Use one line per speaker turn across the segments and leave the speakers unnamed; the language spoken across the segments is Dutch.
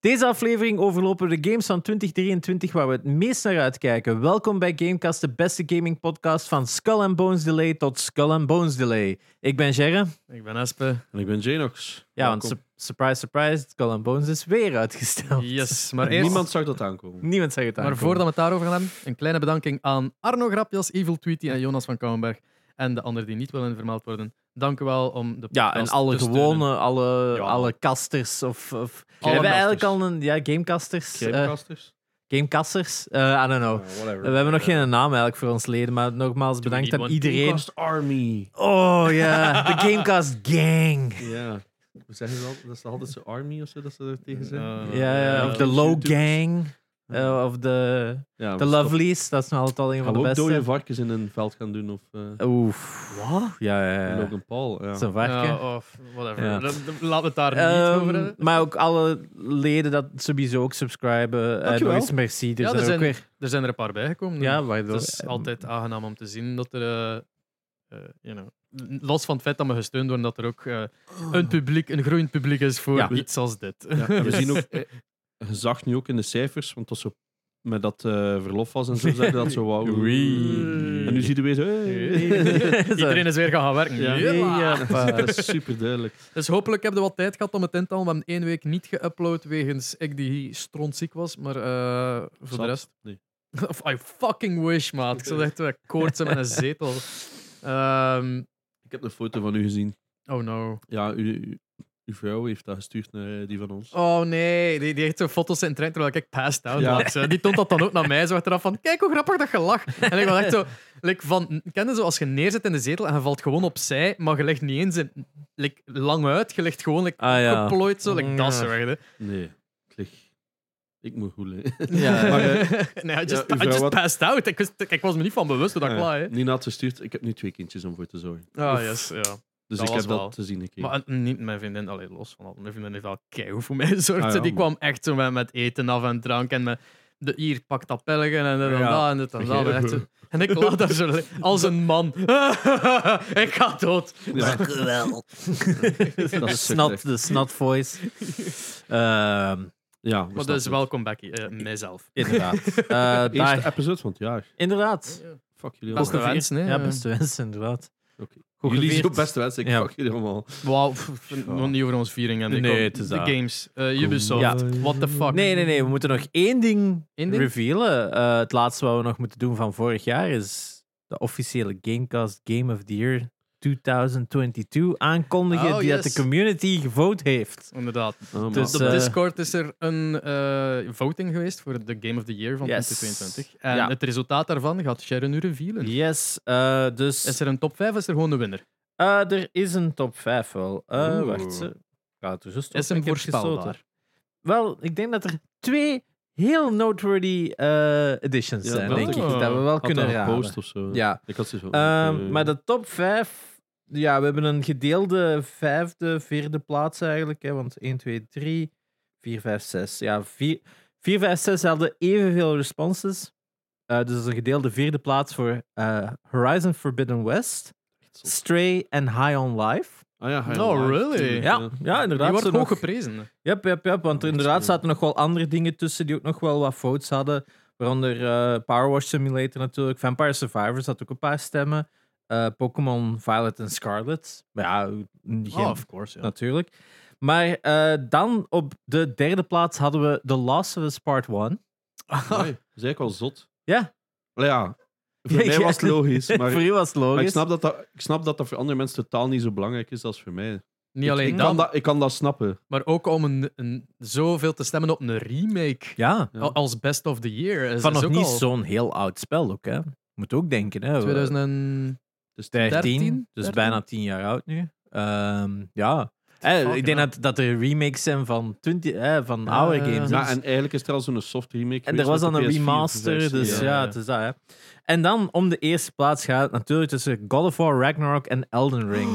Deze aflevering overlopen we de games van 2023 waar we het meest naar uitkijken. Welkom bij Gamecast, de beste gaming podcast van Skull and Bones Delay tot Skull and Bones Delay. Ik ben Gerre.
Ik ben Espe.
En ik ben Janox.
Ja, want su- surprise, surprise, Skull and Bones is weer uitgesteld.
Yes, maar eerst...
Niemand zag dat aankomen.
Niemand zegt het
Maar
aankomen.
voordat we het daarover gaan hebben, een kleine bedanking aan Arno Grapjas, Evil Tweety en Jonas van Kouwenberg. En de anderen die niet willen vermeld worden. Dank u wel om de
Ja, en
podcast
alle
te
gewone,
steunen.
alle,
Ja.
alle kasters of... of we hebben eigenlijk al een... Ja, gamecasters. eh,
Gamecasters?
gamecasters? Eh, I don't know.
Ah, whatever.
We hebben nog geen naam eigenlijk voor ons leden, maar nogmaals bedankt
niet,
aan
want
iedereen.
Gamecast Army.
Oh ja, de Gamecast Gang.
Ja. Hoe zeggen ze dat? Dat is altijd zo Army of zo dat ze er tegen zijn.
Eh,
Ja, ja, of
ja.
de Low
YouTubers.
Gang. eh, of de,
Ja,
de Lovelies, dat is nog altijd al een van
Gaan
de
we ook dode
beste.
varkens in een veld gaan doen? Of eh
Oef. Wat? Ja, ja, ja.
Logan Paul? Ja.
Dat is een varken.
Ja, of whatever.
Ja.
Laat- Laten we het daar niet
Ehm,
over hebben.
maar ook alle leden dat sowieso ook subscriben. En nog
Dankjewel.
eens merci. Er
Ja,
zijn
er
ook
zijn-
weer...
Er zijn er een paar bijgekomen. dus
Ja, waardoor...
Het is altijd aangenaam om te zien dat er, eh, eh, you know, los van het feit dat we gesteund worden, dat er ook eh, een publiek, een groeiend publiek is voor
Ja.
iets als dit.
Ja, en we zien ook, eh, je zag nu ook in de cijfers, want dat zo, met dat eh, verlof was en zo, zag je dat zo wauw.
Oei.
En nu zie je weer zo. eh.
Iedereen is weer gaan gaan werken.
Ja.
Jella.
Dat is super duidelijk.
Dus hopelijk heb je wat tijd gehad om het in te halen. We hebben één week niet geüpload wegens ik die strontziek was, maar eh, voor de
Zat.
rest.
Nee.
Of I fucking wish, maat. Ik zou echt eh, koortsen met een zetel. Ehm,
Ik heb een foto van u gezien.
oh no.
Ja, u- u- uw vrouw heeft dat gestuurd naar eh, die van ons.
Oh nee, die, die heeft zo foto's in de trein terwijl ik passed out
Ja.
was. hè. Die toont dat dan ook naar mij, zo achteraf van, kijk hoe grappig dat je lacht. En ik was echt zo, like van, ken je zo, als je neerzit in de zetel en je valt gewoon opzij, maar je ligt niet eens in, like, lang uit, je ligt gewoon like,
Ah ja.
geplooid zo, like, dat
Ja.
soort dingen.
Nee, ik lig- Ik moet goed liggen.
Ja.
Maar, eh,
nee, I just,
uw
I
vrouw
just
had-
passed out. Ik, wist- ik was me niet van bewust hoe dat
Ja,
klaar, hè.
Eh, Nina had gestuurd, ik heb nu twee kindjes om voor te zorgen.
Ah, yes, ja.
Dus
Dat
ik
was
heb
wel.
dat te zien gekregen.
Maar eh, niet mijn vriendin, alleen los van dat. Mijn vriendin heeft wel keihard voor mij gezorgd.
Ah,
ze.
ja,
die
maar-
kwam echt zo met, met eten af en drank en met de hier pak dat pelgen en dit en
Ja,
dat en dit en dat. En,
vergeet
echt
het.
zo- en ik lag daar zo li- als een man. ik ga dood.
Ja,
Dank u wel.
dat
De
is
snot,
echt.
de snot voice. Ehm,
Ja,
Maar dus welkom back, eh, mijzelf.
inderdaad. Eh,
De
daar-
eerste episode van het jaar.
Inderdaad.
Fuck jullie
Beste
allemaal.
wensen, hè.
Ja, beste wensen, inderdaad.
Oké.
Goed
Jullie
gevierd.
zo beste wensen, ik
Ja. Oh,
fuck jullie allemaal.
Wauw, pff, nog niet over ons viering. En ik
Nee,
kom-
het is
de
dat.
games, eh, Ubisoft,
Ja.
what the fuck.
Nee, nee, nee. We moeten nog één ding
Eén ding?
revealen. Eh, het laatste wat we nog moeten doen van vorig jaar is de officiële Gamecast Game of the Year 2022 aankondigen
Oh,
die dat
yes.
de community gevote heeft.
Inderdaad.
Oh, man.
Dus,
Op
eh,
Discord is er een eh, voting geweest voor de Game of the Year van
Yes.
2022. En
Ja.
het resultaat daarvan gaat Sharon nu revealen.
Yes, eh, dus
Is er een top 5 is er gewoon de winnaar?
eh, er is een top 5 wel. Eh
Oeh.
wacht, ze gaat er zo stoppen.
Is hem
Ik heb
voorspelbaar?
gestoten. Wel, ik denk dat er twee heel noteworthy eh, editions
Ja,
zijn,
dat
denk ik.
ik.
Dat we wel
Had
kunnen
daar een
raden.
post of zo.
Ja.
Ik had zoiets van,
Ehm,
eh,
maar de top 5. Ja, we hebben een gedeelde vijfde, vierde plaats eigenlijk. Hè, want 1, 2, 3, 4, 5, 6. Ja, 4, 4 5, 6 hadden evenveel responses. Eh, dus dat is een gedeelde vierde plaats voor eh, Horizon Forbidden West,
echt zot.
Stray en High on Life.
Ah ja, hij
No,
live,
really?
tuurlijk,
Ja, ja
Die
inderdaad.
wordt
ze
hoog
nog-
geprezen.
Yep, yep, yep, want er
Oh,
inderdaad
cool.
zaten nog wel andere dingen tussen die ook nog wel wat votes hadden. Waaronder eh, Power Wash Simulator natuurlijk. Vampire Survivors had ook een paar stemmen. Eh, Pokémon Violet en Scarlet. Maar ja,
Oh,
geen,
Ah, course.
natuurlijk. Maar eh, dan op de derde plaats hadden we The Last of Us Part 1.
Amai, Dat is eigenlijk wel zot.
Ja.
Maar ja, voor
Ja,
mij
ja.
was het logisch. Maar,
Voor
maar
u was het logisch.
ik, snap dat dat, ik snap dat dat voor andere mensen totaal niet zo belangrijk is als voor mij.
Niet alleen
ik,
dat,
kan dat, ik kan dat snappen.
maar ook om een, een, zoveel te stemmen op een remake
Ja,
Ja.
al- als best of the year. Is,
van
is
nog
ook
niet
al
zo'n heel oud spel ook, hè. Moet ook denken, hè. We-
2000
Dus
13,
13,
dus
13.
bijna 10 jaar oud nu. Ehm, ja. Eh,
Fuck,
ik denk
ja.
dat, dat er remakes zijn van, 20, eh, van
Ja,
oude
ja,
games.
ja. dus-
Ja, nou, en eigenlijk is het al zo'n soft remake.
en er was dan een remaster, dus ja,
ja, ja.
het is dat. Hè. En dan om de eerste plaats gaat het natuurlijk tussen God of War, Ragnarok en Elden Ring.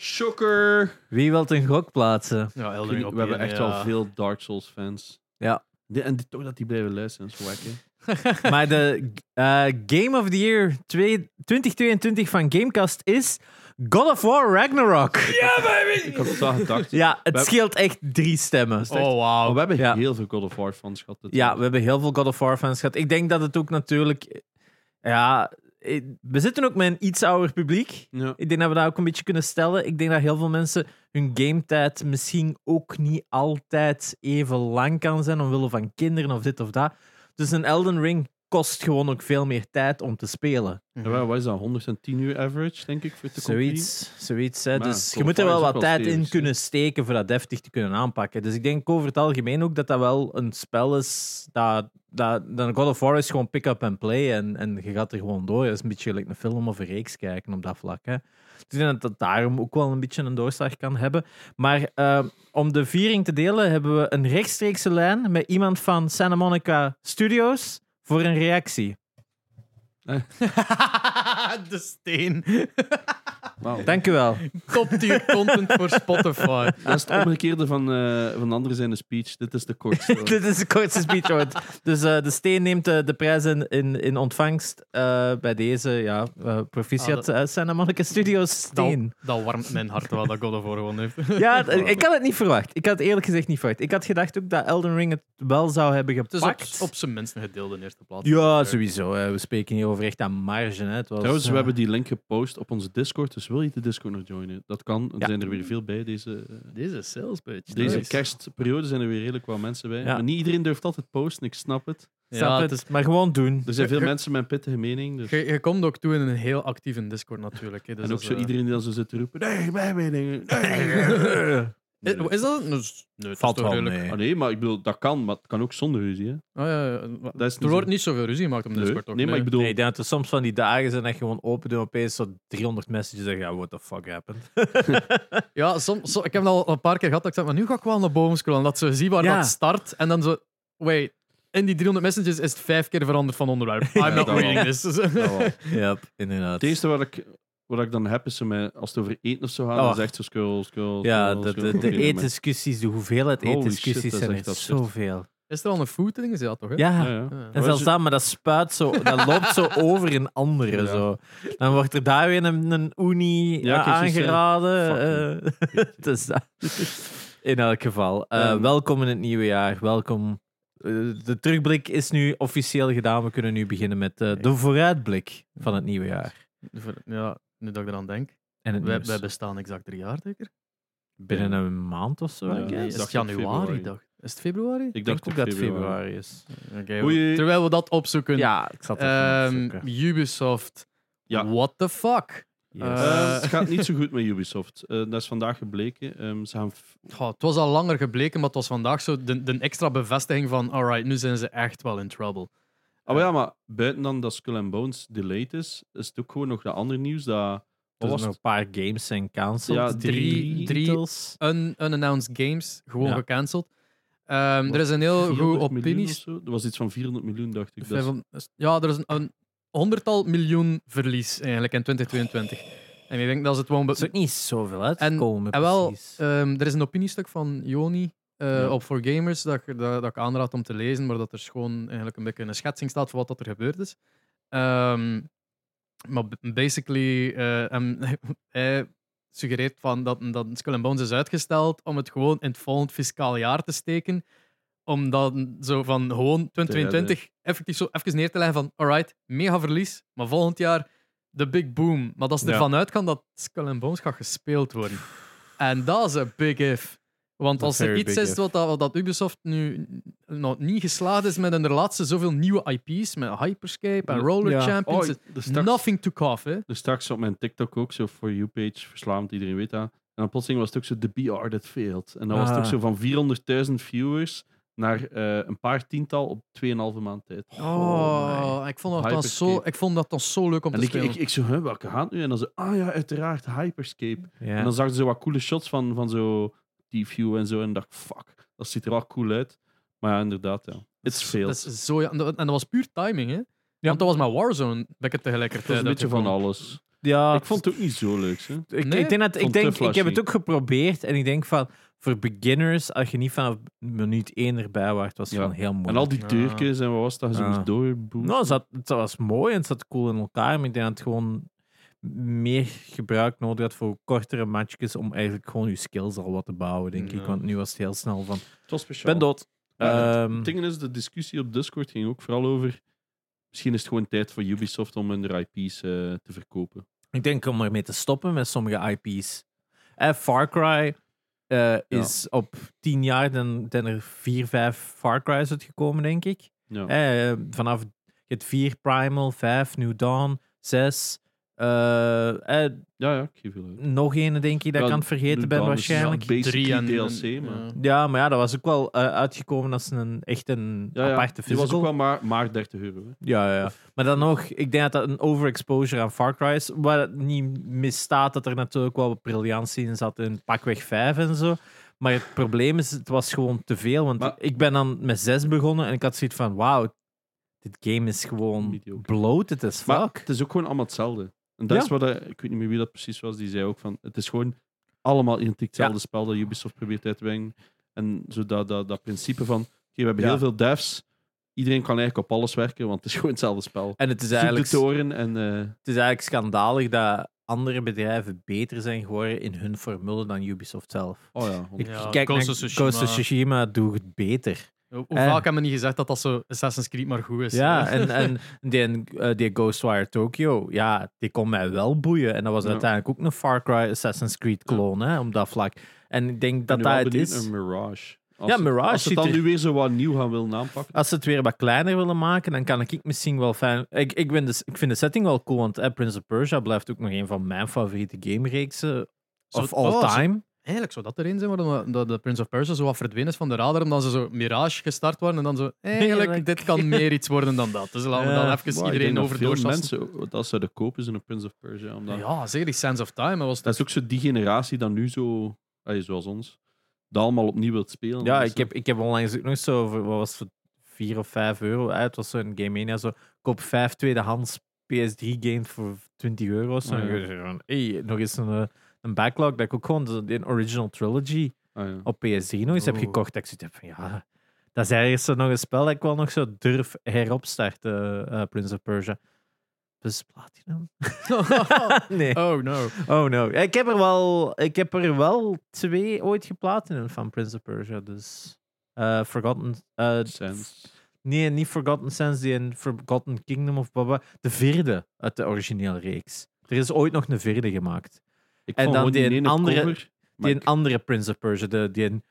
Shocker!
Wie wil het een gok plaatsen?
Ja, Elden Ring
We
op
hebben
één,
echt
ja.
wel veel Dark Souls fans.
Ja.
De- en die- toch dat die blijven luisteren, dat is wack, hè.
maar de eh, Game of the Year 2- 2022 van Gamecast is God of War Ragnarok.
Ik had het al gedacht.
Ja,
We-
het scheelt echt drie stemmen.
Oh,
Maar
wauw.
we hebben
Ja.
heel veel God of War fans gehad. dit
Ja,
jaar.
we hebben heel veel God of War fans gehad. Ik denk dat het ook natuurlijk... Ja, eh, we zitten ook met een iets ouder publiek.
ja.
Ik denk dat we dat ook een beetje kunnen stellen. Ik denk dat heel veel mensen hun gametijd misschien ook niet altijd even lang kan zijn omwille van kinderen of dit of dat. Dus een Elden Ring kost gewoon ook veel meer tijd om te spelen.
Ja, wel, wat is dat? 110 uur average, denk ik, voor de
Zoiets, zoiets hè.
Maar
dus
ja,
je moet er
Call of
wel
Duty is
wat tijd
ook wel
in
stevig,
kunnen steken voor dat deftig te kunnen aanpakken. Dus ik denk over het algemeen ook dat dat wel een spel is dat, dat, dan God of War is gewoon pick up and play en, en je gaat er gewoon door. Dat is een beetje gelijk een film of een reeks kijken op dat vlak. Hè. Dus ik denk dat dat daarom ook wel een beetje een doorslag kan hebben. Maar eh, om de viering te delen hebben we een rechtstreekse lijn met iemand van Santa Monica Studios voor een reactie.
De steen.
Wow.
Dank u wel.
Top tier content voor Spotify.
Dat is het omgekeerde van, eh van de andere zijn de speech. Dit is de kortste.
Dit is de kortste speech ooit. Dus eh, de steen neemt eh, de prijs in, in, in ontvangst eh, bij deze. Ja, eh,
Ah,
proficiat
dat-
eh, Santa Monica Studios
Dat,
steen.
dat warmt mijn hart wel dat God of War gewonnen heeft.
Ja, d- ik had het niet verwacht. Ik had het eerlijk gezegd niet verwacht. Ik had gedacht ook dat Elden Ring het wel zou hebben
Het is Dus op,
gepakt.
op zijn minst een gedeelde eerste plaats.
Ja, sowieso. hè. we spreken hier over echt aan marge. Hè. Het was,
Trouwens, we
eh,
hebben die link gepost op onze Discord, dus wil je de Discord nog joinen? Dat kan. Er
Ja.
zijn er weer veel bij. Deze, eh,
Deze sales pitch.
deze
nice.
kerstperiode zijn er weer redelijk wat mensen bij.
Ja.
Maar niet iedereen durft altijd posten, ik snap het.
snap
Ja,
het,
het is,
maar gewoon doen.
Er zijn veel
Ja, ja.
mensen met een pittige mening. Dus.
je, je komt ook toe in een heel actieve Discord natuurlijk. Hè, dus
en ook
dat
zo
is, eh,
iedereen die dan zo zit te roepen, nee, mijn mening. Nee.
Eh, Is dat? Nee, s- nee, dat
Valt
is toch
wel
redelijk-
mee.
Ah, nee, maar ik bedoel, dat kan, maar het kan ook zonder ruzie. Hè?
Ah, ja, ja, wa-
Dat is niet
er wordt
zo-
niet zoveel ruzie gemaakt op
Nee.
Discord. toch?
nee, maar ik bedoel,
Nee, ik denk dat er soms van die dagen zijn dat je gewoon open doen opeens zo 300 messages en ja, what the fuck happened?
Ja, som, som- ik heb dat al een paar keer gehad. Dat ik zeg, maar nu ga ik wel naar boven scrollen. Dat ze zien waar
Ja.
dat start. En dan zo, wait, in die 300 messages is het vijf keer veranderd van onderwerp. I'm not
dat wel.
reading this. Dus, eh,
dat wel.
Ja, inderdaad.
Het eerste wat ik, wat ik dan heb is zo met, als het over eten of zo gaat,
Oh.
dan zegt ze skull, skull.
Ja,
skull,
de,
skull.
de, de
Oké, maar-
eetdiscussies, de hoeveelheid
Holy shit,
eetdiscussies
dat is
zijn
echt
echt
absurd.
zoveel.
is er al een food ding? Is dat toch? Hè?
Ja.
Ja, ja.
Ah.
En zelfs dat, maar dat spuit zo, dat loopt zo over in anderen.
Ja.
Zo. Dan wordt er daar weer een, een uni eh,
Ja, ik heb zoiets,
aangeraden.
fuck
eh, het is dat. In elk geval, eh,
Ehm.
welkom in het nieuwe jaar. Welkom. Eh, de terugblik is nu officieel gedaan. We kunnen nu beginnen met eh, de vooruitblik van het nieuwe jaar.
Voor- Ja, nu dat ik eraan denk.
En het
Wij,
nieuws.
wij bestaan exact drie jaar, zeker?
Binnen een maand of zo,
Ja,
I
nee,
guess.
is het
dacht in
januari,
februari.
dag? Is het februari?
Ik
Ik denk
dacht
ook
op
dat het februari is.
Oké,
Oei.
Terwijl we dat opzoeken.
Ja, ik zat
ehm, Ubisoft.
Ja.
What the fuck?
Eh,
Eh.
het gaat niet zo goed met Ubisoft. Eh, dat is vandaag gebleken. Ehm, ze gaan f-
Goh, het was al langer gebleken, maar het was vandaag zo de, de extra bevestiging van alright, nu zijn ze echt wel in trouble.
Ah, maar ja, maar buiten dan dat Skull and Bones delayed is, is het ook gewoon nog dat andere nieuws dat...
Er zijn
Wat was
nog
het?
een paar games zijn cancelled.
Ja,
drie- drie-
titels.
Un unannounced games, gewoon
Ja.
gecanceld. Ehm, er is een heel
400
goed
miljoen of
opinies.
zo? Er was iets van 400 miljoen, dacht ik. Dat is-
Ja, er is een, een honderdtal miljoen verlies eigenlijk in 2022. En ik denk dat ze het gewoon... be-
Het is ook niet zoveel uit
En-
te komen,
eh,
en wel,
precies.
Ehm, er is een opiniestuk van Joni eh,
Ja.
op For Gamers dat, ik- dat, dat ik aanraad om te lezen, maar dat er gewoon eigenlijk een beetje een schetsing staat van wat dat er gebeurd is. Ehm, maar b- basically, eh, hem- hij suggereert van dat, dat Skull and Bones is uitgesteld om het gewoon in het volgend fiscaal jaar te steken. Om dan zo van gewoon 2022 effectief zo even neer te leggen van alright, mega verlies, maar volgend jaar de big boom. Maar dat ze
Ja.
ervan uitgaan dat Skull and Bones gaat gespeeld worden. En dat is een big if. Want
Dat
als
is een
er
very
iets
big
is
if.
wat, dat, wat dat Ubisoft nu nog niet geslaagd is met in de laatste zoveel nieuwe IP's, met Hyperscape en
Ja.
Roller
Ja.
Oh,
Champions,
er
is
straks, Oh,
nothing to cough, hè.
er straks op mijn TikTok ook, zo voor you-page, verslaand, iedereen weet dat. En dan plotseling was het ook zo, the BR that failed. En dan was het
Ah.
ook zo van 400.000 viewers naar eh, een paar tiental op 2,5 maand tijd.
Oh, ik vond, dat dan zo,
Hyperscape.
ik vond dat dan zo leuk om
En
te
ik,
spelen.
ik, ik zo, huh, welke gaat nu? En dan zo, ah ja, uiteraard, Hyperscape.
ja.
En dan zag ze zo wat coole shots van, van zo die view en zo. En dacht, fuck, dat ziet er wel cool uit. Maar ja, inderdaad, ja. It's failed.
dat
Het
is zo, ja, en dat en dat was puur timing, hè. Want dat was maar Warzone, ben ik het tegelijkertijd.
was een beetje van
uitgekomen.
alles.
ja,
Ik vond het ook niet zo leuk, hè.
ik,
Nee?
ik denk dat, ik,
Vond het
denk,
te
ik heb het
flashy.
ook geprobeerd en ik denk van, voor beginners, als je niet vanaf minuut 1 erbij waart, was het
Ja.
gewoon heel moeilijk. Ah.
En al die
Ja.
deurkjes en wat was dat, ze
Ja.
moest doorboeken.
Nou, het zat, het was mooi en het zat cool in elkaar, maar ik denk dat het gewoon meer gebruik nodig had voor kortere matchjes om eigenlijk gewoon je skills al wat te bouwen, denk ik.
Ja.
Want nu was het heel snel van,
Het was speciaal.
ben dood.
Maar
Ehm,
het ding is, de discussie op Discord ging ook vooral over. Misschien is het gewoon tijd voor Ubisoft om hun IP's eh, te verkopen.
Ik denk om ermee te stoppen met sommige IP's. Eh, Far Cry eh, is op tien jaar, dan zijn er vier, vijf Far Cry's uitgekomen, denk ik.
Ja.
Eh, vanaf het vier Primal, vijf New Dawn, zes. eh, eh,
ja, ja, ik geef je wel.
nog een, denk ik, dat
Ja,
ik aan het vergeten
New
ben
Dawn is
waarschijnlijk.
ja, basically
Drie en
DLC, maar.
ja.
Ja, maar ja, dat was ook wel eh, uitgekomen als een echt een
Ja, ja.
aparte
Die
physical.
was ook wel maar, maar 30 euro. Hè.
Ja, ja, ja. Maar dan nog, ik denk dat dat een overexposure aan Far Cry is. Waar het niet misstaat dat er natuurlijk wel wat briljantie in zat in pakweg 5 en zo. Maar het probleem is, het was gewoon te veel. Want
Maar-
ik ben dan met 6 begonnen en ik had zoiets van: wauw, dit game is gewoon
Mediocre.
bloated as fuck.
Maar het is ook gewoon allemaal hetzelfde. En dat
Ja.
is wat, eh, ik weet niet meer wie dat precies was, die zei ook van, het is gewoon allemaal identiek hetzelfde spel dat Ubisoft probeert uit te brengen. En zo dat, dat, dat principe van, oké, we hebben
Ja.
heel veel devs, iedereen kan eigenlijk op alles werken, want het is gewoon hetzelfde spel.
en het is,
Zoek de
eigenlijk, het
toren en... eh,
is eigenlijk schandalig dat andere bedrijven beter zijn geworden in hun formule dan Ubisoft zelf.
oh ja,
Ik
Ja,
kijk
Ghost
naar
of Tsushima.
Ghost of Tsushima doet het beter.
Hoe hoe
Eh.
vaak hebben we niet gezegd dat dat zo Assassin's Creed maar goed is?
Ja, en, en die, eh, die Ghostwire Tokyo, ja, die kon mij wel boeien. En dat was
Ja.
uiteindelijk ook een Far Cry Assassin's Creed clone, hè, op dat vlak. En ik denk dat
ben
dat
wel
het
benieuwd
is.
naar Mirage. Als
Ja,
het-
Mirage
Als ze
ziet
dan
er-
nu weer zo wat nieuw gaan willen aanpakken.
Als ze het weer wat kleiner willen maken, dan kan ik ik misschien wel fijn... Ik, ik, ben dus, ik vind de setting wel cool, want eh, Prince of Persia blijft ook nog een van mijn favoriete gamereeksen
Zo-
of all
oh, zo-
time.
Eigenlijk zou dat erin zijn, maar dan- dat de Prince of Persia zo wat verdwenen is van de radar, omdat ze zo Mirage gestart waren en dan zo, eigenlijk,
Eigenlijk.
dit kan meer iets worden dan dat. Dus laten we
Ja.
dan even
Wow, ik denk
iedereen
dat
over
veel
doorstappen.
mensen dat zouden kopen zijn op Prince of Persia. Omdat
Ja, zeker, die Sense of Time. Dat was
Dat is ook zo die generatie dan nu zo, allee, zoals ons, dat allemaal opnieuw wilt spelen.
Ja,
Dus,
ik heb, ik heb onlangs ook nog zo, voor, wat was het, voor 4 of 5 euro uit, was zo'n Game Mania, zo, koop 5 tweedehands PS3-games voor 20 euro. Zo.
Ah, ja.
En je zegt van, hey, nog eens een, eh, een backlog, dat ik ook gewoon de, de original trilogy
ah, ja.
op PS3 nog eens heb
Oh.
gekocht. Dat ik zoiets heb van, ja, dat is ergens zo nog een spel dat ik wel nog zo durf heropstarten, eh, Prince of Persia. Dus Platinum? nee.
Oh no.
Oh no. Ik heb er wel, ik heb er wel twee ooit geplatinumd van Prince of Persia. Dus eh, Forgotten. eh,
Sense.
nee, niet Forgotten Sands, die in Forgotten Kingdom of Baba. De vierde uit de originele reeks. Er is ooit nog een vierde gemaakt.
Ik
En
vond
dan
gewoon
die
ene
andere-
cover, maar
Die
ik-
een andere Prince of Persia, de, die een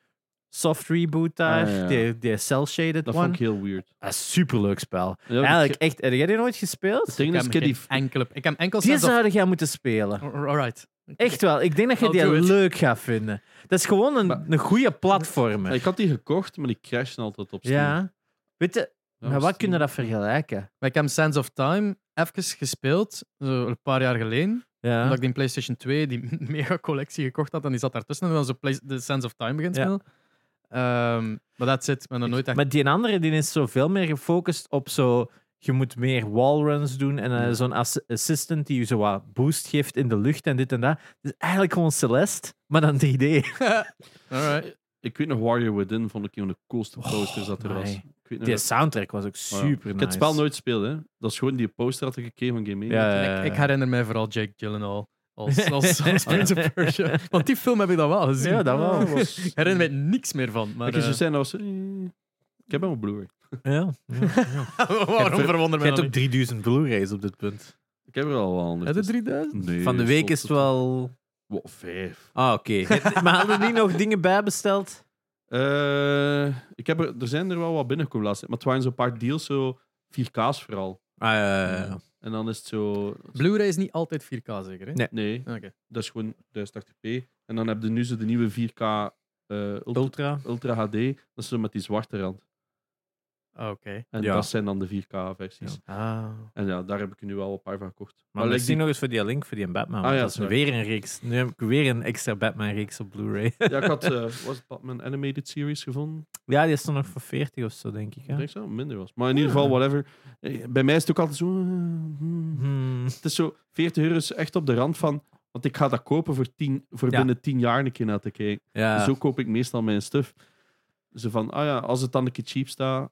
soft reboot daar,
Ah, ja, ja.
die, die cel-shaded
dat
one.
vond ik heel weird.
Dat is een superleuk spel.
Ja,
Eigenlijk
ik-
echt, heb jij die nooit gespeeld?
het ding
Ik
is,
heb,
ik heb die,
geen enkele, ik heb enkel
Die
Sense of...
zouden jij moeten spelen.
Alright.
Echt wel. Ik denk dat je
I'll
die
do it.
leuk gaat vinden. Dat is gewoon een,
Maar-
een goede platformer.
ik had die gekocht, maar die crashte altijd op Steam.
Ja. Weet je,
Ja,
maar
op
wat
Steam.
kunnen we dat vergelijken?
Maar ik heb Sense of Time even gespeeld, zo een paar jaar geleden.
Ja.
Omdat ik die PlayStation 2, die mega collectie gekocht had, en die zat daartussen. En dan zo Play- de Sense of Time begint
Ja.
spelen. Ehm, maar dat zit, maar nog nooit echt.
Maar die andere die is zo veel meer gefocust op zo... Je moet meer wallruns doen en eh,
Ja.
zo'n ass- assistant die je zo wat boost geeft in de lucht en dit en dat. Dus eigenlijk gewoon Celeste, maar dan 3D.
Alright.
Ik weet nog, Warrior Within vond ik een van de coolste posters dat er was.
Oh, my.
Ik, weet nog
Die
dat-
soundtrack was ook
ja.
super nice.
ik heb het spel nooit gespeeld, hè. Dat is gewoon die poster dat ik gekregen van Game Mania.
Ja, ja, ja.
ik, ik herinner mij vooral Jake Gyllenhaal als, als, als Prince of Persia. Want die film heb ik dan wel gezien.
Ja, dat wel.
Dat was-
Ik herinner mij niks meer van. Maar,
Dat je zo
eh,
zijn als... eh, Ik heb hem op Blu-ray.
Ja.
waarom verwonder
Je
mij
hebt
dat
ook
niet?
3000 Blu-rays op dit punt.
Ik heb er al wel anders.
Heb je 3000?
Nee,
Van de week is het
stop,
wel...
stop. Wow, vijf.
Ah, oké. maar hadden die nog dingen bijbesteld?
Eh, ik heb er, er zijn er wel wat binnengekomen laatst. Maar het waren zo'n paar deals, zo 4K's vooral.
Ah, ja, ja, ja.
En dan is het zo...
Blu-ray is niet altijd 4K zeker. Hè?
Nee.
Nee,
Oké.
dat is gewoon 1080p. En dan heb je nu zo de nieuwe 4K eh, Ultra,
Ultra.
Ultra HD. Dat is zo met die zwarte rand.
Ah, Oké.
En
Ja.
dat zijn dan de 4K-versies.
Ja.
Ah.
En ja, daar heb ik er nu wel een paar van gekocht.
Maar
like
ik zie nog eens voor die link voor die Batman. want
Ah, ja,
dat is
sorry.
weer een reeks. Nu heb ik weer een extra Batman-reeks op Blu-ray.
die- Ja, ik had eh, was het Batman Animated Series gevonden.
ja, die is dan nog voor 40 of zo, denk ik.
Ik
Hè?
denk zo, minder was. Maar in ieder geval, whatever. Eh, Bij mij is het ook altijd zo... eh, hmm.
Hmm.
Het is zo, 40 euro is echt op de rand van... Want ik ga dat kopen voor, tien, voor
Ja.
binnen 10 jaar een keer naar te kijken.
Ja.
Dus Zo koop ik meestal mijn stuff. Zo van, ah ja, als het dan een keer cheap staat,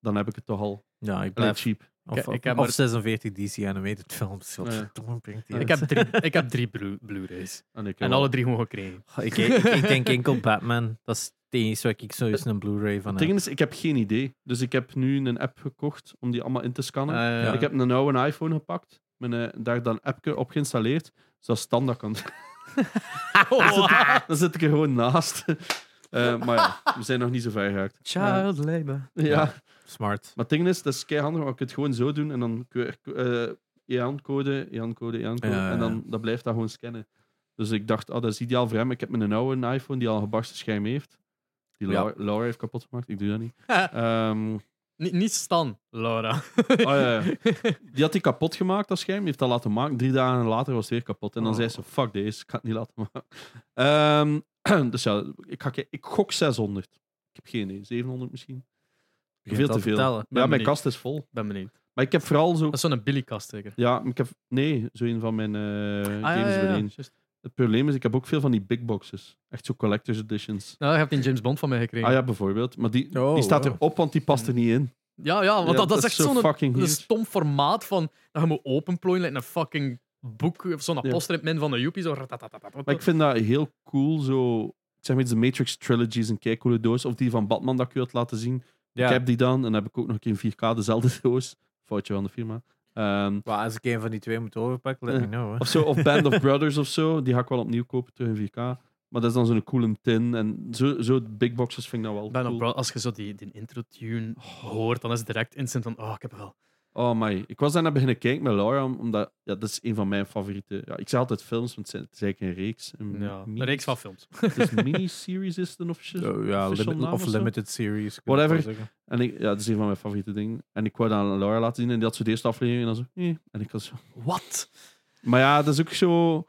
dan heb ik het toch al.
ja, ik
Allee,
blijf,
cheap.
Of,
ik
ik
heb
heb of
er-
46 DC-animated films. Wat
Ja.
verdomme brengt
Ah,
die
Ik
uit?
heb drie, ik heb drie Blu- Blu-rays.
En, ik eh,
en alle drie gewoon gekregen.
Goh, ik, ik, ik denk enkel Batman. Dat is het enige waar ik sowieso een Blu-ray van
Het
heb.
ding is, ik heb geen idee. Dus ik heb nu een app gekocht om die allemaal in te scannen.
Eh,
Ja.
Ik heb een oude iPhone gepakt, mijn, eh, daar dan een appje op geïnstalleerd, zodat standaard kan. dan, zit, dan zit ik er gewoon naast. Eh, maar ja, we zijn nog niet zo ver geraakt.
Child labor.
Ja.
Smart.
Maar het ding is, dat is keihandig, want ik kan het gewoon zo doen en dan QR-code, EAN-code, EAN-code, EAN-code.
Ja, ja,
E En
ja.
dan dat blijft dat gewoon scannen. Dus ik dacht, ah, dat is ideaal voor hem. Ik heb mijn oude iPhone die al een gebarsten scherm heeft. Die
Ja.
Laura, Laura heeft kapot gemaakt, ik doe dat niet. Ehm,
Niet, niet Stan, Laura.
Oh, ja, ja. Die had hij kapot gemaakt, dat scherm. Die heeft dat laten maken. Drie dagen later was het weer kapot. En dan
Oh.
zei ze, fuck deze, ik ga het niet laten maken. Ehm, dus ja, ik, ga, ke- ik gok 600. Ik heb geen idee, 700 misschien.
Begint
veel
al
te
te
veel.
tellen.
ja,
Ben
mijn
benieuwd.
kast is vol.
Ben benieuwd.
Maar ik heb vooral zo...
Dat is zo'n Billy-kast zeker.
Ja, maar ik heb... Nee, zo een van mijn eh
Ah, ja,
games
ja, ja.
beneden.
Juist.
Het probleem is, ik heb ook veel van die big boxes. Echt zo collector's editions.
Nou, je hebt die James Bond van mij gekregen.
Ah ja, bijvoorbeeld. Maar die,
Oh,
die staat
wow.
erop, want die past er niet in.
Ja, ja, Oh, want
Ja,
dat, dat is echt
zo
zo'n
fucking
een
weird.
stom formaat van dat je moet openplooien, like een fucking boek of zo'n
Ja.
apostel in het midden van de joepie. Zo. ratatatatata.
Maar ik vind dat heel cool, zo... Ik zeg maar iets, de Matrix Trilogies een keicoole doos. Of die van Batman dat ik u had laten zien.
Ja.
Ik heb die dan. En dan heb ik ook nog een keer in 4K dezelfde doos. Foutje van de firma. Ehm,
Maar als ik een van die twee moet overpakken, let me
Ja.
know. Hè.
of zo, of Band of Brothers of zo. Die ga ik wel opnieuw kopen, terug in 4K. Maar dat is dan zo'n coole tin. En zo, zo big boxes vind ik dat wel
Ben
cool.
op, als je zo die, die intro-tune hoort, dan is het direct instant van, oh, ik heb het wel.
Oh my. Ik was daarna beginnen kijken met Laura, om- omdat ja, dat is een van mijn favoriete... Ja, ik zeg altijd films, want het zijn- het is eigenlijk een reeks. Een,
Ja.
mini-
Een reeks van films.
Het is miniseries is het een officieel.
Zo, Oh, ja,
official
limit-
naam
Dus of
of zo?
limited series. kun je
Whatever.
het wel zeggen.
En ik, ja, dat is een van mijn favoriete dingen. En ik wou dat aan Laura laten zien en die had zo de eerste aflevering en dan zo... eh. En ik was zo...
Wat?
Maar ja, dat is ook zo...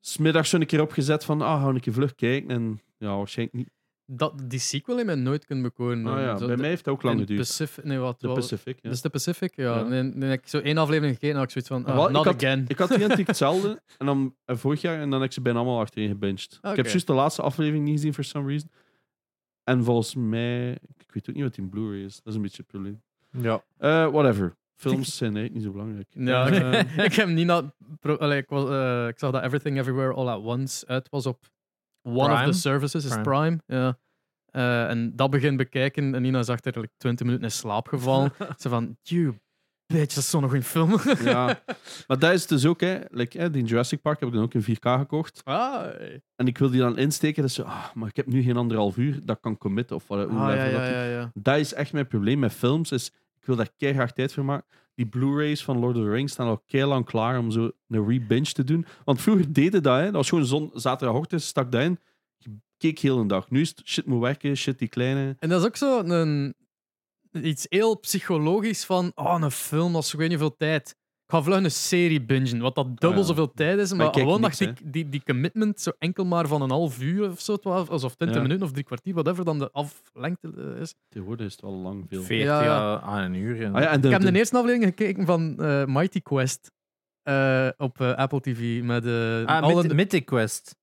Smiddags zo een keer opgezet van... Ah, hou een keer vlug kijken. En ja, waarschijnlijk niet...
Dat, die sequel in mij nooit kunnen bekoren.
Ah ja,
Zo,
bij
de-
mij heeft het ook lang
in
geduurd.
Pacific, nee, wat,
De
wat-
Pacific, ja.
Dat is de Pacific, ja.
Ja.
En dan- dan heb ik zo één aflevering gekeken en had ik zoiets van,
Wel,
ah,
ik
not
had-
again.
Ik had identiek hetzelfde. En dan eh, vorig jaar en dan heb ik ze bijna allemaal achterin gebinged. Ik heb
Oké.
juist de laatste aflevering niet gezien for some reason. En volgens mij, ik weet ook niet wat die in Blu-ray is. Dat is een beetje het probleem.
Ja.
Eh, whatever. Films zijn eigenlijk niet zo belangrijk.
Ja,
Eh,
ik, ik heb niet na- pro- allee, ik, was, eh, ik zag dat Everything Everywhere All at Once uit was op one of
Prime?
the services, is
Prime.
Prime. Ja. Eh, en dat begin bekijken en Nina is achter like, 20 minuten in slaap gevallen. Ze van, you bitch, dat is zo'n goede film.
ja. Maar dat is dus ook, hè. Like, hè, die Jurassic Park heb ik dan ook in 4K gekocht.
ah,
En ik wil die dan insteken. Dat is zo, ah, maar ik heb nu geen anderhalf uur. Dat kan committen. Of whatever.
Ah, ja,
whatever dat
ja,
die-
ja, ja.
Dat is echt mijn probleem met films. Is, ik wil daar keihard tijd voor maken. Die Blu-rays van Lord of the Rings staan al keihard lang klaar om zo een rebinge te doen. Want vroeger deden dat, hè. Dat was gewoon zon, zaterdagochtend, stak dat in. Je keek heel een dag. Nu is het shit moet werken, shit die kleine.
En dat is ook zo een, iets heel psychologisch van, oh, een film, dat is ik weet niet hoeveel tijd. Ik ga vlug een serie bingen, wat dat dubbel
Ah, ja.
zoveel tijd is. Maar,
ik kijk
gewoon
niks,
dat die, die, die commitment zo enkel maar van een half uur of zo, twaalf, alsof 20
Ja.
minuten of drie kwartier, whatever dan de aflengte eh, is.
Tegenwoordig is het al lang veel.
40
Ja, ja.
jaar aan een uur. En
Ah ja, en de-
Ik heb
de-
de eerste aflevering gekeken van eh, Mighty Quest eh, op eh, Apple TV met eh
Ah,
alle-
Myth- Mythic Quest.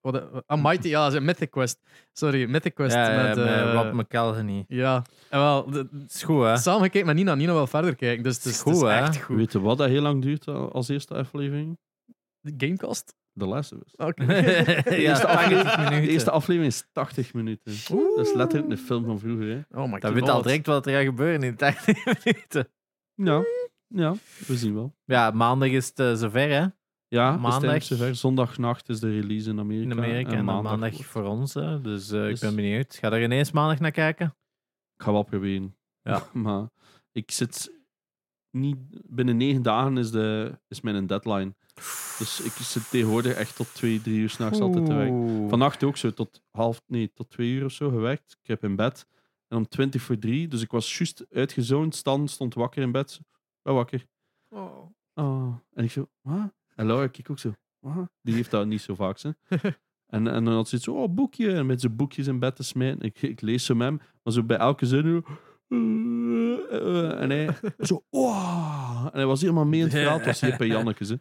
wat, eh, ah, Mighty, ja, ze- Mythic Quest. Sorry, Mythic Quest
ja, ja,
met...
met
eh,
Rob McElhenney.
ja, en wel, de-
Is goed, hè?
samen gekeken met Nina. Nina wil verder kijken, dus het is,
Is
het is
goed, hè?
echt goed.
Weet je wat dat heel lang duurt al- als eerste aflevering?
De Gamecast?
The Last of Us.
Oké.
de
eerste aflevering-
minuten.
De eerste aflevering is 80 minuten. Dat is letterlijk een film van vroeger. Hè?
Oh my
Dan weet je al direct wat er gaat gebeuren in 80 minuten.
Ja. ja, we zien wel.
Ja, maandag is het eh, zover, hè?
Ja, het is
Maandag.
tijdens zover. Zondagnacht is de release in Amerika.
In Amerika. En,
en
dan
maandag.
maandag, voor ons, hè? Dus eh,
Dus-
ik ben benieuwd. Ga er ineens maandag naar kijken?
Ik ga wel proberen.
Ja.
maar ik zit niet... Binnen negen dagen is, de, is mijn deadline. Dus ik zit tegenwoordig echt tot twee, drie uur s'nachts altijd te werken.
Oeh.
Vannacht ook zo tot half, nee, tot twee uur of zo gewerkt. Ik heb in bed. En om 20 voor drie, dus ik was juist uitgezoond. Stan stond wakker in bed. Wel wakker. Oh. En ik zo, wat? En Laura keek ook zo, wat? Die heeft dat niet zo vaak, hè. En, en dan had ze iets zo, oh, boekje. En met zijn boekjes in bed te smijten. Ik, ik lees ze met hem, maar zo bij elke zin... zo, eh, eh, en hij zo, oh. En hij was helemaal mee in het verhaal. Het was hier bij Jannekes, hè.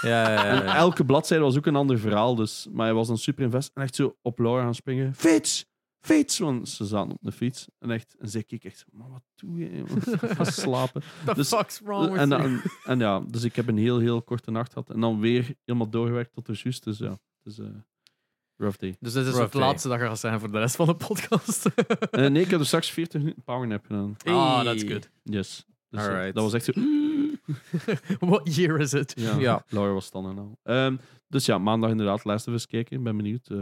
Ja, ja, ja,
En
ja.
elke bladzijde was ook een ander verhaal, dus. Maar hij was dan super invest en echt zo op Laura gaan springen. Fiets! fiets. Want ze zaten op de fiets. En, echt, en zij keek echt zo, "Man, wat doe je? jongen? Ga slapen.
The
Dus-
fuck's wrong with
en,
you?
dan- en ja, dus ik heb een heel, heel korte nacht gehad. En dan weer helemaal doorgewerkt tot de juist. Dus ja, het is eh, rough day.
Dus dit is
Rough
het
day.
laatste dat gaat zijn voor de rest van de podcast.
Ah,
Eh, nee, ik heb er straks 40 minuten powernap gedaan.
Ah, that's good.
Yes. Dus, eh,
Alright.
Dat was echt zo...
What year is it?
Ja,
Ja.
Laura was dan en al. Ehm, dus ja, maandag inderdaad, Last of Us kijken. Ik ben benieuwd. Eh,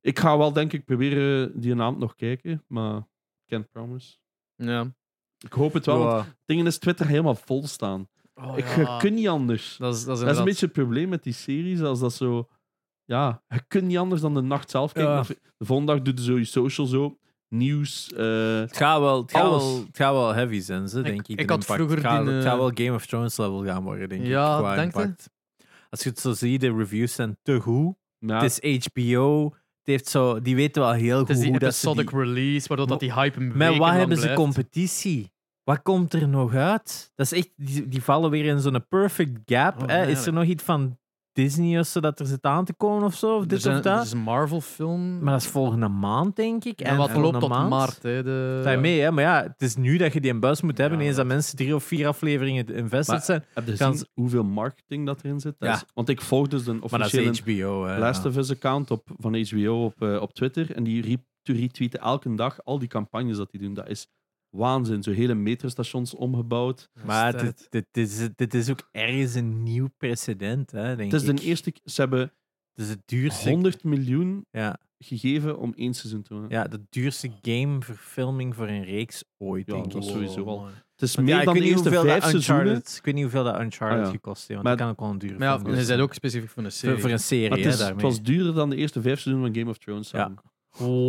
ik ga wel, denk ik, proberen die naam nog kijken, maar can't promise.
Ja.
Ik hoop het wel, want dingen is Twitter helemaal vol staan.
Oh,
ik
ja.
je kunt niet anders.
Dat is, dat is,
Dat is
inderdaad-
een beetje het probleem met die series, als dat zo... Ja, je kunt niet anders dan de nacht zelf kijken.
Ja.
De volgende dag doet zo je social zo. Nieuws. eh,
Het gaat wel, het gaat
Alles.
wel, het gaat wel heavy zijn, ze, denk ik.
ik
de
had
impact.
vroeger
het gaat,
die,
het gaat
eh,
wel Game of Thrones level gaan worden, denk
Ja,
ik. qua
denk je?
impact. Als je het zo ziet, de reviews zijn te goed.
ja,
Het is HBO. Het heeft zo, die weten wel heel
het is
goed
die
hoe dat ze
episodic
die...
release, waardoor dat die hype een
Maar
weken
wat
lang
hebben ze
blijft.
competitie? Wat komt er nog uit? Dat is echt, die, die vallen weer in zo'n perfect gap.
Oh,
hè.
nee,
Is er
nee.
nog iets van Disney of zo dat er zit aan te komen of zo? Of
Er
dit
zijn-
of dat?
Er is een Marvel-film.
Maar dat is volgende maand, denk ik.
en
En
wat
volgende
loopt tot
maand.
maart. Hè, de...
Zijn mee, hè? Maar ja, het is nu dat je die een bus moet hebben.
Ja,
Eens Eh, dat
dat-
mensen drie of vier afleveringen invested
Maar-
zijn.
heb je
Gaan
gezien
ze-
hoeveel marketing dat erin zit? Dat
Ja.
is- want ik volg dus een
Maar dat is
officiële
HBO. Hè, nou.
Last
ja.
of Us account op, van HBO op, eh, op Twitter. En die re- retweeten elke dag al die campagnes dat die doen. Dat is waanzin. Zo hele metrostations omgebouwd.
Maar dit, dit, is, dit is ook ergens een nieuw precedent, hè, denk
Het is de
ik.
eerste... ke- Ze hebben
Het is het duurste,
100 miljoen
ja,
gegeven om één seizoen te maken.
ja, de duurste gameverfilming voor een reeks ooit,
Ja,
denk
dat
ik.
is sowieso wel.
mooi.
Het is
Ja,
meer
ik
dan de
weet niet
eerste
hoeveel dat
vijf seizoenen.
Uncharted- Ik weet niet hoeveel dat Uncharted
Ah, ja.
gekost heeft, want
Maar-
dat kan ook wel een duur
Maar
film
ja, ze
zijn.
zijn ook specifiek voor een
Voor,
serie.
voor een serie,
Maar het,
hè,
is, het
daarmee.
was duurder dan de eerste vijf seizoenen van Game of Thrones.
Ja.
samen.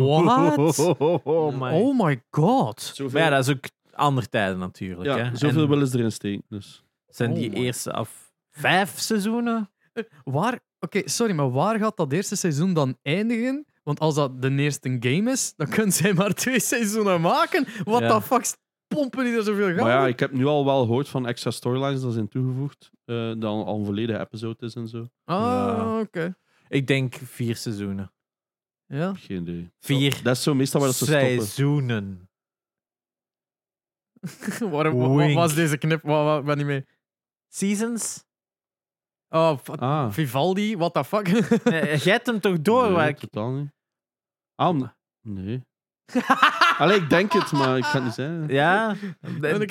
What?
Oh, oh, oh, my.
Oh my god.
Maar ja, dat is ook andere tijden natuurlijk.
Ja,
hè.
zoveel
En-
willen ze erin steken. Dus.
Zijn
Oh
die
my.
eerste af vijf seizoenen?
Waar, oké, sorry, maar waar gaat dat eerste seizoen dan eindigen? Want als dat de eerste game is, dan kunnen zij maar twee seizoenen maken. What
Ja.
the fuck, pompen die er zoveel gaan?
Maar ja, ik heb nu al wel gehoord van extra storylines dat zijn toegevoegd. eh dat al een volledige episode is en zo.
Ah,
Ja.
oké.
Ik denk vier seizoenen.
Ja.
Geen idee.
Vier
Oh, Dat is zo meestal waar dat ze stoppen.
seizoenen.
Waarom, wa- wa- wat
Wink.
was deze knip? Wat, wat, ben niet mee?
Seasons?
Oh, fuck.
Ah.
Vivaldi, what the fuck?
Nee, Eh, Jij hebt hem toch door?
nee,
waar ik-
totaal niet. Ah, om- nee. Allee, ik denk het, maar ik ga het niet zeggen.
Ja,
ik-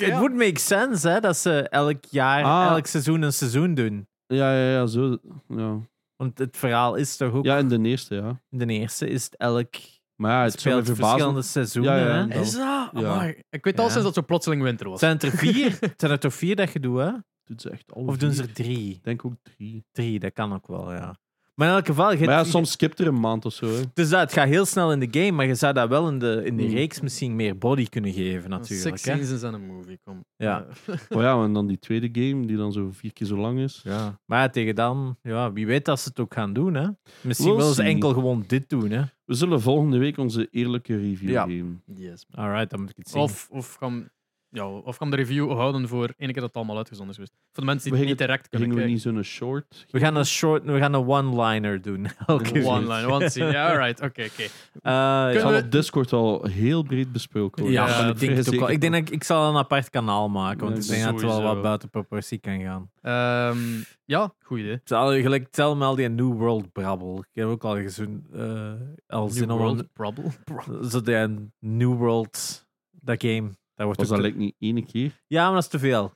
het
ja.
would make sense hè, dat ze elk jaar,
Ah.
elk seizoen een seizoen doen.
Ja, ja, ja, zo. Ja,
Want het verhaal is toch ook...
ja in de eerste, ja.
De eerste is het elk...
Maar ja, het zou me
speelt verschillende
verbazen.
seizoenen.
Ja, ja,
hè.
en dan-
Is dat?
Ja.
Amai. Ik weet al
Ja.
sinds dat zo plotseling winter was.
Zijn het er vier? zijn er toch vier dat je doet, hè?
Doet ze echt alle
Of doen ze
vier?
er drie?
Ik denk ook drie.
Drie, dat kan ook wel, ja. Maar in elk geval... je-
Maar ja, soms skipt er een maand of zo. Hè.
Dus dat, het gaat heel snel in de game, maar je zou dat wel in de, in de
Hmm.
reeks misschien meer body kunnen geven, natuurlijk.
Six
hè.
seasons en een movie, kom.
Ja.
Maar ja, en dan die tweede game, die dan zo vier keer zo lang is.
Ja. Maar tegen dan, ja, wie weet dat ze het ook gaan doen. Hè? Misschien
We'll
willen ze
see.
enkel gewoon dit doen. Hè?
We zullen volgende week onze eerlijke review
Ja.
geven.
Yes.
Alright, dan moet ik het zien.
Of, of, gaan, ja, of gaan de review houden voor ene keer dat het allemaal uitgezonden is geweest. Voor de mensen die
We
het niet
gingen-
direct kunnen
Gingen we
kijken.
niet zo'n short?
we gaan een short, we gaan een one-liner doen. Elke week.
One line, one scene. Ja, alright. Oké, oké.
Eh,
Het
ja.
Kunnen
zal
we-
op Discord al heel breed besproken worden.
Ja,
Ja,
maar
ben
ik denk het ook
vrij
wel. Ik
zeker
denk dat ik, ik zal een apart kanaal maken, want
Nee,
ik denk dat het wel
sowieso.
wat buiten proportie kan gaan.
Ehm, ja, goed idee.
Het is al- Gelijk, tel me al die New World brabbel. Ik heb ook al gezien, eh al zin
New
om
World Problem.
een- zo die New World, dat game. Dat wordt
Was
ook
dat
te-
lijkt niet ene keer?
Ja, maar dat is te veel.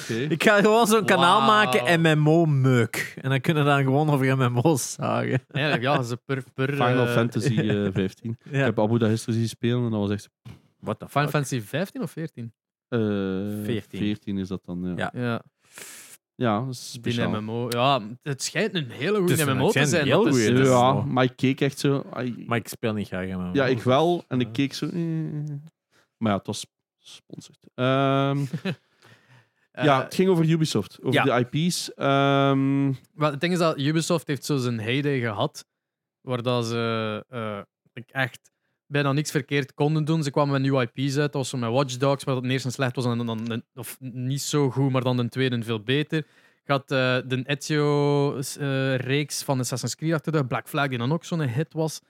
Oké.
Ik ga gewoon zo'n kanaal
Wauw.
maken, MMO-meuk. En dan kunnen we dan gewoon over MMO's zagen.
Eigenlijk, ja, ze per, per,
Final
eh,
Fantasy eh 15. Ik
Ja.
heb Abu Dhabi zien spelen en dat was echt
What the
Final Fantasy 15 of 14?
eh
14.
14 is dat dan. Ja,
Ja.
ja.
Ja,
dat is
die
speciaal.
MMO. Ja, het schijnt een hele
Het is
goede
een
MMO te
agenda,
zijn.
heel
dat is- dus,
goeie. is
ja,
wel-
maar ik keek echt zo. ai,
Maar ik speel niet graag MMO's.
ja, ik
Nou,
dus,
wel. En ik keek zo. eh. Maar ja, het was sponsored. Ehm,
eh,
ja, het ging over Ubisoft, over de IP's. Ehm,
Maar het ding is dat Ubisoft heeft zo zijn heyday gehad, waar dat ze eh, ik echt bijna niks verkeerd konden doen. Ze kwamen met nieuwe IP's uit, als zo met Watch Dogs, waar dat een eerste slecht was, en dan, dan, een- of niet zo goed, maar dan de tweede veel beter. Gaat eh, de Ezio-reeks van Assassin's Creed achter de Black Flag, die dan ook zo'n hit was.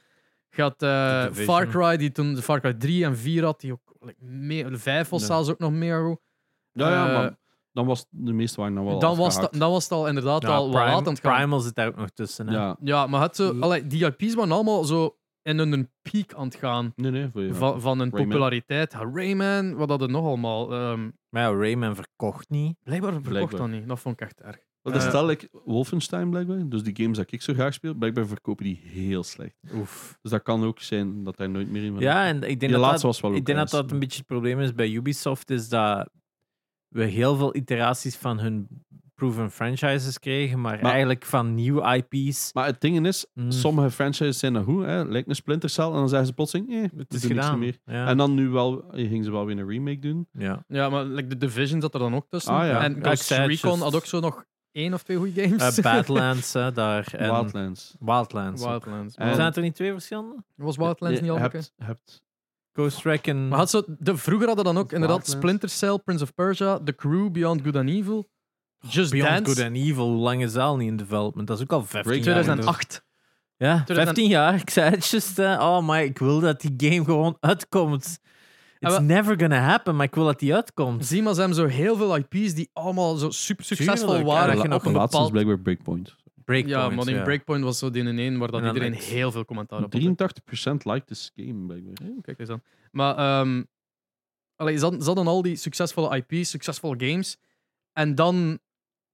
Je had eh,
The Division.
Far Cry, die toen de Far Cry 3 en 4 had, die ook like, meer, 5 was
Ja.
zelfs ook nog meer goed.
Ja, ja,
Eh,
maar dan was de meeste waren dan wel
Dan was, dat,
afgehaakt.
dan was het al inderdaad
Ja,
al wat
Prime-
laat aan het gaan.
Primal zit daar ook nog tussen. Hè?
Ja,
Ja, maar het, zo,
Eh.
allee, die IP's waren allemaal zo in hun piek aan het gaan
nee, nee. Voor je.
van, van hun
Rayman.
populariteit. Ja, Rayman, wat hadden nog allemaal? Ehm,
Maar ja, Rayman verkocht niet.
blijkbaar verkocht
Blijkbaar.
dat niet. Dat vond ik echt erg.
Wel, dat
eh,
stel ik Wolfenstein blijkbaar, dus die games dat ik zo graag speel, blijkbaar verkopen die heel slecht.
Oef.
Dus dat kan ook zijn dat hij nooit meer in
Ja, en ik denk,
Die
dat,
laatste
dat,
was wel
ik
ook
denk dat
ergens.
dat een beetje het probleem is bij Ubisoft, is dat we heel veel iteraties van hun proven franchises kregen, maar,
Maar-
eigenlijk van nieuwe IP's.
Maar het ding is,
mm,
sommige franchises zijn dat goed, hè? lijkt een Splinter Cell, en dan zeggen ze plotseling, eh, we
het is
doen niks
gedaan.
meer.
Ja.
En dan nu wel, eh, gingen ze wel weer een remake doen.
ja.
Ja, maar like, de Division zat er dan ook tussen.
Ah, ja.
En
Ja,
Ghost
ik zei het
Recon
juist.
had ook zo nog één of twee goede games.
Eh, Badlands, hè, daar. En Wildlands.
Wildlands.
ook.
Wildlands.
En-
Zijn het er niet twee verschillende?
was Wildlands niet al
Eh, Je
oké?
hebt, hebt
Ghost Recon.
Maar had zo, de, vroeger hadden dan ook inderdaad
Wildlands.
Splinter Cell, Prince of Persia, The Crew, Beyond Good and Evil, Just
Beyond
Dance,
Good and Evil, hoe lang is dat al niet in development? Dat is ook al 15 jaar.
Breakdown.
2008.
Ja,
2000
15 jaar. Ik zei het just, eh, oh my, ik wil dat die game gewoon uitkomt.
Ah,
It's
wel-
never gonna happen, maar ik wil dat die uitkomt.
Zie maar, ze hebben zo heel veel IP's die allemaal zo super succesvol
Tuurlijk,
waren.
ja, dat je
op
nog
een
de laatste is
bepaald...
blijkbaar Breakpoint.
Breakpoint,
Ja, maar in Breakpoint was zo die in één waar dat
En dan
iedereen
echt-
heel veel commentaar op had.
83% liked this game, blijkbaar.
Oeh, Kijk eens aan. Maar ehm allee, ze, hadden, ze hadden al die succesvolle IP's, succesvolle games. En dan,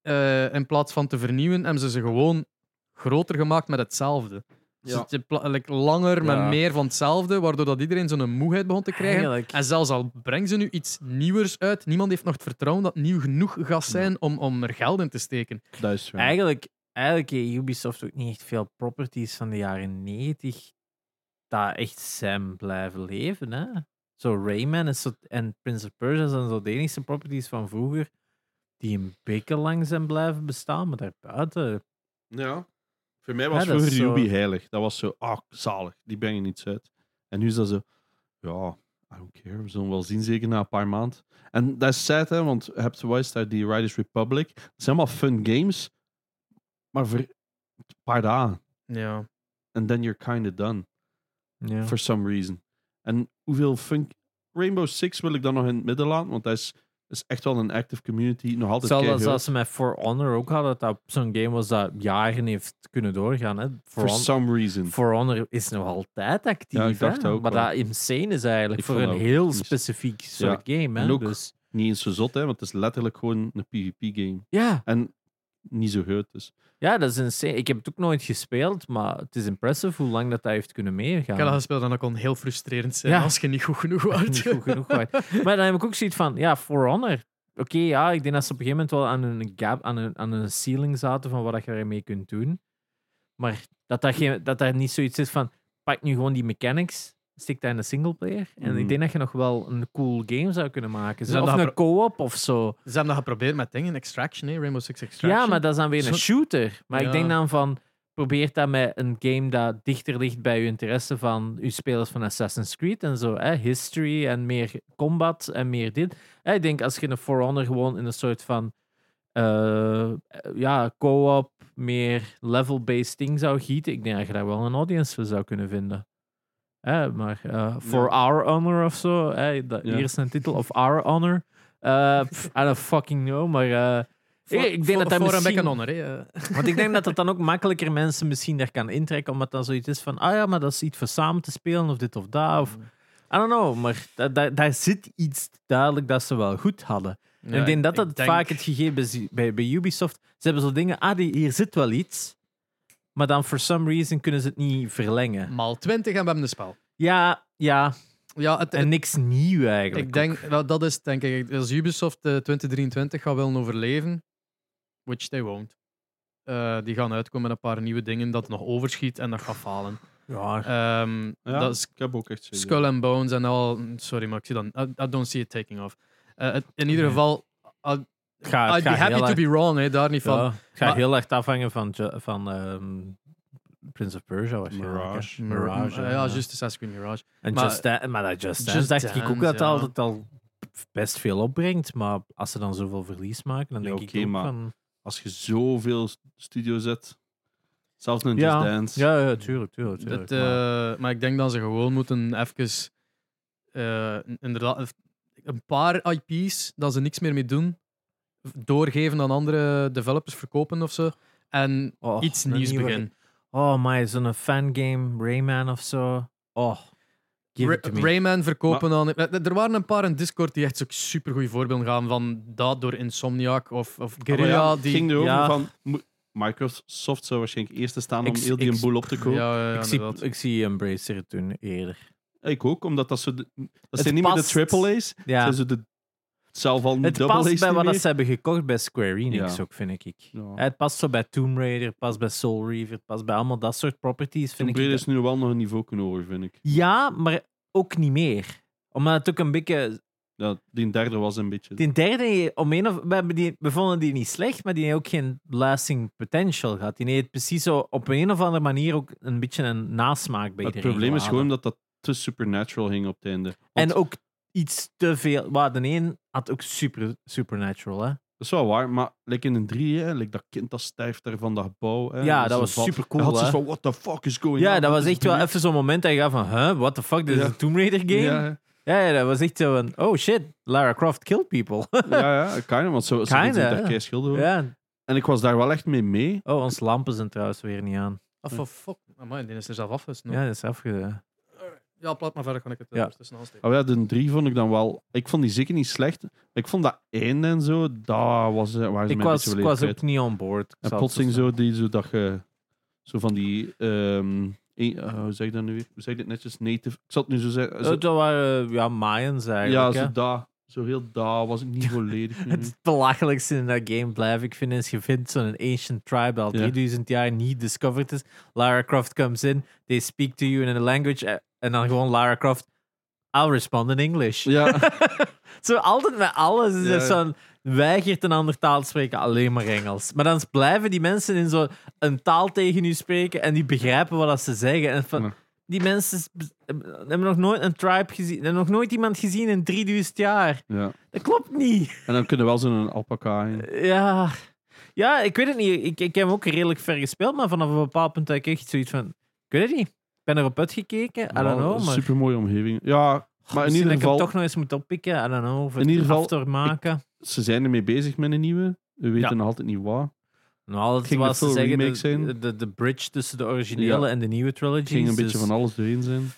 eh, in plaats van te vernieuwen, hebben ze ze gewoon groter gemaakt met hetzelfde. Dus
Ja.
het- in pla- like, langer
Ja.
met meer van hetzelfde, waardoor dat iedereen zo'n moeheid begon te krijgen.
Eigenlijk.
En zelfs al brengen ze nu iets nieuwers uit, niemand heeft nog het vertrouwen dat het nieuw genoeg gaat zijn om, om er geld in te steken.
Dat is waar.
Eigenlijk, eigenlijk heeft Ubisoft ook niet echt veel properties van de jaren 90 dat echt zijn blijven leven. Hè? Zo Rayman en, zo, en Prince of Persia zijn zo de enige properties van vroeger die een beetje lang zijn blijven bestaan, maar daarbuiten...
Ja. Voor mij
Ja,
was
dat
vroeger
is zo.
Ruby heilig. Dat was zo, ah, zalig, die brengen niets uit. En nu is dat zo, ja, I don't care, we zullen wel zien, zeker na een paar maanden. En dat is sad, hè, want je hebt Wise daar die Riders Republic. Het zijn allemaal fun games, maar voor een paar dagen.
Ja.
And then you're kind of done,
Ja.
for some reason. En hoeveel fun... Rainbow Six wil ik dan nog in het midden laten, want dat is, is echt wel een active community, nog altijd
Hetzelfde als
keihard.
dat ze met For Honor ook hadden, dat dat zo'n game was dat jaren heeft kunnen doorgaan. Hè? For,
For
Hon-
some reason.
For Honor is nog altijd actief.
Ja, ik dacht
hè?
ook
maar
wel.
dat insane is eigenlijk
Ik
voor
vond
een
dat ook
heel
niet zo-
specifiek soort game. Hè?
En ook-
dus,
Niet eens zo zot, hè, want het is letterlijk gewoon een PvP-game.
ja,
En niet zo groot, dus.
ja, dat is insane. Ik heb het ook nooit gespeeld, maar het is impressive hoe lang dat, dat heeft kunnen meegaan.
Ik heb dat gespeeld en dat kon heel frustrerend zijn
Ja.
als je niet goed genoeg was.
niet goed genoeg waard. Maar dan heb ik ook zoiets van, ja, For Honor. Oké, ja, ik denk dat ze op een gegeven moment wel aan hun, gap, aan hun, aan hun ceiling zaten van wat dat je ermee kunt doen. Maar dat daar, geen, dat daar niet zoiets is van, pak nu gewoon die mechanics, stik dat in een singleplayer. En
Mhm.
ik denk dat je nog wel een cool game zou kunnen maken.
Ze hebben
of
dat
een co-op of zo.
Ze hebben dat geprobeerd met dingen, Extraction, hè? Rainbow Six Extraction.
Ja, maar dat is dan weer
Zo-
een shooter. Maar
Ja.
ik denk dan van, probeer dat met een game dat dichter ligt bij je interesse van je spelers van Assassin's Creed en zo. Hè? History en meer combat en meer dit. Hè, ik denk als je een For Honor gewoon in een soort van eh, ja, co-op, meer level-based ding zou gieten, ik denk dat je daar wel een audience voor zou kunnen vinden. Hè, maar eh, For Our Honor of zo, hè, dat,
Ja.
hier is een titel, of Our Honor. Eh, pff, I don't fucking know, maar eh, ik- ik denk dat dat
voor
misschien-
een honor, hè? eh.
want ik denk dat dat dan ook makkelijker mensen misschien daar kan intrekken, omdat dan zoiets is van, ah ja, maar dat is iets voor samen te spelen, of dit of dat, of... I don't know, maar da- da- daar zit iets duidelijk dat ze wel goed hadden. En ik denk dat dat
denk-
vaak het gegeven is bij, bij Ubisoft. Ze hebben zo dingen, ah, die, hier zit wel iets, maar dan for some reason kunnen ze het niet verlengen.
Maal 20 en we hebben een spel.
Ja, ja,
Ja, het,
en niks nieuw eigenlijk.
ik denk, wel, dat is het, denk ik, als Ubisoft eh, 2023 gaat willen overleven, which they won't. Eh, die gaan uitkomen met een paar nieuwe dingen dat nog overschiet en dat gaat falen.
Ja,
Ehm,
Ja,
Dat is
ik heb ook echt zoiets.
Skull and Bones en al. Sorry, maar ik zie dan. I, I don't see it taking off. Eh, het- in ieder
Nee.
geval,
het gaat,
I'd
het
be
gaat
happy
heel
to
erg-
be wrong, hè, daar niet van.
ja, het gaat
maar-
heel erg afhangen van, Ju- van ehm, Prince of Persia. waarschijnlijk, hè.
Mirage.
Mir-
Mirage, ja.
eh, ja, just Assassin's Creed Mirage.
En
Maar-
maar, Just Dan- maar dat Just Dance
Just
dacht ik ook
Dance,
dat
ja.
dat altijd al best veel opbrengt. Maar als ze dan zoveel verlies maken, dan
Ja,
denk
oké,
ik ook
maar-
van...
Als je zoveel studio zet, Zelfs een
ja.
Just Dance.
Ja, ja, tuurlijk, tuurlijk. tuurlijk.
Dat, eh,
maar-
maar ik denk dat ze gewoon moeten even eh, inderdaad een paar IP's dat ze niks meer mee doen doorgeven aan andere developers verkopen of zo en
oh,
eh, iets
een
nieuws
nieuwe-
beginnen.
Oh my, zo'n fangame, Rayman of zo. Oh, give it to
Ra-
me.
Rayman verkopen aan. Eh, Er waren een paar in Discord die echt zo'n supergoeie voorbeelden gaan van dat door Insomniac of, of
Maar ja,
Guerrilla.
het
die,
ging erover
ja.
van... mo- Microsoft zou waarschijnlijk eerst te staan om
Ik-
heel die
ik-
boel op te
ja,
kopen.
ja,
ik,
inderdaad.
zie, ik zie Embracer het doen eerder.
Ik ook, omdat dat, zo de, dat
Het
zijn niet meer de
past.
triple-A's.
Ja.
Zijn ze de, het zal van
Het
double-A's
past bij
niet
wat dat
meer.
ze hebben gekocht bij Square Enix
Ja.
ook, vind ik.
Ja.
Het past zo bij Tomb Raider, het past bij Soul Reaver, het past bij allemaal dat soort properties, vind
Tomb
ik.
Raider is nu wel nog een niveau kunnen horen, vind ik.
Ja, maar ook niet meer. Omdat het ook een beetje...
Ja, die derde was een beetje...
Die derde, om een of, we, hebben die, we vonden die niet slecht, maar die heeft ook geen lasting potential gehad. Die heeft precies zo op een of andere manier ook een beetje een nasmaak bij
het
iedereen
probleem is
gelaten.
gewoon dat dat te supernatural ging op het einde. Want
En ook iets te veel... Waar de een had ook super, supernatural, hè?
Dat is wel waar, maar like in een drie, hè, like dat kind dat stijft daar van dat gebouw. Hè,
Ja,
en
dat
zo
was
valt-
supercool,
Hij had
hè.
zoiets van, what the fuck is going on?
Ja, dat
Dit
was
is
echt wel
dus drie.
even zo'n moment dat je gaat van... Huh, what the fuck, dit is
Ja.
een Tomb Raider game? Ja.
Ja,
ja, dat was echt zo van... Oh shit, Lara Croft killed people.
ja, ja kind of, want zo, zo
Kinda,
doet hij
ja.
daar kei schilder over.
ja.
En ik was daar wel echt mee mee.
Oh, onze lampen zijn trouwens weer niet aan.
Ah, van fuck. Amai, die is er zelf afgesnoeid.
Ja, dat is afge...
Ja, plat maar verder kan ik het
Ja.
ja. tussen aansteken.
Oh ja, de drie vond ik dan wel... Ik vond die zeker niet slecht. Ik vond dat einde en zo, daar was, eh, waren ze
Ik
mij
was,
een beetje
ik
volledig
was
kwijt.
ook niet on board. Ik dus
En
zal
plotseling
het
zo, die, zo dat je zo van die. ehm, een- eh, hoe zeg ik dat nu weer? Hoe zeg ik dit netjes? Native. Ik zal het nu zo zeggen.
zo-
Zo-
Eh, dat waren eh, ja, Mayans
ja,
eigenlijk. hè.
zo daar. Zo heel daar was ik niet volledig. mee.
Het belachelijkste in dat game blijf ik vinden is je vindt zo'n ancient tribe dat al
Ja.
3000 jaar niet discovered is. Lara Croft comes in, they speak to you in a language eh, en dan gewoon Lara Croft, I'll respond in English.
ja,
Zo altijd met alles is
Ja.
het zo'n weigert een andere taal te spreken, alleen maar Engels. Maar dan blijven die mensen in zo'n taal tegen u spreken en die begrijpen wat dat ze zeggen. En van,
Ja.
Die mensen s- hebben nog nooit een tribe gezien, hebben nog nooit iemand gezien in 3000 jaar.
ja.
Dat klopt niet.
En dan kunnen we wel zo'n alpaca in.
Ja, ja ik weet het niet. Ik, ik heb hem ook redelijk ver gespeeld, maar vanaf een bepaald punt had ik echt zoiets van: ik weet het niet. Ik ben erop uitgekeken. I don't know. Maar
Nou, Super mooie omgeving. Ja, maar in
misschien
ieder
dat
geval,
ik hem toch nog eens moet oppikken. I don't know. Of
In ieder geval,
after maken.
ze zijn ermee bezig met een nieuwe. We weten
Ja.
nog altijd niet waar.
Nou, dat
Ging
was
er
te
veel
zeggen, de,
remakes in?
de, de, de bridge tussen de originele
Ja.
en de nieuwe dus- trilogy.
Het ging een beetje van alles doorheen zijn.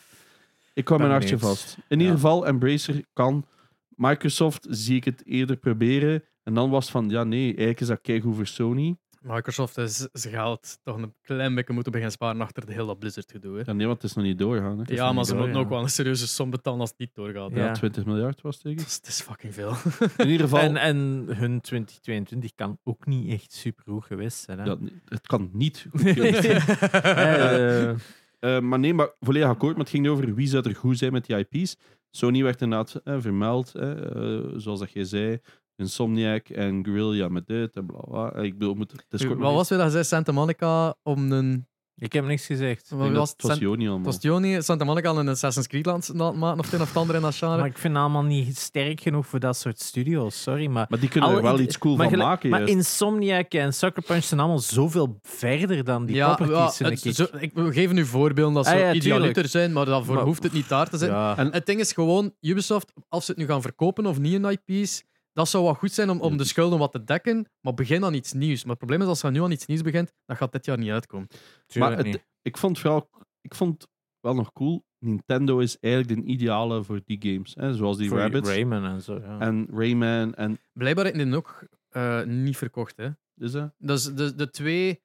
Ik kwam
Ben
mijn hartje
benieuwd.
vast. In ieder
Ja.
geval, Embracer kan. Microsoft zie ik het eerder proberen. En dan was het van, ja nee, eigenlijk is dat keigoed voor Sony.
Microsoft is zijn geld toch een klein beetje moeten beginnen sparen achter de hele dat Blizzard gedoe. Hè.
Ja nee, want het is nog niet doorgaan. Hè.
is
Ja,
nog
maar
niet
ze
door,
moeten
ja.
ook wel een serieuze som betalen als het niet doorgaat. hè.
Ja.
Ja. 20 miljard was het
Dat
zeker.
is, dat is fucking veel.
In ieder geval,
En, eh, en hun 2022 kan ook niet echt super goed geweest zijn. Hè?
ja, het kan niet goed geweest zijn.
Eh, eh,
Eh, maar nee, maar volledig akkoord. Maar het ging over wie zou er goed zijn met die IP's. Sony werd inderdaad eh, vermeld, eh, eh, zoals dat jij zei. Insomniac en Guerrilla met dit en bla bla. Eh, Ik bedoel, moet Discord
Wat was weer dat gezegd? Santa Monica om een...
ik heb niks gezegd.
Wat
Ik denk
was
dat
het?
het was
San-
Joni
het
allemaal.
was Joni, Santa Monica aan een Assassin's Creed laat- laat maken of het een of het ander in dat genre.
Maar ik vind het allemaal niet sterk genoeg voor dat soort studios. Sorry, maar...
Maar die kunnen
Alle
er wel
ide-
iets cool
maar
van
gelijk-
maken.
Maar
juist.
Insomniac en Sucker Punch zijn allemaal zoveel verder dan die
ja,
properties,
ja,
vind
het-
ik.
zo- ik, we geven nu voorbeelden dat ze
Ah, ja,
idealiter
tuurlijk.
zijn, maar daarvoor
Maar-
hoeft het niet daar te zijn.
Ja.
En-
Het ding is gewoon, Ubisoft, als ze het nu gaan verkopen of niet in IP's, dat zou wel goed zijn om, om de schulden wat te dekken, maar begin aan iets nieuws. Maar het probleem is, als je nu aan iets nieuws begint, dan gaat dit jaar niet uitkomen.
Tuurlijk
maar het-
niet.
Ik vond vooral, ik vond wel nog cool. Nintendo is eigenlijk de ideale voor die games. Hè? Zoals die
Voor
Rabbids
Rayman en zo. Ja.
en Rayman en
Blijkbaar heeft dit ook eh, niet verkocht. Hè.
is dat?
Dus de, de twee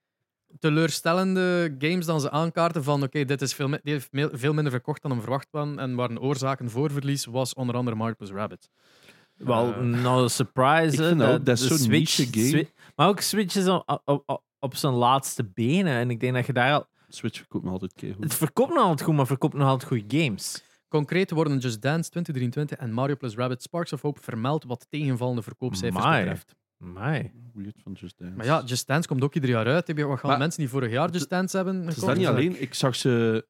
teleurstellende games dan ze aankaarten van oké, dit is veel, mi- die heeft me- veel minder verkocht dan hem verwacht waren en waren oorzaken voor verlies, was onder andere Marcus Rabbit.
Wel,
Eh,
not a surprise.
ik
hè,
vind dat ook, dat is
de
zo'n niche game.
Swi- maar ook Switch is op, op, op, op zijn laatste benen. En ik denk dat je daar al...
Switch verkoopt me altijd
Het
keigoed.
verkoopt nog altijd goed, maar verkoopt nog altijd goede games.
Concreet worden Just Dance 2023 en Mario plus Rabbit Sparks of Hope vermeld wat tegenvallende verkoopcijfers
Amai.
betreft.
Amai.
Weird van Just Dance.
Maar ja, Just Dance komt ook ieder jaar uit. Heb je- Wat gaan
Maar-
mensen die vorig jaar Just Dance hebben
Het is dat
gekocht?
niet alleen. Ik zag ze...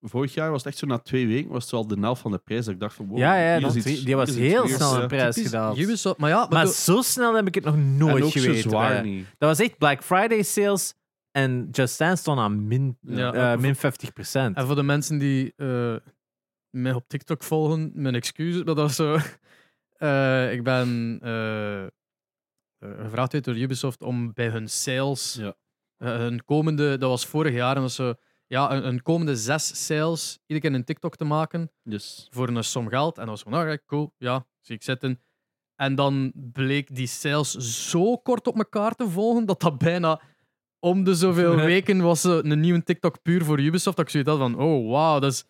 Vorig jaar was het echt zo na twee weken was het al de helft van de prijs dat ik dacht van wow,
ja, ja,
hier
dat,
is iets-
die,
hier
die was
is iets
heel
weirds,
snel
ja.
een prijs
Typisch
gedaan.
Ubisoft, maar ja, maar
Maar
doe-
zo snel heb ik het nog
En
nooit
ook zo
geweten.
zwaar
hè.
niet.
Dat was echt Black Friday sales En Just Dance stond aan min,
Ja.
eh, min 50
En voor de mensen die eh, mij op TikTok volgen, mijn excuses, maar dat is zo. Eh, ik ben eh, eh, gevraagd werd door Ubisoft om bij hun sales,
Ja.
eh, hun komende, dat was vorig jaar, en dat ze ja, een, een komende zes sales iedere keer een TikTok te maken
Yes.
voor een som geld. En dat was van, ah, ja, cool, ja, zie ik zitten. En dan bleek die sales zo kort op elkaar te volgen dat dat bijna om de zoveel weken was eh, een nieuwe TikTok puur voor Ubisoft. Dat ik zoiets had van, oh wow, dat is...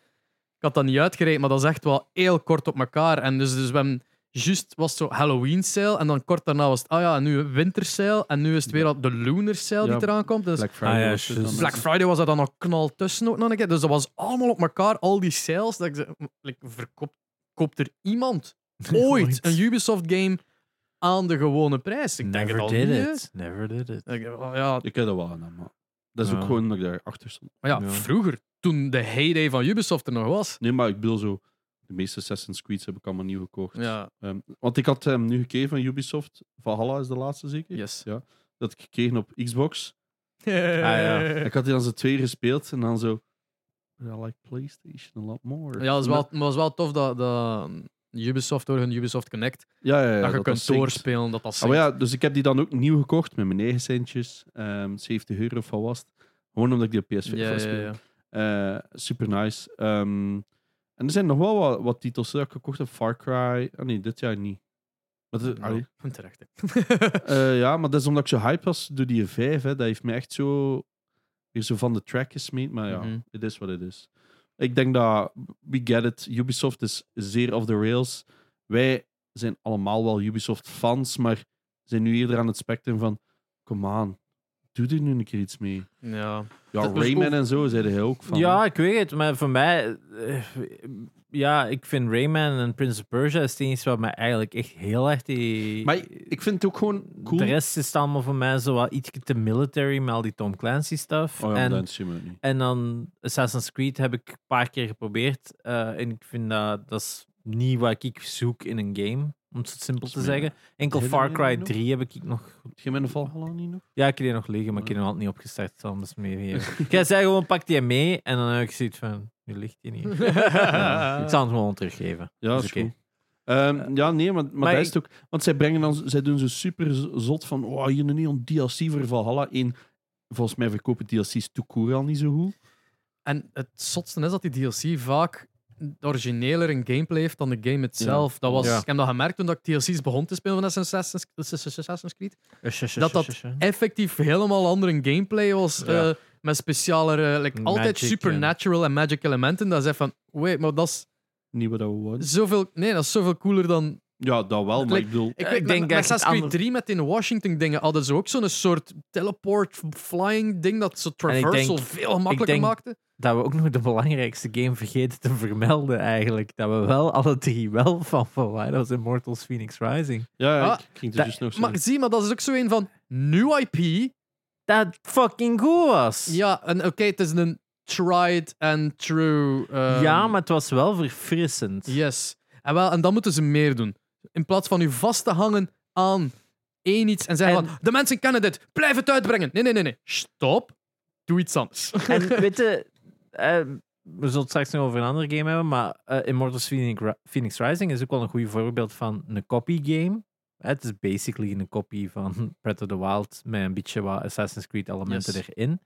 ik had dat niet uitgereikt, maar dat is echt wel heel kort op elkaar. En dus, dus we hebben juist was het zo Halloween sale en dan kort daarna was het, ah ja, en nu winter sale en nu is het weer al de Lunar sale
Ja.
die eraan komt. Dus
Black Friday.
Ah, ja,
was het
juist.
dan. eh,
Black Friday was er dan nog knal tussen ook nog een keer. Dus dat was allemaal op elkaar, al die sales. Dat ik zei, like, verkoopt koopt er iemand ooit
Ooit.
een Ubisoft-game aan de gewone prijs? Ik denk
Never
het al
did
niet, hè.
it. Never did it.
Ik, oh ja,
Ik ken dat wel aan, maar dat is
Ja.
ook gewoon dat ik daarachter stond.
maar ja,
Ja.
vroeger, toen de heyday van Ubisoft er nog was.
Nee, maar ik bedoel zo, de meeste Assassin's Creed heb ik allemaal nieuw gekocht.
Ja,
Ehm, want ik had hem nu gekeken van Ubisoft. Valhalla is de laatste zeker.
yes.
Ja. Dat ik gekregen op Xbox.
Ah,
ja.
Ik had die dan zo twee gespeeld en dan zo. I like PlayStation a lot more.
Ja, dat is wel, maar dat is wel tof dat, dat Ubisoft door hun Ubisoft Connect,
Ja, ja, ja,
dat je kunt
zinkt.
doorspelen, dat dat
Ah, maar
zinkt.
ja, dus ik heb die dan ook nieuw gekocht met mijn eigen centjes. ehm 70 euro van was het. Gewoon omdat ik die op PS4
ja,
wil
ja, ja.
spelen. Eh, super nice. Ehm, en er zijn nog wel wat, wat titels hè, dat ik gekocht heb. Far Cry. Ah nee, dit jaar niet. Maar de- allee.
Nou, terecht, hè.
Eh, ja, maar dat is omdat ik zo hype was door die 5. Hè. Dat heeft me echt zo weer zo van de track gesmeed. Maar ja,
Mhm.
het is wat het is. Ik denk dat we get it. Ubisoft is zeer off the rails. Wij zijn allemaal wel Ubisoft fans, maar zijn nu eerder aan het spectrum van: come on, doe er nu een keer iets mee.
Ja.
Ja,
Dat was
Rayman
ook-
en zo zeiden hij ook van.
Ja, ik weet het, maar voor mij. eh, ja, ik vind Rayman en Prince of Persia is het enige wat mij eigenlijk echt heel erg die.
Maar ik vind het ook gewoon cool.
eh, De rest is allemaal voor mij zo wat iets te military met al die Tom Clancy stuff.
Oh ja, maar
en,
dat zien we niet.
en dan Assassin's Creed heb ik een paar keer geprobeerd. eh, en ik vind dat dat is niet wat ik zoek in een game. Om het zo simpel
Dat
te
is mij-
zeggen. Enkel
Hebben
Far
jullie
Cry
nog?
3 heb ik nog
Heb je mijn Valhalla niet nog?
ja, ik heb die nog liggen, maar ik heb hem altijd niet opgestart. zal hem dus mee geven. Jij zei gewoon, pak die mee. En dan heb ik zoiets van, nu ligt die niet. Ja, ik zal hem gewoon teruggeven.
Ja,
Dat
dat
is
is
oké. Eh,
goed. Ehm, ja, nee, maar, maar,
maar
dat is het ook. Want zij brengen dan, zij doen zo super z- zot van, oh, hier een neon DLC voor Valhalla. Eén, volgens mij verkopen DLC's toekoor al niet zo goed.
En het zotste is dat die DLC vaak origineler een gameplay heeft dan de game itself. Dat was,
Ja.
Ik heb dat gemerkt toen ik DLC's begon te spelen van Assassin's, Assassin's Creed. Dat dat- Effectief helemaal andere gameplay was.
Ja.
eh, met specialere, like, altijd
Magic,
supernatural en magic elementen. Dat is echt van, wait, maar dat
Niet wat we wouden.
is zoveel, nee, dat is zoveel cooler dan
Ja, dat wel, maar
Like-
ik bedoel...
ik
Eh,
weet,
ik
denk
denk
met,
dat ik
met
het
Assassin's Creed
ander-
3 met in Washington dingen hadden ze ook zo'n soort teleport flying ding dat zo
ik
traversal
denk-
veel makkelijker
denk-
maakte.
Dat we ook nog de belangrijkste game vergeten te vermelden eigenlijk. Dat we wel alle drie wel van van waren. Dat was Immortals Phoenix Rising.
Ja, ja,
Ah,
ik ging
dat-
het dus nog zeggen.
Maar zie, maar dat is ook zo een van nieuw IP.
Dat fucking goed was.
Ja, en oké, het is een tried and true. ehm,
Ja, maar het was wel verfrissend.
Yes. En, wel, en dan moeten ze meer doen. In plaats van u vast te hangen aan één iets en zeggen
En-
van, de mensen kennen dit, blijf het uitbrengen. Nee, nee, nee, nee. Stop. Doe iets anders.
En weet je, eh, we zullen het straks nog over een andere game hebben, maar eh, Immortals Phoenix, Ri- Phoenix Rising is ook wel een goed voorbeeld van een copy game. Het is basically een kopie van Breath of the Wild met een beetje wat Assassin's Creed elementen
Yes.
erin.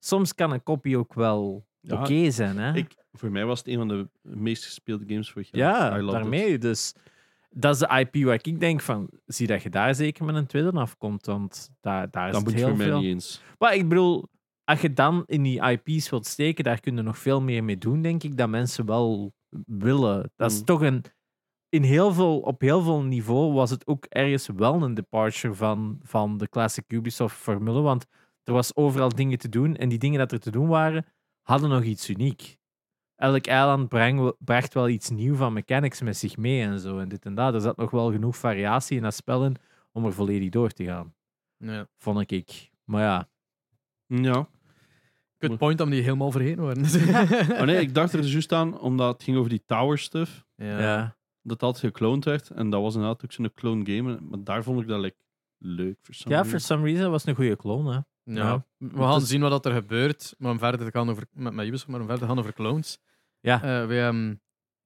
Soms kan een kopie ook wel
Ja,
oké zijn, hè?
ik, voor mij was het een van de meest gespeelde games vorig jaar.
ja,
I loved it.
daarmee. Dus dat is de IP waar ik denk van, zie dat je daar zeker met een tweede afkomt, want daar, daar is
Dat
het
moet je voor
heel
mij
veel.
niet eens.
Maar ik bedoel, als je dan in die IP's wilt steken, daar kun je nog veel meer mee doen, denk ik, dat mensen wel willen. Dat is
Mm.
toch een... In heel veel, op heel veel niveau was het ook ergens wel een departure van, van de classic Ubisoft-formule, want er was overal dingen te doen en die dingen dat er te doen waren, hadden nog iets uniek. Elk eiland breng- bracht wel iets nieuw van mechanics met zich mee en zo en dit en dat. Er zat nog wel genoeg variatie in dat spel in om er volledig door te gaan,
Nee.
vond ik. Maar ja,
Ja.
Good point om die helemaal vergeten worden.
Oh nee, ik dacht er juist aan, omdat het ging over die tower stuff.
ja.
ja.
Dat dat gecloned werd. En dat was inderdaad ook zo'n clone game. Maar daar vond ik dat like, leuk. for some
Ja,
reason.
for some reason was het een goede clone. Hè. Ja.
Ja. We gaan zien wat dat er gebeurt. Maar om verder te gaan over, met, met Ubisoft, maar om verder te gaan over clones.
Ja.
Eh, we hebben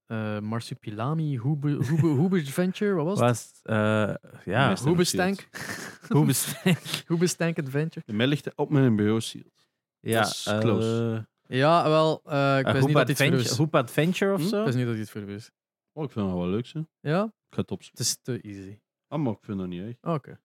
eh Marsupilami, Hoebe- Hoebe- Hoebeadventure, wat was het?
Was, eh ja,
Best-
Hoebestank.
hoe bestemd?
Hoebestank Adventure.
De mij ligt hij op mijn bureau shield.
Ja,
is close.
eh,
Ja, wel, eh ik
een
wist
Hoop
niet dat dit voor u is.
Adventure, Hoop Adventure of
Hm?
zo.
Ik wist niet dat dit voor u is.
Oh, ik vind dat wel leuk, zo. Ik
Ja,
ga het opzoeken.
het is te easy.
Ah, maar ik vind dat niet erg.
Oké.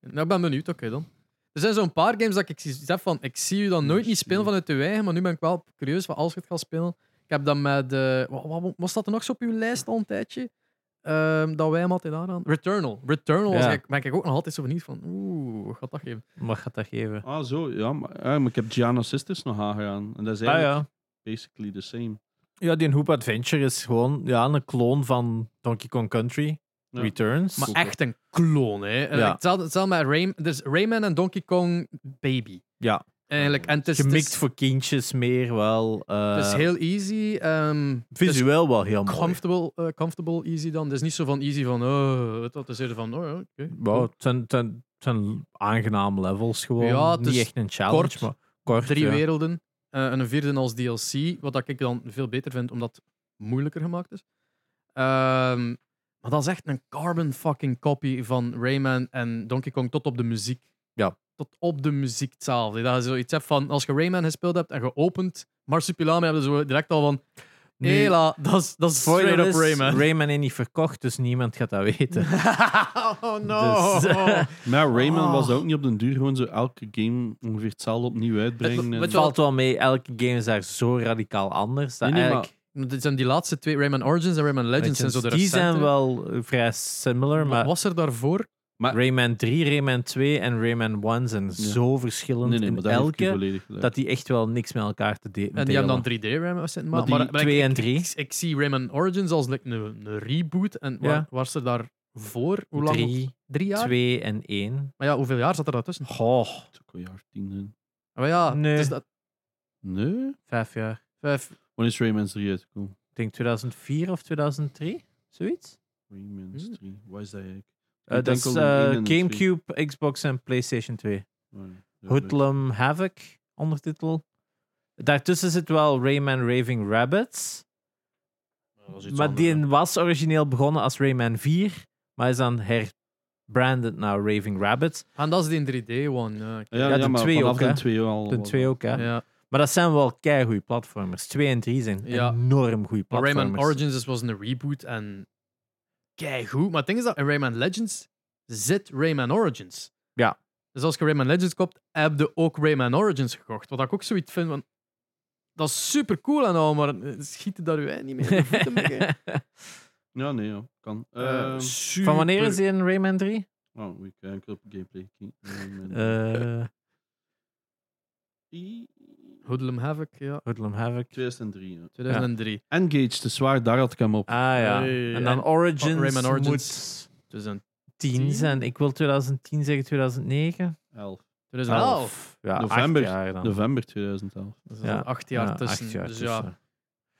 Nou, ik ben benieuwd. Oké dan. Er zijn zo'n paar games dat ik zie- zeg van, ik zie je dan nooit niet spelen vanuit je eigen, maar nu ben ik wel curieus van als je het gaat spelen. Ik heb dan met, eh wat, wat, wat staat er nog zo op uw lijst al een tijdje? Ehm, dat wij hem altijd aan. Returnal. Returnal was
Ja.
ik, ben ik ook nog altijd zo benieuwd van, oeh, wat gaat dat geven?
Wat gaat dat geven?
Ah, zo, ja. Maar, ah, maar ik heb Gianna Sisters nog aangedaan. En dat is
Ah
eigenlijk
ja.
basically the same.
ja, die Hoop Adventure is gewoon ja, een kloon van Donkey Kong Country
Ja.
Returns.
Maar
Super.
echt een kloon, hè. Eh,
Ja.
Ja. Hetzelfde, hetzelfde met Rayman, dus Rayman en Donkey Kong Baby.
Ja.
Eigenlijk. En het is, het
Gemikt
is-
voor kindjes meer wel. eh,
het is heel easy. ehm, het is
visueel wel heel mooi.
comfortable, eh, comfortable easy dan. Dus niet zo van easy van, oh, weet dat is eerder van, oh, ja, oké.
Wow, het zijn, het zijn- het zijn aangename levels gewoon.
Ja, het
niet
is
echt een challenge,
kort.
maar kort.
Drie
ja.
werelden eh, en een vierde als DLC, wat dat ik dan veel beter vind, omdat het moeilijker gemaakt is. Ehm, maar dat is echt een carbon fucking copy van Rayman en Donkey Kong tot op de muziek.
Ja.
Tot op de muziek hetzelfde. Dat je zoiets hebt van, als je Rayman gespeeld hebt en geopend, Marsupilami hebben ze zo direct al van,
Nu,
hela, dat is- dat is
spoiler
straight up
is,
Rayman.
Rayman is niet verkocht, dus niemand gaat dat weten.
oh no!
Dus-
Maar Rayman
Oh.
was dat ook niet op den duur. Gewoon zo elke game ongeveer hetzelfde opnieuw uitbrengen.
Het-
en-
weet je wat-
valt wel mee, elke game is daar zo radicaal anders. Dat
Nee, nee, maar-
eigenlijk,
Maar Dit zijn die laatste twee, Rayman Origins en Rayman Legends, zijn zo de
die
recente.
zijn wel eh, vrij similar,
Wat
maar
was er daarvoor?
Rayman 3, Rayman 2 en Rayman 1 zijn zo verschillend
Nee, nee, maar
in
dat heeft u
elke,
volledig gelijk.
dat die echt wel niks met elkaar te de- delen
En die hebben dan 3D Rayman. was het, Maar,
Maar die
maar- maar ik,
2 en
ik,
3.
ik zie Rayman Origins als like, een, een reboot. En waar
Ja.
was er daarvoor? Hoe lang?
Drie,
Drie jaar?
2 en 1.
Maar ja, hoeveel jaar zat er daartussen?
Goh,
Het is ook al jaar tien zijn.
Maar ja,
Nee.
het is dat,
Nee?
vijf jaar.
vijf,
Wanneer is Rayman's 3 uitgekomen?
Ik denk 2004 of 2003, zoiets.
Rayman's
Hm.
3. Wat is dat eigenlijk?
Hmm. Eh,
Ik
dat
denk
is
al een
eh,
één en een twee.
Gamecube, Xbox en PlayStation 2.
Oh, ja. Ja,
Hoodlum Havoc, ondertitel. Daartussen zit wel Rayman Raving Rabbits.
dat is iets
Maar
anders,
die
hè.
was origineel begonnen als Rayman 4, maar is dan herbranded naar Raving Rabbits.
en Ah, dat is die in 3D one. Ja, oké.
Ja,
Ja,
ja,
de
maar
twee
vanaf
ook,
de
hè.
twee al.
De
was
twee
dat.
ook, hè.
ja.
Maar dat zijn wel goede platformers. 2 en 3 zijn
Ja.
enorm goede
Maar
platformers.
Rayman Origins is- was een reboot en keigoed. Maar het ding is dat in Rayman Legends zit Rayman Origins.
Ja.
Dus als je Rayman Legends koopt, heb je ook Rayman Origins gekocht. Wat ik ook zoiets vind van... Dat is super cool en al, maar eh, schieten daar u niet mee. in de voeten mee,
Ehm,
hè.
Ja, nee, ja. Kan.
Eh,
Ehm,
super-
Van wanneer is die in Rayman 3?
Oh, we can op gameplay. Key. Rayman.
Eh
I-
Hoodlum Havoc, ja.
Hoodlum Havoc.
2003, ja.
2003
Engage, te zwaar, daar had ik hem op.
Ah ja.
Hey,
en
en-
dan Origins,
Rayman Origins.
moet
Dus een
10
10?
zijn. Ik wil 2010 zeggen 2009.
11.
2011.
Ja,
November.
acht jaar dan.
November 2011.
Dus
Ja.
ja. acht jaar
Ja, acht
tussen.
jaar
dus ja.
tussen.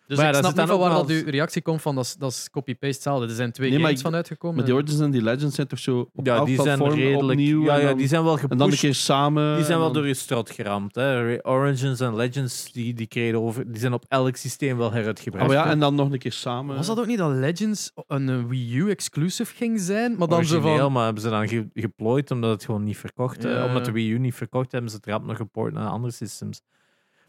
Dus
Maar ja,
ik
daar
snap
zit dan
niet van
ook
waar
wel
dat uw
eens-
reactie komt van, dat is- dat is copy-paste hetzelfde. Er zijn twee
Nee, maar
games
ik-
van uitgekomen.
Maar die Origins en die Legends zijn toch zo op
Ja,
elk
die zijn
platform
redelijk.
opnieuw.
ja,
en
ja,
dan-
die zijn wel gepusht.
En dan een keer samen.
die zijn
en
wel
dan-
door je strot geramd. Hè. Re- Origins en Legends die, die, kregen over, die zijn op elk systeem wel heruitgebracht.
Oh ja,
hè.
en dan nog een keer samen.
Was dat ook niet dat Legends een eh, Wii U-exclusive ging zijn? Maar dan zo
Origineel,
van...
maar hebben ze dan ge- geplooid omdat het gewoon niet verkocht. eh,
Ja.
Omdat de Wii U niet verkocht hebben, ze het rap nog geport naar andere systems.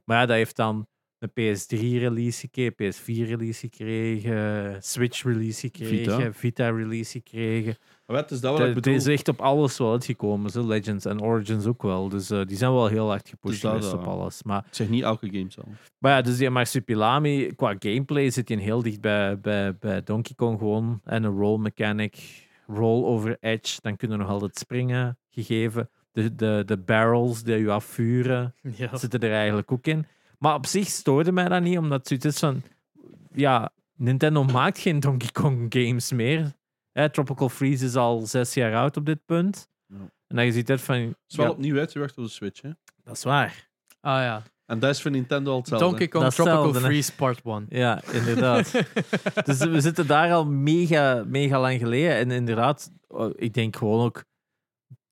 Maar ja, dat heeft dan een PS3-release gekregen, PS4-release gekregen, Switch-release
Vita.
gekregen, Vita-release gekregen.
Ah, Wat is dat wat ik
Het
bedoel?
is echt op alles wel uitgekomen. Zo Legends en Origins ook wel. Dus eh, die zijn wel heel hard gepusht
Dus dat,
geweest
eh,
op alles. Maar,
Ik zeg niet elke game zelf.
maar ja, dus die Marsupilami, qua gameplay zit hij heel dicht bij, bij, bij Donkey Kong gewoon. En een roll mechanic, roll over edge, dan kunnen we nog altijd springen gegeven. De, de, de barrels die je afvuren,
Ja.
zitten er eigenlijk ook in. Maar op zich stoorde mij dat niet, omdat het zoiets is van... Ja, Nintendo maakt geen Donkey Kong games meer. Hè, Tropical Freeze is al zes jaar oud op dit punt.
Ja.
En dan je ziet dat van...
Het is wel
ja,
opnieuw uitgebracht op de Switch. Hè?
dat is waar.
Ah ja.
En dat is voor Nintendo al hetzelfde.
Donkey Kong
Dat is
Tropical
hetzelfde, hè.
Freeze Part 1.
Ja, inderdaad. dus we zitten daar al mega, mega lang geleden. En inderdaad, oh, ik denk gewoon ook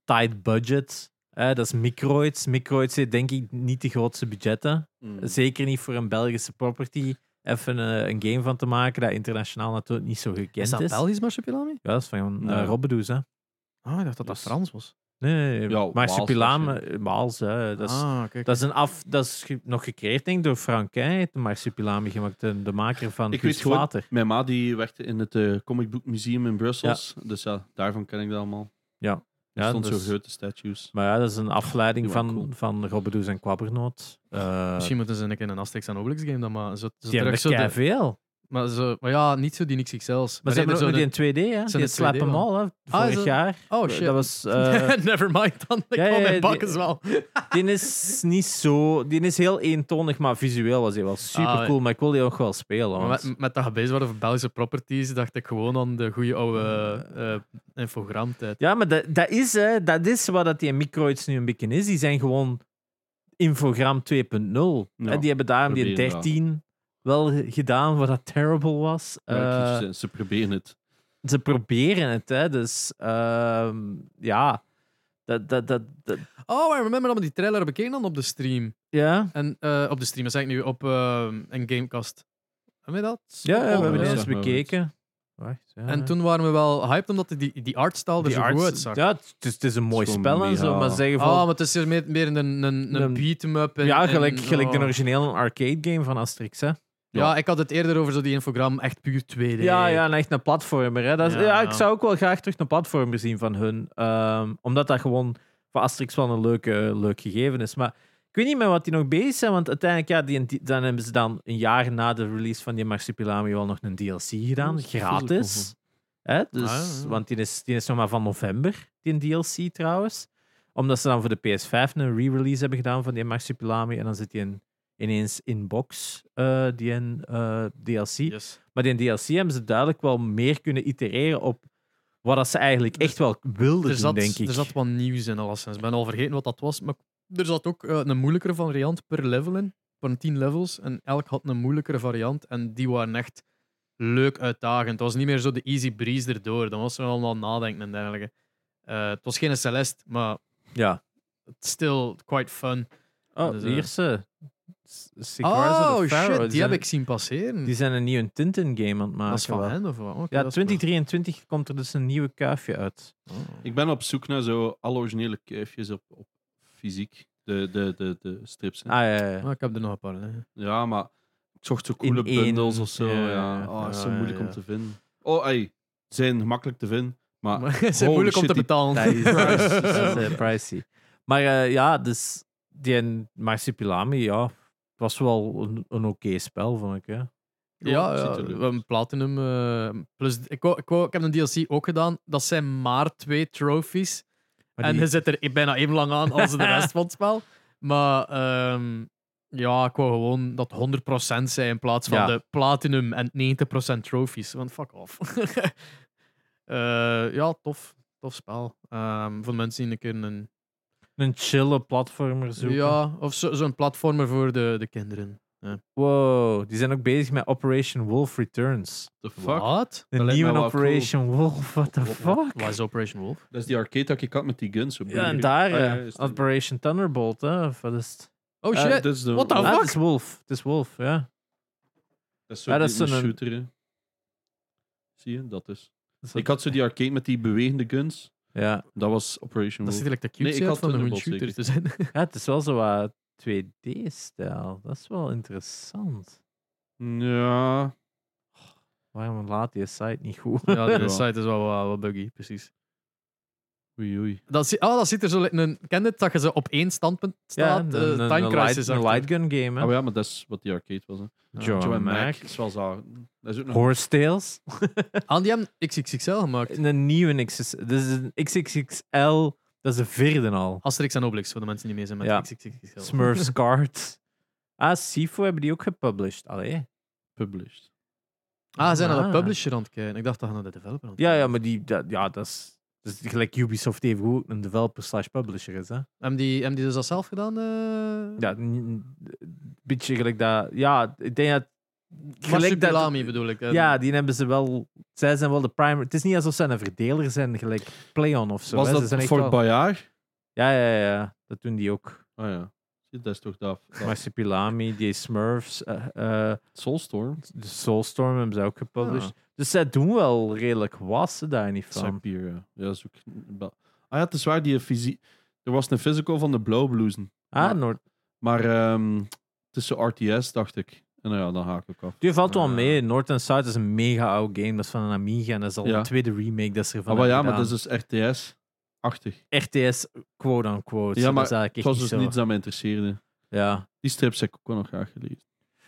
tight budget. Eh, dat is Microids. Microids heeft denk ik niet de grootste budgetten.
Mm.
Zeker niet voor een Belgische property. Even eh, een game van te maken dat internationaal natuurlijk niet zo
Is
gekend
dat
is.
Belgisch marsupilami?
Ja, dat is van eh
Ja.
Robbedoes, hè.
Ah, ik dacht dat dat
Dus
Yes.
Frans was.
Nee,
Ja,
maar
Waals waarschijnlijk.
Supilame, Waals, hè. Dat is,
ah, kijk.
dat is, een af, dat is ge- nog gecreëerd, denk ik, door Frankrijk. Maar Supilame gemaakt, de, de maker van
Ik
ik
weet gewoon, mijn ma die werkte in het eh, Comic Book Museum in Brussels. Dus ja, daarvan ken ik dat allemaal. Er
Ja, dus-
stond
dat is-
zo grote statues.
Maar ja, dat is een afleiding
Die waren
van,
cool.
van Robbedoes en Kwabbernoot. Eh,
Misschien moeten ze een keer een Asterix en Obelix game dan maar zo, zo
die hebben
terug zo
er
de-
veel.
maar, zo, maar ja, niet zo die niks zelfs.
Maar ze hebben ook
zo
met die in 2D, hè?
in
Die
het
Slap
2D
Em
wel.
All, hè?
Ah, is
Vorig
dat-
jaar.
de- Oh shit.
Dat was... eh,
Never mind dan. Ik
ja,
wou
ja,
mijn
die-
bakken wel.
Die is niet zo... Die is heel eentonig, maar visueel was hij wel super
Ah,
cool. Maar ik wil die ook wel spelen.
Maar
want-
met, met dat je bezig was over Belgische properties, dacht ik gewoon aan de goede oude eh infogramtijd.
Ja, maar dat, dat, is, hè, dat is wat dat die microids nu een beetje is. Die zijn gewoon infogram 2.0.
Ja,
hè. die hebben daarom die
proberen dat.
13 wel ge- gedaan, wat dat terrible was.
Ja,
Eh,
ik- ze, ze proberen het.
ze proberen het, hè. Dus ehm, ja... Dat, dat, dat, dat-
Oh, I remember dat we die trailer bekeken dan op de stream.
ja.
En eh, op de stream, dat zeg ik nu, op ehm, een Gamecast. Hebben we dat? Oh,
Ja, we hebben
ja.
die eens
Oh, Zeg maar wat.
bekeken. Wacht, ja.
En toen waren we wel hyped, omdat die, die artstyle er
Die
zo
arts-
goed uitzag.
Ja, het is, het is een mooi
Het is gewoon
spel en zo,
mega-
maar zeggen
Oh,
van...
maar het is hier meer, meer een, een, een,
Een-
beat-em-up. en-
ja,
en-
gelijk, gelijk de
oh.
originele arcade game van Asterix, hè.
Ja, ik had het eerder over zo die infogram, echt puur 2D.
Ja, ja, en echt een platformer. Hè. Dat is-
Ja,
ja,
ja.
ik zou ook wel graag terug een platformer zien van hun. Ehm, omdat dat gewoon voor Asterix wel een leuke, leuk gegeven is. Maar ik weet niet met wat die nog bezig zijn, want uiteindelijk ja, die, die- dan hebben ze dan een jaar na de release van die Marsupilami wel nog een DLC gedaan,
Dat is
gratis. Hè, dus,
Ah, ja.
Want die is, die is nog maar van november, die DLC trouwens. Omdat ze dan voor de PS5 een re-release hebben gedaan van die Marsupilami en dan zit die in, ineens in box, eh, die in, eh, DLC.
Yes.
Maar in DLC hebben ze duidelijk wel meer kunnen itereren op wat dat ze eigenlijk echt wel wilden
Er, zat,
doen, denk ik.
er zat wat nieuws in, alleszins. Ik ben al vergeten wat dat was, maar er zat ook eh, een moeilijkere variant per level in. Van 10 levels. En elk had een moeilijkere variant. En die waren echt leuk uitdagend. Het was niet meer zo de easy breeze erdoor. Dan was er allemaal nadenken en dergelijke. Eh, het was geen Celeste, maar
Ja.
still quite fun.
Oh,
Dus, eh,
hier ze. S- Sigwars of
Oh
the Pharaoh,
shit, die,
zijn,
heb ik zien passeren.
Die zijn een nieuwe Tintin-game aan het maken.
dat is van
wel.
hen of wat? Oké,
Ja,
dat is cool.
2023 komt er dus een nieuwe kuifje uit.
Oh.
Ik ben op zoek naar zo alle originele kuifjes op, op fysiek. De, de, de, de strips. hè.
Ah, ja, ja, ja.
Ah, ik heb er nog een paar. hè.
Ja, maar ik zocht zo coole
In één.
bundles of zo. Ja,
Ja, ja.
Oh, is zo
Ja, ja,
moeilijk
ja.
om te vinden. Oh, ey, zijn makkelijk te vinden. Maar
Maar het is
Holy
moeilijk om
shit,
te
die
betalen.
Dat is,
Pricy.
dat is, eh, pricey. Maar eh, ja, dus die Marsupilami, ja, was wel een, een oké spel, vond ik. Hè.
Ja,
ziet
ja
er leuk
we
uit.
hebben Platinum. eh, plus, ik, wou- ik, wou- ik heb een DLC ook gedaan. Dat zijn maar twee trophies.
Maar
en
die-
je zit er bijna even lang aan als de rest van het spel. Maar ehm, ja, ik wou gewoon dat 100% zijn in plaats van
Ja.
de Platinum en 90% trophies. Want fuck off. Eh, ja, tof. Tof spel. Ehm, voor de mensen die een keer een...
Een chille platformer zoeken.
Ja, of zo- zo'n platformer voor de, de kinderen.
Wow, die zijn ook bezig met Operation Wolf Returns.
the fuck?
Wat?
De
Dat lijkt
nieuwe
me wel
Operation Wolf, what the fuck?
Wat is Operation Wolf?
Dat is die arcade dat ik had met die guns. zo
Ja, en
burger.
daar,
Ah, ja,
eh,
is die-
Operation Thunderbolt, hè? Of wat is het?
Oh
Eh,
shit.
Dat is de-
What the
Ah,
fuck?
het is Wolf. Het is Wolf, ja.
Dat is zo
Ja, dat
die-
is
een
zo'n-
shooter. hè. Zie je, dat is. Ik had zo die arcade met die bewegende guns.
Ja.
Dat was Operation
Dat
Wolf.
ziet er like de
Nee,
cute
ik
uit
had
van een goede
Thunderbolt
shooter te zijn.
ja, het is wel zo wat 2D-stijl. Dat is wel interessant.
Ja,
Waarom laat die site niet goed?
ja, de
Ja.
site is wel wat, wat buggy, precies.
oei oei.
Dat, zie- oh, dat ziet er zo... like Een, ken je het, dat je zo op één standpunt
Ja,
staat?
een,
eh,
een, een,
time Crisis.
light, een
achter.
lightgun game, hè?
Ah, maar ja, maar dat is wat die arcade was. Hè.
Joe
Joe
en
en Mac.
Mac.
Dat is wel zo. Dat is ook nog...
Horse Tales.
Ah, die hebben XXXL gemaakt.
Een nieuwe XS. Dit is een XXXL. Dat is de vierde al.
Asterix en Obelix, voor de mensen die mee zijn met
Ja.
XXXL.
Smurfs Card. Ah, Sifo hebben die ook gepublished. Allee.
published.
Ah, ze zijn naar
Ah.
de publisher aan het kijken. Ik dacht dat je naar de developer aan het
Ja, ja,
kijken
maar die, dat, ja, dat is, dat is gelijk Ubisoft heeft ook een developer slash publisher is. Hè?
was. Hebben die, hebben die dus dat zelf gedaan? eh?
Ja, n- n- beetje gelijk dat. Ja, ik denk dat. Gelijk dat
Marsupilami bedoel ik. eh, hè.
ja, die hebben ze wel. Zij zijn wel de primer. Het is niet alsof zij een verdeler zijn, gelijk PlayOn of zo.
was
hè. Ze
dat
zijn echt
Fort
wel-
Bayard?
Ja, ja, ja. Dat doen die ook.
Ah ja. Zie, dat is toch dat. dat
Marsupilami, die Smurfs, eh, eh,
Soulstorm.
de Soulstorm hebben ze ook gepublished.
Ah.
Dus zij doen wel redelijk was ze daar niet van.
Cypier, ja. Ja, dat is ook... ba- Ah ja, het is waar, die fysie... Er was een physical van de Blow Bluesen.
Ah,
Ja.
Noord.
Maar ehm, het is zo RTS, dacht ik. En nou ja, dan haak ik af.
Die valt wel
Ah.
mee. North and South is een mega oud game. Dat is van een Amiga en dat is al
Ja.
een tweede remake dat ze ervan
Ah, maar ja,
hebben
maar dat
gedaan.
is dus RTS-achtig.
RTS, quote-unquote.
Ja,
Ja,
maar
maar dat is eigenlijk
Het
echt
was
niet
dus
zo.
niets dat me interesseerde.
Ja.
Die strips heb ik ook wel nog graag gelezen.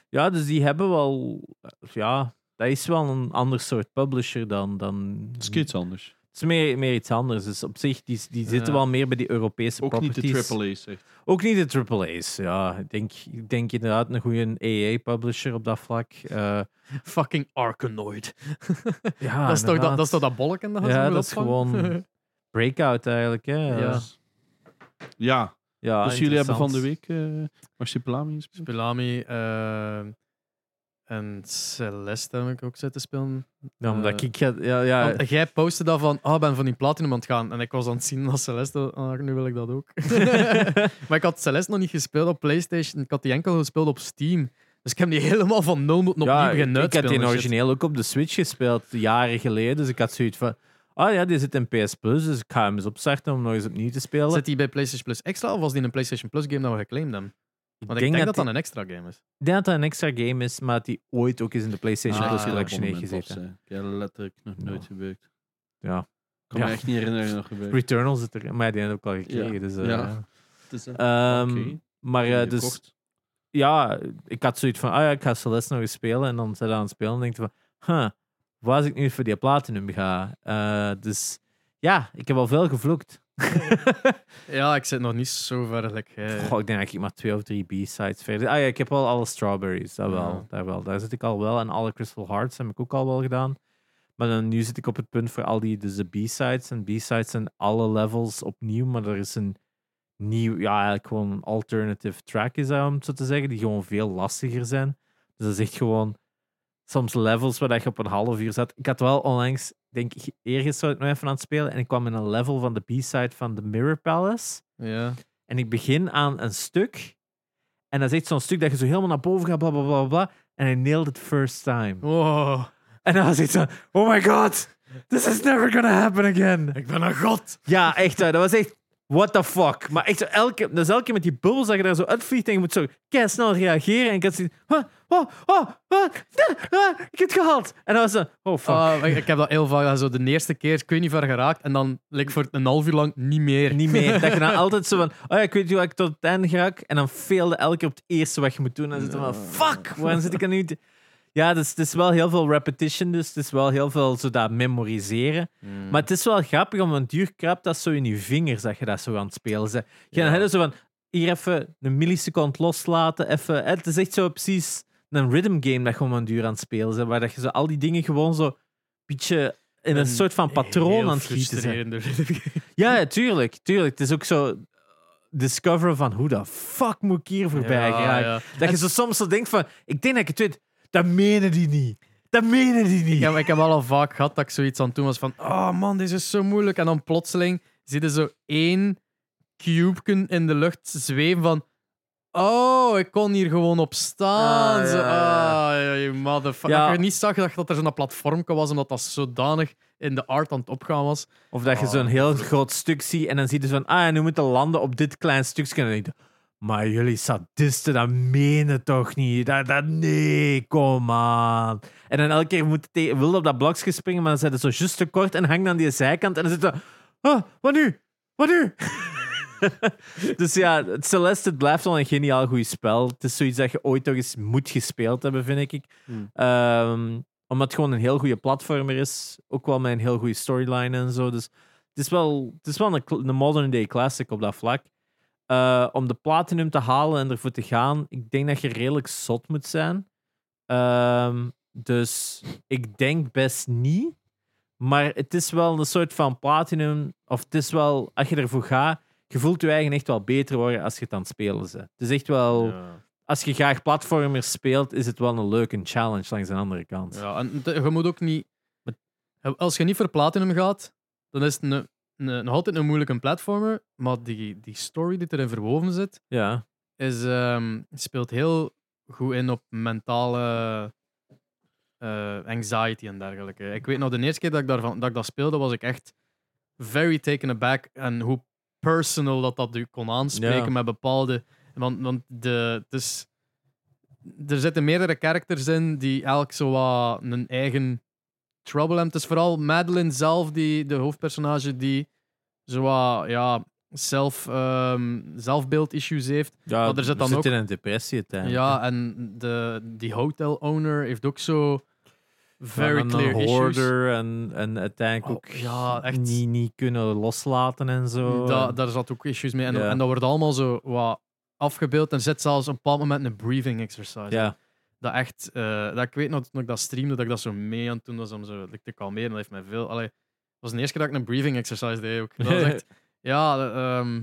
ja, dus die hebben wel... eh, Ja, dat is wel een ander soort publisher dan... dan
Het is iets anders.
Het is meer, meer iets anders. Dus op zich, die, die
Ja.
zitten wel meer bij die Europese
Ook niet
properties.
de AAA's, echt.
Ook niet de AAA's, ja. Ik denk, ik denk inderdaad een goede EA-publisher op dat vlak. Eh,
Fucking Arkanoid.
ja,
dat, is toch dat,
inderdaad.
dat is toch dat bolleken dat je
Ja,
moet
dat is
opvangen?
gewoon- Breakout eigenlijk, hè.
Ja.
Ja,
Ja, dus jullie hebben van de week eh Marsipelami gespeeld?
Spelami eh, en Celeste heb ik ook zitten spelen.
Ja, omdat
Eh,
ik... ga- Ja, ja,
Want jij postte dat van, ah, ik ben van die platinum aan het gaan. En ik was aan het zien als Celeste, ah, nu wil ik dat ook. maar ik had Celeste nog niet gespeeld op Playstation. Ik had die enkel gespeeld op Steam. Dus ik heb die helemaal van nul moeten opnieuw
ja,
beginnen
ik had
uitspelen
die
dus en shit.
origineel ook op de Switch gespeeld, jaren geleden. Dus ik had zoiets van... Oh ja, die zit in PS Plus, dus ik ga hem eens opstarten om nog eens opnieuw te spelen.
Zit die bij PlayStation Plus extra of was die een PlayStation Plus game dat we geclaimd hebben?
ik,
Want
denk
ik denk, dat
dat
dat
die-
een extra game is.
ik denk dat dat een extra game is, maar dat die ooit ook eens in de PlayStation
Ah,
Plus
ja,
Collection heeft gezeten.
Ik heb letterlijk nog nooit
Ja.
gebeukt.
Ja.
Ik kan
Ja.
me echt niet herinneren dat het nog gebeurd
Returnal zit er, maar die heb ik al gekregen.
Ja.
Dus, eh,
Ja. is. hè.
ehm,
Oké.
Maar eh,
Die
dus,
gekocht.
ja, ik had zoiets van, ah ja, ik ga Celeste nog eens spelen. En dan zit ik aan het spelen en denk ik van, huh, waar ik nu voor die platinum ga? Eh, dus ja, ik heb al veel gevloekt.
Ja, ik zit nog niet zo ver. gelijk jij.
Goh, ik denk dat ik maar twee of drie B-sides verder... Ah ja, ik heb wel alle strawberries, dat wel,
Ja.
daar wel. Daar zit ik al wel. En alle Crystal Hearts heb ik ook al wel gedaan. Maar dan, nu zit ik op het punt voor al die dus de B-sides. En B-sides zijn alle levels opnieuw, maar er is een nieuw... Ja, eigenlijk gewoon een alternative track is dat, om het zo te zeggen, die gewoon veel lastiger zijn. Dus dat is echt gewoon soms levels waar dat je op een half uur zat. Ik had wel onlangs, denk ik, eergisteren was ik nog even aan het spelen en ik kwam in een level van de B-side van The Mirror Palace.
Ja.
En ik begin aan een stuk. En dat is echt zo'n stuk dat je zo helemaal naar boven gaat, bla bla bla bla. En I nailed it first time.
Wow,
En dan was ik zo, oh my god, this is never gonna happen again.
ik ben een god.
Ja, echt, hè, dat was echt, what the fuck. Maar echt, zo elke, dus elke keer met die bubbels dat je daar zo uitvliegt en je moet zo kei snel reageren. En ik had zoiets, huh, oh, oh, oh, ah, ik heb het gehaald. En dan was zo, oh fuck.
Ah, ik, ik heb dat heel vaak dat zo de eerste keer, ik weet niet ver geraakt. En dan like, voor een half uur lang niet meer.
Niet meer. Dat je dan altijd zo van, oh ja, ik weet niet hoe ik tot het einde raak. En dan failde elke keer op het eerste wat je moet doen. En dan zit je van, fuck, waarom zit ik er nu... te- Ja, dus het is wel heel veel repetition, dus het is wel heel veel zo dat memoriseren.
Hmm.
Maar het is wel grappig, om een duur krapt dat zo in je vingers, dat je dat zo aan het spelen bent. Je
Ja.
hebt het zo van, hier even een millisecond loslaten, even... hè, Het is echt zo precies een rhythm game dat je om een duur aan het spelen bent, waar dat je zo al die dingen gewoon zo een beetje in een, soort van patroon
Heel
aan het gieten bent.
frustrerend.
Ja, ja, tuurlijk, tuurlijk. Het is ook zo discoveren van hoe de fuck moet ik hier voorbij
Ja,
geraken.
ja.
Dat je zo soms zo denkt van, ik denk dat ik het weet. Dat menen die niet. Dat menen die niet.
Ja, maar ik heb wel al vaak gehad dat ik zoiets aan toen was van, oh man, dit is zo moeilijk. En dan plotseling zit er zo één cubeken in de lucht zweven van, oh, ik kon hier gewoon op staan.
Ah,
zo,
ja, ja.
ah, ja, je motherfucker.
Ja.
Dat je niet zag dat, dat er zo'n platform was, omdat dat zodanig in de art aan het opgaan was.
Of dat je
Ah,
zo'n heel groot stuk ziet en dan zie je van, ah, en nu moeten landen op dit klein stukje. En dan denk je, maar jullie sadisten, dat menen toch niet? Dat, dat, nee, kom aan. En dan elke keer moet je wilde op dat blokje springen, maar dan zijn ze zo juist te kort en hangt aan die zijkant. En dan zit je, ah, wat nu? Wat nu? dus ja, het Celeste het blijft wel een geniaal goed spel. Het is zoiets dat je ooit toch eens moet gespeeld hebben, vind ik.
Hmm.
Ehm, omdat het gewoon een heel goede platformer is. Ook wel met een heel goede storyline en zo. Dus het is wel, het is wel een, cl- een modern day classic op dat vlak. Eh, om de platinum te halen en ervoor te gaan, ik denk dat je redelijk zot moet zijn. Ehm, dus ik denk best niet. Maar het is wel een soort van platinum. Of het is wel, als je ervoor gaat, je voelt je eigen echt wel beter worden als je het aan het spelen bent. Het is echt wel als je graag platformers speelt, is het wel een leuke challenge langs de andere kant.
Ja, en te- je moet ook niet. Als je niet voor platinum gaat, dan is het een een- nog altijd een moeilijke platformer, maar die, die story die erin verwoven zit,
Ja.
is, ehm, speelt heel goed in op mentale eh, anxiety en dergelijke. Ik weet nog, de eerste keer dat ik, daarvan, dat ik dat speelde, was ik echt very taken aback en hoe personal dat dat u kon aanspreken
Ja.
met bepaalde... Want, want de, het is- er zitten meerdere characters in die elk zo wat een eigen trouble hebben. Het is vooral Madeline zelf, die, de hoofdpersonage, die zo wat, ja, zelf, ehm, zelfbeeld-issues heeft.
ja
Maar er zit dan
zit
ook-
in een depressie uiteindelijk.
Ja, en de, die hotel owner heeft ook zo very
Van
clear
een
issues.
hoarder en, en uiteindelijk
Oh,
ook
ja, echt.
Niet, niet kunnen loslaten en zo.
Da, daar zat ook issues mee. En,
Ja.
en dat wordt allemaal zo wat afgebeeld. En er zit zelfs op een bepaald moment een breathing exercise.
ja.
Dat echt, eh, dat ik weet nog toen ik dat streamde, dat ik dat zo mee aan het doen was om zo like, te kalmeren. Dat heeft mij veel. Allee, het was de eerste keer dat ik een breathing exercise deed ook. Dat was echt, ja, dat, ehm,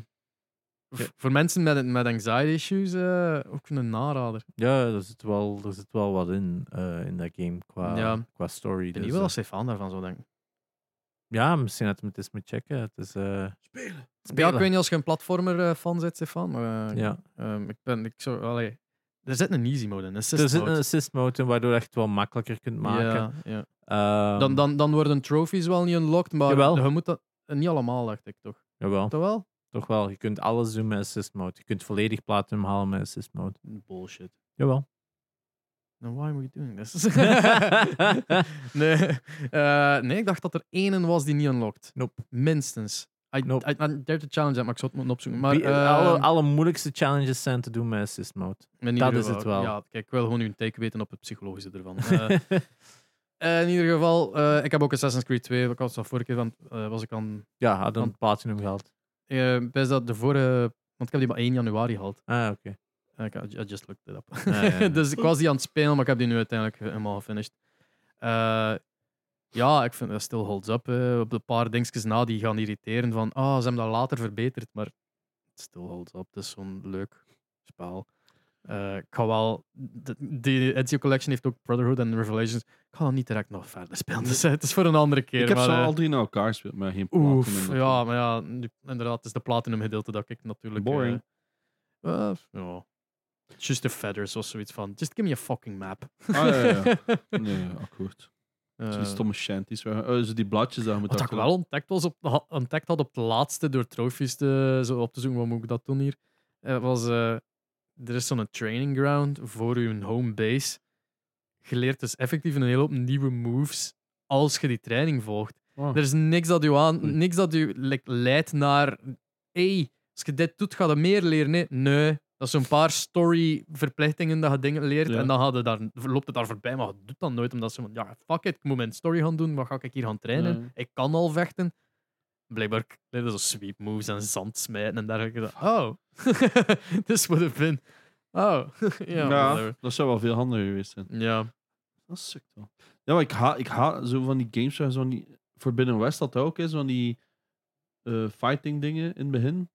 v-
Ja.
voor mensen met, met anxiety issues eh, ook een narader.
ja, er zit wel, er zit wel wat in, eh, in dat game qua,
Ja.
qua story.
Ik
dus,
ben niet wel
eh,
als Stefan daarvan zou denken.
ja, misschien dat we het eens moeten checken. Het is, eh,
Spelen.
Ja,
spelen.
ik weet niet als je een platformer-fan bent, Stefan, maar eh,
Ja.
Ehm, ik ben, ik zou, allee, er zit een easy mode in, een assist
Er zit een
mode.
assist mode in, waardoor je echt wel makkelijker kunt maken.
Ja, ja.
Ehm,
Dan, dan, dan worden trophies wel niet unlocked, maar
Jawel. Oh.
je moet dat eh, niet allemaal, dacht ik toch?
Jawel,
Toch wel?
toch wel. Je kunt alles doen met assist mode. Je kunt volledig platinum halen met assist mode.
Bullshit.
Jawel.
Then Nou, why were you doing this? nee. Eh, nee, ik dacht dat er één was die niet unlocked.
Nope.
Minstens. I,
Nope.
I, I dare to challenge that, maar ik zou het moeten opzoeken. Maar,
Wie-
eh,
eh,
ehm,
alle, alle moeilijkste challenges zijn te doen met assist mode.
in ieder
dat is het
geval,
wel.
Ja, kijk, ik wil gewoon uw take weten op het psychologische ervan. Eh, Eh, in ieder geval, eh, ik heb ook Assassin's Creed 2. Ik had het vorige keer, want, eh, was ik aan...
ja, had een
want-
platinum gehaald.
eh best dat de vorige... Want ik heb die maar 1 januari gehad.
Ah, oké.
Eh, ik- I just looked it up.
Ja, ja, ja.
dus ik was die aan het spelen, maar ik heb die nu uiteindelijk helemaal gefinished. Eh, ja, ik vind dat still holds up. eh. op de paar dingetjes na die gaan irriteren van... Ah, ze hebben dat later verbeterd, maar... Still holds up. Het is zo'n leuk spel. Eh, ik ga wel... De, die Ezio Collection heeft ook Brotherhood en Revelations. Ik ga dat niet direct nog verder spelen. Dus, eh, het is voor een andere keer.
Ik heb
maar,
ze
eh,
al drie naar elkaar gespeeld, maar geen platinum.
Oef,
natuurlijk.
ja, maar ja, nu- inderdaad, het is de platinum gedeelte dat ik natuurlijk...
Boring.
eh, eh, ja. Just the feathers of zoiets van. Just give me a fucking map.
Ah, ja, ja, ja. Nee, ja, akkoord. Zo
Eh,
die stomme shanties. waar- eh, zo die bladjes daar moet
wat ik wel ontdekt, was op, ha- ontdekt had op de laatste door trophies te, zo op te zoeken, wat moet ik dat doen hier? Eh, was, eh, er is zo'n training ground voor uw home base. Je leert dus effectief een hele hoop nieuwe moves als je die training volgt. Er is niks dat u
Oei.
aan, niks dat u like, leidt naar. hey, als je dit doet, ga je meer leren. Nee, nee. dat is zo'n paar story-verplichtingen dat je dingen leert.
Ja.
En dan gaat het daar, loopt het daar voorbij, maar je doet dat nooit. Omdat ze van, ja, fuck it, ik moet mijn story gaan doen. Wat ga ik hier gaan trainen?
Ja.
Ik kan al vechten. Blijkbaar leren zo sweep moves en zand smijten en dergelijke. Oh, this would have been. Oh, ja, whatever.
dat zou wel veel handiger geweest zijn.
Ja,
Dat sukt wel. Ja, maar ik haat ik ha zo van die games waar zo'n die... Forbidden West dat ook is, van die eh, fighting dingen in het begin.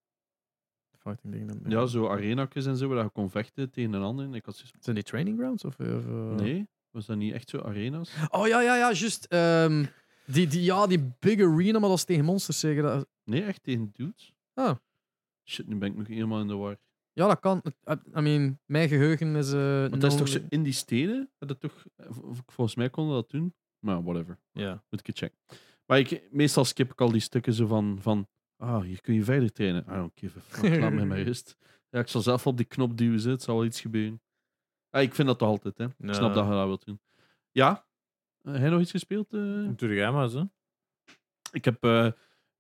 fighting dingen.
Ja, zo arenakjes en zo, waar je kon vechten tegen een ander. En ik had zoiets
Zijn die training grounds? Of, eh, of,
van, nee, was dat niet echt zo arena's?
Oh ja, ja, ja, juist. ehm, die, die, ja, die big arena, maar dat is tegen monsters zeker. Dat,
Nee, echt tegen dudes.
Ah.
Shit, nu ben ik nog helemaal in de war.
ja, dat kan. I, I mean, mijn geheugen is. eh
Want dat is toch zo in die steden? Dat het toch, vol- volgens mij konden we dat doen. Maar whatever.
Ja.
Moet ik het checken. Maar ik, meestal skip ik al die stukken zo van, van ah, hier kun je verder trainen. I don't give a fuck, laat mij maar rust. Ja, ik zal zelf op die knop duwen, zitten, het zal wel iets gebeuren. Ah, ik vind dat toch altijd, hè. Ik snap
Ja.
dat je dat wilt doen. Ja? Eh, Heb je nog iets gespeeld? eh?
Doe jij maar zo.
Ik heb eh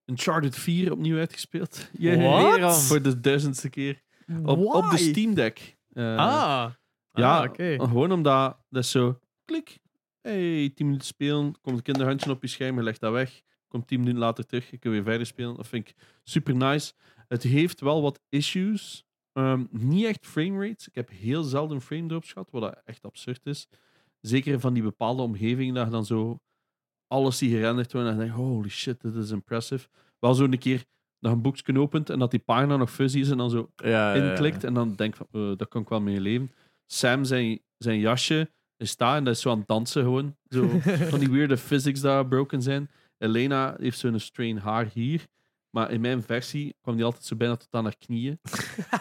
Uncharted 4 opnieuw uitgespeeld.
What?
Weer al. Voor de duizendste keer. Op, op de Steam Deck. Eh,
Ah,
ja,
Ah, oké.
gewoon omdat dat is zo klik. Hey, 10 minuten spelen, komt een kinderhandje op je scherm, je legt dat weg. Komt 10 minuten later terug, je kunt weer verder spelen. Dat vind ik super nice. Het heeft wel wat issues. Ehm, niet echt framerates. Ik heb heel zelden frame drops gehad, wat dat echt absurd is. Zeker van die bepaalde omgevingen, dat je dan zo alles die gerenderd wordt en dan denk je, holy shit, dit is impressive. Wel zo een keer dat je een boekje opent en dat die pagina nog fuzzy is en dan zo
Ja, ja, ja.
inklikt en dan denk van, eh, dat kan ik wel mee leven. Sam, zijn, zijn jasje, is daar en dat is zo aan het dansen gewoon. Zo, van die weirde physics daar broken zijn. Elena heeft zo'n strain haar hier. Maar in mijn versie kwam die altijd zo bijna tot aan haar knieën. Zo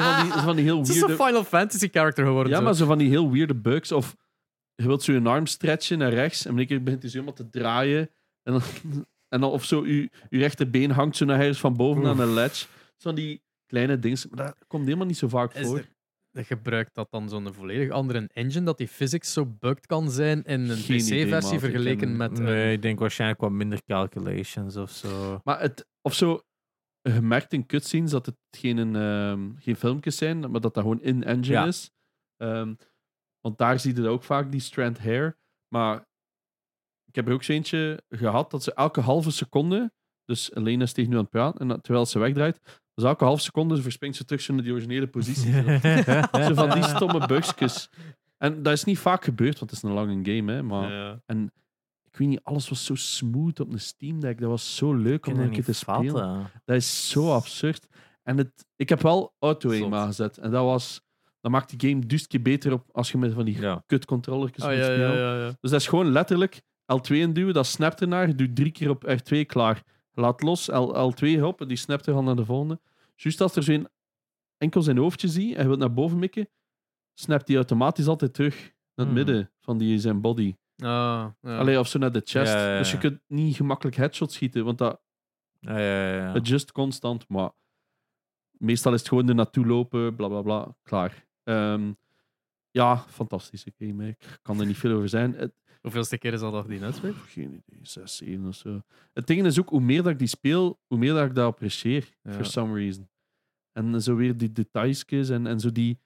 van die, zo van die heel
Het is een dus.
weirde...
Final Fantasy character geworden.
Ja,
zo.
maar zo van die heel weirde bugs. Of je wilt zo je arm stretchen naar rechts en in één keer begint hij zo helemaal te draaien. En dan, en dan of zo, je, je rechterbeen hangt zo naar ergens van boven aan een ledge. Zo van die kleine dingen. Maar dat komt helemaal niet zo vaak
Is
voor.
er- dat gebruikt dat dan zo'n volledig andere engine, dat die physics zo bugged kan zijn in een
Geen idee, maat.
PC-versie
Ik
vergeleken
ken-
met... eh,
Nee, ik denk waarschijnlijk wat minder calculations of zo.
Maar het, of zo, je merkt in cutscenes dat het geen, ehm, geen filmpjes zijn, maar dat dat gewoon in-engine
Ja.
is. Ehm, want daar zie je dat ook vaak, die strand hair. Maar ik heb er ook zo eentje gehad dat ze elke halve seconde, dus Elena is tegen nu aan het praten, en dat- terwijl ze wegdraait, dus elke halve seconde verspringt ze terug zo naar die originele positie. zo van die stomme bugsjes. En dat is niet vaak gebeurd, want het is een lange game, hè. Maar
Oh,
Ja.
ik weet niet, alles was zo smooth op een Steam Deck. Dat was zo leuk om
Kunnen
een keer
niet
te spelen.
vatten.
Dat is zo absurd. En het, ik heb wel auto aim
Zot.
aangezet. En dat was... Dat maakt die game dus een keer beter op als je met van die
Ah, Ja.
kut controller
Oh, ja, ja, ja, ja.
Dus dat is gewoon letterlijk L2 induwen, dat snapt ernaar. Je doet drie keer op R2 klaar. Laat los, L, L2 hop, en die snapt er al naar de volgende. Juist als er zo'n enkel zijn hoofdje zie en je wilt naar boven mikken, snapt die automatisch altijd terug naar het
Hmm.
midden van die, zijn body.
Ah, ja.
Allee, of zo naar de chest.
Ja, ja, ja.
Dus je kunt niet gemakkelijk headshots schieten, want dat
Ja, ja, ja.
het Adjust constant, maar meestal is het gewoon er naartoe lopen, bla bla bla, klaar. Ehm, ja, fantastische game. hè. Ik kan er niet veel over zijn. Het,
Hoeveelste keer is dat dat die uitspreekt?
pff, geen idee, 6, 7 of zo. Het ding is ook, hoe meer dat ik die speel, hoe meer dat ik dat apprecieer,
Ja.
for some reason. En zo weer die detailsjes en, en zo die...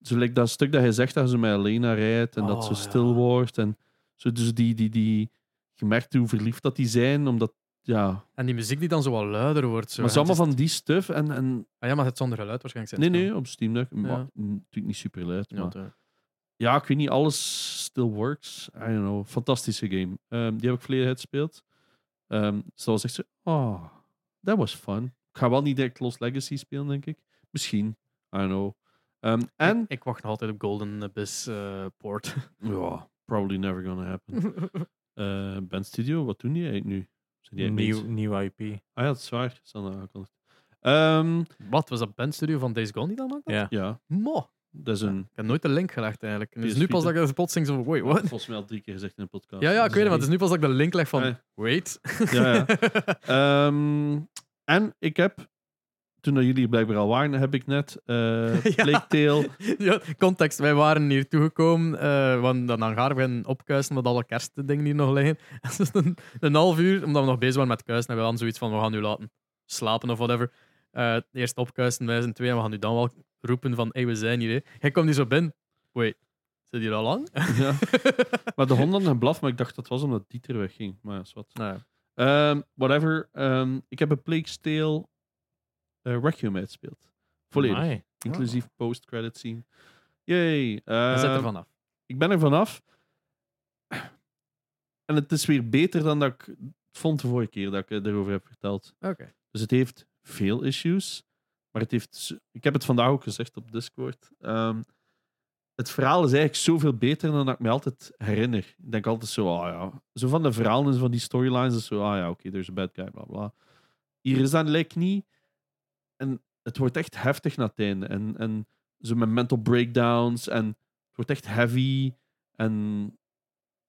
Zo like dat stuk dat hij zegt dat ze met Elena rijdt en dat
Oh,
ze stil
ja.
wordt. En zo, dus die, die, die... Je merkt hoe verliefd dat die zijn, omdat... Ja,
En die muziek die dan zo wat luider wordt. Zo.
maar het is
En
allemaal
het
van die stuff en... en
is- Ah ja, maar het zonder geluid waarschijnlijk.
Nee,
zijn.
nee, op Steam Deck. Maar,
Ja.
mm, Natuurlijk niet super luid.
Ja,
maar-
ja.
Ja, ik weet niet, alles still works. I don't know. Fantastische game. Ehm, die heb ik verleden uitgespeeld. Ehm dus dat was echt zo, oh, that was fun. Ik ga wel niet direct Lost Legacy spelen, denk ik. Misschien. I don't know. Ehm, en...
Ik, ik wacht nog altijd op Golden Abyss eh, Port.
Ja, probably never gonna happen. Eh ben Studio, wat doen die eigenlijk nu? Zijn die eigenlijk
Nieuw,
niet-
nieuw IP.
Ah ja, dat is waar. Staan aangekondigd. Ehm,
Wat, was dat Band Studio van Days Gone die dat maakte?
Ja.
ja,
Mo.
dat is een...
Ik heb nooit de link gelegd eigenlijk. En het is
PS
nu pas dat
Vita.
ik de plotseling zo van, wait, what?
Volgens mij al drie keer gezegd in de podcast.
Ja, ja, ik weet het, maar
Sorry.
het is nu pas dat ik de link leg van,
Eh.
wait.
Ja, ja. Ehm, en ik heb, toen dat jullie blijkbaar al waren, heb ik net eh
Ja.
Plague Tale.
Ja, context. Wij waren hier toegekomen, eh want dan gaan we beginnen opkuisen met alle kerstdingen die nog liggen. En dus een, een half uur, omdat we nog bezig waren met kuisen, hebben we dan zoiets van, we gaan nu laten slapen of whatever. Eh, eerst opkuisen, wij zijn twee, en we gaan nu dan wel roepen van, hey, we zijn hier. Hè. Hij komt hier zo binnen. Wait, zit hier al lang?
ja. Maar de hond had een blaf, maar ik dacht dat was omdat Dieter wegging. Maar ja, is wat.
nou, ja.
Ehm, whatever. Ehm, ik heb een Plague Tale eh Requiem uitgespeeld. Volledig.
Amai.
Inclusief post-credit scene. Yay.
Hij zit er
Ehm,
vanaf.
ik ben er vanaf. En het is weer beter dan dat ik het vond de vorige keer dat ik eh, erover heb verteld.
Oké.
Dus het heeft veel issues. Maar het heeft. z- Ik heb het vandaag ook gezegd op Discord. Ehm, het verhaal is eigenlijk zoveel beter dan dat ik me altijd herinner. Ik denk altijd zo, ah ja. Zo van de verhalen en van die storylines is zo, ah ja, oké, there's a bad guy, bla bla. Hier is dat lijkt niet. En het wordt echt heftig na het einde. En, en zo met mental breakdowns en het wordt echt heavy. En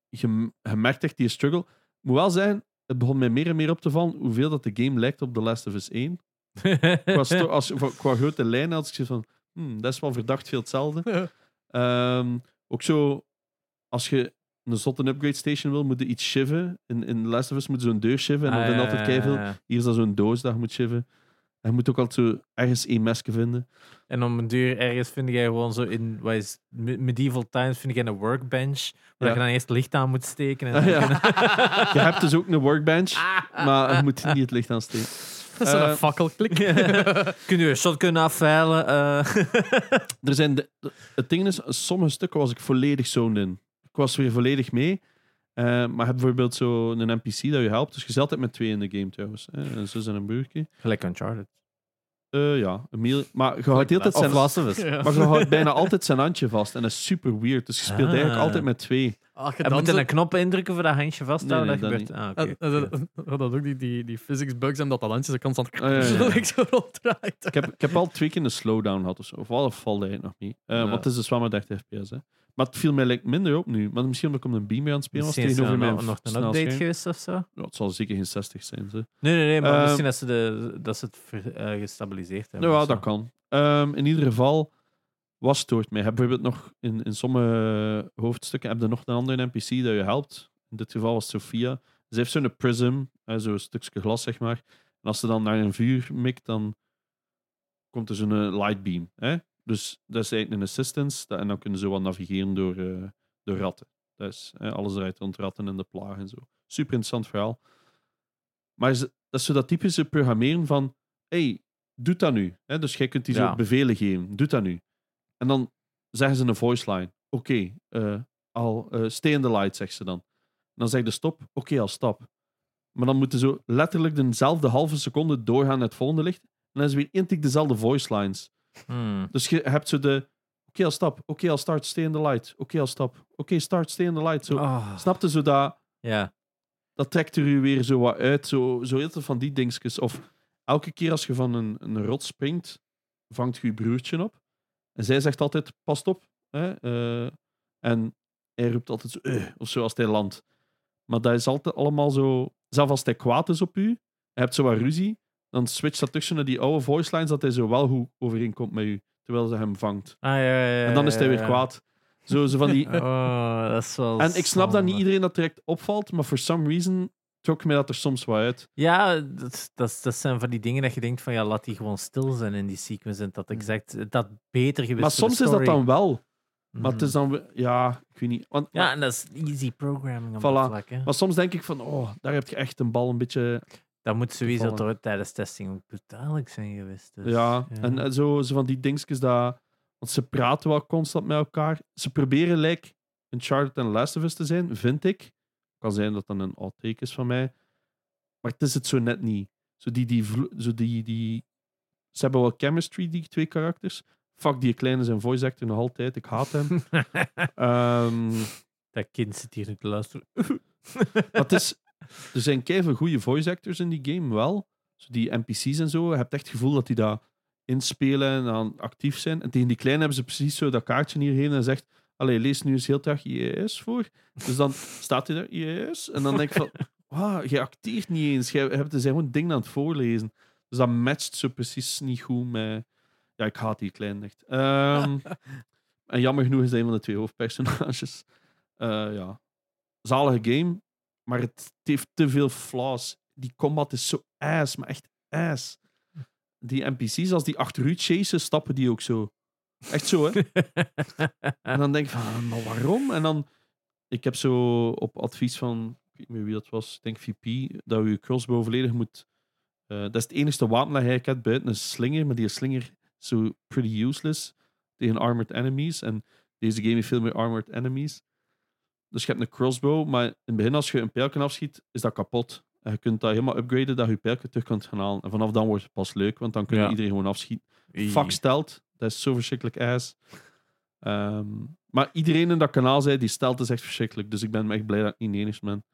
je, je merkt echt die struggle. Ik moet wel zijn, het begon mij meer en meer op te vallen hoeveel dat de game lijkt op The Last of Us 1. Qua, sto- als, qua, qua grote lijnen had ik zoiets van, hmm, dat is wel verdacht veel hetzelfde. Ehm, ook zo, als je een zotte upgrade station wil, moet je iets shiven. In, in The Last of Us moet je zo'n deur shiven
Ah,
en dan vind je altijd keiveel. Hier is dat zo'n doos dat je moet shiven. En je moet ook altijd zo ergens één mesje vinden.
En om een duur ergens vind jij gewoon zo in wat is, me- medieval times vind jij een workbench waar
Ja.
je dan eerst licht aan moet steken. En
Ah, ja. Je hebt dus ook een workbench, maar je moet niet het licht aansteken.
Dat is een
Eh,
fakkel, klik.
Kun je een shotgun afveilen? eh.
er zijn de, de- het ding is, sommige stukken was ik volledig zoned in. Ik was weer volledig mee. Eh, maar heb bijvoorbeeld zo'n NPC dat je helpt. Dus je zit altijd met twee in de game trouwens. hè. Een zus en een broertje.
Gelijk Uncharted.
Eh, ja, een mail. Maar je houdt de hele tijd zijn...
Of Last of Us.
Ja.
Maar je houdt bijna altijd zijn handje vast. En dat is super weird. Dus je speelt
Ah.
eigenlijk altijd met twee.
Als
En
je dan
moet je
zo-
een knop indrukken voor dat handje vasthouden? dat
Nee, nee,
gebeurt. Ah, oké.
Eh, eh, eh, Dat ook die, die, die physics bugs en dat dat landje zo constant
Ah, ja, ja, ja.
like zo ronddraait.
Ik heb, ik heb al twee keer een slowdown gehad of zo. Of wel valde hij nog niet. Eh,
Ja.
Want het is dus wel maar 30 fps. Hè. Maar het viel mij like, minder op nu. Maar misschien omdat ik om een beamer aan het spelen was.
Misschien is
Tegenover
er
mijn
nog, nog een
snel
update
scherm.
geweest of zo?
Ja, het zal zeker geen 60 zijn. Ze.
Nee, nee, nee. Maar
Ehm,
misschien dat ze, de, dat ze het ver- eh, gestabiliseerd hebben.
Nou ja,
of zo.
dat kan. Ehm, in ieder geval, was stoort mij. Heb bijvoorbeeld nog in, in sommige hoofdstukken heb je nog een andere NPC dat je helpt. In dit geval was Sophia. Ze heeft zo'n prism, eh, zo'n stukje glas, zeg maar. En als ze dan naar een vuur mikt, dan komt er zo'n eh, light beam. Hè? Dus dat is eigenlijk een assistance. Dat- en dan kunnen ze wat navigeren door, eh, door ratten. Dat is eh, alles eruit rond ratten en de plaag en zo. Super interessant verhaal. Maar ze- dat is zo dat typische programmeren van... hey, doe dat nu. Hè? Dus jij kunt die
Ja.
zo bevelen geven. Doe dat nu. En dan zeggen ze een voice line. Oké, eh, al eh, stay in the light, zegt ze dan. En dan zeg je stop. Oké, al stap. Maar dan moeten ze letterlijk dezelfde halve seconde doorgaan naar het volgende licht. En dan is het weer intik dezelfde voice lines.
Hmm.
Dus je hebt zo de. Oké, al stap. Oké, al start, stay in the light. Oké, al stap. Oké, start, stay in the light. Zo.
Ah,
Snapte zo dat.
Ja.
Dat trekt er u weer zo wat uit. Zo, zo heel veel van die dingetjes. Of elke keer als je van een, een rot springt, vangt je je broertje op. En zij zegt altijd: Pas op. Hè? eh, en hij roept altijd zo, "Eh," of zo als hij landt. Maar dat is altijd allemaal zo. Zelfs als hij kwaad is op u, hij hebt zo wat ruzie, dan switcht dat tussen naar die oude voice lines dat hij zo wel goed overeenkomt met u, terwijl ze hem vangt.
Ah, ja, ja, ja,
En dan is hij
ja,
weer
ja.
kwaad. Zo, zo van die...
Eh. Oh, dat is wel
En ik snap dat niet
zonde.
iedereen dat direct opvalt, maar for some reason trok mij dat er soms wat uit.
Ja, dat, dat, dat zijn van die dingen dat je denkt van ja, laat die gewoon stil zijn in die sequence en dat exact dat beter geweest
Mm.
voor
Maar
de
soms is dat
story.
dan wel. Maar
Mhm.
het is dan... we- Ja, ik weet niet. Want,
Ja, en dat is easy programming op
Voilà.
dat vlak. Hè.
Maar soms denk ik van, oh, daar heb je echt een bal een beetje...
Dat moet sowieso
Toevallig.
toch tijdens testing ook betalig zijn geweest. dus,
ja, en eh, zo, zo van die dingetjes dat... Want ze praten wel constant met elkaar. Ze proberen like Uncharted en Last of Us te zijn, vind ik. Kan zijn dat dan een outtake is van mij. Maar het is het zo net niet. Zo die, die, vlo- zo die, die... Ze hebben wel chemistry, die twee karakters. Fuck, die kleine zijn voice actor nog altijd. Ik haat hem. Ehm,
dat kind zit hier nu te luisteren.
maar het is, er zijn keihard goede voice actors in die game wel. Zo die NPC's en zo. Je hebt echt het gevoel dat die daar inspelen en dan actief zijn. En tegen die kleine hebben ze precies zo dat kaartje hierheen en zegt. Allee, lees nu eens heel traag IES voor. Dus dan staat hij daar, IES. En dan denk ik van, wow, je acteert niet eens. Je hebt er zijn gewoon dingen aan het voorlezen. Dus dat matcht zo precies niet goed met... Ja, ik haat die klein echt. Ehm, en jammer genoeg is hij een van de twee hoofdpersonages. Eh, ja. Zalige game, maar het, het heeft te veel flaws. Die combat is zo ass, maar echt ass. Die NPC's, als die achter u chasen, stappen die ook zo. Echt zo, hè? En dan denk ik van, ah, maar waarom? En dan, ik heb zo op advies van, ik weet niet meer wie dat was, ik denk VP, dat je crossbow volledig moet... eh, dat is het enige wapen dat hij eigenlijk hebt buiten een slinger, maar die slinger is zo pretty useless tegen armored enemies. En deze game heeft veel meer armored enemies. Dus je hebt een crossbow, maar in het begin als je een pijlje afschiet, is dat kapot. En je kunt dat helemaal upgraden, dat je je pijlje terug kunt gaan halen. En vanaf dan wordt het pas leuk, want dan kun je
Ja.
iedereen gewoon afschieten. Fuck stelt. Dat is zo verschrikkelijk ass. Ehm, maar iedereen in dat kanaal zei, die stelt is echt verschrikkelijk. Dus ik ben echt blij dat ik niet de enige ben.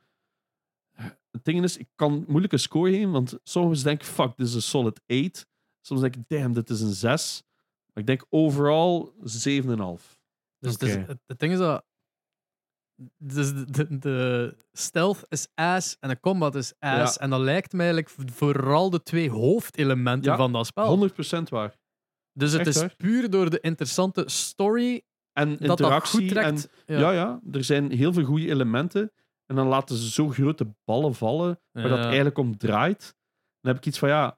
Het ding is, ik kan moeilijk een score geven, want soms denk ik, fuck, dit is een solid 8. Soms denk ik, damn, dit is een 6. Maar ik denk overal 7,5.
Dus het, is,
Oké.
het, het ding is dat. Dus de, de, de stealth is ass en de combat is ass.
Ja.
En dat lijkt mij eigenlijk vooral de twee hoofdelementen
Ja,
van dat spel.
100% waar.
dus het
echt
is
waar.
puur door de interessante story
En
dat dat goed
interactie. en,
trekt.
ja. ja, er zijn heel veel goede elementen. En dan laten ze zo grote ballen vallen. waar dat
Ja.
eigenlijk om draait, dan heb ik iets van ja,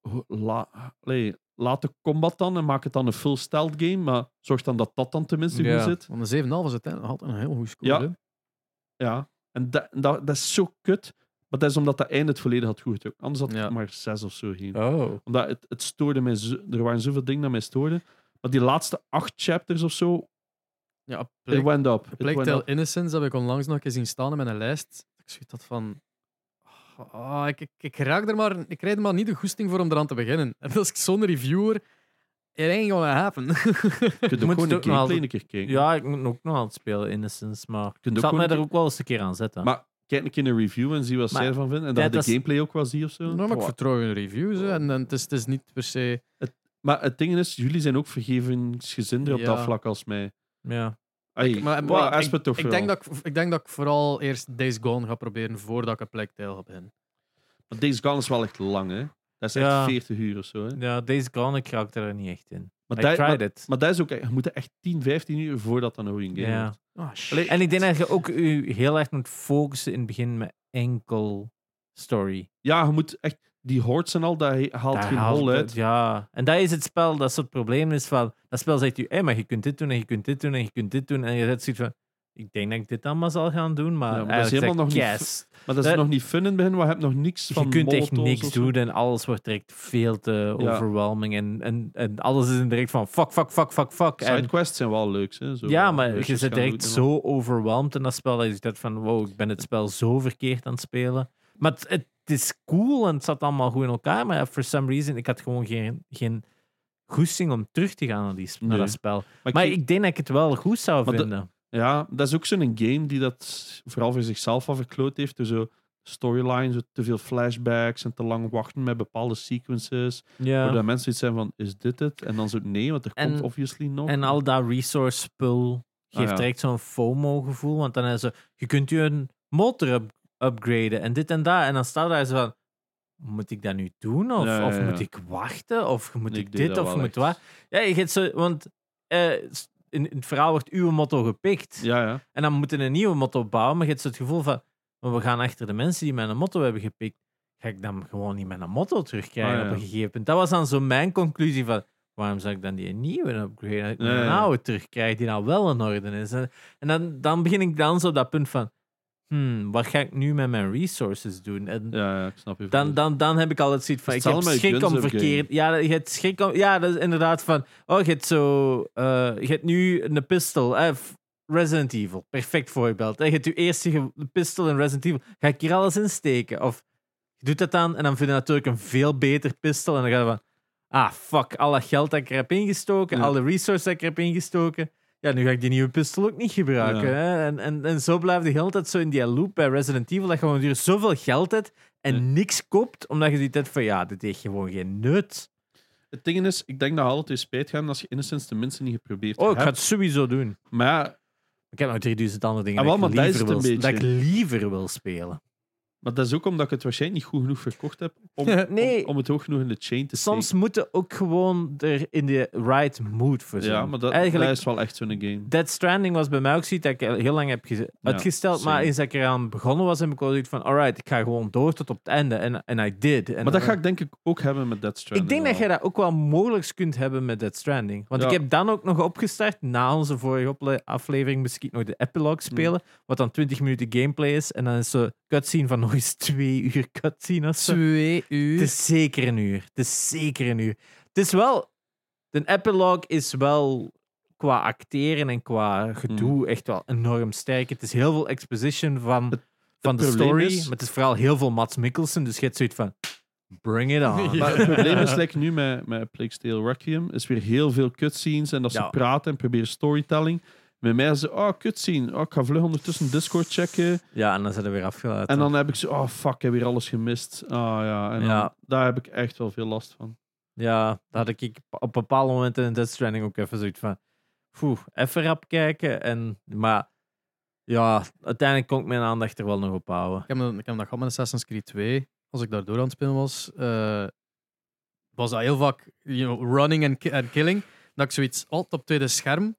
ho- la, allee, laat de combat dan en maak het dan een full stealth game, maar zorg dan dat dat dan tenminste
Ja.
goed zit.
Want een 7,5 was uiteindelijk altijd een heel goede score.
Ja.
hè.
Ja, en da- en dat, dat is zo kut, maar dat is omdat dat einde het volledig had goed gedrukt. Anders had ik
Ja.
maar zes of zo geen.
Oh.
Omdat het, het stoorde mij, zo- er waren zoveel dingen dat mij stoorden, maar die laatste acht chapters of zo,
Ja,
it
Plague,
went up. It
Plague
went
Tale
up.
Innocence heb ik onlangs nog eens zien staan in mijn lijst. Ik zoiets had van. ah, ah, ik, ik, ik, raak er maar, ik krijg er maar niet de goesting voor om eraan te beginnen. En als ik zo'n reviewer, it ain't gonna happen.
Je kunt
Moet
ook gewoon
het
een
ook
keer,
nog
kleine keer kijken.
Ja, ik moet ook nog aan het spelen, Innocence, maar
kunt
ik
ook
zal
gewoon
mij
een
er
keer-
ook wel eens een keer aan zetten.
Maar kijk een keer een review en zie wat
Maar
zij ervan vinden. En
dat
dan de
is-
gameplay ook wel zie of zo.
Nou, maar ik
Wow.
vertrouw hun reviews. hè. En, en het, is, het is niet per se...
Maar het ding is, jullie zijn ook vergevingsgezinder op
Ja.
dat vlak als mij.
ja.
Ai,
Maar,
wow,
maar ik,
Aspen toch
ik,
vooral.
denk dat ik, ik denk dat ik vooral eerst Days Gone ga proberen voordat ik een Plague Tale ga beginnen.
Maar Days Gone is wel echt lang, hè? Dat is echt
Ja.
40 uur of zo. Hè?
ja, Days Gone, ik raak er niet echt in.
Maar,
I
dat,
tried
maar,
it.
maar dat is ook, echt- je moet echt 10, 15 uur voordat dat een goede game
Ja.
wordt.
Ah, shit.
Allee,
En ik denk dat je ook u heel erg moet focussen in het begin met enkel story.
Ja, je moet echt. Die hordes en al, dat he- haalt
Daar
geen
haalt
hol
het-
uit.
Ja, en dat is het spel, dat is het probleem is van, dat spel zegt u, hé, maar je kunt dit doen en je kunt dit doen en je kunt dit doen. En je zet zoiets van, ik denk dat ik dit allemaal zal gaan doen, maar,
Ja, maar dat is
eigenlijk
helemaal
zeg ik,
nog niet
yes.
Maar dat is
Eh,
nog niet fun in het begin, want je hebt nog niks van
Je kunt echt
molotovs
niks
of zo.
doen en alles wordt direct veel te
Ja.
overwhelming en, en, en alles is in direct van fuck, fuck, fuck, fuck, fuck. En,
Sidequests zijn wel leuk, hè? Zo,
ja, maar je
questjes
zit
gaan
direct
doen en al.
zo overwhelmed in dat spel dat je denkt van wow, ik ben het spel zo verkeerd aan het spelen. Maar het, het is cool en het zat allemaal goed in elkaar, maar for some reason, ik had gewoon geen, geen goesting om terug te gaan naar, die, naar
Nee.
dat spel.
Maar,
Maar
ik-
ik denk dat ik het wel goed zou
Maar de-
vinden.
Ja, dat is ook zo'n game die dat vooral voor zichzelf al verkloot heeft. Door zo storylines, zo te veel flashbacks en te lang wachten met bepaalde sequences.
ja.
Waardoor mensen iets zijn van, is dit het? En dan zo, nee, want er
En-
komt obviously nog.
En al dat resource spul
Ah,
geeft
ja.
direct zo'n FOMO-gevoel, want dan is ze, je kunt je een motor up- upgraden en dit en dat, en dan staat daar zo van, moet ik dat nu doen? Of,
Ja, ja,
of
ja.
moet ik wachten? Of moet
Nee,
ik,
ik deed
dit?
dat
Of
wel
moet
echt.
wat? Ja, je gaat zo, want eh, s- in, in het verhaal wordt uw motto gepikt.
Ja, ja.
En dan moeten we een nieuwe motto bouwen, maar je hebt zo het gevoel van, maar we gaan achter de mensen die mijn motto hebben gepikt, ga ik dan gewoon niet mijn motto terugkrijgen
Ah, ja.
op een gegeven moment. Dat was dan zo mijn conclusie van, waarom zou ik dan die nieuwe upgrade, dat ik
Ja, ja,
mijn
ja.
oude terugkrijg die nou wel in orde is. En, en dan, dan begin ik dan zo op dat punt van, hmm, wat ga ik nu met mijn resources doen? En
Ja, ja, ik snap je.
dan, dan, dan heb ik altijd zoiets van,
Het
ik
is
heb
allemaal
schrik
guns
om
upgrade.
verkeerd... Ja, je hebt schrik om... Ja, dat is inderdaad van... Oh, je hebt zo... eh, je hebt nu een pistol. eh, f- Resident Evil. Perfect voorbeeld. Eh, je hebt je eerste ge- pistol in Resident Evil. Ga ik hier alles in steken? Of je doet dat dan en dan vind je natuurlijk een veel beter pistol. En dan ga je van... Ah, fuck. Al dat geld dat ik er heb ingestoken.
Ja.
Alle resources dat ik er heb ingestoken. Ja, nu ga ik die nieuwe pistol ook niet gebruiken.
Ja.
Hè? En, en, en zo blijft de hele tijd zo in die loop bij Resident Evil. Dat je gewoon duur zoveel geld hebt en
Ja.
niks koopt, omdat je ziet hebt van ja, dit heeft gewoon geen nut.
Het ding is, ik denk dat altijd weer spijt gaan als je Innocence tenminste niet geprobeerd
Oh, ik
hebt.
ga het sowieso doen.
Maar ja,
Ik heb nog 3000 andere dingen
Ah,
dat,
wel,
ik
maar dat is
liever
het
wil,
een
dat ik
beetje.
liever wil spelen.
maar dat is ook omdat ik het waarschijnlijk niet goed genoeg verkocht heb om,
Nee.
om, om het hoog genoeg in de chain te
Soms moeten ook gewoon er in de right mood voor
steken.
zijn.
Ja, maar dat,
Eigenlijk,
dat is wel echt zo'n game.
Dead Stranding was bij mij ook zoiets dat ik heel lang heb geze- uitgesteld, maar
same.
eens dat ik eraan begonnen was, heb ik wel zoiets van, alright, ik ga gewoon door tot op het einde. En, en I did. En
Maar dat ga ik denk ik ook hebben met Death Stranding.
Ik denk dat
wel.
jij dat ook wel mogelijk kunt hebben met Dead Stranding. Want
Ja.
ik heb dan ook nog opgestart, na onze vorige ople- aflevering, misschien nog de epilogue
Mm.
spelen, wat dan 20 minuten gameplay is. En dan is zo'n cutscene van nog eens twee uur cutscene of zo.
Twee uur.
Het is zeker een uur. Het is zeker een uur. Het is wel... De epilogue is wel qua acteren en qua gedoe
Mm.
echt wel enorm sterk. Het is heel veel exposition van, van de
probleem
story,
is-
maar het is vooral heel veel Mats Mikkelsen, dus je hebt zoiets van... Bring it on.
Ja.
Maar het probleem is, like nu met, met Plague Tale Requiem, is weer heel veel cutscenes en dat ze
Ja.
praten en proberen storytelling. Met mij is ze, oh, cutscene. Oh, ik ga vlug ondertussen Discord checken.
Ja, en dan zijn we weer afgeleid.
En dan heb ik zo, oh, fuck, ik heb weer alles gemist. Ah, ja. En dan-
Ja.
daar heb ik echt wel veel last van.
Ja, daar had ik op bepaalde momenten in Death Stranding ook even zoiets van... Poeh, even rap kijken. En, maar ja, uiteindelijk kon ik mijn aandacht er wel nog op houden.
Ik heb, een- ik heb dat gehad met Assassin's Creed 2. Als ik daardoor aan het spelen was, eh, was dat heel vaak you know, running en ki- en killing. Dat ik zoiets altijd op tweede scherm,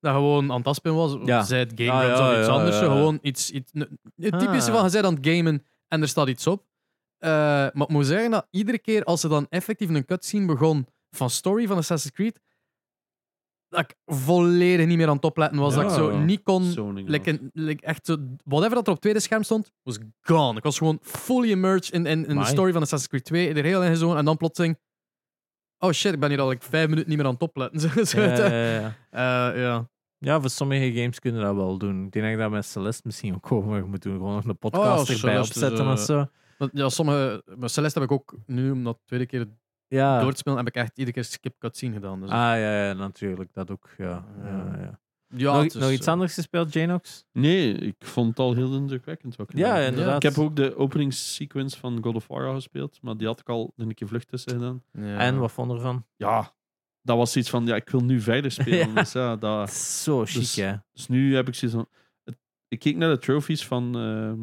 dat gewoon aan het afspelen was.
Ja.
Zij het game
Ah,
jams
ja,
of iets
ja,
anders.
ja,
zo
ja.
Gewoon iets, iets een- het typische
Ah.
van, je bent aan het gamen en er staat iets op. Eh, maar ik moet zeggen dat iedere keer als er dan effectief een cutscene begon van story van Assassin's Creed, dat ik volledig niet meer aan het opletten was. Dat ik zo
Ja.
niet kon
Zoning.
Like een- like echt zo, whatever dat er op het tweede scherm stond, was gone. Ik was gewoon fully immersed in, in, in de
Amai.
story van Assassin's Creed 2, er heel in gezogen, en dan plotseling... Oh shit, ik ben hier al like, vijf minuten niet meer aan het opletten. Zo- zo-
Ja, ja,
eh,
ja, ja.
ja.
Ja, voor sommige games kunnen dat wel doen. Ik denk dat ik dat met Celeste misschien ook gewoon nog moet doen. Gewoon nog een
Oh,
podcast erbij
Celeste is,
opzetten
eh,
of zo.
Want ja, sommige, maar Celeste heb ik ook nu, om dat tweede keer
Ja.
door te spelen, heb ik echt iedere keer skip cutscene gedaan. Dus,
Ah ja, ja, natuurlijk. Dat ook. Ja. Ja, ja.
ja,
nog,
het is,
nog iets
eh,
anders gespeeld, Janox?
Nee, ik vond het al heel indrukwekkend. Wat ik
Ja,
gedaan heb.
inderdaad.
Ik heb ook de openingssequence van God of War al gespeeld, maar die had ik al een keer vlucht tussen gedaan.
ja.
En wat vond je ervan?
Ja, dat was iets van, ja, ik wil nu verder spelen.
Ja.
Dus, ja, dat,
Zo chic,
Dus-
hè?
dus nu heb ik zoiets van... het- ik keek naar de trophies van ehm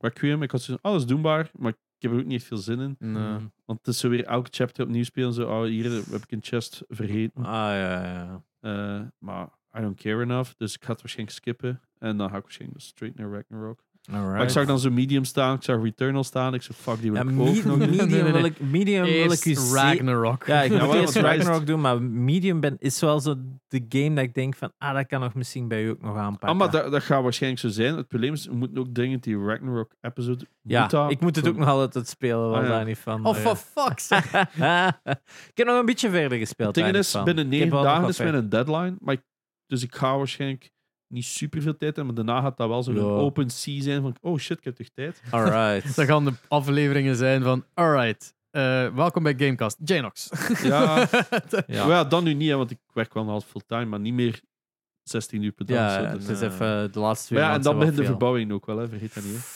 Requiem. Ik had zoiets van, alles doenbaar, maar ik heb er ook niet echt veel zin in.
Nee.
Mm.
Want het is zo weer elke chapter opnieuw spelen. Zo, oh, hier heb ik een chest vergeten.
Ah ja, ja, ja.
Eh, maar I don't care enough. Dus ik ga het waarschijnlijk skippen. En dan ga ik waarschijnlijk dus straight naar Ragnarok. Maar ik
Alright.
zag dan zo medium staan. Ik zag Returnal staan. Ik zo, fuck, die wil
Ja,
ik ook
medium,
nog doen.
medium
Nee, nee,
wil
nee.
ik, medium wil ik
Eerst
u ze-
Ragnarok.
Ja, ik
Ja,
wil
wel,
eerst
want hij is-
Ragnarok doen, maar medium ben, is wel zo de game dat ik denk van, ah, dat kan nog misschien bij u ook nog aanpakken.
Ah, maar dat, dat gaat waarschijnlijk zo zijn. Het probleem is, we moeten ook dringend die Ragnarok-episode...
ja,
moeten-
ik moet het ook nog altijd spelen, was
Ah, ja.
daar niet van.
Oh,
maar ja.
for fuck's sake.
ik heb nog een beetje verder gespeeld.
Het ding
daar niet
is,
van.
binnen
Ik
negen
heb wel nog
dagen
wat
is mijn deadline. Maar ik- dus ik ga waarschijnlijk niet super veel tijd hebben. Maar daarna gaat dat wel zo'n
Ja.
open sea zijn van... Oh shit, ik heb toch tijd?
verder. Alright.
Dat gaan de afleveringen zijn van, alright, eh, welkom bij Gamecast, Janox.
Ja.
Ja.
Maar ja, dan nu niet, hè, want ik werk wel half fulltime. Maar niet meer 16 uur per dag.
Ja,
zo,
ja,
dus,
het is
eh,
even de laatste twee
Maar ja,
maanden
en dan begint de
wel veel.
verbouwing ook wel, hè. vergeet dat niet.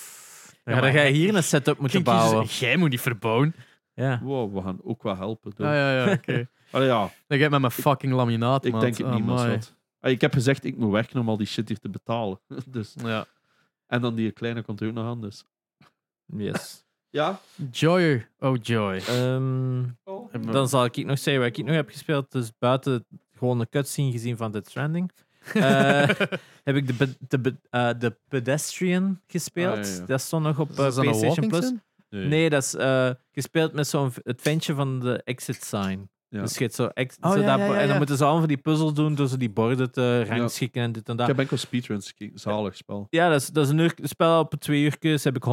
Hè.
Ja, dan ga je hier een setup moeten
Kinky
bouwen.
zegt, Jij moet die verbouwen.
Ja.
Wow, we gaan ook wel helpen.
Ah,
Door.
ja, ja, oké.
Allee, ja,
Dan ga je met mijn fucking laminaat,
ik
maat.
denk het niet, maar
Amai.
schat. Allee, Ik heb gezegd, ik moet werken om al die shit hier te betalen. dus,
Ja.
en dan die kleine komt er ook nog aan, dus.
Yes.
Ja.
Joy, oh joy.
Ehm, dan zal ik nog zeggen wat ik nog heb gespeeld. Dus buiten gewoon een cutscene gezien van Death Stranding. eh, heb ik de, be- de, be- eh, de Pedestrian gespeeld.
Ah, ja, ja.
Dat stond nog op eh,
Is dat een
PlayStation
walking
Plus.
sim?
Nee.
Nee, dat is eh, gespeeld met zo'n v- het ventje van de exit sign.
Ja.
Dus je hebt zo, ex-
Oh,
zo
ja,
dat-
ja, ja,
En
ja.
dan moeten ze allemaal van die puzzels doen door ze die borden te rangschikken en dit en
Ik
dat.
heb enkel speedruns gekeken. Zalig spel.
Ja, dat is, dat is een, uur, een spel op twee uur dus heb ik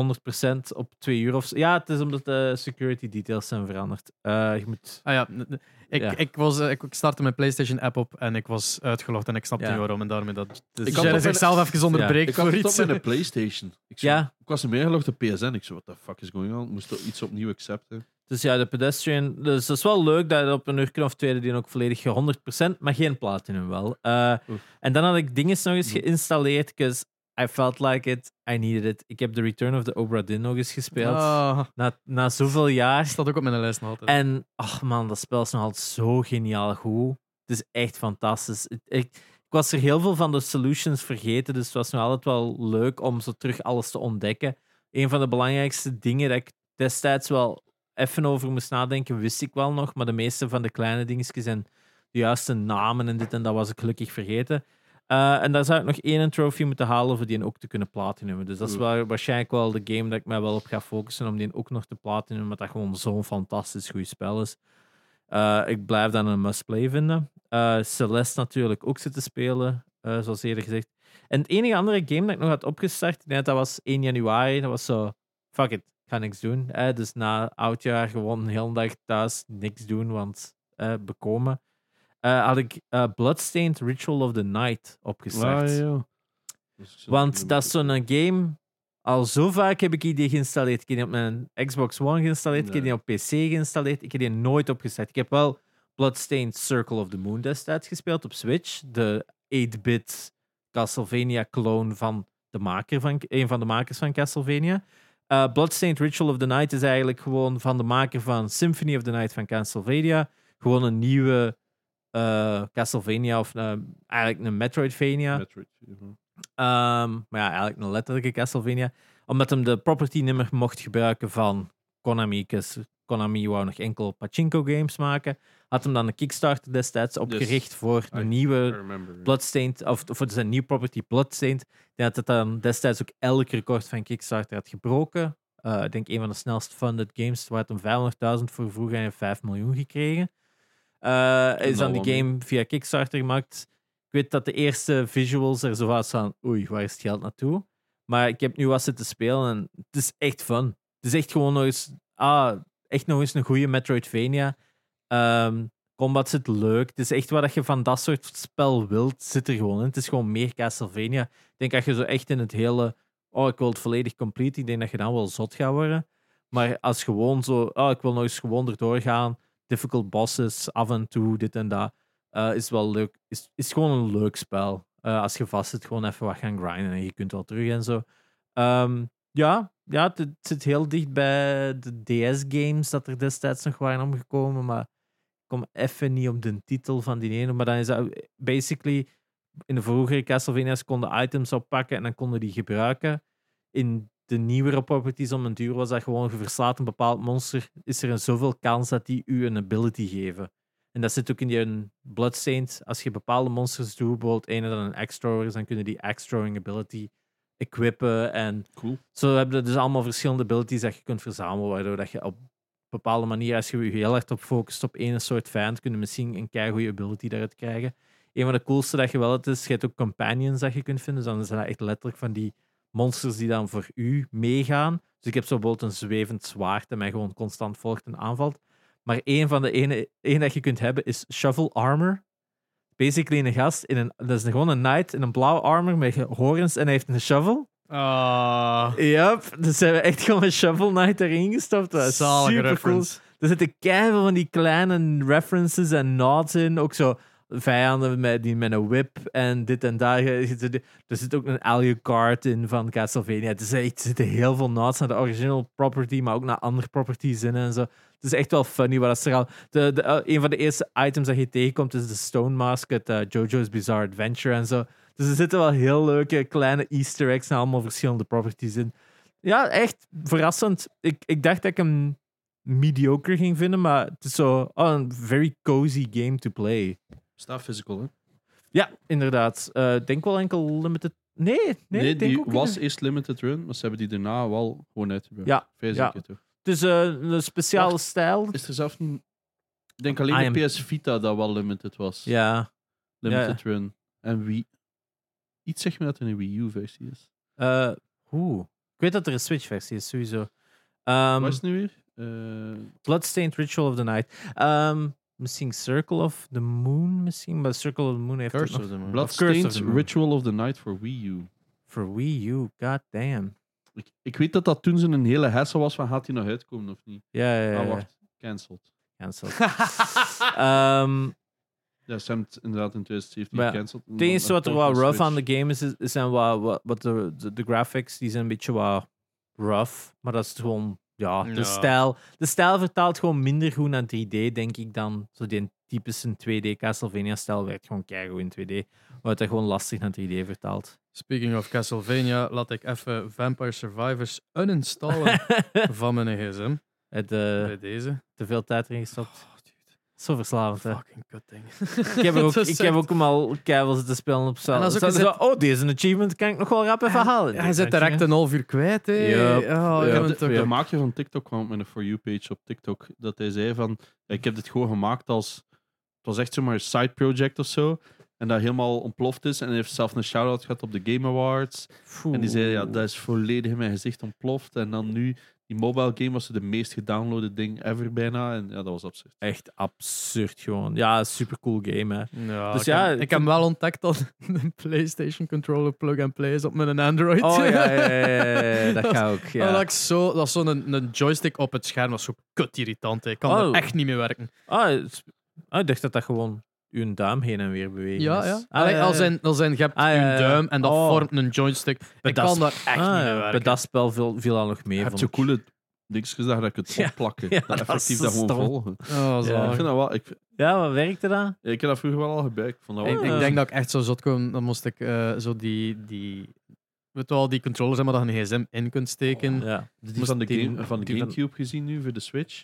100% op twee uur of zo. Ja, het is omdat de security details zijn veranderd. Eh, je moet...
Ah ja, n- n- ik,
Ja.
Ik, was, eh, ik ik startte mijn PlayStation app op en ik was uitgelogd en ik snapte
Ja.
niet waarom en daarmee dat.
dus-
Ik
Ik
had
had
Jij
op
zichzelf even onderbreekt
Ik had
voor
het op
iets.
met een Playstation. Ik, zo-
Ja,
ik was hem ingelogd op PSN. Ik zo, what the fuck is going on? Ik moest toch iets opnieuw accepten.
dus ja, de pedestrian. Dus dat is wel leuk dat je op een uur of tweede die ook volledig ge- 100%, maar geen platinum wel. Eh,
Oef.
en dan had ik dingen nog eens geïnstalleerd, because I felt like it, I needed it. Ik heb The Return of the Obra Dinn nog eens gespeeld.
Ah,
Na, na zoveel jaar.
staat ook op mijn lijst nog altijd.
En, ach man, dat spel is nog altijd zo geniaal goed. Het is echt fantastisch. Het- Ik, ik was er heel veel van de solutions vergeten, dus het was nog altijd wel leuk om zo terug alles te ontdekken. Een van de belangrijkste dingen dat ik destijds wel even over moest nadenken, wist ik wel nog, maar de meeste van de kleine dingetjes en de juiste namen en dit en dat was ik gelukkig vergeten. Eh, en daar zou ik nog één trofee moeten halen voor die ook te kunnen platinumen. Dus dat is
Oeh.
wel, waarschijnlijk wel de game dat ik mij wel op ga focussen om die ook nog te platinumen, omdat dat gewoon zo'n fantastisch goed spel is. Eh, ik blijf dat een must-play vinden. Eh, Celeste natuurlijk ook zitten spelen, eh, zoals eerder gezegd. En het enige andere game dat ik nog had opgestart, ik denk dat dat was 1 januari, dat was zo, fuck it, ik ga niks doen. Eh, dus na oudjaar gewoon een hele dag thuis niks doen, want eh, bekomen. Eh, had ik eh, Bloodstained Ritual of the Night
Ah,
opgestart.
Dus
Want dat is zo'n game. Al zo vaak heb ik die geïnstalleerd. Ik heb die op mijn Xbox One geïnstalleerd. Ik heb die op PC geïnstalleerd. Ik heb die nooit opgestart. Ik heb wel Bloodstained Circle of the Moon destijds gespeeld op Switch. De 8-bit Castlevania-clone van, de maker van een van de makers van Castlevania. Eh, Bloodstained Ritual of the Night is eigenlijk gewoon van de maker van Symphony of the Night van Castlevania. Gewoon een nieuwe eh, Castlevania of eh, eigenlijk een Metroidvania.
Metroid, ja.
Ehm, maar ja, eigenlijk een letterlijke Castlevania. Omdat hem de property nimmer mocht gebruiken van Konami. 'cause Konami wou nog enkel pachinko games maken. Had hem dan een Kickstarter destijds opgericht voor
I
een
I
nieuwe
remember.
Bloodstained, of voor zijn nieuwe property Bloodstained. Ik denk dat het dan destijds ook elk record van Kickstarter had gebroken. Eh, ik denk een van de snelst funded games, waar het hem 500.000 voor vroeg en 5 miljoen gekregen. Eh, is dan
wel
die
wat
game via Kickstarter gemaakt. Ik weet dat de eerste visuals er zo uit staan. Oei, waar is het geld naartoe? Maar ik heb nu wat zitten spelen en het is echt fun. Het is echt gewoon nog eens, ah, echt nog eens een goede Metroidvania. Ehm, combat zit leuk. Het is echt wat je van dat soort spel wilt, zit er gewoon in. Het is gewoon meer Castlevania. Ik denk dat je zo echt in het hele, oh, ik wil het volledig complete. Ik denk dat je dan wel zot gaat worden. Maar als gewoon zo, oh, ik wil nog eens gewoon erdoor gaan, difficult bosses, af en toe, dit en dat, eh, is wel leuk. Is, is gewoon een leuk spel. Eh, als je vast zit, gewoon even wat gaan grinden en je kunt wel terug en zo. Ehm, ja, ja, het, het zit heel dicht bij de DS-games dat er destijds nog waren omgekomen, maar ik kom even niet op de titel van die ene. Maar dan is dat basically, in de vroegere Castlevania's konden items oppakken en dan konden die gebruiken. In de nieuwere properties om een duur was dat gewoon, je verslaat een bepaald monster, is er een zoveel kans dat die u een ability geven. En dat zit ook in die Bloodstained. Als je bepaalde monsters doet, bijvoorbeeld ene dat een extra is, dan kunnen die extraing ability equippen en
Cool.
zo heb je dus allemaal verschillende abilities dat je kunt verzamelen, waardoor dat je op bepaalde manier, als je je heel erg op focust op één soort vijand, kun je misschien een keigoede ability daaruit krijgen. Een van de coolste dat je wel het is, je hebt ook companions dat je kunt vinden, dus dan zijn dat echt letterlijk van die monsters die dan voor u meegaan. Dus ik heb zo bijvoorbeeld een zwevend zwaard dat mij gewoon constant volgt en aanvalt. Maar één van de ene één dat je kunt hebben is shovel armor. Basically een gast, in een, dat is gewoon een knight in een blauwe armor met horens en hij heeft een shovel.
Ah,
Yep, dus ze hebben echt gewoon Shovel Knight erin gestopt. Dat is
zalige
super cool.
reference.
Er zitten keihard van die kleine references en nods in. Ook zo vijanden met, die met een whip en dit en daar. Je- je- je- Er zit ook een Alucard in van Castlevania. Het is echt, er zitten heel veel nods naar de original property, maar ook naar andere properties in en zo. Het is echt wel funny wat ze er al... De, de, eh, een van de eerste items dat je tegenkomt is de Stone Mask uit eh, JoJo's Bizarre Adventure en zo. Dus er zitten wel heel leuke kleine easter eggs en allemaal verschillende properties in. Ja, echt verrassend. Ik, ik dacht dat ik hem mediocre ging vinden, maar het is zo oh, een very cozy game to play.
Staat physical, hè?
Ja, inderdaad. Eh, Ik denk wel enkel limited. Nee, nee,
Nee,
ik denk
die
ook niet.
was eerst limited run, maar ze hebben die daarna wel gewoon uitgebracht.
Ja,
Vijf
ja.
keer toch?
Het is eh, een speciale
Wacht.
stijl.
Is er zelf niet... Ik denk alleen
I
de
am-
PS Vita dat wel limited was.
Ja.
Limited run. En Wii... Iets zegt me dat er een Wii U-versie is.
Eh, Oeh. Ik weet dat er een Switch-versie is, sowieso. Ehm,
Wat is het nu weer? Eh,
Bloodstained Ritual of the Night. Ehm, misschien Circle of the Moon, misschien. Maar Circle of the Moon heeft ook
Curse
nog-
of the Moon.
Curse of
Bloodstained
the Moon.
Ritual of the Night for Wii U.
Voor Wii U, god damn.
Ik, ik weet dat dat toen ze een hele hassel was van gaat die nog uitkomen of niet.
Ja, ja, ja.
Ah,
ja.
wacht. Cancelled.
Cancel. Ehm,
Ja, ze hebben het inderdaad in 2017
Maar ja,
gecanceld.
Het enige wat er wat rough aan de game is, is- zijn wat, wat, wat de, de, de graphics, die zijn een beetje wat rough. Maar dat is gewoon, ja, de
Ja.
stijl. De stijl vertaalt gewoon minder goed naar 3D, denk ik, dan zo die typische 2D Castlevania-stijl werkt gewoon keigoed in 2D. Wat dat gewoon lastig naar 3D vertaalt.
Speaking of Castlevania, laat ik even Vampire Survivors uninstallen van mijn gsm.
Het, eh,
Bij deze.
te veel tijd erin gestopt.
Oh, dude.
Zo verslavend, hè.
Fucking kut ding.
Ik heb, er ook,
Dat is
ik heb
echt-
ook hem al keihard zitten spelen op
En
zelf.
als ook
Zo,
eens
zo, oh, deze achievement kan ik nog wel rap even halen.
Hij zit direct een half uur kwijt, hè.
Yup.
Oh, ik
Yup.
heb het
De,
ook-
de maakje van TikTok kwam met een For You-page op TikTok. Dat hij zei van, ik heb dit gewoon gemaakt als... Het was echt zomaar een side project of zo. En dat helemaal ontploft is. En hij heeft zelf een shout-out gehad op de Game Awards. En die zei, ja, dat is volledig in mijn gezicht ontploft. En dan nu, die mobile game was de meest gedownloade ding ever bijna. En ja, dat was absurd.
Echt absurd gewoon. Ja, super cool game, hè.
Ja,
Dus
ik,
ja,
heb, ik
het-
heb hem wel ontdekt dat een PlayStation controller plug-and-play is op mijn Android.
Oh ja, ja, ja, ja, ja, dat
Dat-
gaat ook.
Maar
Ja.
Dat, ik zo, dat zo'n een, joystick op het scherm was zo kut irritant. hè. Ik kan
Oh.
er echt niet mee werken.
Ah, het is- ah, ik dacht dat dat gewoon uw duim heen en weer beweegt.
Ja, ja. Allee,
Ah, ja,
Al
ja.
zijn, al zijn, je hebt
Ah, ja,
je
ja, ja.
duim en dat
Oh.
vormt een joystick.
Bij
ik
dat
kan
sp-
daar echt
Ah,
niet mee
ja,
werken.
Bij dat spel viel, viel al nog mee.
Je hebt
vond
zo
ik.
coole dingetjes dat je kunt
Ja.
opplakken.
Ja,
dat
dat is
effectief
zo
dat gewoon
stom.
volgen.
Oh,
Ja.
Ik,
zalig.
vind dat wel, ik,
Ja, wat werkte dat?
ik heb dat vroeger wel al gebruikt. Ik vond dat wel eh,
Ik-
Ik
Ja.
denk dat ik echt zo zot kwam. Dan moest ik eh, zo die, die... Weet wel, die controllers hebben waar dat je een gsm in kunt steken.
Oh, Ja.
Die van de,
die-
game, van de
die van-
Gamecube gezien nu voor de Switch.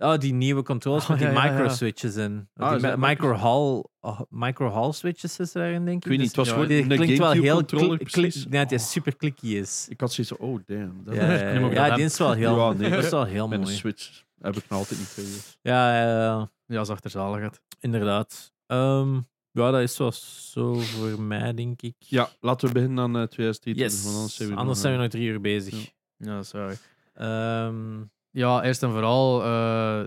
Oh, die nieuwe controls
Oh,
met die
ja, ja, ja.
micro-switches in.
Ah,
die
is dat
mi- micro-hall oh, micro switches is daarin, denk ik. Dus
Ik weet niet, het was
ja,
gewoon
die
een
klinkt wel heel
Gamecube-controller
kli- kli-
precies.
ja, die super clicky is.
Ik had zoiets van, oh damn. Dat
Ja, ja, ja.
Nu moet ik
Ja, die
dat hebben.
is wel heel,
Ja, nee,
dat is wel heel
Met een
mooi.
Switch heb ik nog altijd niet gegeven.
Ja, ja, ja.
Ja, is achterzalig. het.
Inderdaad. Ehm, ja, dat is wel zo voor mij, denk ik.
Ja, laten we beginnen aan eh, 2023.
yes.
want anders zijn we eh,
nog drie uur bezig.
Ja, sorry.
Ehm,
Ja, eerst en vooral... eh,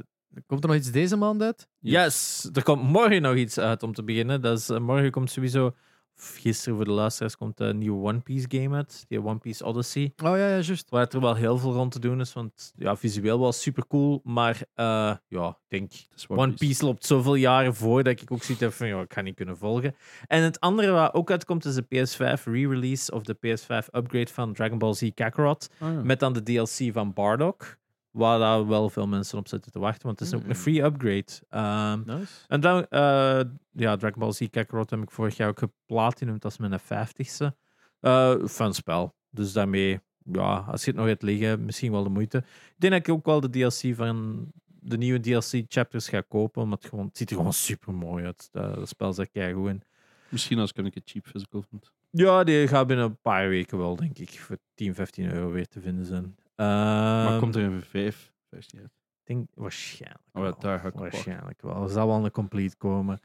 komt er nog iets deze maand uit?
yes. er komt morgen nog iets uit om te beginnen. Dat is, eh, morgen komt sowieso gisteren voor de luisteraars komt een nieuwe One Piece game uit, die One Piece Odyssey.
Oh ja, ja juist.
Waar het er wel heel veel rond te doen is, want ja, visueel was super cool, maar eh, ja, ik denk
Het is
One Piece loopt zoveel jaren voor dat ik ook zoiets heb van, ja, ik ga niet kunnen volgen. En het andere waar ook uitkomt is de PS5 re-release of de PS5 upgrade van Dragon Ball Z Kakarot.
Ah, ja.
Met dan de DLC van Bardock. Waar daar wel veel mensen op zitten te wachten, want het is ook
Mm.
een free upgrade. Ehm,
Nice.
en dan, eh, ja, Dragon Ball Z Kakarot heb ik vorig jaar ook geplatinumd. Dat is mijn vijftigste. Eh fun spel. Dus daarmee, ja, als je het nog hebt liggen, misschien wel de moeite. Ik denk dat ik ook wel de DLC van de nieuwe DLC chapters ga kopen, omdat het, gewoon, het ziet er gewoon super mooi uit. Dat, dat spel zit kei goed in.
Misschien als ik hem een keer cheap physical vind.
Ja, die gaat binnen een paar weken wel, denk ik, voor 10, 15 euro weer te vinden zijn.
maar
Ehm,
komt er een V5? Vijftien uit.
Ik denk waarschijnlijk.
Oh ja,
wel.
daar ga ik op
Waarschijnlijk wel. Er zal wel een complete komen.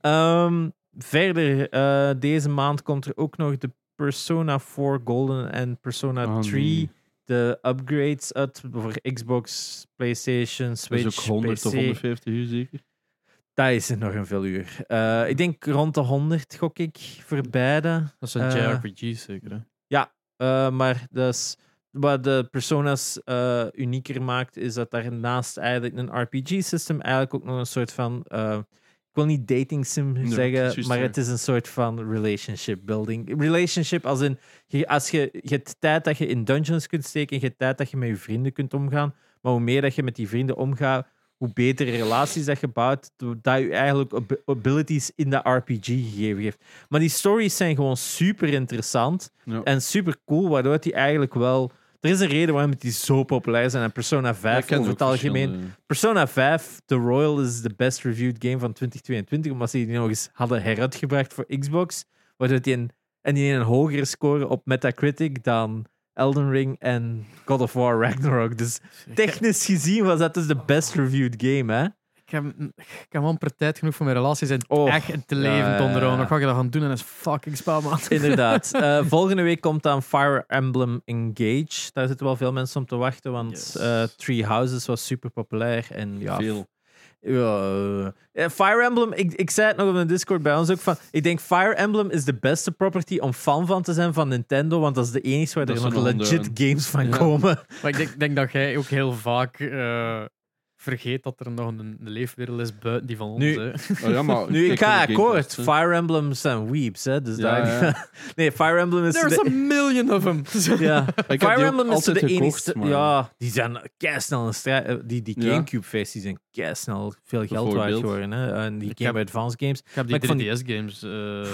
Ehm, verder, eh, deze maand komt er ook nog de Persona 4 Golden en Persona
Oh,
3.
nee.
De upgrades uit voor Xbox, PlayStation,
Dat
Switch.
is ook 100
PC.
of 150 uur zeker.
Dat is er nog een veel uur. Eh, ik denk rond de 100, gok ik, voor beide.
Dat zijn
Eh,
JRPG zeker. Hè?
Eh, maar dat is, wat de persona's eh, unieker maakt, is dat daarnaast eigenlijk een RPG-system eigenlijk ook nog een soort van. eh, ik wil niet dating sim
Nee, het is
zeggen,
juist,
maar
ja.
het is een soort van relationship building. Relationship als in, je, als je, je hebt tijd dat je in dungeons kunt steken, je hebt tijd dat je met je vrienden kunt omgaan, maar hoe meer dat je met die vrienden omgaat, hoe betere relaties dat je bouwt, dat je eigenlijk ab- abilities in de RPG gegeven geeft. Maar die stories zijn gewoon super interessant
Ja.
en super cool, waardoor die eigenlijk wel. Er is een reden waarom die zo populair zijn. En Persona
Ja,
5
ik ken
over
ook
het algemeen.
verschillende-
Persona 5, The Royal, is de best reviewed game van 2022. Omdat ze die nog eens hadden heruitgebracht voor Xbox. Waardoor die een, en die een hogere score op Metacritic dan Elden Ring en God of War Ragnarok. Dus technisch gezien was dat dus de best reviewed game, hè?
Ik heb, ik heb amper tijd genoeg voor mijn relaties en
Oh,
echt in te
ja,
leven
ja, ja.
donderen. Wat ga je dat gaan doen? En dat is fucking spel, man.
Inderdaad. Eh, volgende week komt dan Fire Emblem Engage. Daar zitten wel veel mensen om te wachten, want
Yes.
eh, Three Houses was super populair. En ja,
Veel.
Ja, eh, Fire Emblem, ik, ik zei het nog op een Discord bij ons ook van. Ik denk Fire Emblem is de beste property om fan van te zijn van Nintendo, want dat is de enige waar
Dat
er
is
nog
een
legit
honderd.
games van
Ja.
komen.
Maar ik denk, denk dat jij ook heel vaak eh, vergeet dat er nog een, een leefwereld is buiten die van ons.
Nu-
hè.
Oh, ja, maar
Nu, ik
kijk naar
ga
de
akkoord.
Gamecast, hè.
Fire Emblems zijn weeps, hè? Dus
eh. Ja,
daar,
ja.
nee, Fire Emblem is.
There's a
De,
million of them.
ja.
Ik heb
Fire
die ook
Emblem is zo
altijd
de
gekocht,
enige.
maar-
Ja, die zijn keisnel een strijd. eh, Die, die
Ja.
Gamecube-versies zijn keisnel veel geld waard
Bijvoorbeeld.
geworden. Hè? En die
Ik
Game
heb-
Advance games.
Ik heb
Maar
die
ik vond-
3DS-games.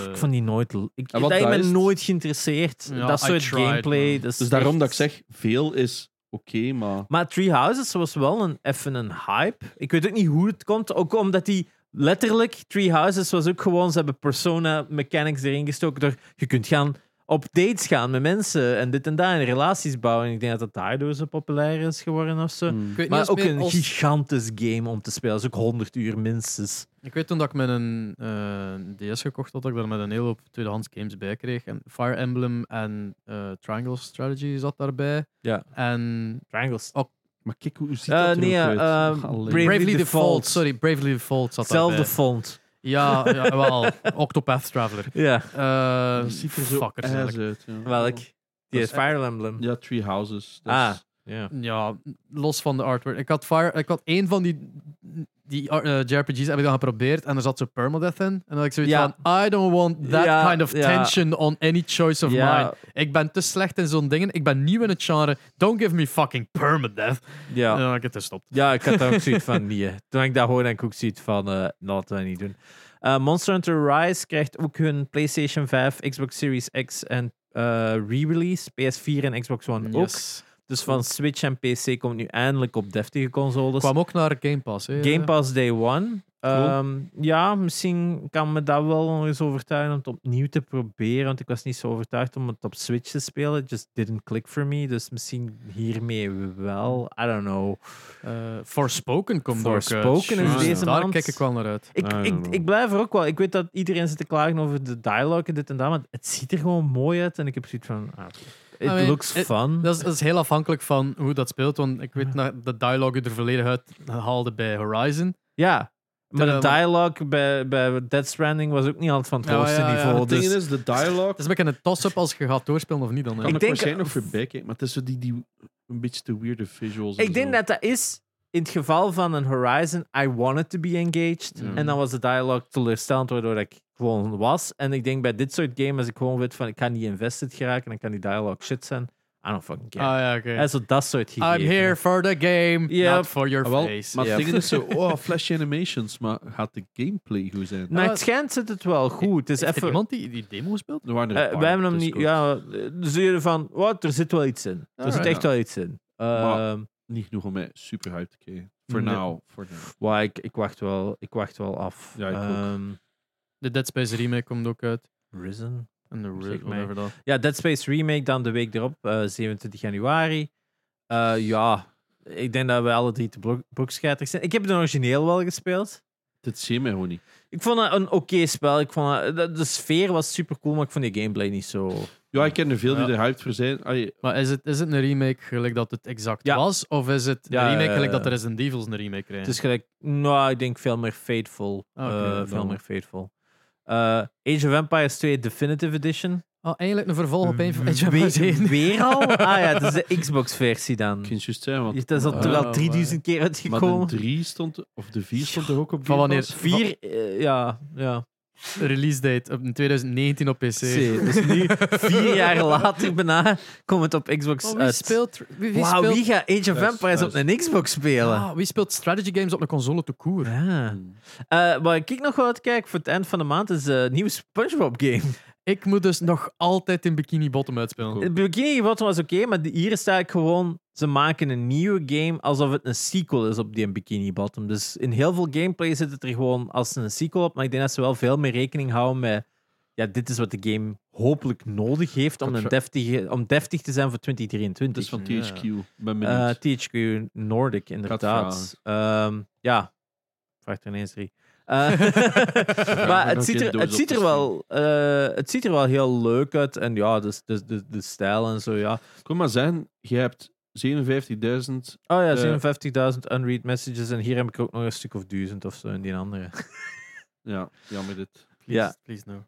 Ik vond die nooit. l- Ik,
Eh, En
dat
wat
heeft
dat
me
is-
nooit geïnteresseerd.
Ja,
dat
I
soort
tried,
gameplay.
man.
Dat is
Dus daarom
echt-
dat ik zeg, veel is oké, maar...
Maar Three Houses was wel een, even een hype. Ik weet ook niet hoe het komt. Ook omdat die letterlijk, Three Houses was ook gewoon, ze hebben persona mechanics erin gestoken. Door, je kunt gaan op dates gaan met mensen en dit en dat en relaties bouwen. En ik denk dat dat daardoor zo populair is geworden of zo.
Hmm.
Maar ook een gigantisch game om te spelen. Dat is ook 100 uur minstens.
Ik weet toen dat ik met een eh, DS gekocht had, dat ik daar met een hele hoop tweedehands games bij kreeg. En Fire Emblem en eh, Triangle Strategy zat daarbij.
Ja.
En
Triangles.
Maar kijk, hoe ziet
Eh,
dat er
nee,
ook
eh,
uit?
ehm,
Allee.
Brave-
Bravely, Default.
Default.
Sorry, Bravely Default zat
Hetzelfde
daarbij.
font.
Ja, ja, wel. Octopath Traveler.
Ja,
Eh
Dat ziet er zo
fuckers,
ass
eigenlijk.
uit. Ja.
welk? Die is Fire Emblem.
Ja, Three Houses. Dat
Ah.
is-
Ja.
Ja, los van de artwork. Ik had, Fire, ik had één van die, die ar- eh, JRPG's heb ik dan geprobeerd en er zat zo permadeath in. En dan had ik zoiets
Ja.
van, I don't want that
Ja,
kind of
ja.
tension on any choice of
Ja.
mine. Ik ben te slecht in zo'n dingen. Ik ben nieuw in het genre. Don't give me fucking permadeath.
ja.
En dan had ik het gestopt.
Ja, ik had daar ook zoiets van nee. Toen ik dat hoorde, had ik ook zoiets van eh laten we niet doen. Eh, Monster Hunter Rise krijgt ook hun PlayStation 5, Xbox Series X en eh, re-release. PS4 en Xbox One ook.
Yes.
Dus van Switch en PC komt nu eindelijk op deftige consoles.
kwam ook naar Game Pass. Hè.
Game Pass Day One.
Cool.
Ehm, ja, misschien kan me dat wel nog eens overtuigen om het opnieuw te proberen. Want ik was niet zo overtuigd om het op Switch te spelen. It just didn't click for me. Dus misschien hiermee wel. I don't know.
Eh, Forspoken komt ook uit.
Forspoken
is
Juist,
deze
Daar
maand.
kijk ik wel naar uit.
Ik,
I
ik,
don't know.
ik blijf er ook wel. Ik weet dat iedereen zit te klagen over de dialogue en dit en dat, maar het ziet er gewoon mooi uit. En ik heb zoiets van, ah, it
mean,
looks
it-
fun.
Dat is, dat is heel afhankelijk van hoe dat speelt, want ik weet dat de dialogue er volledig uit haalde bij Horizon.
ja, Maar de
Terwijl-
dialogue bij, bij Dead Stranding was ook niet altijd van het
Ja,
hoogste
ja, ja.
niveau.
Het ding
dus
is, de dialogue
Het is een beetje een toss-up als je gaat doorspelen of niet dan. hè.
kan
Ik
ik,
denk-
waarschijnlijk nog voorbij kijken, maar het is zo die, die een beetje te weirde visuals. en
ik denk
zo.
dat dat is in het geval van een Horizon, I wanted to be engaged.
Ja.
En dan was de dialogue teleurstellend, waardoor ik gewoon was. En ik denk bij dit soort games, als ik gewoon weet van ik kan niet invested geraken, dan kan die dialogue shit zijn. I don't fucking care.
Ah ja, oké.
En zo dat soort
I'm
gegevenen.
here for the game,
Ja.
not for your
Ah, wel,
face.
maar
Ja.
het ding is zo, oh, flashy animations, maar gaat de gameplay goed zijn?
Naar het schijnt zit het wel goed. Het is
Heeft er
even
iemand die die demo speelt?
Er waren er een
Eh,
paar
wij hebben
op
hem niet.
Discord.
Ja, dus jullie van. Wat? Er zit wel iets in. Er zit
Alright.
echt wel iets in.
Maar-
Ehm,
Niet genoeg om mij super hype te krijgen. Voor
Nee.
now. For now.
waar ik, ik, wacht wel, ik wacht wel af.
Ja, ik ook.
Ehm,
De Dead Space remake komt ook uit.
Risen.
En de
Zeg
Rift,
mij.
whatever dat.
Ja, Dead Space Remake dan de week erop, eh, 27 januari. Eh, ja, ik denk dat we alle drie te blok- blokscheiterig zijn. Ik heb de origineel wel gespeeld.
Dit zie je mij gewoon niet.
Ik vond het een oké spel. Ik vond het- de, de sfeer was super cool, maar ik vond die gameplay niet zo.
Ja, ik ken er veel die
Ja.
er hyped voor zijn. Allee,
Maar is het, is het een remake gelijk dat het exact
Ja.
was? Of is het
Ja,
een
ja,
remake
ja.
gelijk dat de Resident Evils een remake krijgen?
Het is gelijk, nou, ik denk veel meer Fateful.
Ah, oké,
Eh,
dan
veel
wel.
meer Fateful. Eh, Age of Empires 2 Definitive Edition.
Oh, eindelijk een vervolg op een van Edge of
Weer-
Empires 1.
Weer al? Ah ja, het is de Xbox-versie dan.
ik kan het juist zijn, want
Het is al,
Oh,
terwijl
wauw.
3000 keer
maar de
uitgekomen.
3 stond, of de 4 stond er ook
Van
op. Game
wanneer?
Pass.
Vier, eh, ja, ja.
Release date op in 2019 op PC.
Zee, Dus nu, vier jaar later bijna, komt het op Xbox
Oh, wie
uit.
speelt... Wie, wie
Wauw,
speelt
wie gaat Age of
Thuis,
Empires op
thuis.
een Xbox spelen?
Ah, wie speelt strategy games op een console te koer?
Ja. Eh, waar ik nog wel uitkijk voor het eind van de maand is een nieuwe SpongeBob-game.
Ik moet dus nog altijd in Bikini Bottom uitspelen.
Cool.
Het begin was oké, maar die- hier is het eigenlijk gewoon... Ze maken een nieuwe game alsof het een sequel is op die Bikini Bottom. Dus in heel veel gameplay zit het er gewoon als een sequel op. Maar ik denk dat ze wel veel meer rekening houden met... Ja, dit is wat de game hopelijk nodig heeft om,
Dat
een
ver-
deftige, om deftig te zijn voor
Het
2023.
is van
Ja.
THQ. Ik Ben benieuwd.
Eh, THQ Nordic, inderdaad. Ehm, ja, vraag er ineens drie. Eh, maar
nog
het ziet,
geen
er,
doos
het,
op
ziet
te
er wel, eh, het ziet er wel heel leuk uit. En ja, de, de, de, de stijl en zo, ja.
Kom maar zijn, je hebt 57.000
Oh ja,
Eh,
57.000 unread messages. En hier heb ik ook nog een stuk of duizend of zo in die andere.
Ja, jammer dit.
Please,
Ja.
Please no.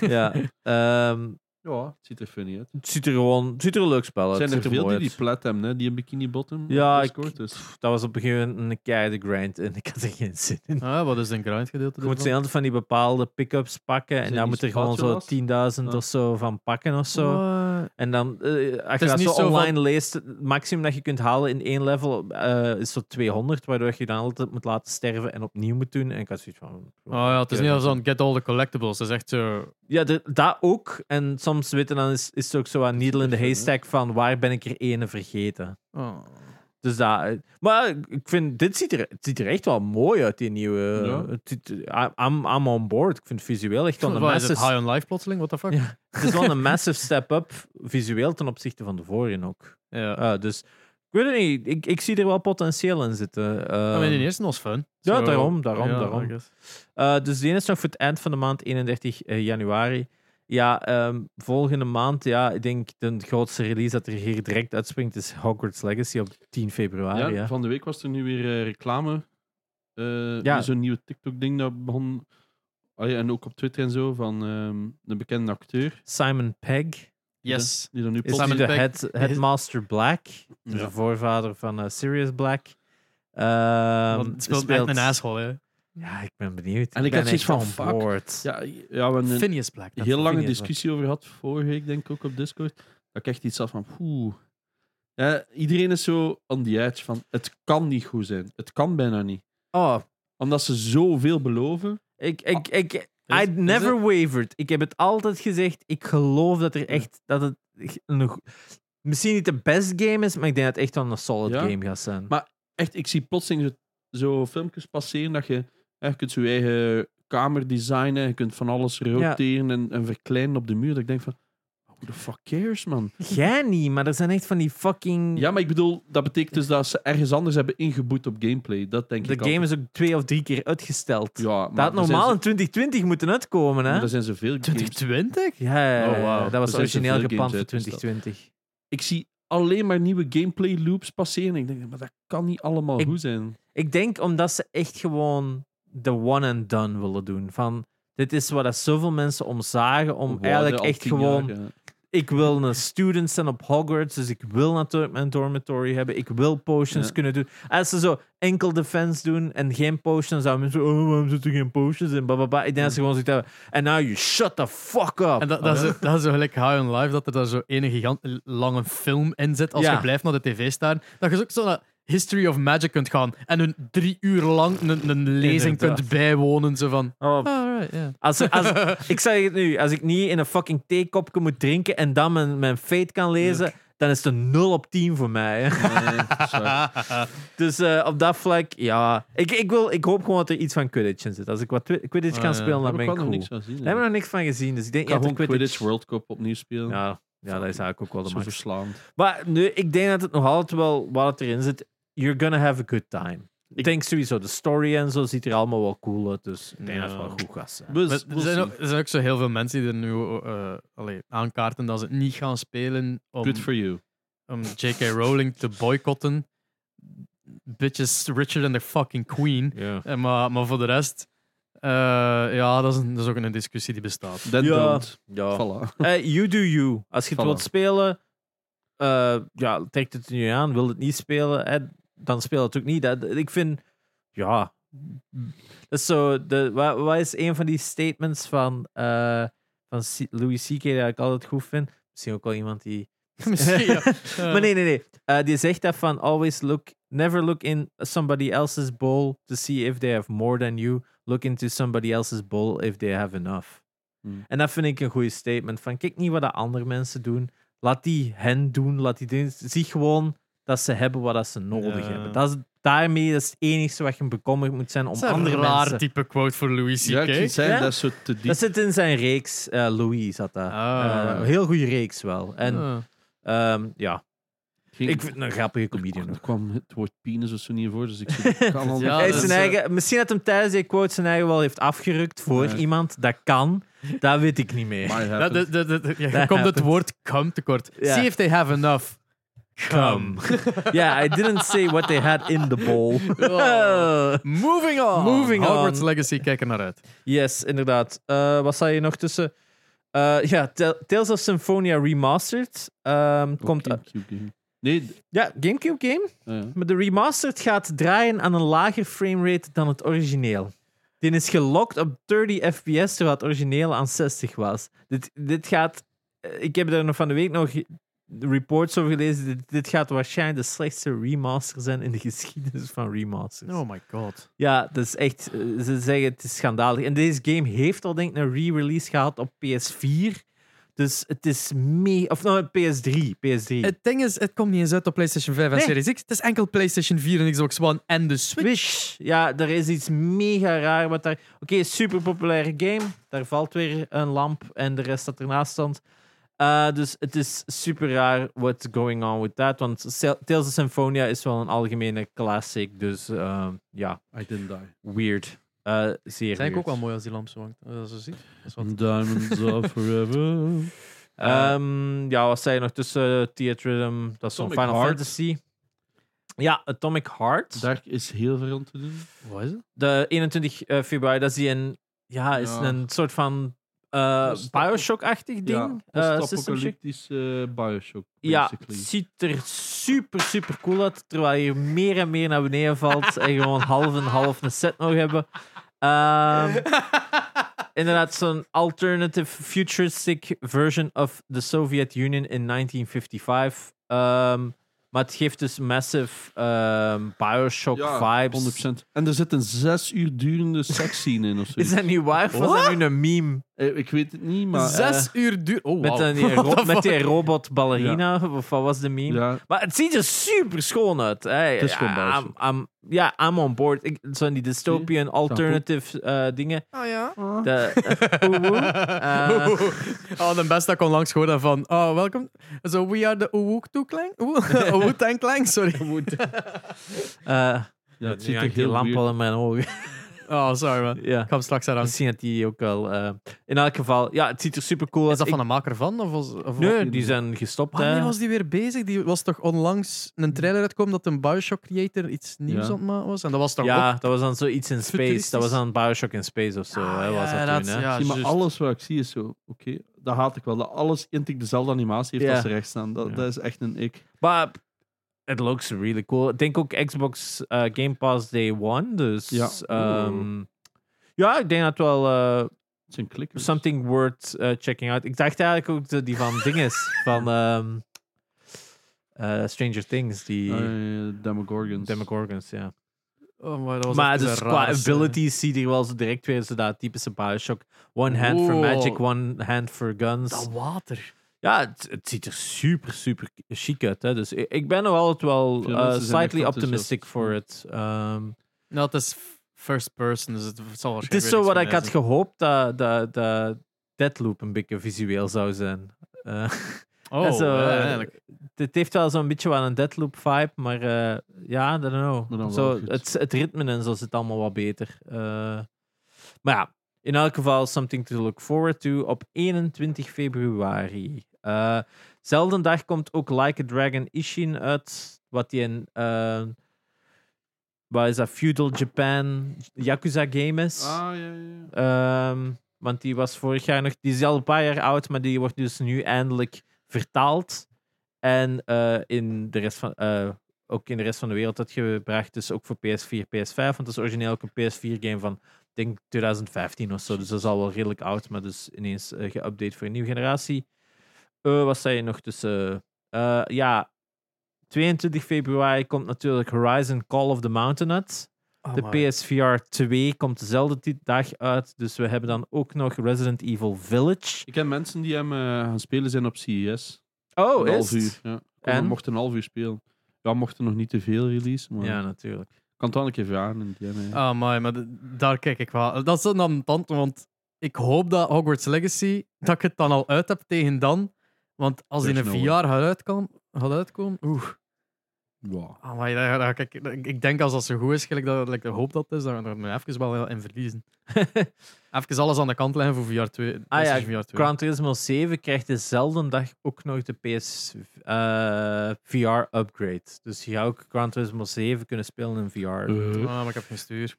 ja. Ehm,
Ja, het ziet er funny uit.
het ziet er gewoon het ziet er een leuk spel uit.
Zijn
Het
er
ziet er
veel
mooi
die die
uit.
plat hebben, hè? die een bikini bottom
Ja,
op dus-
ik-
Discord is?
Pff, Dat was op een gegeven moment een keiharde grind en ik had er geen zin in.
Ah, wat is een grind gedeelte?
Je moet ze
ervan?
altijd van die bepaalde pick-ups pakken en
Zijn
daar
die
moet er gewoon zo
spatulas?
10.000 of zo van pakken of zo.
Wat?
En dan, eh, als je
is
dat
niet
zo
zo van-
online leest, het maximum dat je kunt halen in één level eh, is zo 200, waardoor je dan altijd moet laten sterven en opnieuw moet doen. En ik had zoiets van...
Oh ja, het is niet als zo'n get all the collectibles. Het is echt zo...
Ja, de- dat ook. En soms weten dan is, is het ook zo aan needle in de haystack van waar ben ik er ene vergeten.
Oh.
Dus dat... eh, Maar ik vind, dit ziet er, het ziet er echt wel mooi uit, die nieuwe... eh,
Ja.
Het ziet- I- I'm, I'm on board. Ik vind het visueel echt wel een
Wat is het?
massive
High on life plotseling? What the fuck?
Ja. Het is wel een massive step up visueel ten opzichte van de vorige ook.
Ja.
Eh, dus ik weet het niet. Ik, ik zie er wel potentieel in zitten. Eh,
I mean, in eerste was fun.
ja,
Zo-
daarom, daarom,
Ja,
daarom.
I guess.
Eh, dus die is nog voor het eind van de maand, 31 januari. Ja, ehm, volgende maand, ja, ik denk de grootste release dat er hier direct uitspringt is Hogwarts Legacy op 10
Ja,
februari. Ja,
Van de week was er nu weer eh, reclame. Eh,
Ja.
weer Zo'n nieuwe TikTok-ding dat begon. Ah ja, en ook op Twitter en zo van ehm een bekende acteur.
Simon Pegg
Yes.
Die dan nu
is
plots-
nu
Simon
de
Pegg
head, Headmaster Black, dus
Ja.
de voorvader van eh, Sirius Black. Ehm,
Want het speelt,
speelt-
echt een asshole, hè.
Ja, ik ben benieuwd.
En ik
ben
had zoiets
echt
van,
on
fuck.
board.
Ja, ja, we hebben een
Phineas Black. dat-
heel lange
Phineas,
discussie over gehad vorige week, denk ik ook op Discord. Dat ik echt iets had van. Poeh. Ja, iedereen is zo on the edge van. Het kan niet goed zijn. Het kan bijna niet.
Oh,
Omdat ze zoveel beloven.
Ik, ik,
Ah.
ik,
Is-
I
is
never wavered. Ik heb het altijd gezegd. Ik geloof dat er echt dat het een, go- misschien niet de best game is, maar ik denk dat het echt wel een solid
Ja?
game gaat zijn.
Maar- Echt, ik zie plotseling zo, zo filmpjes passeren dat je. hè, je kunt je eigen kamer designen. Je kunt van alles roteren en, en verkleinen op de muur. Dat ik denk van. Who the fuck cares,
Mm.
man?
Jij niet, maar er zijn echt van die fucking.
Ja, maar ik bedoel, dat betekent dus dat ze ergens anders hebben ingeboet op gameplay. Dat denk
de
ik.
game is ook twee of drie keer uitgesteld.
altijd. Ja,
dat
maar
had
er zijn
normaal
zo-
in 2020 moeten uitkomen, hè?
maar er zijn zoveel games
2020?
Ja, ja, ja,
Oh,
ja.
wauw.
dat
Er
was
zijn
origineel
zoveel
gepland voor
games uitgesteld.
2020.
ik zie alleen maar nieuwe gameplay loops passeren. Ik denk, maar dat kan niet allemaal
Ik-
goed zijn.
Ik denk omdat ze echt gewoon de one and done willen doen. Van, dit is wat dat zoveel mensen omzagen om
Wow,
eigenlijk
al
echt
tien
gewoon...
jaar, ja.
Ik wil een student zijn op Hogwarts, dus ik wil natuurlijk mijn dormitory hebben. Ik wil potions
Ja.
kunnen doen. Als ze zo enkel defense doen en geen potions, dan mensen oh, waarom zitten er geen potions in? Blablabla. Ik denk dat ze gewoon zoiets hebben. And now you shut the fuck up.
En dat, dat, is, dat is zo gelijk High on Life, dat er daar zo ene gigant lange film in zit als
Ja.
je blijft naar de tv staan. Dat je zo ook zo naar History of Magic kunt gaan en een drie uur lang een, een lezing
Inderdaad.
kunt bijwonen. Zo van,
Oh,
alright, ja.
Als, als, ik zeg het nu, als ik niet in een fucking theekopje moet drinken en dan mijn, mijn fate kan lezen, dan is het een 0 op 10 voor mij. hè.
Nee, dat is waar.
Dus eh, op dat vlak, ja. Ik, ik, wil, ik hoop gewoon dat er iets van Quidditch in zit. Als ik wat Twi- Quidditch
Ah,
kan
ja.
spelen, dan
Daar heb
ben
ik
ik
wel nog
cool.
niks
Daar
van gezien.
hebben
hè.
we nog niks van gezien. Dus ik denk
Ik ga
dat de
gewoon Quidditch
Quidditch...
World Cup opnieuw spelen.
Ja, ja, dat is eigenlijk ook wel de
Zo
max.
verslaand.
Maar nu, ik denk dat het nog altijd wel wat het erin zit. You're gonna have a good time. Ik
Ik-
denk sowieso, de story en zo ziet er allemaal wel cool uit. Dus ik denk dat het
Ja.
wel goed gaat zijn.
We-
Maar
Dus we'll
er, zijn
see.
ook, er zijn ook zo heel veel mensen die er nu eh, allee, aankaarten dat ze het niet gaan spelen om,
Good for you.
om J.K. Rowling te boycotten. Bitches Richard and the fucking Queen.
Ja.
Eh, maar, maar voor de rest, eh, ja, dat is, een- dat is ook een discussie die bestaat.
That
Ja.
don't.
ja.
Voilà.
Eh, you do you. Als je het
Voilà.
wilt spelen, eh, ja, trekt het nu aan. Wil het niet spelen, eh, dan speel het ook niet. Dat, ik vind, ja. Dat is zo, de, wat, wat is een van die statements van, eh, van C- Louis C.K. dat ik altijd goed vind? Misschien ook wel iemand die.
Misschien, ja.
Maar nee, nee, nee. Eh, die zegt dat van always look, never look in somebody else's bowl to see if they have more than you. Look into somebody else's bowl if they have enough.
Hmm.
En dat vind ik een goede statement. Van kijk niet wat de andere mensen doen. Laat die hen doen. Laat die dingen. Zie gewoon dat ze hebben wat dat ze nodig
Ja.
hebben. Dat is, daarmee dat is het enige wat je bekommerd moet zijn om
Dat is een
andere
raar
mensen.
type quote voor Louis
Ja,
C.K.
ik zei
Ja?
dat is zo te diep.
Dat zit in zijn reeks. eh, Louis zat dat.
Ah.
Eh, heel goede reeks wel. En
Ah.
ehm, ja,
Ging-
ik vind het een grappige
Er
comedian.
kwam- er kwam het woord penis of zo niet voor, dus ik zei, dat kan al
Ja,
niet.
Hij is
dat
zijn
is, eh,
eigen, misschien dat hem tijdens die quote zijn eigen wel heeft afgerukt voor
Ja.
iemand. Dat kan. Dat weet ik niet meer.
Maar
Ja,
happened.
de- de- de- de- je
That
komt het
happened.
woord come tekort.
Ja.
See if they have enough. Come.
yeah, I didn't say what they had in the bowl.
Oh. Moving on.
Moving on.
Hogwarts Legacy, kijk er naar uit.
yes, inderdaad. Eh, wat zei je nog tussen? Eh, ja, Ta- Tales of Symphonia Remastered. ehm,
Ook
komt, uit-
Gamecube game. Nee, d-
ja, Gamecube game.
ah ja.
Maar de remastered gaat draaien aan een lager framerate dan het origineel. Dit is gelokt op 30 fps, terwijl het origineel aan 60 was. Dit, dit gaat... eh, Ik heb daar nog van de week nog reports over gelezen. Dit, dit gaat waarschijnlijk de slechtste remaster zijn in de geschiedenis van remasters.
Oh my god.
Ja, dat is echt... eh, Ze zeggen het is schandalig. En deze game heeft al denk ik een re-release gehad op PS4. Dus het is mee... Of nou, PS3. PS3.
Het ding is, het komt niet eens uit op PlayStation 5 en
Nee.
Series X. Het is enkel PlayStation 4 en Xbox One en de Switch.
Wish. Ja, er is iets mega raar wat daar. Oké, super populaire game. Daar valt weer een lamp en de rest dat ernaast stond. Eh, dus het is super raar what's going on with that. Want Sel- Tales of Symphonia is wel een algemene classic. Dus eh, ja,
I didn't die.
weird. Eh, zeer
Dat is eigenlijk ook
weird.
wel mooi als die lamp zo hangt. Als je dat ziet. Dat is wat.
Diamonds are forever.
Ehm, ja, wat zei je nog tussen Theatrhythm? Dat is zo'n
Atomic
Final
Heart.
Fantasy. Ja, Atomic Heart.
Daar is heel veel aan te doen.
Wat is het?
De 21 eh, februari, dat is die een, ja, is
Ja.
een soort van eh,
Post-
Bioshock-achtig ding. eh, system shock.
post-apocalyptisch eh, Bioshock,
ja,
basically.
ziet er super, super cool uit. Terwijl je meer en meer naar beneden valt en gewoon half en half een set nog hebben. Ehm, inderdaad, zo'n alternative futuristic version of the Soviet Union in 1955. Ehm, maar het geeft dus massive ehm, Bioshock
Ja,
vibes.
100%. En er zit een zes uur durende seksscene in of zo.
Is dat niet waar? Of was dat nu een meme?
ik weet het niet, maar... eh,
Zes uur duur. Oh,
Met,
wauw.
een- die,
What
ro-
the
met die
fuck?
robot ballerina, of wat was de meme?
ja,
Maar het ziet er super schoon uit. hè.
is gewoon
Ja, I'm- I'm- Ja, I'm on board. Ik, zo'n die dystopian alternative eh, dingen.
Oh ja.
De, eh, oeh, oeh. Eh.
oh, de beste dat ik onlangs gehoord heb van... Oh, welkom. So we are the Owook Clan? Owook Clan, sorry.
Eh,
ja, het
nu hangt
ziet er
die
heel
lamp
weird
al in mijn ogen.
Oh, sorry man.
Ja.
Ik ga hem straks eraan. Is
Misschien had die ook wel. eh, in elk geval, ja, het ziet er super cool uit.
dat
Ik-
van de maker van? Of, was- of
Nee, die zijn gestopt.
Wanneer
hè.
was die weer bezig? Die was toch onlangs een trailer uitkomen dat een Bioshock creator iets nieuws
Ja.
aan het maken was? En dat was toch
ja,
ook...
dat was dan zoiets in space. Dat
Futuristisch.
was dan Bioshock in space of zo. hè, was dat toen, hè?
ja,
zie, maar
juist.
alles wat ik zie is zo, oké, dat haat ik wel. Dat alles intik dezelfde animatie heeft
Ja.
als ze rechts staan. Dat,
Ja.
dat is echt een ik.
Maar it looks really cool. Ik denk ook Xbox eh, Game Pass Day One. Dus
Ja.
ehm, ja, ik denk dat wel eh,
Het zijn klikkers.
something worth eh, checking out. Ik dacht eigenlijk ook dat die van dinges van ehm, eh, Stranger Things, die
Eh, Demogorgons.
Demogorgons, ja.
Oh, maar dat was
Maar
echt
dus
een
qua
raar,
abilities zie je er wel zo direct weer zo dat typische Bioshock. One hand for
Wow.
magic, one hand for
eh,
guns.
Dat water.
Ja, het, het ziet er super, super chic uit. Hè? Dus ik, ik ben nog altijd wel
Veel
eh,
mensen zijn echt
slightly optimistic
enthousiast.
for it. Ehm,
Nou, het is f- first person, dus het zal waarschijnlijk
het is
weer
zo
iets
wat
van
ik
mij
had
zijn.
gehoopt dat, dat, dat Deadloop een beetje visueel zou zijn. Eh,
Oh,
zo,
ja,
eh,
eigenlijk.
het heeft wel zo'n beetje wel een Deadloop vibe, maar eh, ja, I don't
Maar dan
know.
wel
Zo,
goed.
het, het ritme en zo zit allemaal wat beter. Eh, maar ja, in elk geval something to look forward to op 21 februari. Eh zelfde dag komt ook Like a Dragon Ishin uit, wat die een eh, wat is dat, Feudal Japan Yakuza game is.
Ah, ja, ja, ja.
Ehm, want die was vorig jaar nog, die is al een paar jaar oud, maar die wordt dus nu eindelijk vertaald. En eh, in de rest van, eh, ook in de rest van de wereld uitgebracht. Dus ook voor PS4, PS5. Want het is origineel ook een PS4-game van, ik denk 2015 of zo. Dus dat is al wel redelijk oud, maar dus ineens eh, geüpdate voor een nieuwe generatie. Eh, wat zei je nog tussen? Eh, ja, 22 februari komt natuurlijk Horizon Call of the Mountain uit.
Oh,
De
maar-
PSVR 2 komt dezelfde ti- dag uit. Dus we hebben dan ook nog Resident Evil Village.
Ik ken mensen die hem eh, gaan spelen zijn op CES.
Oh,
een half uur. Ja. Kon-
En?
Mochten een half uur spelen. Ja, mochten nog niet te veel release, maar
Ja,
ik
natuurlijk.
kan het wel een keer vragen. in DM, hè.
Ah, maar, maar d- daar kijk ik wel. Dat is dan aan de tand, want ik hoop dat Hogwarts Legacy, dat ik het dan al uit heb tegen dan. Want als die in een
There's
VR
no
gaat uitkomen, gaat uitkomen oeh.
Ja.
Ah, maar daar- daar- kijk, ik, ik denk als dat zo goed is, gelijk dat like, ik hoop dat het is, dan moet ik even wel in verliezen. even alles aan de kant leggen voor VR 2.
Ah ja,
VR 2.
Gran Turismo 7 krijgt dezelfde dag ook nog de eh, PSVR-upgrade. dus je gaat ook Gran Turismo 7 kunnen spelen in VR.
Eh,
Ah, maar ik heb geen stuur.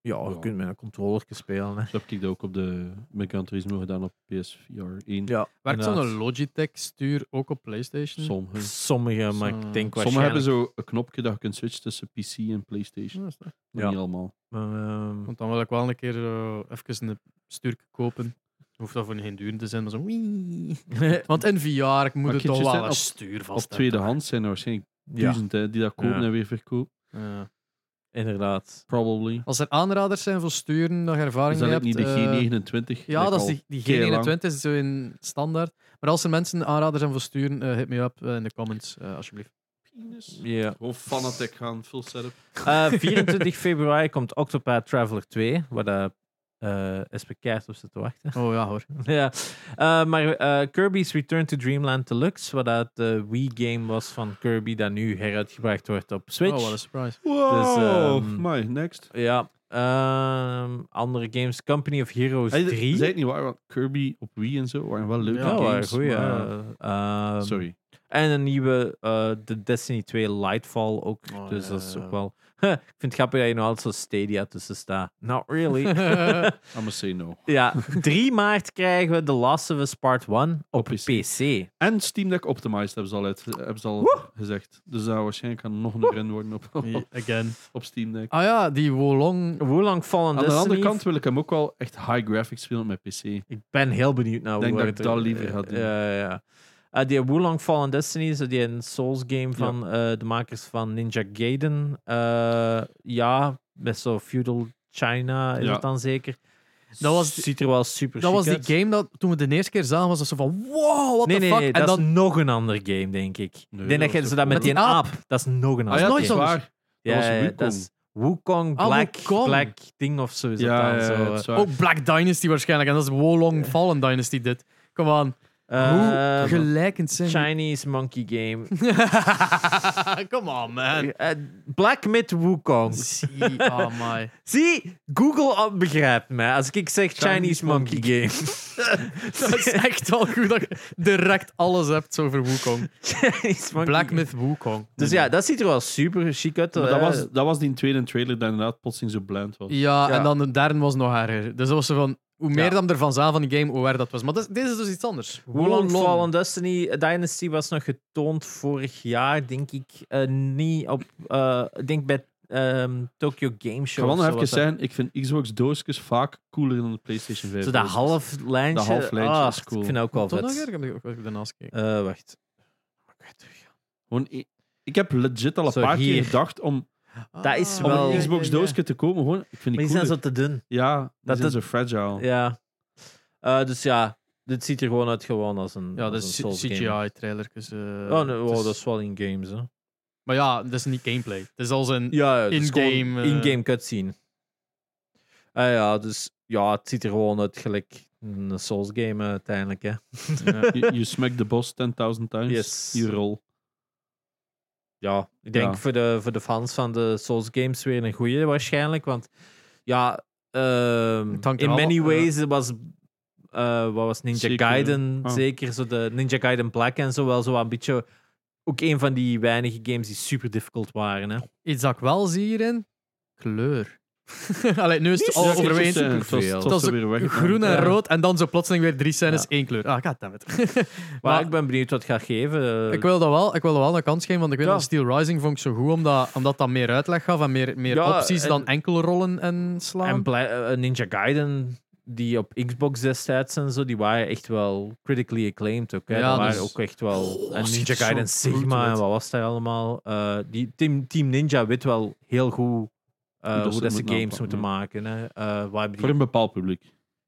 ja, je kunt met een controller spelen. Hè.
Dat heb ik dat ook op de met Gran Turismo gedaan op PSVR 1.
Ja,
Werkt
inderdaad.
zo'n Logitech stuur ook op PlayStation?
Sommigen.
Sommige, maar ik
Zo-
denk
Sommigen
waarschijnlijk...
hebben zo een knopje dat je kunt switchen tussen PC en PlayStation.
Ja, is dat.
Maar
Ja.
Niet allemaal.
Maar, ehm,
Want dan wil ik wel een keer eh, even een stuur kopen. Hoeft dat voor geen duur te zijn, maar zo. wii. Want in VR, ik moet
Maar
het
kindjes
toch wel
zijn
een
op-
stuur
Op
vast
tweedehands zijn er waarschijnlijk
ja,
duizend hè, die dat kopen
Ja.
en weer verkopen.
Ja.
inderdaad.
Probably.
Als er aanraders zijn voor sturen, dat je
Is
ervaring
dat
mee
ook
hebt.
niet de
eh,
G29?
Ja,
ik
dat is
al
die, die
keilang.
G21 is zo in standaard. Maar als er mensen aanraders zijn voor sturen, eh, hit me up eh, in de comments, eh, alsjeblieft.
Penis.
Ja.
Gewoon Fanatec gaan, full setup.
Eh, 24 februari komt Octopath Traveler eh, 2, waar de SP Keijs op zit te wachten.
Oh ja hoor.
ja. Eh, maar eh, Kirby's Return to Dreamland Deluxe, wat dat de Wii-game was van Kirby, dat nu heruitgebracht wordt op Switch.
Oh, wat een surprise.
Wow! Dus,
ehm,
my, next.
Ja. Ehm, andere games, Company of Heroes
Hey,
3.
Zij het niet waar, want Kirby op Wii en zo waren wel leuke
ja,
games.
waren goeie,
maar-
eh, ehm,
Sorry.
En een nieuwe, eh de Destiny 2 Lightfall ook.
Oh,
dus
ja,
dat is
ja,
ook
ja.
wel... ik vind het grappig dat je nou altijd zo Stadia tussen staat. Not really.
I must say no.
Ja, 3 maart krijgen we The Last of Us Part 1 op
Op
PC.
En Steam Deck Optimized hebben ze al, uit, hebben ze al gezegd. Dus dat waarschijnlijk kan nog een run worden op,
Again.
op Steam Deck.
Ah ja, die Wolong.
Hoe lang dus Fallen
Aan de
Destiny?
andere kant wil ik hem ook wel echt high graphics spelen met PC.
Ik ben heel benieuwd naar
denk
hoe
dat
het
ik
er-
dat liever ga doen.
Ja, ja. Eh, die Wulong Fallen Destiny, zo die een Souls-game van eh, de makers van Ninja Gaiden. Eh, ja, best zo feudal China is
Ja.
het dan zeker.
Dat was die-
Ziet er wel super
Dat was
chic
die game dat toen we de eerste keer zagen, was dat zo van wow, what
Nee,
the
nee,
fuck.
nee,
en
dat
dan
is nog een ander game, denk ik.
Nee,
ik denk dat
dat
je
was
ze
ook
dat met
cool.
die
Met die
aap, dat is nog een ander
ja,
game.
nooit
Ah, dat is
anders.
waar. Dat was Wukong.
dat is Wukong
Ah,
Black,
Wukong.
Black Ding of zo. Is
Ja,
dat dan
ja,
zo.
ja,
eh.
dat is waar.
ook Black Dynasty waarschijnlijk. En dat is Wolong Fallen Dynasty dit. Kom aan. Hoe
Ehm,
gelijkend zijn die- Ah,
Chinese Monkey Game.
Come on, man.
Eh, Black Myth Wukong.
Zie, oh my.
Zie, Google al- begrijpt mij als ik zeg Chinese,
Chinese
Monkey, Game.
Dat is echt al goed dat je direct alles hebt over Wukong.
Chinese Monkey
Black
Game.
Myth Wukong.
Dus ja, dat ziet er wel super chic uit. eh,
Maar
hè.
dat, was, dat was die tweede trailer die inderdaad plotseling zo blind was.
Ja,
Ja.
en dan de derde was nog erger. Dus dat was zo van, hoe meer
Ja.
dan er van zaal van die game, hoe waar dat was. Maar dit- deze is dus iets anders.
Wulong Fallen Destiny eh, Dynasty was nog getoond vorig jaar, denk ik. eh, niet op, eh, ik denk bij ehm, Tokyo Game
Ik ga
Show.
wel
of
nog
zo
even
was dat.
zeggen, ik vind Xbox doosjes vaak cooler dan de PlayStation 5.
Zo dat half lijntje.
Dat half lijntje
ah,
is cool.
Ik vind dat ook wel
Toch nog
vet.
erger? Ik heb ook wel daarnaast gekeken.
Eh, wacht.
Gewoon, ik, ik heb legit al een
Zo,
paar
hier.
keer gedacht om,
Dat is
Ah,
om
wel-
een
ja,
Xbox doosje te komen. Gewoon, ik vind
Maar die
die cooler.
zijn zo te dun.
Ja, die
Dat
zijn
het-
zo fragile.
Ja. Eh, dus ja, dit ziet er gewoon uit gewoon als een,
Ja,
als
dat
een
is
Souls game.
CGI-trailer.
Oh, nee, wow, dat is wel in-games, hè.
Maar ja, dat is niet gameplay. Het is als een...
Ja, ja, het is gewoon
In-game, eh.
in-game cutscene. Ah ja, dus ja, het ziet er gewoon uit gelijk een Souls game eh, uiteindelijk. Hè.
Ja.
You, you smack the boss 10.000 times.
Yes. Oh,
You roll.
Ja, ik denk
Ja.
Voor, de, voor de fans van de Souls games weer een goeie waarschijnlijk. Want ja, ehm,
Het hangt er
in
al-
many
ja.
ways was, eh, wat was Ninja
Zeker,
Gaiden,
Ah.
ja.
zeker zo de Ninja Gaiden Black en zo wel zo een beetje ook een van die weinige games die super difficult waren. Hè.
Iets dat ik wel zie hierin, kleur. Allee, nu is het
Niet
al
zo-
overwegend
superveel.
Het was- het
Dat
was
was er weer weg.
groen en
Ja.
rood en dan zo plotseling weer drie scènes
Ja.
één kleur. Ah, goddammit.
Maar,
Maar-
ik ben benieuwd wat het gaat geven. eh.
Ik wil, dat wel, ik wil dat wel een kans geven, want ik weet
Ja.
dat Steel Rising vond ik zo goed, omdat, omdat dat meer uitleg gaf en meer, meer
Ja,
opties
en-
dan enkele rollen en slaan.
En blij- eh, Ninja Gaiden, die op Xbox destijds en zo, die waren echt wel critically acclaimed ook. Hè?
Ja,
dat
dus-
waren ook echt wel...
Oh,
en
ziet
Ninja
er zo
Gaiden
brutal
Sigma
uit.
en wat was daar allemaal. Eh, die Team, Team Ninja weet wel heel goed eh,
Hoe dat
hoe,
ze
dat
het
ze
moeten
games
aanpakken,
moeten
ja.
maken. Hè? Eh, waar hebben die-
Voor een bepaald publiek.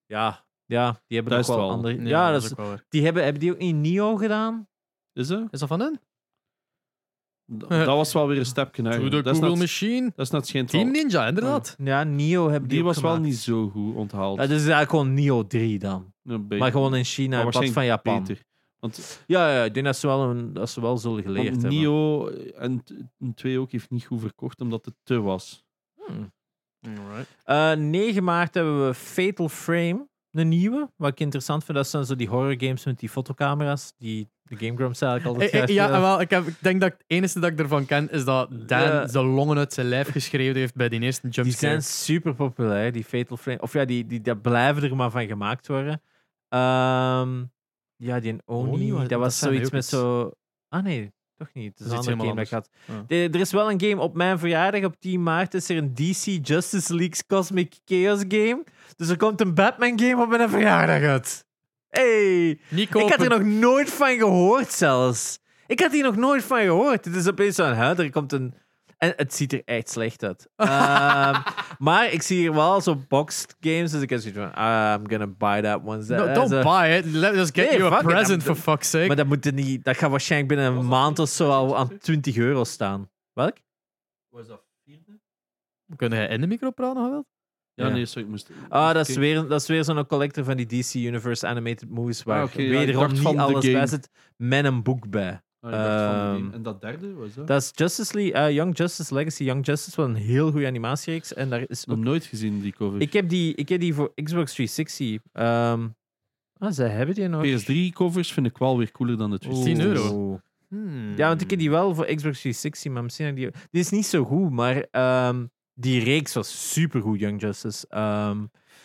ja, ja, die hebben
Dat
nog
is het
wel
wel.
andere...
Ja,
Ja, dat is-
ook wel waar.
die hebben, hebben die ook in Nio gedaan?
Is dat?
Is dat van hen?
D- Dat was wel weer een stapje naar.
Doe de
Dat is
Google
net,
Machine.
dat is net geen
Team
twaalf.
Ninja, inderdaad.
Ja, Nio hebben die
Die
ook
was wel
gemaakt.
niet zo goed onthaald.
Ja, dat is eigenlijk gewoon Nio 3 dan.
Een beetje.
Maar gewoon in China,
Maar
in plaats van
waarschijnlijk
Japan.
beter. Want,
Ja, ja, ik denk dat ze wel, een, dat ze wel zullen geleerd
want
hebben.
Nio en t- en 2 ook heeft niet goed verkocht omdat het te was.
Hmm. Eh, 9 maart hebben we Fatal Frame, een nieuwe. Wat ik interessant vind, dat zijn zo die horror games met die fotocamera's, die de Game Grumps eigenlijk
Eh,
altijd
eh,
juist
ja,
willen.
wel, ik, heb, ik denk dat het enige dat ik ervan ken is dat Dan
Ja.
zijn longen uit zijn lijf geschreeuwd heeft bij die eerste
Die
jumpscare.
zijn super populair, die Fatal Frame. Of ja, die, die, daar blijven er maar van gemaakt worden. Ehm, ja, die Oni,
Oni, wat-
dat
dat
was
zijn
zoiets
ook
met
iets.
zo... Ah nee, toch niet. Het is
Dat
een
is iets
andere game dat ik had.
helemaal
De- er is wel een game op mijn verjaardag, op 10 maart, is er een DC Justice League's Cosmic Chaos game. Dus er komt een Batman game op mijn verjaardag uit. Hey!
Niet
Ik had
kopen.
er nog nooit van gehoord zelfs. Ik had hier nog nooit van gehoord. Het is opeens zo'n huid. Er komt een. En het ziet er echt slecht uit. Ehm, maar ik zie hier wel zo boxed games. Dus ik heb zoiets van: ah, I'm gonna buy that one.
No,
Eh,
don't
zo.
buy it. Let us get
Nee,
you a
fuck it.
present,
I'm-
for fuck's sake.
Maar dat, moet er niet, dat gaat waarschijnlijk binnen een maand of zo al aan 20 euro staan. Welk?
Was dat vierde?
Kun jij in de micro praten, nog wel?
Ja,
Ja.
nee, sorry, ik moest.
Ah, dat is
Oké.
weer, dat is weer zo'n collector van die DC Universe Animated Movies. Waar
Ah, oké, ja, ik
wederom
dacht
niet
van de
alles bij
game.
zit. Met een boek bij.
Ah, ik dacht van de
Ehm,
game. en dat derde was dat?
Dat is Justice League, eh, Young Justice Legacy. Young Justice was een heel goede animatiereeks. En daar is
Nog nooit gezien die cover.
ik, heb die, ik heb die voor Xbox 360. ehm, ah, zij hebben die nog.
PS3-covers vind ik wel weer cooler dan de 360.
10 euro.
Oeh. Ja, want ik heb die wel voor Xbox 360, maar misschien heb ik die... Die is niet zo goed, maar ehm, die reeks was supergoed, Young Justice. Ehm,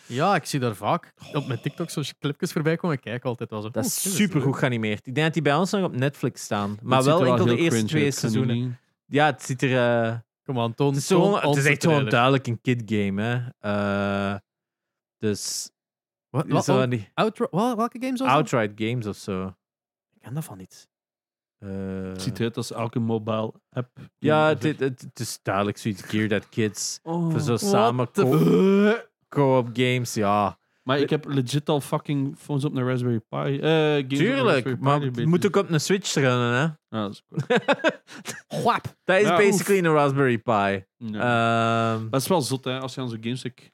Ja, ik zie daar vaak op mijn TikTok zo'n clipjes voorbij komen. Ik kijk altijd wel zo. oh,
dat
oeh, dit
is supergoed geanimeerd. Ik denk dat die bij ons nog op Netflix staan. Maar
Oh, Dat ziet er
wel enkel de
heel
eerste
cringe
twee
uit, kan je
seizoenen.
niet-
Ja, het ziet er... eh,
Kom aan, toon.
Het is,
toon
gewoon, het
ons
is
de
echt gewoon
trailer.
duidelijk een kid game, hè. Eh, dus...
Wat, wat,
zo
wat-
aan die
Outro- wel- welke games was dat?
outright games of zo.
Ik ken daarvan niet.
Eh,
Het ziet eruit als elke mobile app.
ja, het, het, het- het is duidelijk zoiets geared at kids.
Oh,
Voor zo samen
Oh,
Oh.
the
co- co-op games, ja.
Maar ik heb legit al fucking phones op een Raspberry Pi. Eh, games op een Raspberry
Tuurlijk,
Pi
maar
die
het
beter
moet
is.
ook op een Switch runnen, hè.
Ja, dat is cool.
Gwap.
Dat is
Ja,
basically een Raspberry Pi.
Ja.
Ehm,
Maar het is wel zot, hè, als je aan zo'n gamestick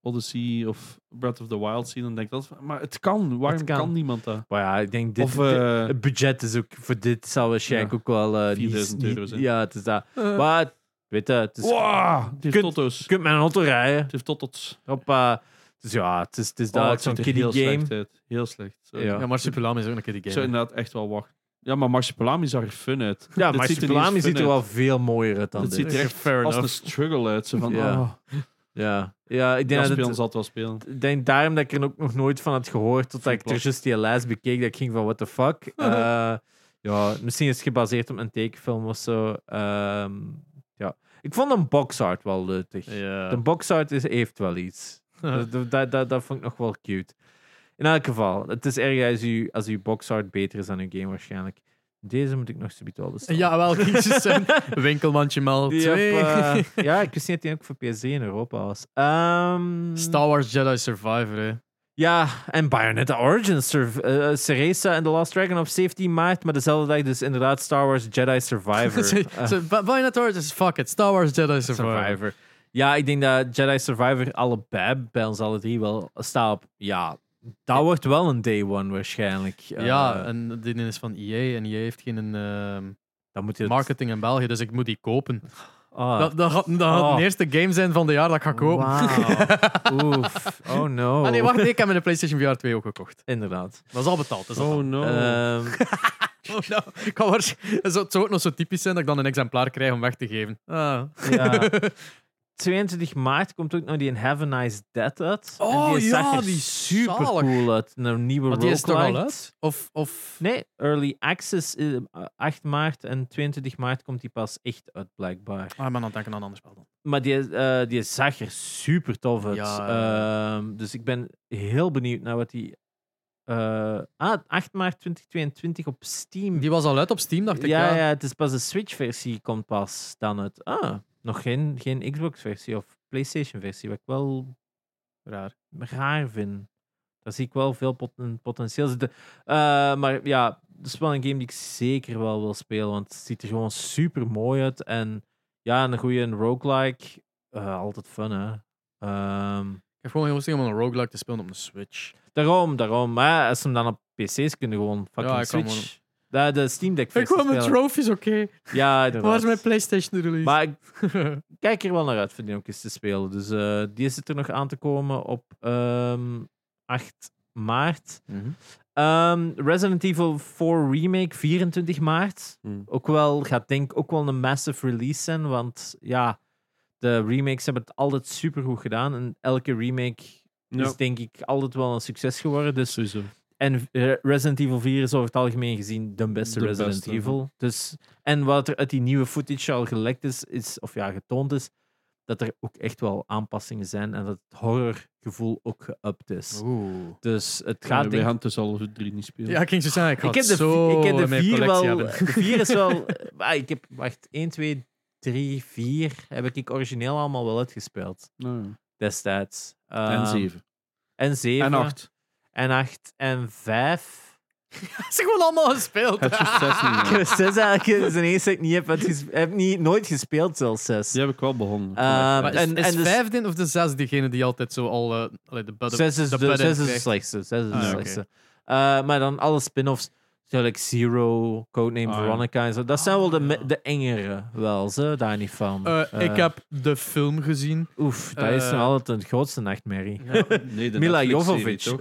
Odyssey of Breath of the Wild zien, dan denk ik dat. van, Maar het kan. Waarom
Het kan.
kan. niemand dat?
Maar ja, ik denk dit.
of
dit-
eh,
het budget is ook voor dit zal waarschijnlijk
Ja.
ook wel eh, niet-
4000
niet-
euro's, hè.
Ja, het is dat.
Eh.
Maar weet je, het is,
wow, het heeft
Kunt-
toto's.
je kunt met een auto rijden.
Het heeft toto's.
Hoppa. Dus ja, het is, het is
Oh,
dat
het
zo'n
ziet er heel
kiddie game.
slecht uit. Heel slecht. Zo.
Ja.
Ja, maar Superlam is ook een keer die
Ik zou
game.
inderdaad echt wel wachten. Ja, maar Marsupilami zag er fun uit.
Ja,
Dit
maar
ziet er niet
Spelami
eens
ziet er
fun
wel
uit.
veel mooier uit dan
Dit
dit.
ziet er echt
Fair
als
enough.
een struggle uit. Zo van,
Ja.
oh,
Ja, ja ik
dat
denk dat
spelen
het-
zal het wel spelen.
ik denk daarom dat ik er ook nog nooit van had gehoord, totdat ik er
Verploft.
juist die lijst bekeek, dat ik ging van what the fuck. Eh, ja, misschien is het gebaseerd op een tekenfilm of zo. Ehm, ja. Ik vond een boxart wel nuttig. De
Ja.
boxart is, heeft wel iets. dat, dat- dat, dat, dat vond ik nog wel cute. In elk geval, het is erg als uw, als uw boxart beter is dan uw game waarschijnlijk. Deze moet ik nog zoiets wel bestellen.
Ja, wel, kies zijn winkelmandje mal
Die op,
2.
eh, ja, ik wist niet dat die ook voor PS3 in Europa was. Ehm,
Star Wars Jedi Survivor, hè.
Ja, en Bayonetta Origins, Sur- eh, eh, Ceresa en The Last Dragon op 17 maart, maar dezelfde dag dus inderdaad Star Wars Jedi Survivor.
Ze-
Eh,
ze- Ba- Bayonetta Origins, Dus fuck it. Star Wars Jedi Survivor.
Survivor. Ja, ik denk dat Jedi Survivor allebei bij ons alle drie wel staat op. Ja, dat wordt wel een day one waarschijnlijk. Eh,
Ja, en die is van EA en EA heeft geen ehm,
dan moet je het-
marketing in België, dus ik moet die kopen.
Ah.
Dat, dat gaat, dat gaat
Oh.
de eerste game zijn van het jaar dat ik ga kopen.
Wauw. Oef. Oh no.
Ah nee, wacht, ik heb mijn PlayStation VR 2 ook gekocht.
Inderdaad.
Dat is al betaald. Dat is al
Oh no.
Ehm,
betaald. Oh, nou, ik kan waarsch- het zou- het zou ook nog zo typisch zijn dat ik dan een exemplaar krijg om weg te geven. Ah.
ja. 22 maart komt ook nog die Have a Nice Dead uit. En
Oh
die zag
ja,
er
die is
super
zalig.
cool uit. Een nieuwe
Want die is toch al
roguelite.
uit? Of, of...
Nee, Early Access is eh, 8 maart en 22 maart komt die pas echt uit, blijkbaar.
Ah, maar dan denk ik aan een ander spel dan.
Maar die, eh, die zag er super tof uit.
Ja,
Ehm, dus ik ben heel benieuwd naar wat die. eh, ah, 8 maart 2022 op Steam.
Die was al uit op Steam, dacht ik.
ja,
Ja,
ja. het is pas de Switch-versie komt pas dan het. Ah, nog geen, geen Xbox-versie of PlayStation-versie, wat ik wel
Raar.
raar vind. Daar zie ik wel veel poten- potentieel zitten. Eh, maar ja, het is wel een game die ik zeker wel wil spelen, want het ziet er gewoon super mooi uit. En ja, een goede roguelike, eh, altijd fun, hè. Ehm,
Ik heb gewoon heel zin om een roguelike te spelen op een Switch.
daarom, daarom. Maar als ze hem dan op PC's kunnen, gewoon fucking
Ja, ik kan
Switch. De, de Steam Deck versie spelen.
trophies, oké.
Ja, inderdaad.
PlayStation release?
Maar ik kijk er wel naar uit voor die ook eens te spelen. Dus eh, die zit er nog aan te komen op ehm, 8 maart. Ehm, Resident Evil 4 Remake, 24 maart.
Hmm.
Ook wel, gaat denk ik ook wel een massive release zijn, want ja, de remakes hebben het altijd supergoed gedaan. En elke remake
Ja,
is denk ik altijd wel een succes geworden. Dus,
sowieso.
en eh, Resident Evil 4 is over het algemeen gezien de beste
De
Resident
beste, ja.
Evil. Dus, en wat er uit die nieuwe footage al gelekt is, is, of ja, getoond is, dat er ook echt wel aanpassingen zijn en dat het horrorgevoel ook geüpt is.
Oeh.
Dus het
Ja,
gaat
we
denk ik
Eh, gaan tussen alle drie niet spelen.
Ja, ik ging zo zeggen, ik ga
ik heb de,
zo
vi- ik heb de
in mijn
vier wel.
collectie hebben.
De vier is wel. ah, ik heb, wacht, 1, 2, 3, 4 heb ik origineel allemaal wel uitgespeeld
Nou, ja.
destijds.
en
Ehm,
zeven.
En 7.
En acht.
En 8 en 5.
Ze zijn gewoon allemaal gespeeld.
Het is juist zes niet
Ik
meer.
heb 6 eigenlijk. Dat is de eerste dat ik niet heb, uitges- heb niet, nooit gespeeld, zelfs 6.
Die heb ik wel begonnen.
Ehm,
Maar is,
en,
is
en dus-
vijfde of de zesde degene die altijd zo al... eh, allee, de bud-
Zes is
de
de,
bud-in
zes is de
krijgt?
slechtste. Zes is de
Ah, ja,
slechtste. Eh, maar dan alle spin-offs, zoals like Zero, Codename
Ah, ja.
Veronica en zo. Dat zijn wel de, me-
ja.
de engere, wel, ze, daar niet van.
Eh, ik
Eh,
heb de film gezien.
Oef, dat is nog
Eh,
altijd een grootste nachtmerrie.
nee, de
Mila
Netflix-serie,
Jovovich. eh,
toch?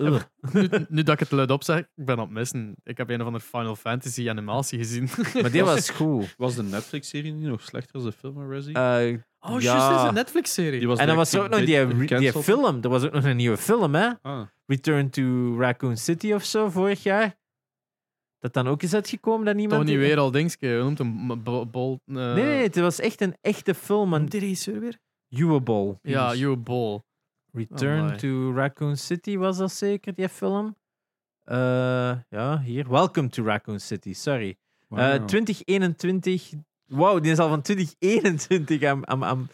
ugh.
Nu, nu dat ik het luid opzeg, ik ben aan het missen. Ik heb een of andere Final Fantasy animatie gezien.
Maar die was goed.
Was de Netflix-serie niet nog slechter als de film van Resi?
Eh,
Oh,
Ja.
juist, dat is een Netflix-serie.
Die was
en dan
direct
was er ook nog die,
ge-
re- die
gecanceld.
film. Eh, Er was ook nog een nieuwe film, hè?
Ah,
Return to Raccoon City of zo, vorig jaar. Dat dan ook is uitgekomen dat niemand...
Toch niet weer al dingske. Je noemt hem b- b- Bol... eh,
Nee, nee, het was echt een echte film. Een
noemt die regisseur weer?
Uwebol.
Ja, Joe Bol.
Return
Amai.
to Raccoon City was dat zeker, die film. Eh, ja, hier. Welcome to Raccoon City, sorry. Eh,
wauw.
2021. Wauw, die is al van 2021 aan. aan, aan-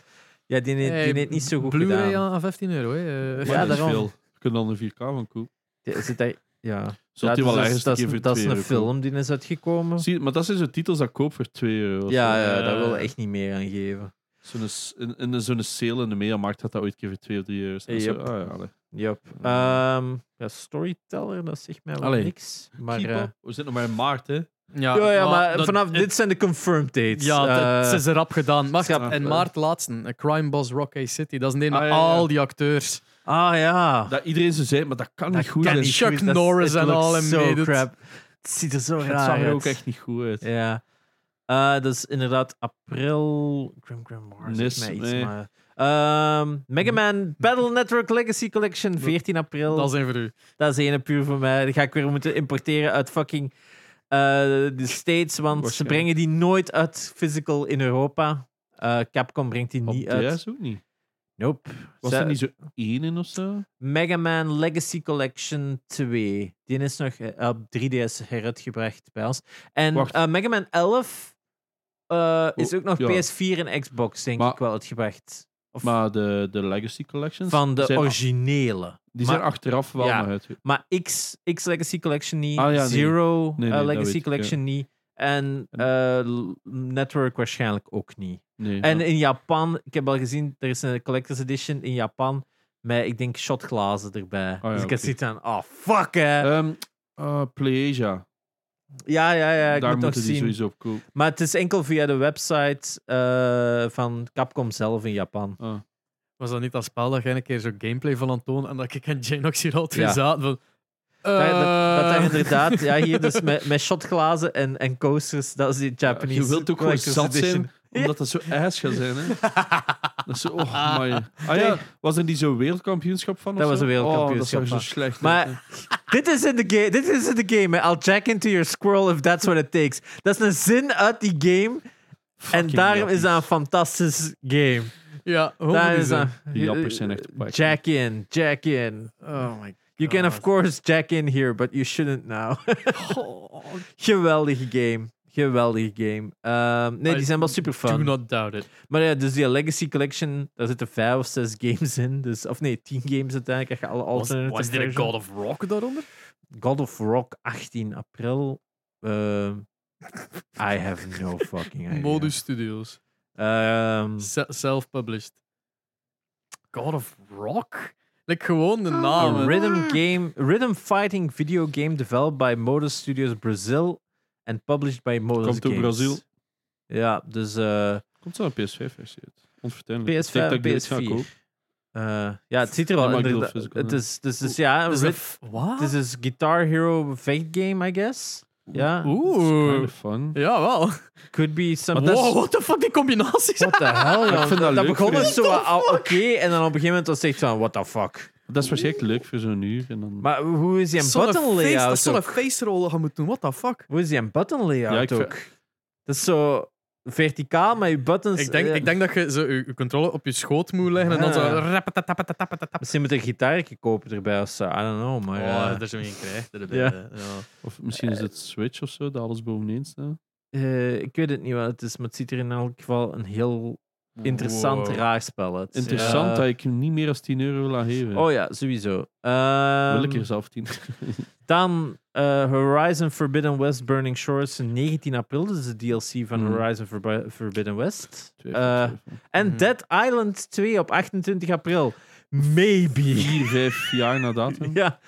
ja, die, heeft- die
Hey,
heeft niet zo goed
Blu-ray
gedaan.
aan- aan 15 euro. Hè. Eh,
Ja,
Ja, dat is
daarom.
veel. Je kunt dan een 4K van kopen.
Die- Zit hij, ja.
Zult
ja,
die wel
dat
ergens
is,
een
dat
keer
is,
voor
dat is
2
een
euro kopen.
film die is uitgekomen.
Zie, maar dat zijn zo titels dat ik koop voor 2 euro. of
Ja,
zo.
ja,
eh,
daar wil ik echt niet meer aan geven.
Zo'n, s- in, in zo'n sale in de Mediamarkt had dat ooit een keer voor 2 of 3 euro. En zo,
Yep.
ah, ja, allee.
Yep. Ehm, ja, storyteller, dat zegt mij wel
Allee.
niks. Maar,
Keep
eh,
up. We zitten nog maar in maart, hè.
Ja,
ja, ja, maar
dat-
vanaf
het-
dit zijn de confirmed dates.
Ja, dat-
Eh,
ze is er rap gedaan. Wacht,
schat,
en
eh.
Maart laatste, eh, Crime Boss Rocky City. Dat is een
Ah,
met
ja, ja.
al die acteurs.
ah ja.
Dat iedereen zo zei, maar dat kan
Dat
niet goed
kan
zijn.
niet
Chuck
goed, dat is-
Norris
it
en
looks
al hem
so
meedoet.
crap. Het ziet er zo raar
Het zag er
uit.
ook echt niet goed uit.
Ja. Eh, dat is inderdaad april. Grim Grim Mars.
Nis,
Nis, mij iets,
nee.
maar... Ehm, Mega Man Battle Network Legacy Collection, 14 april.
Dat is één voor u.
Dat is ene puur voor mij. Die ga ik weer moeten importeren uit fucking eh, de States. Want ze
Waarschijnlijk.
brengen die nooit uit physical in Europa. Eh, Capcom brengt die
Op
niet uit.
DS ook niet.
Nope.
Was
Ze-
er niet zo één in of zo?
Mega Man Legacy Collection 2. Die is nog eh, op 3DS heruitgebracht bij ons. En
Wacht.
eh, Mega Man 11 eh, is ook nog
ja.
PS4 en Xbox, denk
Maar-
ik, wel uitgebracht. Of
Maar de, de Legacy Collections.
van de
zijn-
originele.
Die
maar-
zijn achteraf wel
Ja.
naar uit.
Maar X, X Legacy Collection niet,
Ah, ja, nee.
Zero
Nee, nee,
eh,
dat weet
Legacy
ik, ja.
Collection niet. En eh, L- Network waarschijnlijk ook niet.
Nee,
En
ja.
in Japan, ik heb al gezien, er is een Collector's Edition in Japan met, ik denk, shotglazen erbij.
Ah, ja,
dus ik
oké.
had zoiets aan, oh fuck hè.
Ehm, eh, Playasia.
ja, ja, ja, ik
Daar
moet nog
moeten die
zien.
sowieso op kopen.
Maar het is enkel via de website eh, van Capcom zelf in Japan.
Ah.
Was dat niet dat spel dat jij een keer zo gameplay van aan toon en dat ik en Janox hier al twee
Ja.
zaten van...
Dat,
eh,
dat, dat daar inderdaad, ja, hier dus met, met shotglazen en, en coasters, dat is die Japanese
Je wilt ook gewoon
Collector's
zat
Edition.
zijn, omdat dat zo ass gaat zijn. Hè? Dat is zo, oh my. Ah ja, was er niet zo'n wereldkampioenschap van? of
Dat was
zo?
een wereldkampioenschap
Oh, dat zag
van.
er zo slecht uit, hè.
Maar dit is in de game. Dit is in de game. hè. I'll jack into your squirrel if that's what it takes. Dat is een zin uit die game. en
Fucking
daarom is dat een
jappies.
fantastisch game.
ja, hoe
Daar
moet
is dat.
Die jappers zijn echt wack.
Jack in, jack in.
Oh my
You can of course jack in here, but you shouldn't now. Geweldige game. Geweldige game. Ehm, nee, die
I
zijn wel super
Do
fun.
not doubt it.
Maar ja, dus die Legacy Collection, daar zitten vijf of zes games in. Dus, of nee, tien games uiteindelijk. Krijg je alle
Was,
alternatives.
was dit een God of Rock daaronder?
God of Rock 18 april. Ehm, I have no fucking idea.
Modus Studios.
Ehm,
Se- Self-published. God of Rock? Like, gewoon de naam.
a
hè.
Oh. rhythm game, rhythm fighting video game developed by Modus Studios Brazil and published by Modus
Komt door
Games.
Brazil.
Ja, dus eh,
Komt zo een PS5-versie uit. Onvertuinlijk.
PS5, PS4. eh, ja, het ziet er
Ja,
wel
maar ik bedoel
inderdaad.
physical,
Het
ja.
is, dus, dus ja, een
Dus
rit-
dat- Wat?
dit is Guitar Hero vechtgame, I guess. Ja,
Oeh.
fun.
Ja, wel.
could be some.
Wow, what the fuck, die combinaties.
What the hell,
Ik
jong?
vind dat
Dat
leuk,
begon
vriend.
dus zo wat ah, oké, en dan op een gegeven moment was het echt van, what the fuck?
Dat is waarschijnlijk leuk voor zo'n uur. En dan...
Maar hoe is die een
Zo'n
button
face- Dat
layout
is zo'n
ook?
face roll gaan moeten doen, what the fuck.
Hoe is die een button
Ja,
layout
ik vind-
ook? Dat is zo verticaal, maar je buttons...
Ik denk,
eh,
ik denk dat je zo je, je controle op je schoot moet leggen en dan zo...
Ja.
rapatatapatatapatap.
Misschien moet je een gitaartje kopen erbij of zo, I don't know, maar...
Oh,
eh,
daar zijn we geen krijg. dat
Ja.
hebben we, ja.
Of misschien is het Switch of zo, dat alles bovenin staat.
eh, ik weet het niet wat het is, maar het ziet er in elk geval een heel interessant
Wow.
raar spel uit.
Interessant
Ja.
dat ik hem niet meer dan 10 euro wil aan geven.
Oh ja, sowieso.
wil
Ehm,
ik er zelf 10.
Dan eh, Horizon Forbidden West Burning Shores, 19 april. Dat is de DLC van
Hmm.
Horizon Forbi- Forbidden West.
Twee
Eh,
van twee van.
En
Mhm.
Dead Island 2 op 28 april. Maybe.
Vier, vijf jaar na datum.
ja.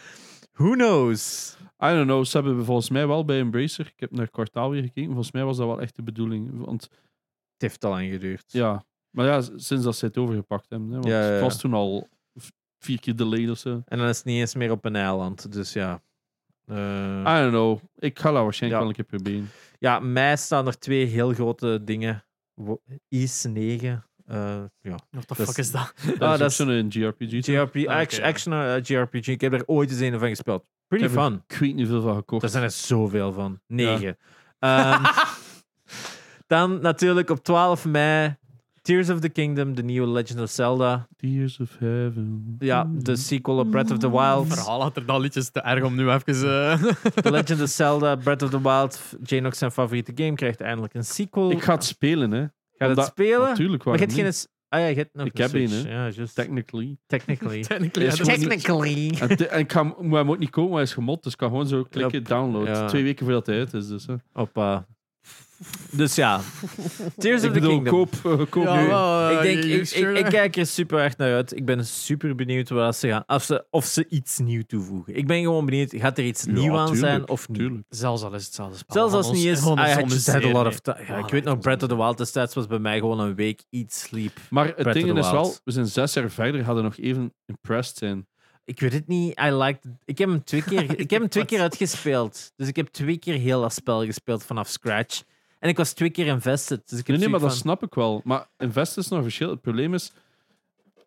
Who knows?
I don't know, ze hebben volgens mij wel bij Embracer, ik heb naar het kwartaal weer gekeken, volgens mij was dat wel echt de bedoeling. Want
Het heeft al lang geduurd.
ja, maar ja, sinds dat ze het overgepakt hebben. Hè, want
Ja, ja, ja.
het was toen al v- vier keer delayed of zo.
En dan is het niet eens meer op een eiland. Dus ja. Eh,
I don't know, ik ga dat waarschijnlijk
Ja. Ah,
wel een keer proberen.
Ja, mei staan er twee heel grote dingen. Wo- IS 9. eh, ja.
What the
Dat
fuck
is-
is dat?
Dat is ook
dat is-
zo'n JRPG. toch?
JRP,
Ah,
act-
oké, ja.
action eh, JRPG. Ik heb er ooit eens een van gespeeld. Pretty
Ik heb er-
fun.
Ik weet niet veel van gekocht.
Er zijn er zoveel van. Negen. Ehm, dan natuurlijk op 12 mei Tears of the Kingdom, de nieuwe Legend of Zelda.
Tears of Heaven.
Ja, dus- de sequel op Breath of the
Het
Wild.
verhaal had er dan liedjes te erg om nu even... eh,
The Legend of Zelda, Breath of the Wild, Janox zijn favoriete game, krijgt eindelijk een sequel.
Ik ga het spelen, hè.
Gaat het
omdat-
spelen?
Natuurlijk,
Maar
waarom
je hebt
niet?
geen... s- Ah ja, je hebt nog
Ik
een
heb
Switch.
één,
Ja, just
Technically.
technically.
technically, ja,
Is
dat was
gewoon
niet-
technically.
En, te- en ik ga, moet hem ook niet komen, hij is gemod, dus ik kan gewoon zo klikken, download.
Ja.
Twee weken voordat hij uit is, dus. Hè.
Op eh, Dus ja, Tears
Ik
of the
bedoel,
Kingdom.
koop, eh, koop
Ja,
nu.
wel, eh,
ik, denk,
you
ik,
sure?
ik, ik kijk er super erg naar uit. Ik ben super benieuwd wat ze gaan, of, ze, of ze iets nieuw toevoegen. Ik ben gewoon benieuwd, gaat er iets
Ja,
nieuws aan
tuurlijk,
zijn of niet?
tuurlijk.
Zelfs al is hetzelfde spel.
Zelfs als
van
het niet
ons-
is, ah, I
van ons
had just had a lot
onderzeer, nee.
of time. Ja,
Ja,
ik weet nog,
dat
Breath of the Wild destijds was bij mij gewoon een week iets sleep.
Maar het
Breath of
ding
the
is
Wild.
wel, we zijn zes jaar verder, hadden nog even impressed zijn.
Ik weet het niet. I liked Ik heb hem twee keer, ik heb hem twee keer uitgespeeld. Dus ik heb twee keer heel dat spel gespeeld vanaf scratch. En ik was twee keer invested. Dus ik heb
Nee, nee, maar dat
zoiets
snap ik wel. Maar invest is nog een verschil. Het probleem is,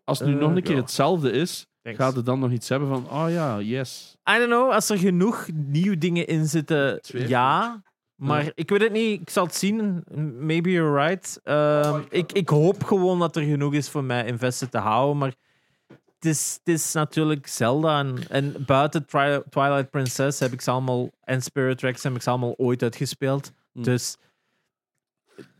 als het nu
Eh,
nog een keer
ja.
hetzelfde is,
van,
gaat het dan nog iets hebben van, oh ja, yes.
I don't know, als er genoeg nieuwe dingen in zitten,
Twee.
ja. Maar
Ja.
ik weet het niet, ik zal het zien. Maybe you're right.
Oh
Ehm, ik, ik hoop gewoon dat er genoeg is voor mij invested te houden. Maar het is, het is natuurlijk Zelda. En, en buiten Tri- Twilight Princess heb ik ze allemaal. En Spirit Tracks heb ik ze allemaal ooit uitgespeeld.
Hmm.
Dus.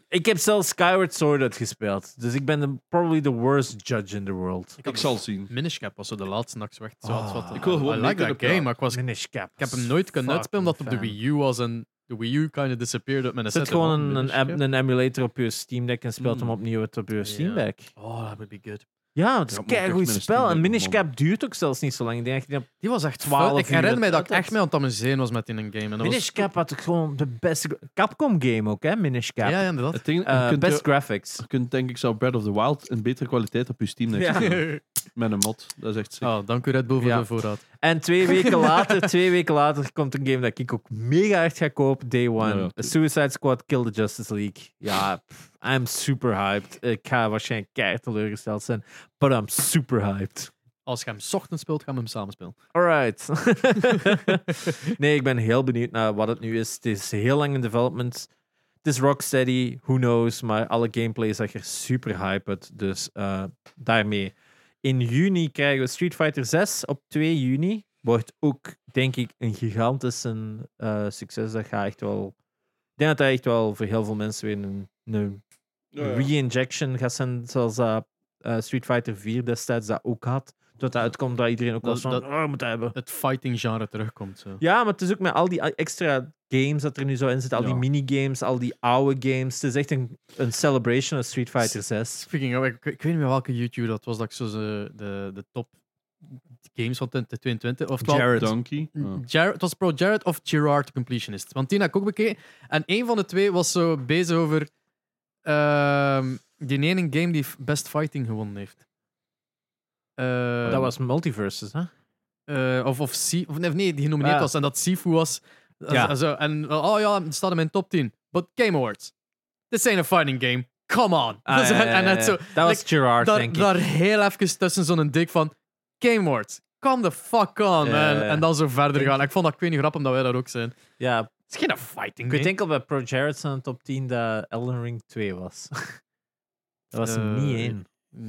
Ik heb zelfs Skyward Sword uitgespeeld. Dus ik ben de- probably the worst judge in the world.
Ik zal zien.
Minish Cap was zo de laatste nacht echt zo had
Ah.
wat.
Ik wil
gewoon
I
mee
like
kunnen
that game,
praten.
maar ik, was, ik
Minish Cap.
heb hem nooit kunnen uitspelen omdat het op de Wii U was en de Wii U kind of disappeared uit mijn
Er zit
setup.
gewoon een, een,
Minish
em-
Cap.
een emulator op je Steam Deck en speelt hem
Mm.
opnieuw uit op je
Ja.
Steam Deck.
Oh, that would be good.
Ja, het is
Ja,
een
maar ook echt
keigoed
met een
spel.
Steam
En
Deck,
Minish
man.
Cap duurt ook zelfs niet zo lang. Ik denk dat
Die was echt
12
fun. Ik
uur
herinner mij dat ik
uit had.
echt mee aan het amuseren was met in een game. En dat was-
Minish Cap had ook gewoon de beste... Capcom-game ook, hè? Minish Cap.
Ja, ja, inderdaad.
Het ding, je
Eh,
kunt
best
je-
graphics.
je kunt denk ik zo Breath of the Wild in betere kwaliteit op je Steam Deck
Ja.
spelen. Met een mod. Dat is echt sick.
Oh, dank u Red Bull voor
Ja.
de voorraad.
En twee weken later, twee weken later komt een game dat ik ook mega echt ga kopen. Day One.
Ja, ja, tuurlijk.
Suicide Squad Kill the Justice League. Ja, pff, I'm super hyped. Ik ga waarschijnlijk keihard teleurgesteld zijn. But I'm super hyped.
Als je hem 's ochtends speelt, gaan we hem samen spelen.
Alright. nee, ik ben heel benieuwd naar wat het nu is. Het is heel lang in development. Het is Rocksteady, who knows, maar alle gameplay zag er super hype uit. Dus eh, daarmee. In juni krijgen we Street Fighter 6 op 2 juni. Wordt ook, denk ik, een gigantisch eh, succes. Dat gaat echt wel. Ik denk dat dat echt wel voor heel veel mensen weer een, een
Oh,
re-injection gaat zijn. Zoals eh, eh, Street Fighter 4 destijds dat ook had. Tot dat uitkomt dat iedereen ook
Dat-
was van,
dat-
oh, we moeten dat hebben.
Het fighting genre terugkomt. Zo.
Ja, maar het is ook met al die extra games dat er nu zo in zit, al die
Ja.
minigames, al die oude games. Het is echt een, een celebration of Street Fighter 6.
Speaking of, ik, ik weet niet meer welke YouTube dat was dat ik zo ze- de, de top games van 2022. Of
Jared.
Donkey.
Ah.
Ja.
Jared, het was Pro Jared of Gerard Completionist. Want die heb ik ook bekeken. En een van de twee was zo bezig over ehm, die ene game die f- Best Fighting gewonnen heeft. Eh,
dat was Multiverses, hè?
eh, of, of, Si- of nee, nee, die genomineerd
Ah.
was en dat Sifu was.
Ja.
En, zo, en oh ja, het staat in mijn top 10. But Game Awards. This ain't a fighting game. Come
Ah,
on. Dus, en- en het zo,
dat was
like,
Gerard,
daar,
denk ik.
daar heel even tussen zo'n dik van. Game Awards. Come the fuck on, man.
ja, ja.
En dan zo verder gaan. Ik vond dat ik niet grappig omdat wij daar ook zijn.
Ja,
Het is geen fighting
ik
game.
weet enkel bij Pro Jared's aan de top 10 dat Elden Ring 2 was. dat was er
Eh,
niet één.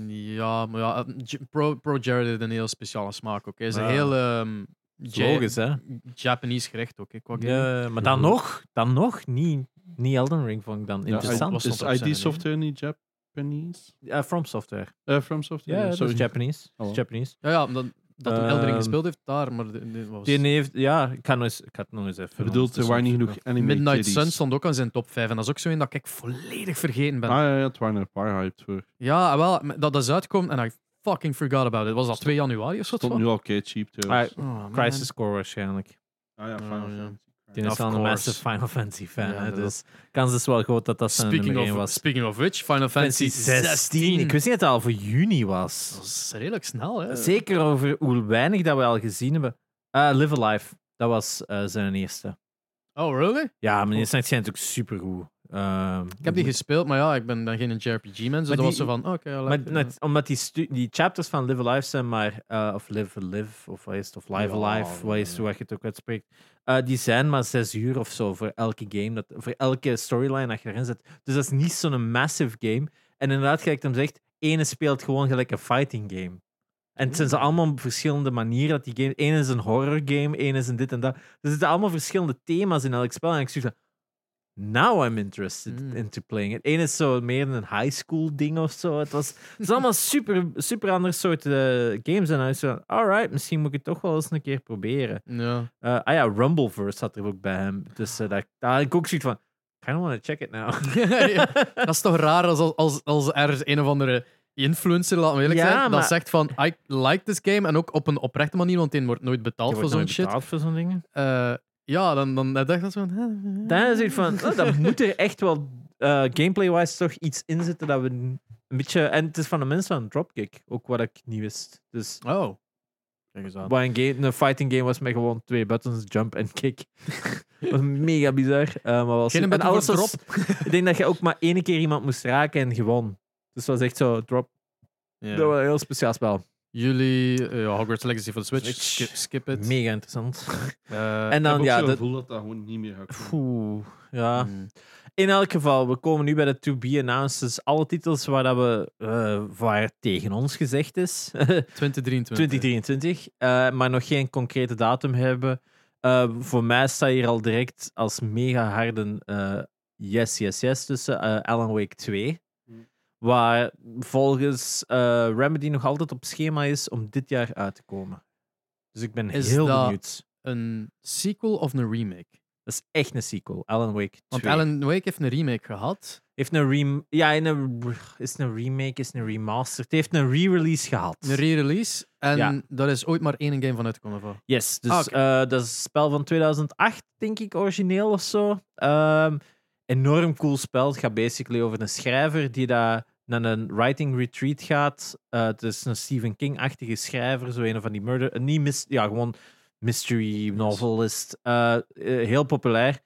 Ja, maar ja, eh, J- Pro, Pro Jared heeft een heel speciale smaak ook. hè. Hij is
Ja.
een heel ehm, Ja-
Ah. Logisch, hè?
Japanese gerecht ook. hè, qua game.
Ja, maar dan nog, dan nog, niet, niet Elden Ring vond ik dan interessant.
was- stond op
Is
zijn
ID
idee.
Software niet Japanese?
Ja, From Software.
Eh, From Software?
Ja, dat
sorry.
is Japanese. Dat is
Oh.
Japanese.
Ja, ja omdat, dat een Eldering
Ehm,
gespeeld heeft daar, maar de- de- wat was
Die heeft, ja, ik kan nog eens, ik ga het nog eens even.
Ik bedoel, er waren niet genoeg anime
Midnight
titties.
Sun stond ook aan zijn top 5. En dat is ook zo een dat ik volledig vergeten ben.
Ah ja, ja, het waren er een paar hyped voor.
Ja, ah, wel, maar dat dat is uitkomt en I fucking forgot about it. Was dat 2 januari of zo?
Stond nu al kei cheap
Ah,
trouwens.
Oh, man.
Crisis Core waarschijnlijk.
Ah ja, Final
Ah, ja.
Fantasy.
Die
Of
is wel een
course.
massive Final Fantasy fan.
Ja,
hè,
dat
dus kans is wel groot dat dat zijn
Speaking
nummer één
of,
was.
speaking of which, Final Fantasy 16.
Ik wist niet dat het al voor juni was.
Dat is eh, redelijk snel, hè?
Zeker over hoe weinig dat we al gezien hebben. Eh, Live Alive, dat was eh, zijn eerste.
Oh, really?
Ja, maar die is natuurlijk supergoed. Ehm,
Ik heb die gespeeld, maar ja, ik ben dan geen JRPG-man. Dus
Maar
dat was
die-
zo van, oké, I like
Maar
it.
net- omdat die, stu- die chapters van Live Alive zijn maar, eh, of Live Live, of wat is het, of Live
Ja,
Alive, wat is het,
ja.
hoe je het ook uitspreekt, eh, die zijn maar zes uur of zo voor elke game, dat, voor elke storyline dat je erin zet. Dus dat is niet zo'n massive game. En inderdaad, gelijk hem zegt, ene speelt gewoon gelijk een fighting game. En het zijn
Hmm.
ze allemaal op verschillende manieren dat die game. Eén is een horror game, één is een dit en dat. Dus Er zitten allemaal verschillende thema's in elk spel. En ik zeg van, now I'm interested
Mm.
into playing it. Eén is zo meer een high school ding of zo. Het was het zijn allemaal super, super andere soorten eh, games. En dan is het van, alright, misschien moet ik het toch wel eens een keer proberen.
Ja.
Eh, ah ja, Rumbleverse zat er ook bij hem. Dus eh, dat, daar had ik ook zoiets van, kind of want to check it now.
Ja, dat is toch raar als, als, als er een of andere influencer, laten we eerlijk
Ja,
zijn, dat
maar-
zegt van I like this game en ook op een oprechte manier, want die wordt nooit betaald
Je wordt
voor zo'n
nooit
shit.
betaald voor zo'n dingen.
Eh, ja, dan, dan dacht ik dat zo van... eh,
Dan is het van, oh, dat moet er echt wel eh, gameplay-wise toch iets in zitten dat we een beetje... En het is van de mensen van Dropkick, ook wat ik niet wist. Dus
Oh. Kijk eens aan.
wat een, game, een fighting game was met gewoon twee buttons, jump en kick. Dat was mega bizar. eh, maar was
Geen button voor
was- Ik denk dat je ook maar één keer iemand moest raken en gewon. Dus dat was echt zo, drop.
Ja.
Dat was een heel speciaal spel.
Jullie, eh, ja, Hogwarts Legacy voor de Switch,
Switch.
skip, skip it.
Mega interessant.
Eh,
En dan, ja...
Ik
Dat,
voel dat dat gewoon niet meer gaat komen.
Oeh, ja.
mm.
In elk geval, we komen nu bij de to be announced. Alle titels waar, dat we, eh, waar tegen ons gezegd is.
2023.
2023. eh, maar nog geen concrete datum hebben. Eh, voor mij staat hier al direct als mega harde eh, yes, yes, yes tussen eh, Alan Wake 2.
Hmm.
Waar volgens eh, Remedy nog altijd op schema is om dit jaar uit te komen. Dus ik ben
Is
heel
dat-
benieuwd.
Een sequel of een remake?
Dat is echt een sequel. Alan Wake 2.
Want Alan Wake heeft een remake gehad.
Heeft een rem ja, in een r- is een remake, is een remaster. Het heeft een re-release gehad.
Een re-release. En
Ja.
daar is ooit maar één game van uitgekomen. Van.
yes, dus
Ah, oké.
eh, dat is een spel van 2008, denk ik, origineel of zo. Ehm, enorm cool spel. Het gaat basically over een schrijver die daar naar een writing retreat gaat. Eh, het is een Stephen King-achtige schrijver, zo een van die murder... eh, niet mis ja, gewoon mystery novelist. Eh, eh, heel populair.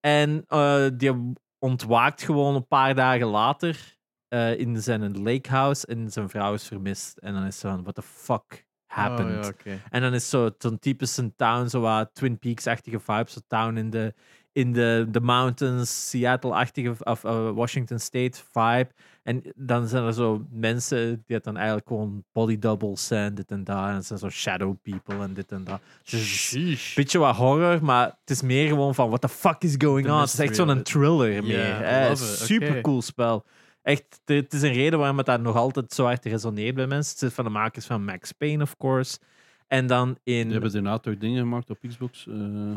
En eh, die ontwaakt gewoon een paar dagen later eh, in zijn lake house en zijn vrouw is vermist. En dan is ze van, what the fuck happened?
Oh, Ah, ja, oké.
En dan is zo zo'n typische town, zo wat Twin Peaks-achtige vibes. Zo'n town in de, in de, de mountains, Seattle-achtige of eh, Washington State vibe. En dan zijn er zo mensen die het dan eigenlijk gewoon body doubles zijn, dit en dat. En het zijn zo shadow people en dit en dat. Dus een beetje wat horror, maar het is meer gewoon van what the fuck is going
De
on. Het is echt
mystery of
zo'n
it.
thriller
Ja,
meer. hè.
love it,
Super
oké.
cool spel. Echt, t- het is een reden waarom het daar nog altijd zo hard resoneert bij mensen. Het is van de makers van Max Payne, of course. En dan in
Die hebben daarna toch dingen gemaakt op Xbox. eh,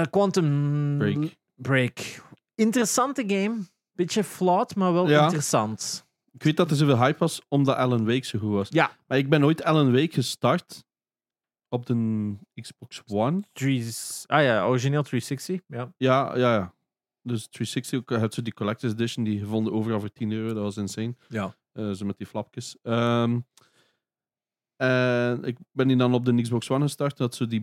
eh, Quantum
break.
Break. Interessante game. Beetje flawed, maar wel
Ja.
interessant.
Ik weet dat er zoveel hype was omdat Alan Wake zo goed was.
Ja.
Maar ik ben ooit Alan Wake gestart op de Xbox One.
Drie, ah ja, origineel 360. Ja.
Ja, ja, ja. Dus 360, ook, eh, had ze die Collector's Edition, die gevonden overal voor 10 euro, dat was insane.
Ja.
Eh, zo met die flapjes. Ehm, en ik ben die dan op de Xbox One gestart, dat zo die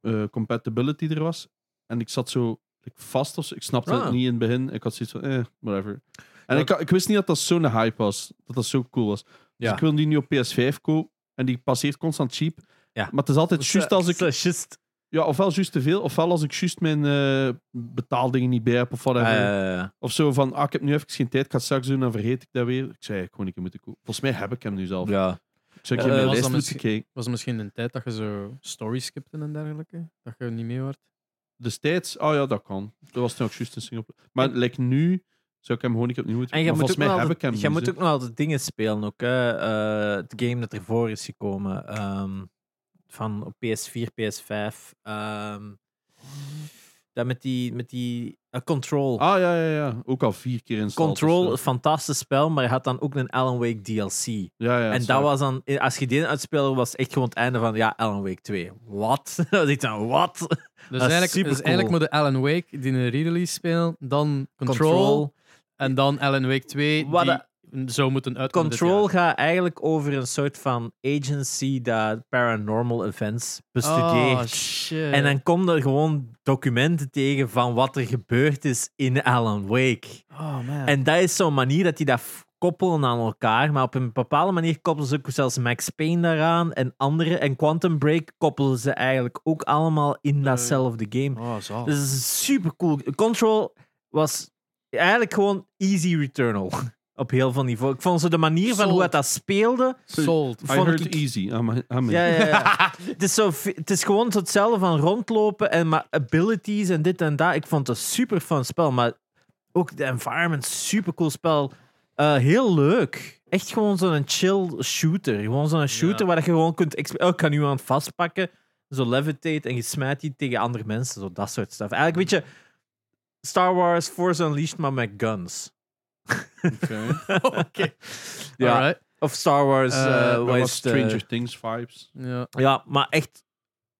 eh, compatibility er was. En ik zat zo like, vast of zo. Ik snapte
Ah.
het niet in het begin. Ik had zoiets van, eh, whatever. En
Ja.
ik, ik wist niet dat dat zo'n hype was. Dat dat zo cool was. Dus
Ja.
ik wil die nu op PS5 kopen. En die passeert constant cheap.
Ja.
Maar het is altijd juist als ik...
Het is eh, Just,
Ja, ofwel juist te veel, ofwel als ik juist mijn eh, betaaldingen niet bij heb of whatever.
eh,
Of zo van, ah, ik heb nu even geen tijd, ik ga het straks doen, dan vergeet ik dat weer. Ik zei, gewoon een keer moeten kopen. Volgens mij heb ik hem nu zelf.
eh, ja.
Ik zou
Ja,
ik in mijn
was
lijst
dat
moeten
misschien-
kijken.
Was eh, het misschien een tijd dat je zo stories skipte en dergelijke? Dat je niet mee werd?
Destijds, oh ja, dat kan. Dat was toen ook juist een single player. Maar like nu, zou ik hem gewoon niet opnieuw moeten
En
kopen.
je
Maar
moet, ook
volgens mij
nog,
heb ik hem
altijd, je
nu,
moet
zo.
ook nog altijd dingen spelen. Ook, hè. Eh, het game dat ervoor is gekomen. ehm, van op PS4, PS5. ehm, dat met die, met die eh, Control.
Ah, ja, ja, ja. Ook al vier keer in
Control, een fantastisch spel, maar hij had dan ook een Alan Wake DLC.
Ja, ja.
en dat
sorry.
was dan, eh, als je die uitspeelde, was echt gewoon het einde van, ja, Alan Wake 2. Wat? Dat was ik dan, wat?
Dus
is
eigenlijk, dus
Ah, supercool.
eigenlijk moet je Alan Wake die een re-release spelen, dan Control, en dan Alan Wake 2
Wat
die zou moeten uitkomen. dit
Control
jaar.
gaat eigenlijk over een soort van agency dat paranormal events
Oh,
bestudeert.
shit.
en dan komen er gewoon documenten tegen van wat er gebeurd is in Alan Wake.
Oh, man.
En dat is zo'n manier dat die dat f- koppelen aan elkaar. Maar op een bepaalde manier koppelen ze ook zelfs Max Payne daaraan en andere. En Quantum Break koppelen ze eigenlijk ook allemaal in datzelfde game.
Oh, zalig.
Dus het is super cool. Control was eigenlijk gewoon easy returnal. Op heel veel niveau. Ik vond ze de manier van hoe het dat speelde.
Sold.
I
vond
heard
ik-
easy. I'm, I'm in.
Ja, ja, ja. het, is zo, vi- het is gewoon zo hetzelfde van rondlopen en maar abilities en dit en dat. Ik vond het een super fun spel, maar ook de environment, super cool spel. Eh, heel leuk. Echt gewoon zo'n chill shooter. Gewoon zo'n shooter
Ja.
waar je gewoon kunt. exp- Oh, ik kan iemand vastpakken, zo levitate en je smijt die tegen andere mensen. Zo dat soort stuff. Eigenlijk, weet je, Star Wars Force Unleashed, maar met guns.
Oké.
Oké.
Ja.
Alright.
Of Star Wars,
Eh,
eh,
Wel
wat
wat
is het, eh,
Stranger Things vibes.
Ja.
Ja, maar echt.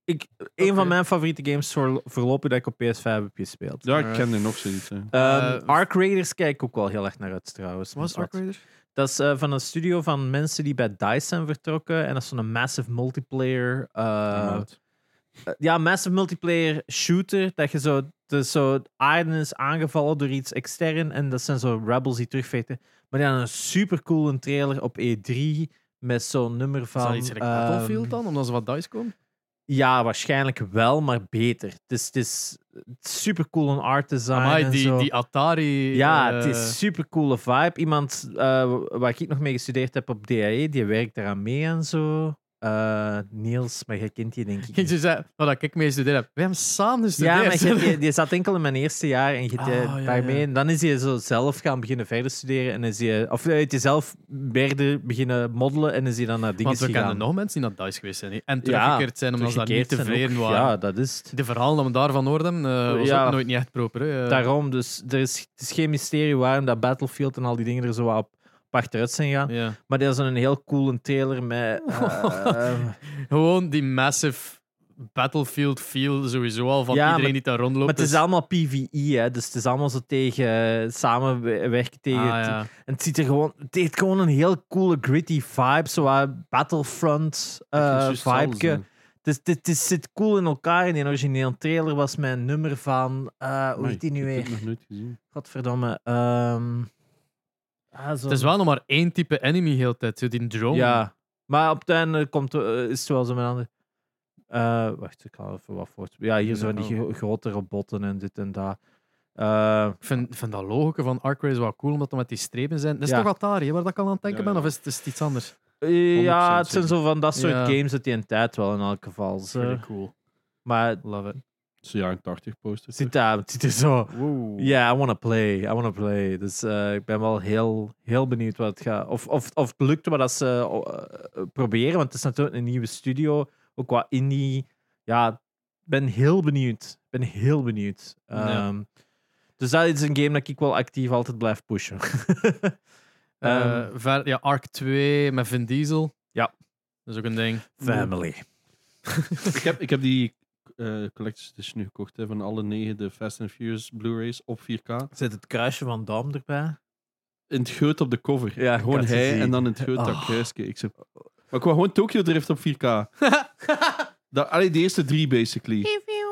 Ik, een
Oké.
van mijn favoriete games voor, voorlopig dat ik op PS5 heb gespeeld.
Ja, ik
Alright.
ken er nog zoiets. hè.
Ehm
Eh,
Ark Raiders kijk ik ook wel heel erg naar uit trouwens.
Was
Want
Ark Raiders?
Dat is eh, van een studio van mensen die bij DICE zijn vertrokken. En dat is zo'n massive multiplayer. eh,
Remote.
eh, ja, massive multiplayer shooter. Dat je zo. Dus zo aarde is aangevallen door iets extern. En dat zijn zo rebels die terugvechten. Maar dan een super coole trailer op E3. Met zo'n nummer van.
Is dat iets like
ehm,
Battlefield dan? Omdat ze wat dice komen?
Ja, waarschijnlijk wel, maar beter. Het is, het is super cool een art design.
Amai,
en
die,
zo.
die Atari...
Ja,
eh,
het is super coole vibe. Iemand eh, waar ik nog mee gestudeerd heb op DAE, die werkt eraan mee en zo. Eh, Niels, maar jij kent die denk ik.
Je
niet.
zei, wat ik mee gestudeerd heb. We hebben samen
Ja,
gestudeerd.
maar jij- die, die zat enkel in mijn eerste jaar en je,
Ah,
eh,
ja, ja.
daarmee. En dan is hij zo zelf gaan beginnen verder studeren. En is hij, of hij heeft hij zelf verder beginnen moddelen en is hij dan naar dingen
Want we
gegaan.
kennen nog mensen die naar DICE geweest zijn. die- En
Ja,
teruggekeerd zijn omdat ze daar niet
Teruggekeerd en
tevreden
ook-
waren.
Ja, dat is het.
De verhalen dat we daarvan hoorden, eh was
Ja.
ook nooit niet echt proper. Hè. Eh,
Daarom, dus er is, het is geen mysterie waarom dat Battlefield en al die dingen er zo wat op, op achteruit zijn gaan.
Ja.
Maar dat is een heel coole trailer met... eh,
Gewoon die massive battlefield feel sowieso al van
Ja,
iedereen
maar-
die daar rondloopt.
Maar het is
Dus-
allemaal PvE, hè? dus het is allemaal zo tegen eh, samenwerken. Tegen,
Ah, ja.
En het ziet er gewoon, het heeft gewoon een heel coole, gritty vibe, zo wat Battlefront
Ik vind het
eh
juist hetzelfde
vibe.
zijn.
Het, is- het, het is- zit cool in elkaar. In die origineel trailer was mijn nummer van, eh hoe
Amai,
heet die nu
ik heb
weer?
het nog nooit gezien.
Godverdomme. ehm ah, zo
Het is wel nog maar één type enemy heel de tijd. zo Die drone.
Ja, maar op het einde komt, eh, is het wel zo met een ander. Eh, wacht, ik haal even wat voort. Ja, hier zijn die
nou.
gro- grote robotten en dit en dat. Eh,
Ik vind, vind dat logica van Arc Race wel cool, omdat dat met die strepen zijn. Dat is
Ja.
toch Atari, hè, waar dat ik al aan het denken
Ja, ja.
ben? Of is het, is het iets anders?
eh, ja,
100%
het zijn zo van dat soort
Ja.
games dat die in tijd wel in elk geval.
is
Zo.
cool.
Maar het
Love it.
Het is een jaren 80 poster.
zit, daar, het zit er zo.
Wow.
Ja, I wanna play, I wanna play. Dus eh, ik ben wel heel, heel benieuwd wat het gaat. Of, of, of het lukt wat dat ze eh, o- eh, proberen, want het is natuurlijk een nieuwe studio. Ook qua indie. Ja, ik ben heel benieuwd. Ik ben heel benieuwd.
Ja.
Ehm, Dus dat is een game dat ik wel actief altijd blijf pushen. Ehm,
Eh, ver, ja, Arc 2 met Vin Diesel.
Ja.
Dat is ook een ding.
family.
ik, heb, ik heb die eh Collector's Edition nu gekocht hè, van alle negen de Fast and Furious Blu-rays op 4K.
Zit het kruisje van Dam erbij?
In het geut op de cover.
Ja, ik
gewoon
had het
hij
gezien.
en dan in het geut dat
Oh.
kruisje. Ik zeg, maar ik wou gewoon Tokyo Drift op 4K. dat, allee, de eerste drie, basically.
If you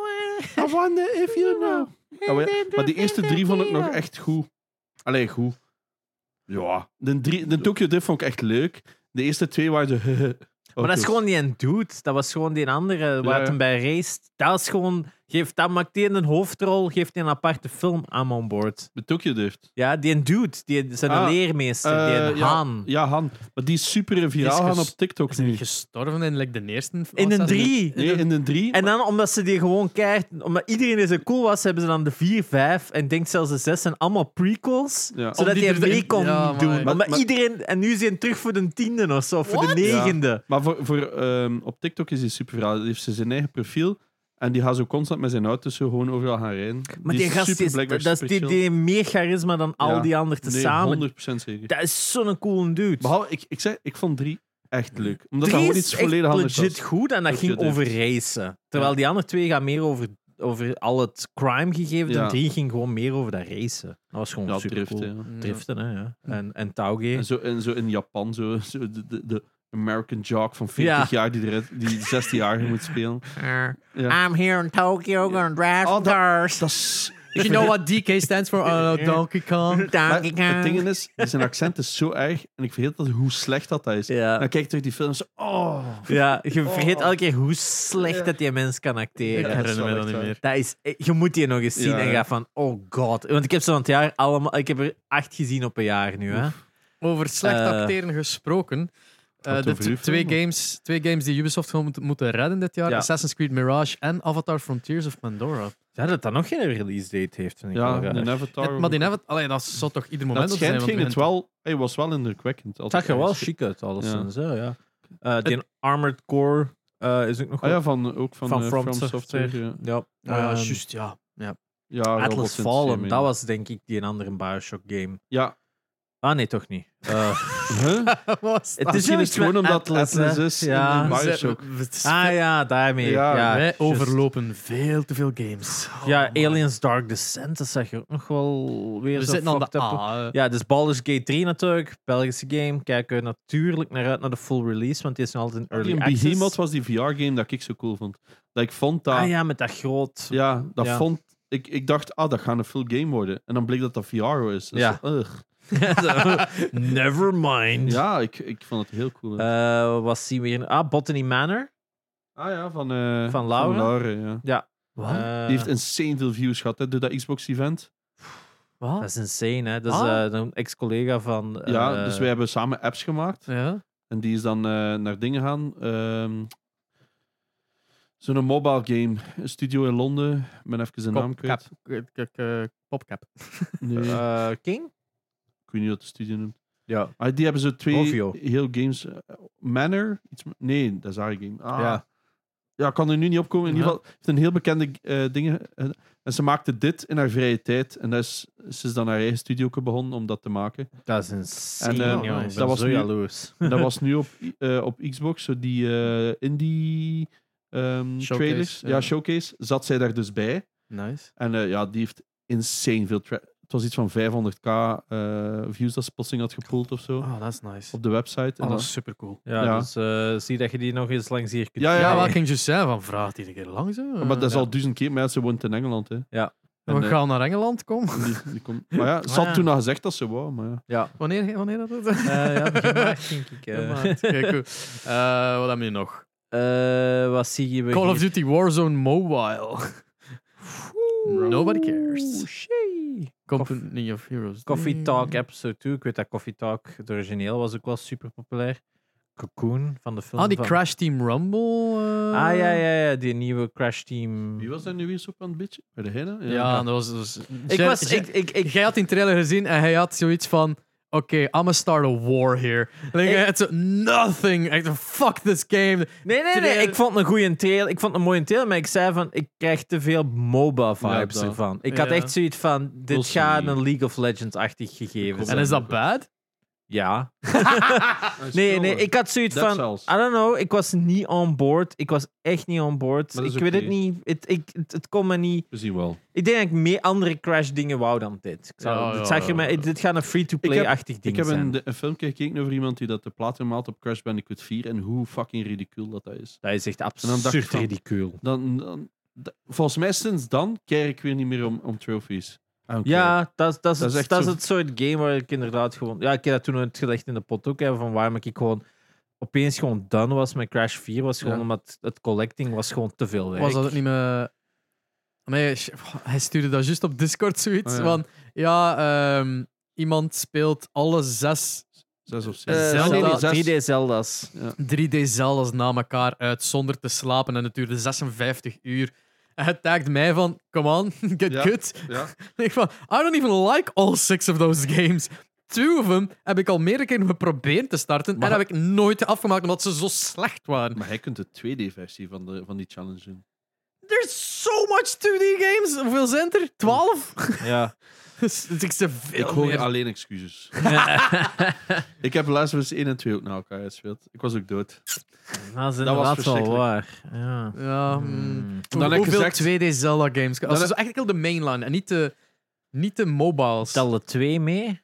wanna
I wonder if you know. Ja, maar, ja, maar die eerste drie vond ik nog echt goed. Allee, goed. Ja. De, drie, de Tokyo Drift vond ik echt leuk. De eerste twee waren de...
Maar
Oh,
dat is gewoon die een dude. Dat was gewoon die andere waar
Ja,
het
ja.
hem bij race. Dat is gewoon... Geeft, dat maakt die een hoofdrol, geeft die een aparte film aan on board.
De Tokyo Drift.
Ja, die een dude, die zijn een
Ah,
leermeester, die
Eh,
een
ja,
Han.
Ja, Han. Maar die is super viraal
Die is
gaan op
ges-
TikTok
Is hij
nu.
niet gestorven in like, de eerste?
in een
afzetting?
drie.
Nee, in de drie.
En dan omdat ze die gewoon keihard, omdat iedereen zo cool was, hebben ze dan de 4, 5 en ik denk zelfs de 6 zijn allemaal prequels.
Ja.
Zodat
Om die
hij
er-
mee kon
Ja, maar-
doen.
Maar-
Maar,
maar-
iedereen, en nu is hij terug voor de tiende of zo, of voor de negende.
Maar voor, voor, ehm, op TikTok is hij super viraal. Die heeft ze zijn eigen profiel. En die gaat zo constant met zijn auto's zo gewoon overal gaan rijden.
Maar die, gast die is,
blijkbaar
dat dat is die,
superchill.
die heeft meer charisma dan al
Ja.
die anderen
nee,
tezamen.
100% zeker.
dat is zo'n coole dude.
Behalve, ik, ik, zei, ik vond drie echt leuk. Omdat
Drie
dat gewoon
is
iets
echt
volledig anders
legit
was.
goed en dat
Tokyo
ging
Drift.
over racen. Terwijl
Ja.
die andere twee gaan meer over, over al het crime gegeven.
Ja.
De drie ging gewoon meer over dat racen. Dat was gewoon
Ja,
super
drift,
cool.
ja.
Driften, hè. Ja. En, en touwgear.
En zo, en zo in Japan, zo, zo de, de, de American jock van 40 jaar die, de red- die 16 jaar moet spelen. Ja.
I'm here in Tokyo, gonna drive
Oh,
some
dat-
cars.
Dat is...
You know what DK stands for? Oh,
ah,
no, Donkey Kong.
Maar
Donkey
het ding
Kong.
is, zijn accent is zo erg en ik vergeet dat, hoe slecht dat dat is.
Ja.
Dan kijk ik terug die film en zo, oh.
ja, je vergeet
Oh.
elke keer hoe slecht
Ja.
dat die mens kan acteren.
Ik
Ja, dat is
herinner me
wel
dat
echt
niet
waar.
Dat
meer.
is, je moet die nog eens zien
Ja,
en
ja.
gaat van, oh god. Want ik heb ze van het jaar allemaal, ik heb er acht gezien op een jaar nu. Hè.
Over slecht
Eh.
acteren gesproken. Eh,
Wat
de
over
t-
uw
twee,
film?
games, twee games die Ubisoft gewoon moet- moeten redden dit jaar:
Ja.
Assassin's Creed Mirage en Avatar Frontiers of Pandora.
Ja, dat dat nog geen release date heeft, vind ik
Ja,
wel raar.
een avatar.
Het- maar die hebben, allee, dat zou toch ieder moment
dat
op zijn?
schijnt
want
ging het
begint-
wel... Hij was wel indrukwekkend. Ah Als
Het zag
ik
er wel
ergens-
chic uit, alles
Ja.
en zo, ja. Eh, die Armored Core eh, is ook nog
Ah ja, van, ook van,
Van
eh,
From
From, Software.
Software.
ja.
Ja,
Ah, ja,
ehm,
juist, ja. ja.
Ja, robots
Atlas
in het systeem,
Fallen,
ja.
dat was denk ik die andere Bioshock game.
Ja.
Ah nee, toch niet. Eh,
Huh?
was
het
dat?
is
Misschien is
zoiets
het gewoon
met
omdat Atlas,
hè.
is
Ja.
in Bioshock.
Ah ja, daarmee.
Ja,
Ja,
Wij
juist.
overlopen veel te veel games. Oh,
Ja,
man.
Aliens Dark Descent, dat zeg je ook nog wel weer
We
zo
zitten aan
fucked
de
up.
A.
Ja, dus Baldur's Gate 3 natuurlijk, Belgische game. Kijken we natuurlijk naar uit naar de full release, want die is nog altijd in early
Die
access.
Behemoth was die VR-game dat ik zo cool vond. Dat ik vond dat...
Ah ja, met dat groot...
Ja, dat
Ja.
vond ik. Ik dacht, ah, dat gaat een full game worden. En dan bleek dat dat VR is. Dus,
Ja.
ugh.
Zo, Never mind.
ja ik, ik vond het heel cool.
Eh, wat zien we hier? Ah, Botany Manor.
ah ja, van, eh
van Laura?
ja.
Wat?
Eh,
Die heeft insane veel views gehad hè, door dat Xbox-event.
dat
Wat?
is insane, hè? Dat is
Ah.
eh, een ex-collega van.
ja,
eh,
dus wij hebben samen apps gemaakt.
Ja.
En die is dan eh, naar dingen gaan. Ehm, Zo'n mobile game. Een studio in Londen. Ik ben even zijn naam
Popcap.
kwijt.
Ik- ik- eh, Popcap.
Nee,
eh, King?
ik weet niet wat de studio noemt.
Ja.
Ah, die hebben zo twee
Rovio.
heel games. eh, Manor? Iets, m- nee, dat is haar game. Ah.
Ja.
Ja. ik kan er nu niet opkomen. In ieder
Ja.
geval, heeft een heel bekende eh, dingen. eh, en ze maakte dit in haar vrije tijd. En dat is, ze is dan haar eigen studio begonnen om dat te maken.
Dat is insane,
En,
eh,
jongen.
dat
Ik ben
was
zo
nu-
jaloers.
En dat was nu op, i- eh, op Xbox, zo die eh, indie ehm,
Showcase,
trailers. Ja.
ja.
showcase. Zat zij daar dus bij.
Nice.
En eh, ja, die heeft insane veel... tra- Het was iets van 500k eh, views dat ze plotseling had gepoeld of zo.
Oh, dat is nice.
Op de website. En
Oh,
dan-
dat is super cool.
Ja,
Ja.
dus eh, zie dat je die nog eens langs hier kunt
Ja,
Ja,
krijgen.
wat ik ging je zeggen, van vraag die een keer langs. hè.
Ja, maar dat is
Ja.
al duizend keer. Maar ja, ze woont in Engeland, hè.
Ja.
En,
We
eh,
gaan naar Engeland, kom.
die- die komt- Maar ja, ze had
ja.
toen al gezegd dat ze wou, maar ja.
Wanneer, wanneer dat is?
Eh, ja, begin maart, denk ik. eh.
Ja, maart. Oké, cool. Eh, wat hebben we hier nog?
Eh, wat zie je
Call
hier?
of Duty Warzone Mobile. Nobody cares.
Shee.
Company of
Oh,
Heroes. Mm.
Coffee
Nee.
Talk episode 2. Ik weet dat Coffee Talk, het origineel, was ook wel super populair. Cocoon van de film.
Ah, die
van-
Crash Team Rumble. eh.
Ah ja, ja, ja, die nieuwe Crash Team.
Wie was daar nu weer zo aan het beetje? Bij de Hena?
Ja, dat was... dat was-
Ik
Jij-
was.
jij-
Ik, ik, ik,
Jij had die trailer gezien en hij had zoiets van... Oké, I'm gonna start a war here. Like,
Ik-
it's nothing. Echt, fuck this game.
nee, nee, nee.
Trailer.
Ik vond een goede trailer. Ik vond een mooie trailer, maar ik zei van. Ik krijg te veel MOBA vibes
dat.
ervan. Ik had
Ja.
echt zoiets van. Dit
Wilson
gaat
Lee.
een League of Legends-achtig gegeven
hoop
zijn.
En is dat bad?
Ja. Nee, nee. Ik had zoiets
Dat
van.
zelfs.
I don't know. Ik was niet on board. Ik was echt niet on board.
Maar dat
Ik
is
weet het
oké.
niet. Het, ik, het, het kon me niet.
We zien wel.
Ik denk dat ik meer andere Crash-dingen wou dan dit. Ik zou,
Ja,
dit,
ja,
zag je
ja.
mij- dit gaat een free-to-play-achtig
Ik
ding
heb
zijn.
een, de- een filmpje gekeken over iemand die dat de platinum haalt op Crash Bandicoot 4 en hoe fucking ridicuul dat, dat is.
Dat is echt
dan dacht ik
absurd
van-
ridicuul.
Dan, dan, da- volgens mij sinds dan kijk ik weer niet meer om, om trophies. I don't care.
Ja, dat, dat, is,
Dat
het,
is
dat,
echt
is
zo-
het soort game waar ik inderdaad gewoon... Ja, ik heb dat toen het gelegd in de pot ook, hè, van waarom ik gewoon opeens gewoon done was met Crash 4, was gewoon
Ja.
omdat het collecting was gewoon te veel werk.
Was dat ook niet meer... Maar hij- hij stuurde dat juist op Discord zoiets.
Oh, ja.
Van, ja, ehm, iemand speelt alle zes
Zes of zes.
Eh,
Zelda-
nee, nee,
zes.
3D Zelda's.
3D Zelda's na elkaar uit zonder te slapen en het duurde 56 uur. En hij tagt mij van, come on, get
Ja.
good.
Ja.
En ik van, I don't even like all six of those games. Two of them heb ik al meerdere keren geprobeerd te starten
Maar-
en heb ik nooit afgemaakt omdat ze zo slecht waren.
Maar hij kunt de 2D-versie van, de- van die challenge doen.
There's so much 2D games. Hoeveel zijn er? 12?
Ja.
Dus ik ze veel
Ik hoor
meer.
alleen excuses. ik heb Last of Us 1 en 2 ook na elkaar gespeeld. Ik was ook dood.
Dat is
was
inderdaad wel
verschrikkelijk.
waar. Ja.
Ja, mm.
Hmm.
Dan heb ik
hoeveel
gezegd-
2D Zelda games?
Dan
Als ze
heb-
zo eigenlijk heel de mainline en niet de, niet de mobiles.
Tel de twee mee.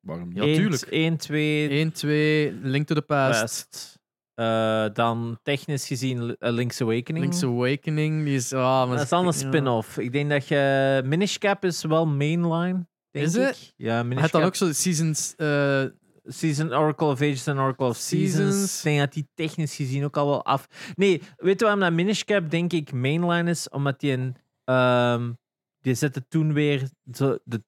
Waarom niet?
Ja, tuurlijk.
1, 2,
1, 2, Link to the Past.
West. Eh, dan technisch gezien Li- eh, Link's Awakening.
Link's Awakening, die is... ah, maar
dat is dan een spin-off. Ik denk dat je... Minish Cap is wel mainline. Denk
Is
ik.
het?
Ja,
Hij
Minish
had
Cap.
dan ook zo seasons... eh,
Season Oracle of Ages en Oracle of Seasons.
Seasons.
Ik denk dat die technisch gezien ook al wel af... Nee, weet je waarom dat Minish Cap denk ik mainline is? Omdat die een... ehm, die zette toen weer zo de,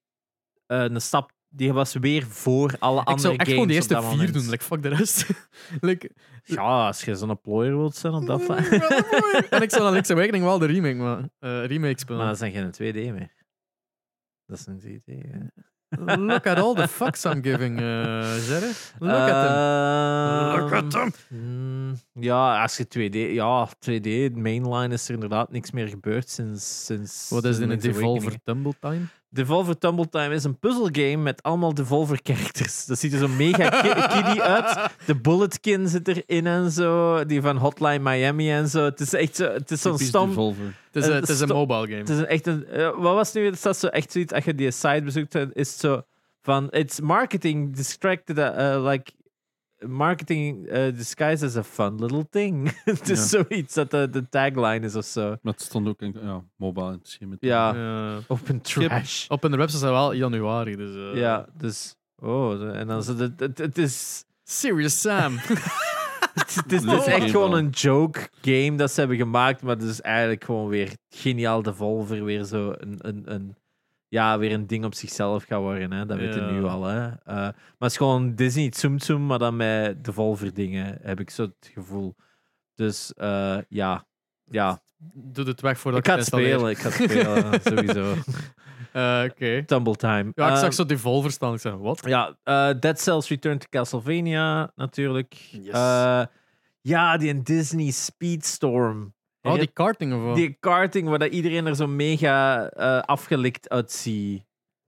eh, een stap... Die was weer voor alle andere
ik zou echt
games
gewoon de
op
eerste
dat
vier
moment.
doen. Like, fuck de rest. like,
Ja, als je zo'n plooier wilt zijn op dat vlak.
en ik zou dan Link's Awakening wel de remake, maar, eh, remake
Maar
spelen.
dat zijn geen 2D meer. Dat is een 3D. hè.
Look at all the fucks I'm giving, eh Zerre. Look at them.
Ehm,
Look at them.
mm, Ja, als je 2D... Ja, 2D, mainline is er inderdaad niks meer gebeurd sinds... sinds
Wat is in een
Link's Awakening.
Devolver Tumble Time?
Devolver Tumble Time is een puzzelgame met allemaal Devolver characters. Dat ziet er zo mega ki- kiddie uit. De Bulletkin zit erin en zo. Die van Hotline Miami en zo. Het is echt zo, het is zo'n
Typisch
stom...
Devolver.
Het is,
Eh,
een- het is een
stop.
mobile game.
Het is een echt een. eh, wat was nu? weer? Is dat zo echt zoiets? Als je die site bezoekt, dan is het zo van. It's marketing distracted. eh, eh, like. Marketing eh, disguised as a fun little thing. het is zoiets dat de, de tagline is of zo.
Maar het stond ook in ja, mobile in het schema.
Ja.
Ja.
Open trash.
Op hun website zijn wel januari, dus... eh,
Ja, dus. Oh, zo- en dan zo. Het, het, het is.
Serious Sam.
Het is, het is
Leuke
echt
game
gewoon
wel.
een joke game dat ze hebben gemaakt, maar het is eigenlijk gewoon weer geniaal Devolver, weer zo een, een, een, ja, weer een ding op zichzelf gaat worden. Hè? Dat weten
Ja.
we nu al. Hè? Eh, maar het is gewoon Disney Tsum Tsum, maar dan met Devolver dingen, heb ik zo het gevoel. Dus eh, ja. ja.
Doe het weg voordat
Ik ga
het
het spelen, ik ga het spelen, sowieso.
Eh, Oké.
Tumble Time.
Ja, ik
Eh,
zag zo Devolver staan. Ik zei, wat?
Ja, eh, Dead Cells Return to Castlevania, natuurlijk.
Yes.
Eh, ja, die in Disney Speedstorm.
Oh, die karting of wat?
Die karting waar dat iedereen er zo mega eh, afgelikt uitziet.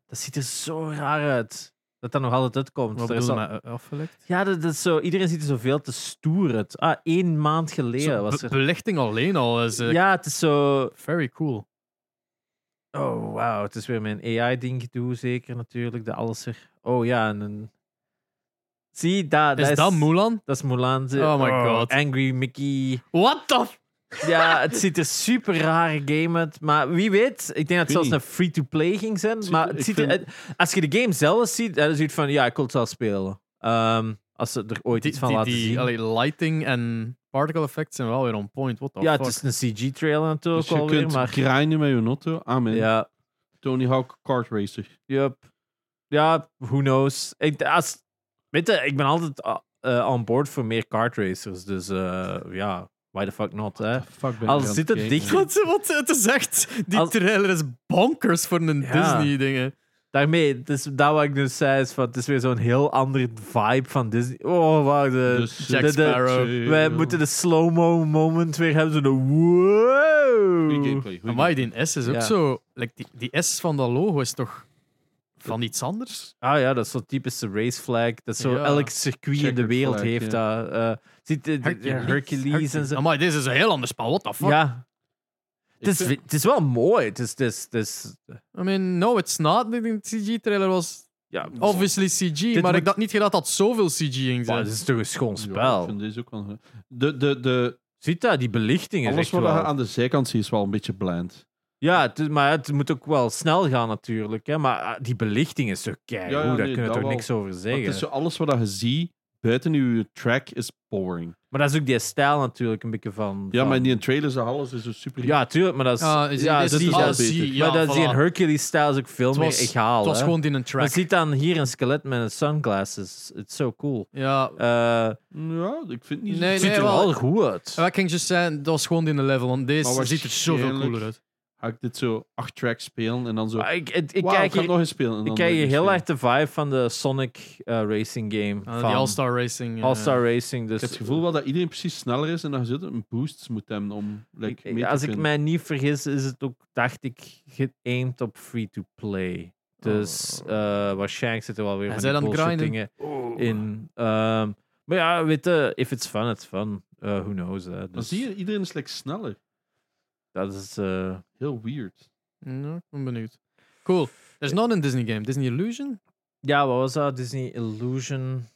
Dat ziet er zo raar uit. Dat dat nog altijd uitkomt.
Wat
Er is
bedoel je
al-
met eh, afgelekt?
Ja, dat, dat is zo, iedereen ziet er zoveel te stoer uit. Ah, één maand geleden
Zo,
eh, was
be-
er...
Belichting alleen al is eh,
Ja, het is zo...
very cool.
Oh, wauw. Het is weer mijn AI-ding doe zeker natuurlijk. De alles er... Oh ja, en een... Zie, daar,
Is dat Mulan?
Dat is Mulan. ze-
Oh my God.
Angry Mickey.
What the... f-
Ja, het ziet er super rare game uit. Maar wie weet, ik denk dat het zelfs
niet.
een free-to-play ging zijn.
ziet
maar
er-
het
ik
ziet er-
vind-
het- als je de game zelf ziet, dan is het van ja, ik wil het wel spelen. Ehm, als ze er ooit
Die,
iets van
die,
laten
die-
zien.
allee, lighting en particle effects zijn wel weer on point. What the
ja,
fuck?
het is een CG-trailer
Dus
natuurlijk
je
alweer,
kunt
maar...
grinden met je auto. Amen.
Ja,
Tony Hawk Kart Racer.
yup. Ja, who knows. Ik, als, weet je, ik ben altijd ah, eh, on board voor meer kart racers. Dus eh, ja, why the fuck not, hè?
Fuck ben
Al
ik aan
zit het
kijken?
dicht-
Wat, wat het is echt... Die
Als-
trailer is bonkers voor een
Ja.
Disney-dingen.
Daarmee, het is, dat wat ik dus zei, is van, het is weer zo'n heel andere vibe van Disney. Oh, wacht. De,
Dus-
Jack
de- de-
Sparrow.
We moeten de slow-mo moment weer hebben. Zo de wow.
Goeie gameplay, goeie
Amai, die S is ook
Ja.
zo... Like, die, die S van dat logo is toch van iets anders?
Ah ja, dat is zo'n typische race flag. Dat is zo
Ja.
elk circuit in de
Checkered
wereld
flag,
heeft dat. eh, ziet, eh, de- Hercules, en zo.
Amai, dit is een heel ander spel. What the fuck?
Ja.
Ik
Het is,
vind-
het is wel mooi. Het is, het is, het is,
I mean, no, it's not. Ik denk De CG-trailer was
ja,
obviously CG, maar
moet-
ik dacht niet gedacht dat zoveel CG in
maar
zat.
het is toch een schoon
gameplay. Ja, ik
spel.
vind deze ook wel... De, de, de,
Ziet dat? Die belichting is
alles
echt
wat je
wel...
aan de zijkant ziet is wel een beetje blind.
Ja, het is- maar het moet ook wel snel gaan natuurlijk. Hè? Maar ah, die belichting is zo kei.
Ja, ja,
daar
nee,
kunnen we
dat
toch
wel.
niks over
Maar
zeggen.
het is zo, alles wat je ziet buiten je track is boring.
Maar dat is ook die stijl natuurlijk een beetje van...
Ja,
van-
maar in die trailers is alles is zo super...
Ja, tuurlijk, maar dat is...
Ah, is-
ja,
is
dat
dit
is-
al
dat is-
beter.
maar dat is die
voilà.
in Hercules-stijl is ook veel
Het was-
meer egaal.
Het was gewoon die een
Je
track.
ziet dan hier een skelet met een sunglasses. Het is zo cool.
Ja,
Eh,
Ja, ik vind het niet zo...
Nee,
het ziet er
wel-
wel goed uit.
wat ik ging just zeggen, dat was gewoon die een level, want deze
Maar
ziet er zoveel
waarschijnlijk-
cooler uit.
Ga ik dit zo acht tracks spelen en dan zo...
Maar Ik, het- ik,
Wauw,
kijk
ik ga
hier,
nog eens spelen. en
ik
dan
krijg
nog
hier
eens
heel
spelen.
erg de vibe van de Sonic eh, Racing game.
Ah,
van
die All-Star Racing. eh,
All-Star Racing. Dus
Ik heb het gevoel wel dat iedereen precies sneller is en dat je zo een boost moet hebben om
Ik-
like,
ik-
mee te
als ik
kunnen.
mij niet vergis, is het ook, dacht ik, geaimed op free-to-play. Dus
Oh.
eh, waarschijnlijk zitten er wel weer
Hij
van
zei
die
dan
bullshit
grinden.
dingen in. Ehm, maar ja, weet je, if it's fun, it's fun. Eh, who knows. hè.
Dan
dus
zie je, iedereen is like, sneller.
Dat is... eh,
Heel weird.
Ja, ik ben benieuwd. Cool. Er is nog een Disney game. Disney Illusion?
ja, wat was dat? Disney Illusion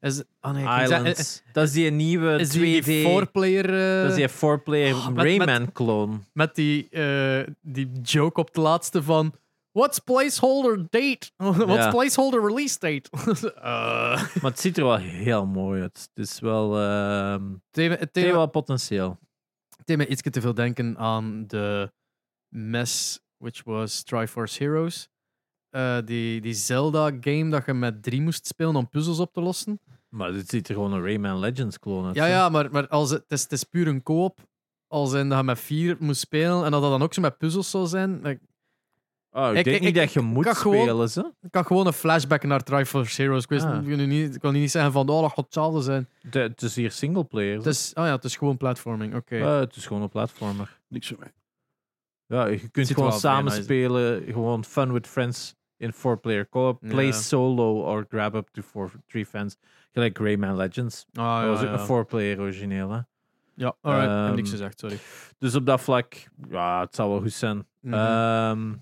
Is, ah nee, ik ging zeggen,
Islands. dat is die nieuwe
Is
2D...
die, die four-player... eh,
dat is die four-player
Oh, met- met-
Rayman-clone.
Met die, eh, die joke op het laatste van... What's placeholder date? What's
Ja.
placeholder release date? Eh,
Maar het ziet er wel heel mooi uit. Het is wel... ehm
het deed me- het
het
deed
heeft
me-
wel potentieel.
het deed me iets te veel denken aan de mess, which was Triforce Heroes. Eh, die, die Zelda-game dat je met drie moest spelen om puzzels op te lossen.
Maar dit ziet er gewoon een Rayman Legends-clone uit.
Ja,
hè.
ja, maar, maar als het, het, is, het is puur een koop. Als in dat je met vier moest spelen en dat dat dan ook zo met puzzels zou zijn. Ik,
Oh, ik,
Ik-
denk
ik-
niet
ik-
dat je
ik
moet
kan gewoon-
spelen, ze.
Ik had gewoon een flashback naar Drive for Heroes. Ik, wist,
Ah.
ik, wil nu niet, ik wil nu niet zeggen van, oh, dat gaat hetzelfde zijn.
De- Het is hier singleplayer.
Het
player.
is, oh ja, het is gewoon platforming, oké. Ah,
het is gewoon een platformer.
Niks voor mij.
Ja, je kunt
Zit
gewoon
wel vrij
samen
nice in.
spelen. Gewoon fun with friends in four-player co-op. Play
Ja.
solo or grab up to four, three fans. Gelijk Rayman Legends.
Ah,
dat was
ja,
ook
ja.
een four-player origineel. Hè?
ja, alright. Ik heb
Ehm,
niks gezegd, sorry.
Dus op dat vlak, ja, het zal wel goed zijn.
Mhm.
Ehm,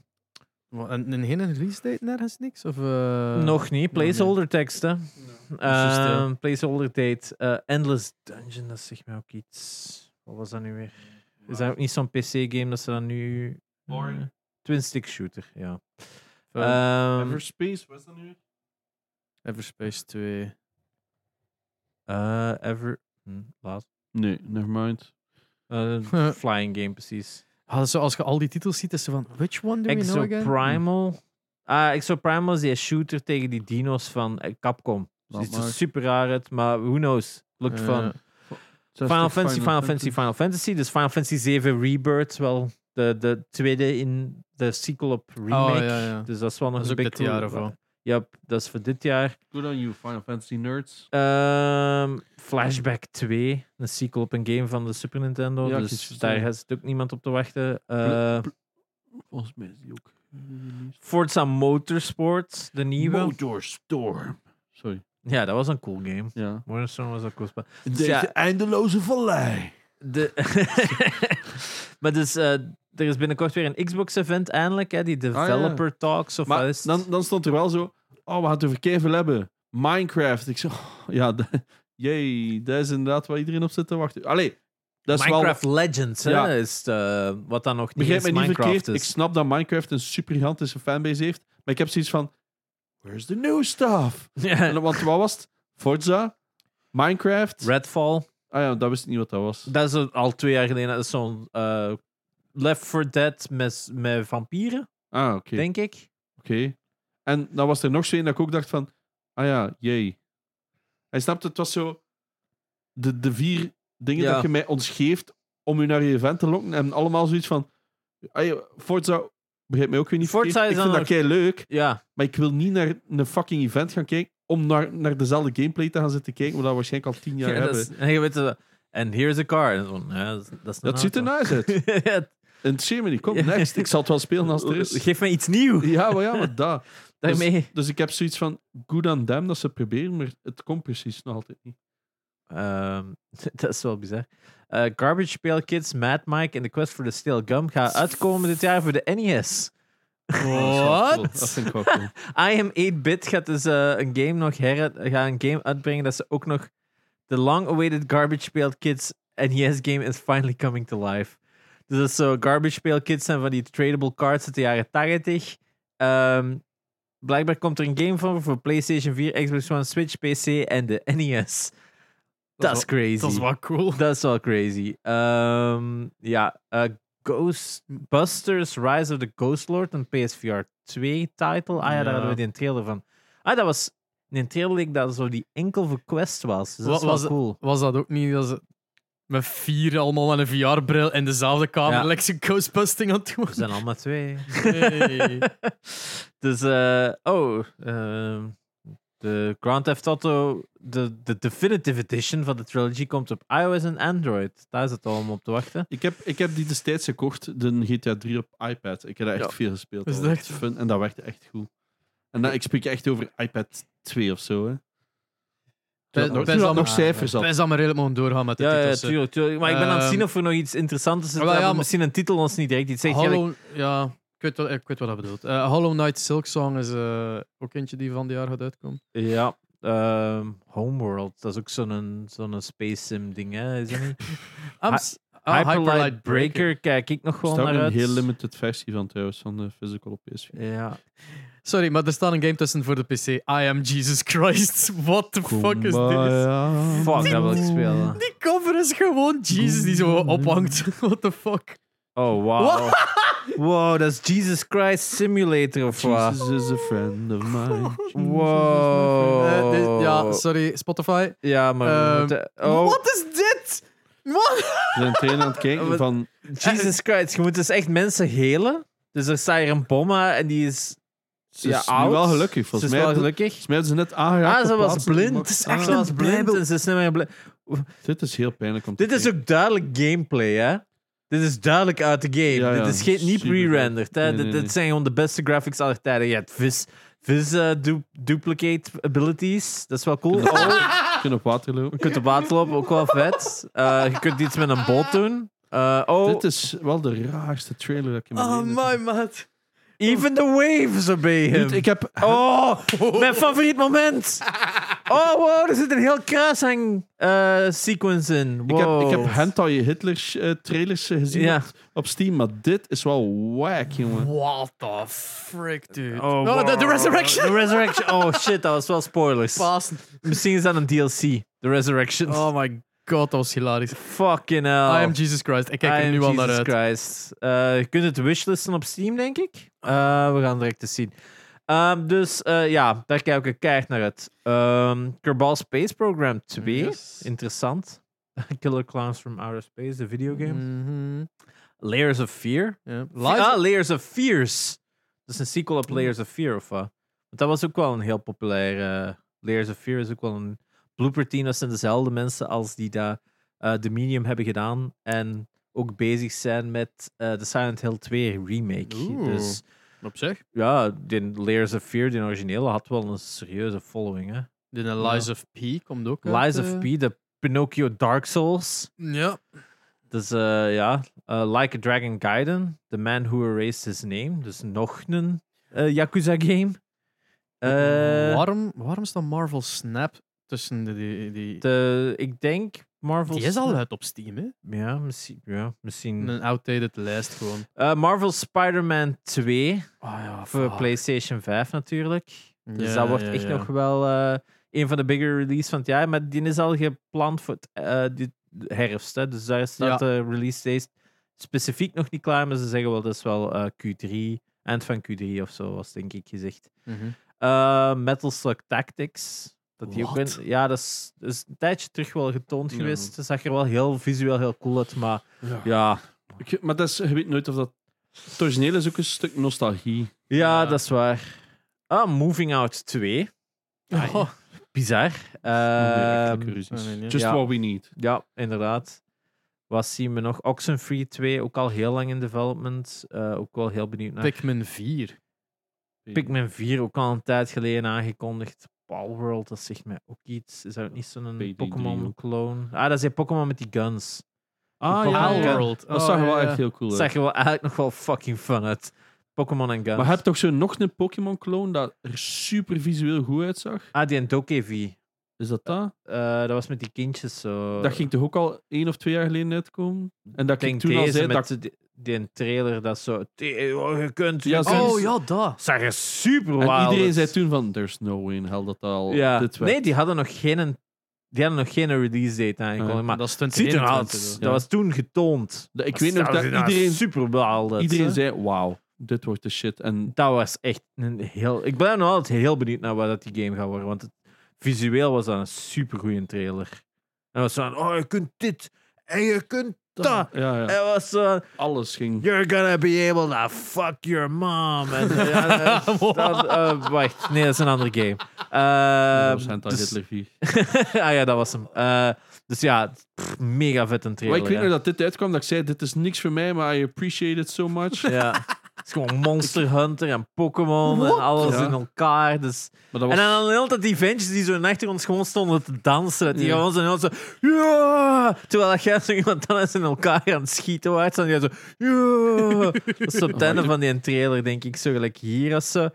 Wat, en, en geen release date nergens niks? Of, eh,
nog niet. Placeholder teksten.
Juist, ja.
Ehm, placeholder date. eh, Endless Dungeon, dat zegt mij ook iets. Wat was dat nu weer? Is dat ook niet zo'n PC-game dat ze dan nu...
Boring.
Eh, Twin-stick shooter, ja.
Ehm,
Ehm,
Everspace, wat is dat nu?
Everspace 2.
eh, ever... Hm, laat.
Nee, nevermind.
Eh, flying game, precies.
Ah, zo, als je al die titels ziet, is ze van, which one do we know
Exo
again?
Primal. Ah, Exo Primal is die shooter tegen die dino's van eh, Capcom.
Laat
Ziet er
maar.
super raar uit, maar who knows. Lukt
Eh,
van... Final Fantasy, Final Fantasy, Final Fantasy. Dus Final Fantasy 7 Rebirth, wel de, de tweede in de sequel op Remake.
Oh, ja, ja.
Dus dat is wel nog
Dat is
een
ook
big
dit jaar of
release.
wat?
Ja, dat is voor dit jaar.
Good on you, Final Fantasy nerds.
Ehm, Flashback 2, een sequel op een game van de Super Nintendo.
Ja, ik
dus
zie het
daar
zo.
zit ook niemand op te wachten. Eh,
Volgens mij is die ook. eh, released.
Forza Motorsport, de nieuwe.
Motor Storm. Sorry.
ja, dat was een cool game.
Ja.
Motorsport was ook cool. spel.
Deze
Dus ja.
eindeloze vallei.
De maar dus, eh, er is binnenkort weer een Xbox-event eindelijk, hè, die
Ah, ja.
Developer Talks of wat
Maar
is het?
dan, dan stond er wel zo. Oh, we gaan het over Kevin hebben. Minecraft. Ik zeg, oh, ja, d- jee, dat is inderdaad waar iedereen op zit te wachten. Allee, dat is
Minecraft
wel.
Legends, hè,
Ja.
is het, eh, wat dan nog niet
Begrijp
eens
mij niet
Minecraft dus.
verkeerd. Ik
is.
snap dat Minecraft een supergigantische fanbase heeft. Maar ik heb zoiets van. Where's the new stuff?
Ja.
En, want wat was het? Forza? Minecraft?
Redfall,
Ah ja, dat wist ik niet wat dat was.
dat is een- al twee jaar geleden, dat is zo'n eh, Left 4 Dead met, met vampieren,
Ah, oké.
denk ik.
Oké. En dan was er nog zo één dat ik ook dacht van... Ah ja, jee. Hij snapte, het was zo... De, de vier dingen
Ja.
dat je mij ons geeft om u naar je event te lokken. En allemaal zoiets van... "Ai, Forza... Begrijp mij ook weer niet
Forza
verkeerd.
is
Ik vind
dan
dat kei leuk,
Ja,
maar ik wil niet naar een fucking event gaan kijken om naar, naar dezelfde gameplay te gaan zitten kijken, wat we waarschijnlijk al tien jaar
ja, dat
hebben.
is- en je weet eh, en here's a car. En zo, ja, dat is- dat is een
Dat ziet er
auto.
nice uit.
Ja,
En Germany, kom,
Ja.
next. Ik zal het wel spelen als het er is.
Geef mij iets nieuws.
Ja, maar ja, maar dat.
Daarmee.
Dus ik heb zoiets van, good on them dat ze het proberen, maar het komt precies nog altijd niet.
Ehm, dat is wel bizar. Eh, Garbage Pail Kids, Mad Mike en The Quest for the Steel Gum gaan uitkomen dit jaar voor de E NES.
Dat vind ik wel cool.
I Am 8-Bit gaat dus eh, een game nog her gaat een game uitbrengen dat ze ook nog de long-awaited Garbage Pail Kids NES game is finally coming to life. Dus dat is zo, Garbage Pail Kids zijn van die tradable cards uit de jaren 80. Ehm, blijkbaar komt er een game van voor PlayStation 4, Xbox One, Switch, PC en de NES. Dat is crazy.
Dat is wel cool.
Dat is wel crazy. Ehm, ja, eh, Ghostbusters Rise of the Ghost Lord, een PSVR 2-title. Ah ja, daar
Ja.
hadden we die trailer van. Ah, dat was een trailer die ik dat zo die enkel voor Quest was. Dus dat
Wat
is wel
was-
cool.
Was dat ook niet dat ze met vier allemaal met een VR-bril in dezelfde kamer
Ja.
lekker zijn ghostbusting aan het doen?
We zijn allemaal twee.
Hey.
dus, eh, oh, ehm, de Grand Theft Auto, de, de Definitive Edition van de trilogy komt op iOS en Android. Daar is het al om op te wachten.
Ik heb, ik heb die destijds gekocht, de GTA 3 op iPad. Ik heb daar echt
Ja.
veel gespeeld.
Is
al.
dat echt?
fun en dat werkte echt goed. En dan, ik spreek echt over iPad 2 of zo. Hè.
Ben-
nog,
ben
nog,
zal-
Ah,
nog cijfers
Ik
had.
ben ze maar redelijk mogen doorgaan met de
Ja, ja,
titels. hè.
tuurlijk, tuurlijk. Maar ik ben aan het
Ehm,
zien of er nog iets interessants is.
Ah, wel, ja, maar-
Misschien een titel ons niet direct iets zegt. Ja,
Hollow, ja, ik weet, wat, ik weet wat dat bedoelt. Eh, Hollow Knight Silk Song is eh, ook eentje die van dit jaar gaat uitkomen.
ik- Ja, ehm, Homeworld. Dat is ook zo'n zo'n space sim ding, hè? Is dat niet?
Ah,
Hy-
s- ah,
Hyper Light Breaker. Kijk, ik nog
Er
gewoon
staat ook
naar
een
uit.
heel limited versie van trouwens, van de physical op PS4.
Ja.
Sorry, maar er staat een game tussen voor de PC. I am Jesus Christ. What the fuck is dit?
Fuck, dat wil ik spelen.
Die cover is gewoon Jesus die zo ophangt. What the fuck?
Oh, wow. wow, dat is Jesus Christ Simulator of wat?
Jesus is a friend of mine.
Wow.
Eh, dit- ja, sorry, Spotify.
Ja, maar... we
Ehm,
moeten- oh,
Wat is dit? Wat?
We zijn trainen aan het kijken van...
Jesus Christ. Je moet dus echt mensen helen? Dus er staat hier een bomma en die is,
Ze
ja,
is nu
oud.
wel gelukkig,
ze
volgens
is
mij.
wel
Volgens
gelukkig.
mij hebben ze net aangeraakt.
Ah, ze
op
was
plaatsen die
blind.
mag-
Ze
Ah,
was blind en ze is niet meer blind.
Dit is heel pijnlijk om te
Dit is
kijken.
ook duidelijk gameplay, hè? Dit is duidelijk uit de game.
Ja, ja,
Dit is geen, niet
super.
pre-rendered. Hè?
Nee,
Dit-
nee,
dit
nee.
zijn gewoon de beste graphics aller tijden. Je hebt vis, vis eh, du- duplicate abilities. Dat is wel cool.
Kunnen
Oh,
Je kunt op water lopen.
je kunt op water lopen, ook wel vet. Eh, je kunt iets met een boot doen. Eh, oh,
Dit is wel de raarste trailer dat ik in mijn
Oh,
leven-
my maat.
even the waves are bij
Dude,
hem.
Ik heb
Oh, mijn favoriet moment. Oh, wow, er zit een heel kruishang eh, sequence in.
Ik heb,
Wow.
ik heb hentai Hitler eh, trailers eh, gezien
Ja.
op, op Steam, maar dit is wel whack, jongen.
What the frick, dude.
Oh,
de- de,
wow.
resurrection.
The Resurrection. Oh shit, dat was wel spoilers.
Pasen.
Misschien is dat een DLC. The Resurrection.
Oh my god, dat was hilarisch.
Fucking hell.
I am Jesus Christ. Ik kijk
I
er
am
nu al
Jesus
naar uit.
Christ. Eh, je kunt het wishlisten op Steam, denk ik. Eh, we gaan direct eens zien. Ehm, dus eh, ja, daar kijk ik keihard naar uit. Ehm, Kerbal Space Program 2.
Yes.
Interessant. Killer Clowns from Outer Space, de videogame.
Mhm.
Layers of Fear.
Ja.
Lies
Lies-
ah, Layers of Fears. Dat is een sequel op Layers of Fear, of wat? Want dat was ook wel een heel populair... eh, Layers of Fear is ook wel een... Blooper Team, dat zijn dezelfde mensen als die daar eh The Medium hebben gedaan. En ook bezig zijn met eh, de Silent Hill 2 remake.
Oeh.
Dus
Op zich.
ja, die Layers of Fear, die originele, had wel een serieuze following. Hè?
De Lies of P komt ook uit,
Lies of
eh,
P, de Pinocchio Dark Souls.
Ja.
Dus eh, ja, eh, Like a Dragon Gaiden, The Man Who Erased His Name. Dus nog een eh, Yakuza-game. Eh,
waarom, waarom staat Marvel Snap tussen de... Die, die,
de- ik denk Marvel...
die is al uit op Steam, hè?
Ja, misschien. Ja, misschien.
Een outdated lijst gewoon.
Eh, Marvel Spider-Man 2
Ah ja,
voor PlayStation 5 natuurlijk. Dus dat wordt echt nog wel eh, een van de bigger releases van het jaar. Maar die is al gepland voor het, eh, dit herfst. Hè. Dus daar staat
Ja.
de release date specifiek nog niet klaar. Maar ze zeggen wel, dat is wel eh, Q3, eind van Q3 of zo, was denk ik gezegd.
Mhm.
Eh, Metal Slug Tactics. Dat die ook
Wat?
win- ja, dat is, dat is een tijdje terug wel getoond
Ja.
geweest. Dat zag er wel heel visueel heel cool uit, maar
Ja.
ja,
Ik- maar dat is, je weet nooit of dat... Het origineel is ook een stuk nostalgie.
ja,
Ja.
dat is waar. Ah, Moving Out 2.
Oh,
Bizar.
Onwerkelijke
Ehm,
ruzies.
nee, nee, nee.
Just
Ja.
what we need.
Ja, inderdaad. Wat zien we nog? Oxenfree 2, ook al heel lang in development. Eh, ook wel heel benieuwd naar.
Pikmin 4.
Pikmin 4, ook al een tijd geleden aangekondigd. Palworld, dat zegt mij ook iets. Is dat ook niet zo'n
PD3 ook.
Pokémon-clone? Ah, dat is die Pokémon met die guns.
Ah,
Pokémon
ja, ja.
World. Oh,
Dat zag er wel echt heel cool
Dat
uit.
Oh, zag er wel eigenlijk nog wel fucking fun uit. Pokémon en guns.
Maar heb toch zo nog een Pokémon-clone dat er super visueel goed uitzag?
Ah, die en Dokevi.
Is dat dat?
Eh, dat was met die kindjes zo.
dat ging toch ook al één of twee jaar geleden uitkomen? En
Ik
dat ik
denk
toen al
deze
zei
met
dat...
die, die een trailer dat zo... "Die- oh, je kunt... je
Ja,
kunt."
zo'n-
Oh ja, dat.
Zag er super
En
wild
iedereen
uit.
zei toen van, there's no way in hell dat dat al
Ja.
Oh, dit werd.
nee, die hadden nog geen, die hadden nog geen release date aangekondigd.
Ja.
maar
dat is 20
ziet eruit. Dat
Ja.
was toen getoond.
Ik weet nog dat iedereen
nou super
Iedereen zei, wauw, dit wordt de shit. En
Dat was echt een heel. Ik ben nog altijd heel benieuwd naar wat dat die game gaat worden. Want het, visueel was dat een super goede trailer. En was zo van, oh, je kunt dit en je kunt dat.
ja, ja,
En was zo, van,
alles ging...
you're gonna be able to fuck your mom. En, ja, dat- dat- eh, wacht, nee, dat is een andere game. Eh,
Dat was hentai
dus-
Hitler 4.
ah ja, dat was hem. Eh, dus ja, pff, mega vet een
Maar
trailer.
ik weet
hè.
nog dat dit uitkwam, dat ik zei, dit is niks voor mij, maar I appreciate it so much.
Ja. Het is gewoon Monster Hunter en Pokémon en alles
Ja.
in elkaar. Dus...
Maar dat
En
was...
dan de hele tijd die ventjes die zo in de achtergrond gewoon stonden te dansen. Dat die
Ja.
gewoon zo, heel zo... Ja! Terwijl dat jij zo iemand anders in elkaar aan het schieten was. En jij zo... Ja! Dat is op het einde van die trailer, denk ik. Zo gelijk hier als ze... Ik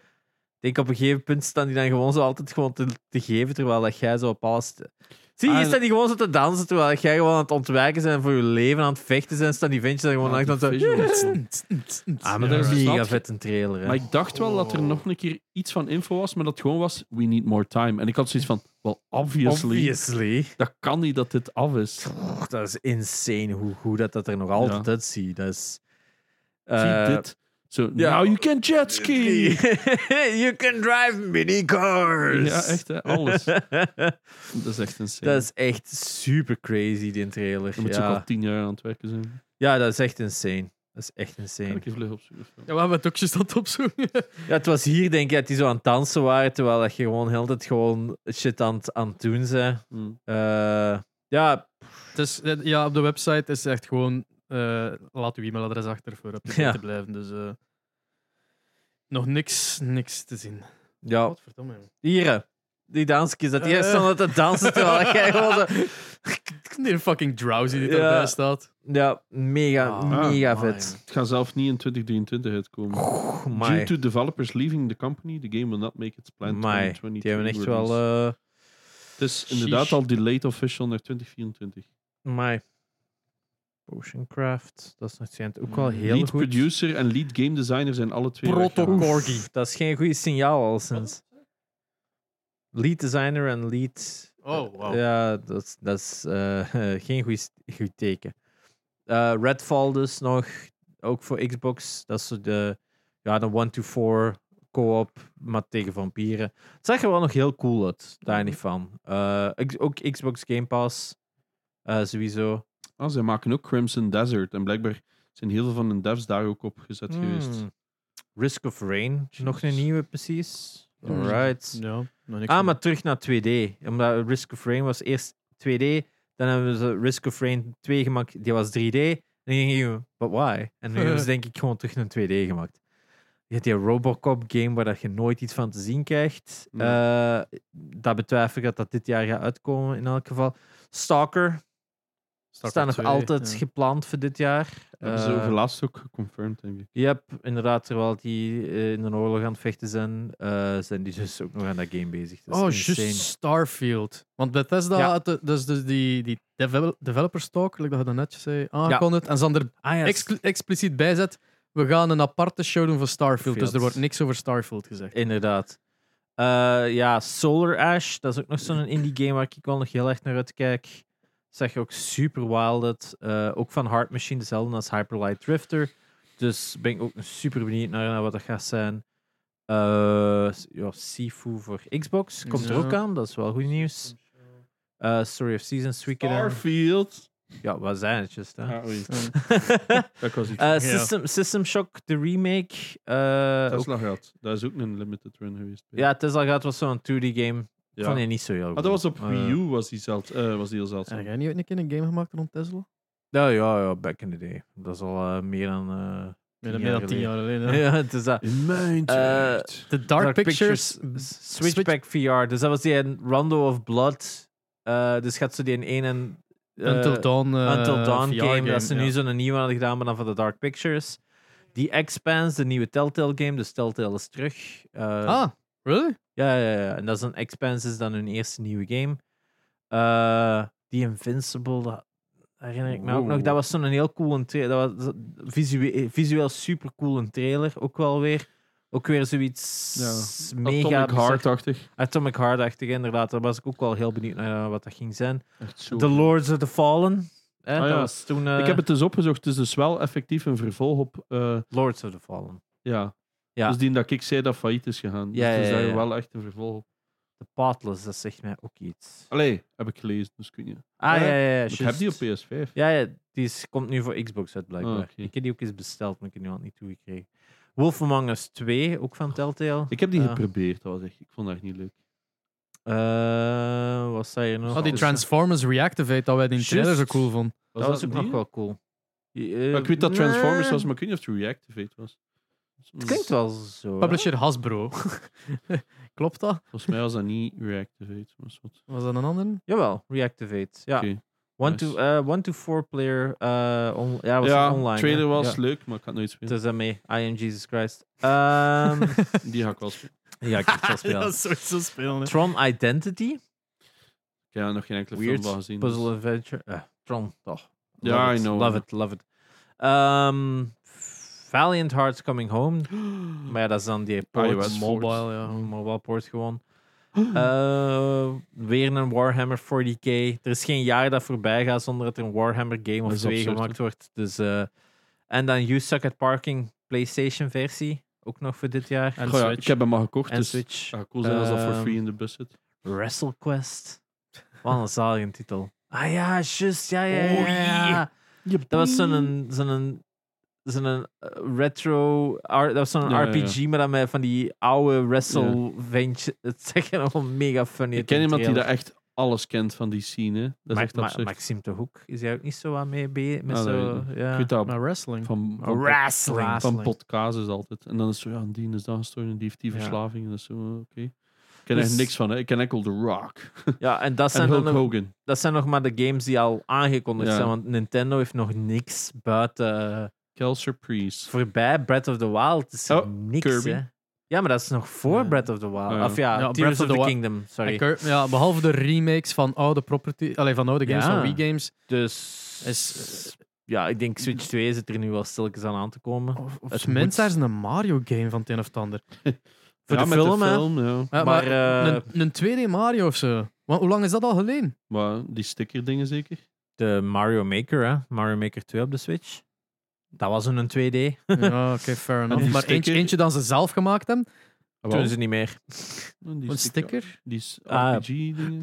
denk op een gegeven punt staan die dan gewoon zo altijd gewoon te, te geven, terwijl dat jij zo op alles... te- Zie, hier
Ah,
staan die gewoon zo te dansen, terwijl dat jij gewoon aan het ontwijken zijn en voor je leven aan het vechten zijn, staan die ventjes daar gewoon
Ah,
aan
die
het zo...
visuals, man.
Ah,
maar
maar
dat is
dat is mega
snap je.
vet een trailer. Hè?
Maar ik dacht wel dat er
Oh.
nog een keer iets van info was, maar dat het gewoon was, we need more time. En ik had zoiets van, well, obviously,
Obviously.
dat kan niet dat dit af is.
Pff, dat is insane hoe goed dat, dat er nog altijd uitziet. Dat is... eh,
Zie dit. Zo,
ja.
now you can jetski!
you can drive minicars!
Ja, echt, hè, alles. Dat is echt insane.
Dat is echt super crazy, die trailer.
Dan moet ze ook
ja.
al tien jaar aan het werken zijn.
ja, dat is echt insane. Dat is echt
Kan
insane.
ik je vlug opzoeken?
Ja, we hebben het ook juist aan het opzoeken.
Ja, het was hier, denk ik, dat die zo aan het dansen waren, terwijl dat je gewoon heel de tijd gewoon shit aan, het- aan het doen zijn.
Hmm.
ja,
dus, ja, op de website is echt gewoon... eh, laat uw e-mailadres achter voor op de
Ja.
te blijven. Dus eh, nog niks, niks te zien.
ja.
Godverdomme.
Hier, hè. die dansjes, dat die
Eh.
eerst stond aan het dansen, terwijl dat jij gewoon zo...
Die fucking drowsy die
Ja.
daarbij staat.
Ja, mega,
Ah,
mega
my.
vet.
Het gaat zelf niet in 2023 uitkomen.
Oeh,
Due
my.
to developers leaving the company, the game will not make its planned
My,
2022
die hebben echt
release.
wel... eh
Het is inderdaad
Sheesh.
al delayed official naar 2024.
my. Potioncraft, dat is natuurlijk ook wel heel
lead
goed.
Mm, producer en lead game designer zijn alle twee
Protocol.
weggehaald.
Corgi.
Oef, Dat is geen goed signaal al sinds. Lead designer en lead.
Oh, wow.
Ja, dat is, dat is eh, geen goed, goed teken. Eh, Redfall dus nog, ook voor Xbox. Dat is zo de, ja, de 1-to-4 co-op, maar tegen vampieren. Het zag er wel nog heel cool uit, daar niet van. Eh, ik- ook Xbox Game Pass, eh, sowieso.
Ah, zij maken ook Crimson Desert. En blijkbaar zijn heel veel van hun devs daar ook op gezet geweest.
Hmm. Risk of Rain, nog een
Jeez.
nieuwe precies.
Hmm.
Alright.
Ja, nog niks
Ah,
van-
maar terug naar 2D. Omdat Risk of Rain was eerst 2D. Dan hebben ze Risk of Rain 2 gemaakt. Die was 3D. En dan gingen we, but why? En nu hebben ze denk ik gewoon terug naar 2D gemaakt. Je hebt die Robocop game waar dat je nooit iets van te zien krijgt.
Nee.
Eh, dat betwijfel ik dat dat dit jaar gaat uitkomen in elk geval. Stalker
Starcraft
staat nog
2,
altijd
ja.
gepland voor dit jaar.
Dat hebben
Eh,
ze over laatst ook geconfirmed, denk ik.
Yep, inderdaad. Terwijl die eh, in een oorlog aan het vechten zijn, eh, zijn die dus ook nog aan dat game bezig. Dat is
Oh,
insane.
juist Starfield. Want Bethesda
Ja.
had de- dus, dus die, die devel- developers talk, like dat je dat net zei, aankondigd. En ze hadden er
Ah, ja,
exclu- expliciet bijzet, we gaan een aparte show doen voor Starfield. Dus
Field.
er wordt niks over Starfield gezegd.
Inderdaad. Eh, ja, Solar Ash, dat is ook nog zo'n indie game waar ik wel nog heel erg naar uitkijk. Zeg ook super wild uit. Eh, ook van Hard Machine, dezelfde als Hyper Light Drifter. Dus ben ik ook super benieuwd naar, naar wat dat gaat zijn. Eh, s- ja, Sifu voor Xbox komt er
Ja.
ook aan, dat is wel goed nieuws. Eh, Story of Seasons, Weekend.
Starfield!
Ja, wat zijn het just, hè?
Ah, oei.
Eh,
Dat was iets.
Eh, System, System Shock, de remake. eh ook,
Tesla gaat. Dat is ook een limited run geweest.
ja, Tesla gaat was zo'n 2D game.
Ja.
Vond je niet zo heel goed.
Ah, dat was op
Eh, Ah,
Wii U, was die, zeld, eh, was die heel zeldzaam.
Heb jij niet ooit een keer een game gemaakt rond Tesla?
Ja, ja, ja, back in the day. Dat is al eh, meer dan. eh,
Meer
Tien
dan, meer dan
jaar
tien jaar
ja.
geleden. ja.
het is eh, dat.
In mijn tijd.
The Dark, Pictures.
S- eh, Switchback VR. Dus dat was die in Rondo of Blood. Eh, dus gaat ze die in één en. eh,
Until Dawn. eh,
Until Dawn
VR
game. Dat ze nu
ja.
zo'n nieuwe hadden gedaan, maar dan van de Dark Pictures. Die Expanse, de nieuwe Telltale game. Dus Telltale is terug. Eh,
Ah, really?
Ja, ja, ja. En dat is een Expanse, is dan hun eerste nieuwe game. Eh, die Invincible, dat herinner ik me ook nog.
Wow.
Dat was zo'n heel cool trailer. Dat was visueel, eh, visueel super cool trailer, ook wel weer. Ook weer zoiets
Ja.
mega
Atomic
bizar.
Heart-achtig.
Atomic Heart-achtig, inderdaad. Daar was ik ook wel heel benieuwd naar eh, wat dat ging zijn.
Echt zo
The Lords of the Fallen. Hè,
Ah,
dat
ja.
was toen eh,
Ik heb het dus opgezocht. Het is dus wel effectief een vervolg op... eh,
Lords of the Fallen.
ja.
Ja.
Dus die dat ik zei dat failliet is gegaan.
Ja,
dus het is
ja, ja,
daar
ja.
wel echt een vervolg op.
The Pathless, dat zegt mij ook iets.
Allee, heb ik gelezen, dus kun je.
Ah, ja,
Ja,
ja, ja.
Ik heb
juist.
die op PS5.
Ja, ja die is, komt nu voor Xbox uit, blijkbaar.
Ah, oké.
Ik heb die ook eens besteld, maar ik heb die nog niet toegekregen. Wolf Among Us 2, ook van Telltale.
Ik heb die
Ja.
geprobeerd, dat was echt, ik vond dat echt niet leuk.
Eh wat zei je nog?
Oh, die
Dus,
Transformers Reactivate, dat wij die
Juist.
trailer zo cool vonden.
Dat was, ook nog
die?
wel cool. Die, eh,
Maar ik weet dat Transformers
nee,
was, maar ik weet niet of het Reactivate was.
Het klinkt wel zo. hè?
Publisher Hasbro. Klopt dat?
Volgens mij was dat niet Reactivate. Maar is wat.
Was dat een ander?
Jawel, Reactivate. Ja.
Oké,
One, to, eh, one to four player. eh on- ja, was
ja,
online.
trailer
hè?
was
Ja.
leuk, maar ik had nooit spelen.
Dus daarmee, I am Jesus Christ. Ehm,
Die ga ik wel spelen.
ja, ik heb het wel spelen.
dat is sowieso spelen. hè.
Tron Identity.
Ik heb nog geen enkele film
Weird
van gezien.
Puzzle
dus-
Adventure. eh, Tron, toch?
Ja,
Love
I
it,
know.
Love it, love it. Ehm, Valiant Hearts Coming Home. Maar ja, dat is dan die
Ah,
port.
iOS port.
mobile, ja.
Hmm.
Mobile port gewoon.
Oh.
Eh, weer een Warhammer 40k. Er is geen jaar dat voorbij gaat zonder dat er een Warhammer game
Dat
of
is
twee
absurd,
gemaakt wordt. Dus, eh, en dan You Suck at Parking PlayStation versie. Ook nog voor dit jaar.
En
Goh, ja,
Switch.
ik heb hem al gekocht,
En
dus
Switch.
het zou cool zijn als dat voor
Ehm,
free in de bus zit.
WrestleQuest. Wat een zalige titel. Ah ja, juist. Ja, ja, ja.
Oh,
ja, ja.
yeah.
Dat was zo'n zo'n dat is een eh, retro. R, dat was zo'n
Ja, ja, ja.
RPG, maar dan met van die oude wrestle ventje. Het is echt wel mega funny.
Ik ken iemand die daar echt alles kent van die scene. hè. Dat is echt absurd.
Maxime de Hoek is hij ook niet zo aan mee be- met
Ah, dat
zo.
weet
ja.
Ik weet dat
Maar wrestling.
van, van,
Oh, Wrestling.
van
wrestling.
podcasts is altijd. En dan is zo, ja, die is daar gestorven en die heeft die
Ja.
verslaving. En dat is zo, oké. Ik ken
Dus-
echt niks van, hè. Ik ken enkel The Rock.
Ja, en dat zijn,
en Hulk
dan nog,
Hogan.
dat zijn nog maar de games die al aangekondigd
Ja.
zijn. Want Nintendo heeft nog niks buiten. eh,
Kel Surprise.
Voorbij Breath of the Wild is er
Oh,
niks.
Kirby.
Hè? Ja, maar dat is nog voor
Ja.
Breath of the Wild.
Ja.
Of ja,
Ja,
Tears
Breath
of,
of
the,
the Wi-
Kingdom.
En
Sorry.
Kirby- ja, behalve de remakes van oude property, allee, van oude games,
Ja.
van Wii games.
Dus
Is-
ja, ik denk Switch 2 zit er nu wel stilletjes aan aan te komen.
Of, of
Het
het mens
moet-
daar is een Mario game van het een of het ander.
Voor
ja,
de
met
film,
de
hè?
film, ja.
Ja,
Maar,
maar
eh,
een, een 2D Mario of zo. Want hoe lang is dat al geleden?
Maar die sticker dingen zeker.
De Mario Maker, hè? Mario Maker 2 op de Switch. Dat was een 2D.
Ja, oké, fair enough.
die
Maar eentje,
sticker-
eentje dat ze zelf gemaakt hebben.
Toen ze niet meer.
En Ah, die
Een sticker.
Die s-
Ah.
RPG dingen.
Ah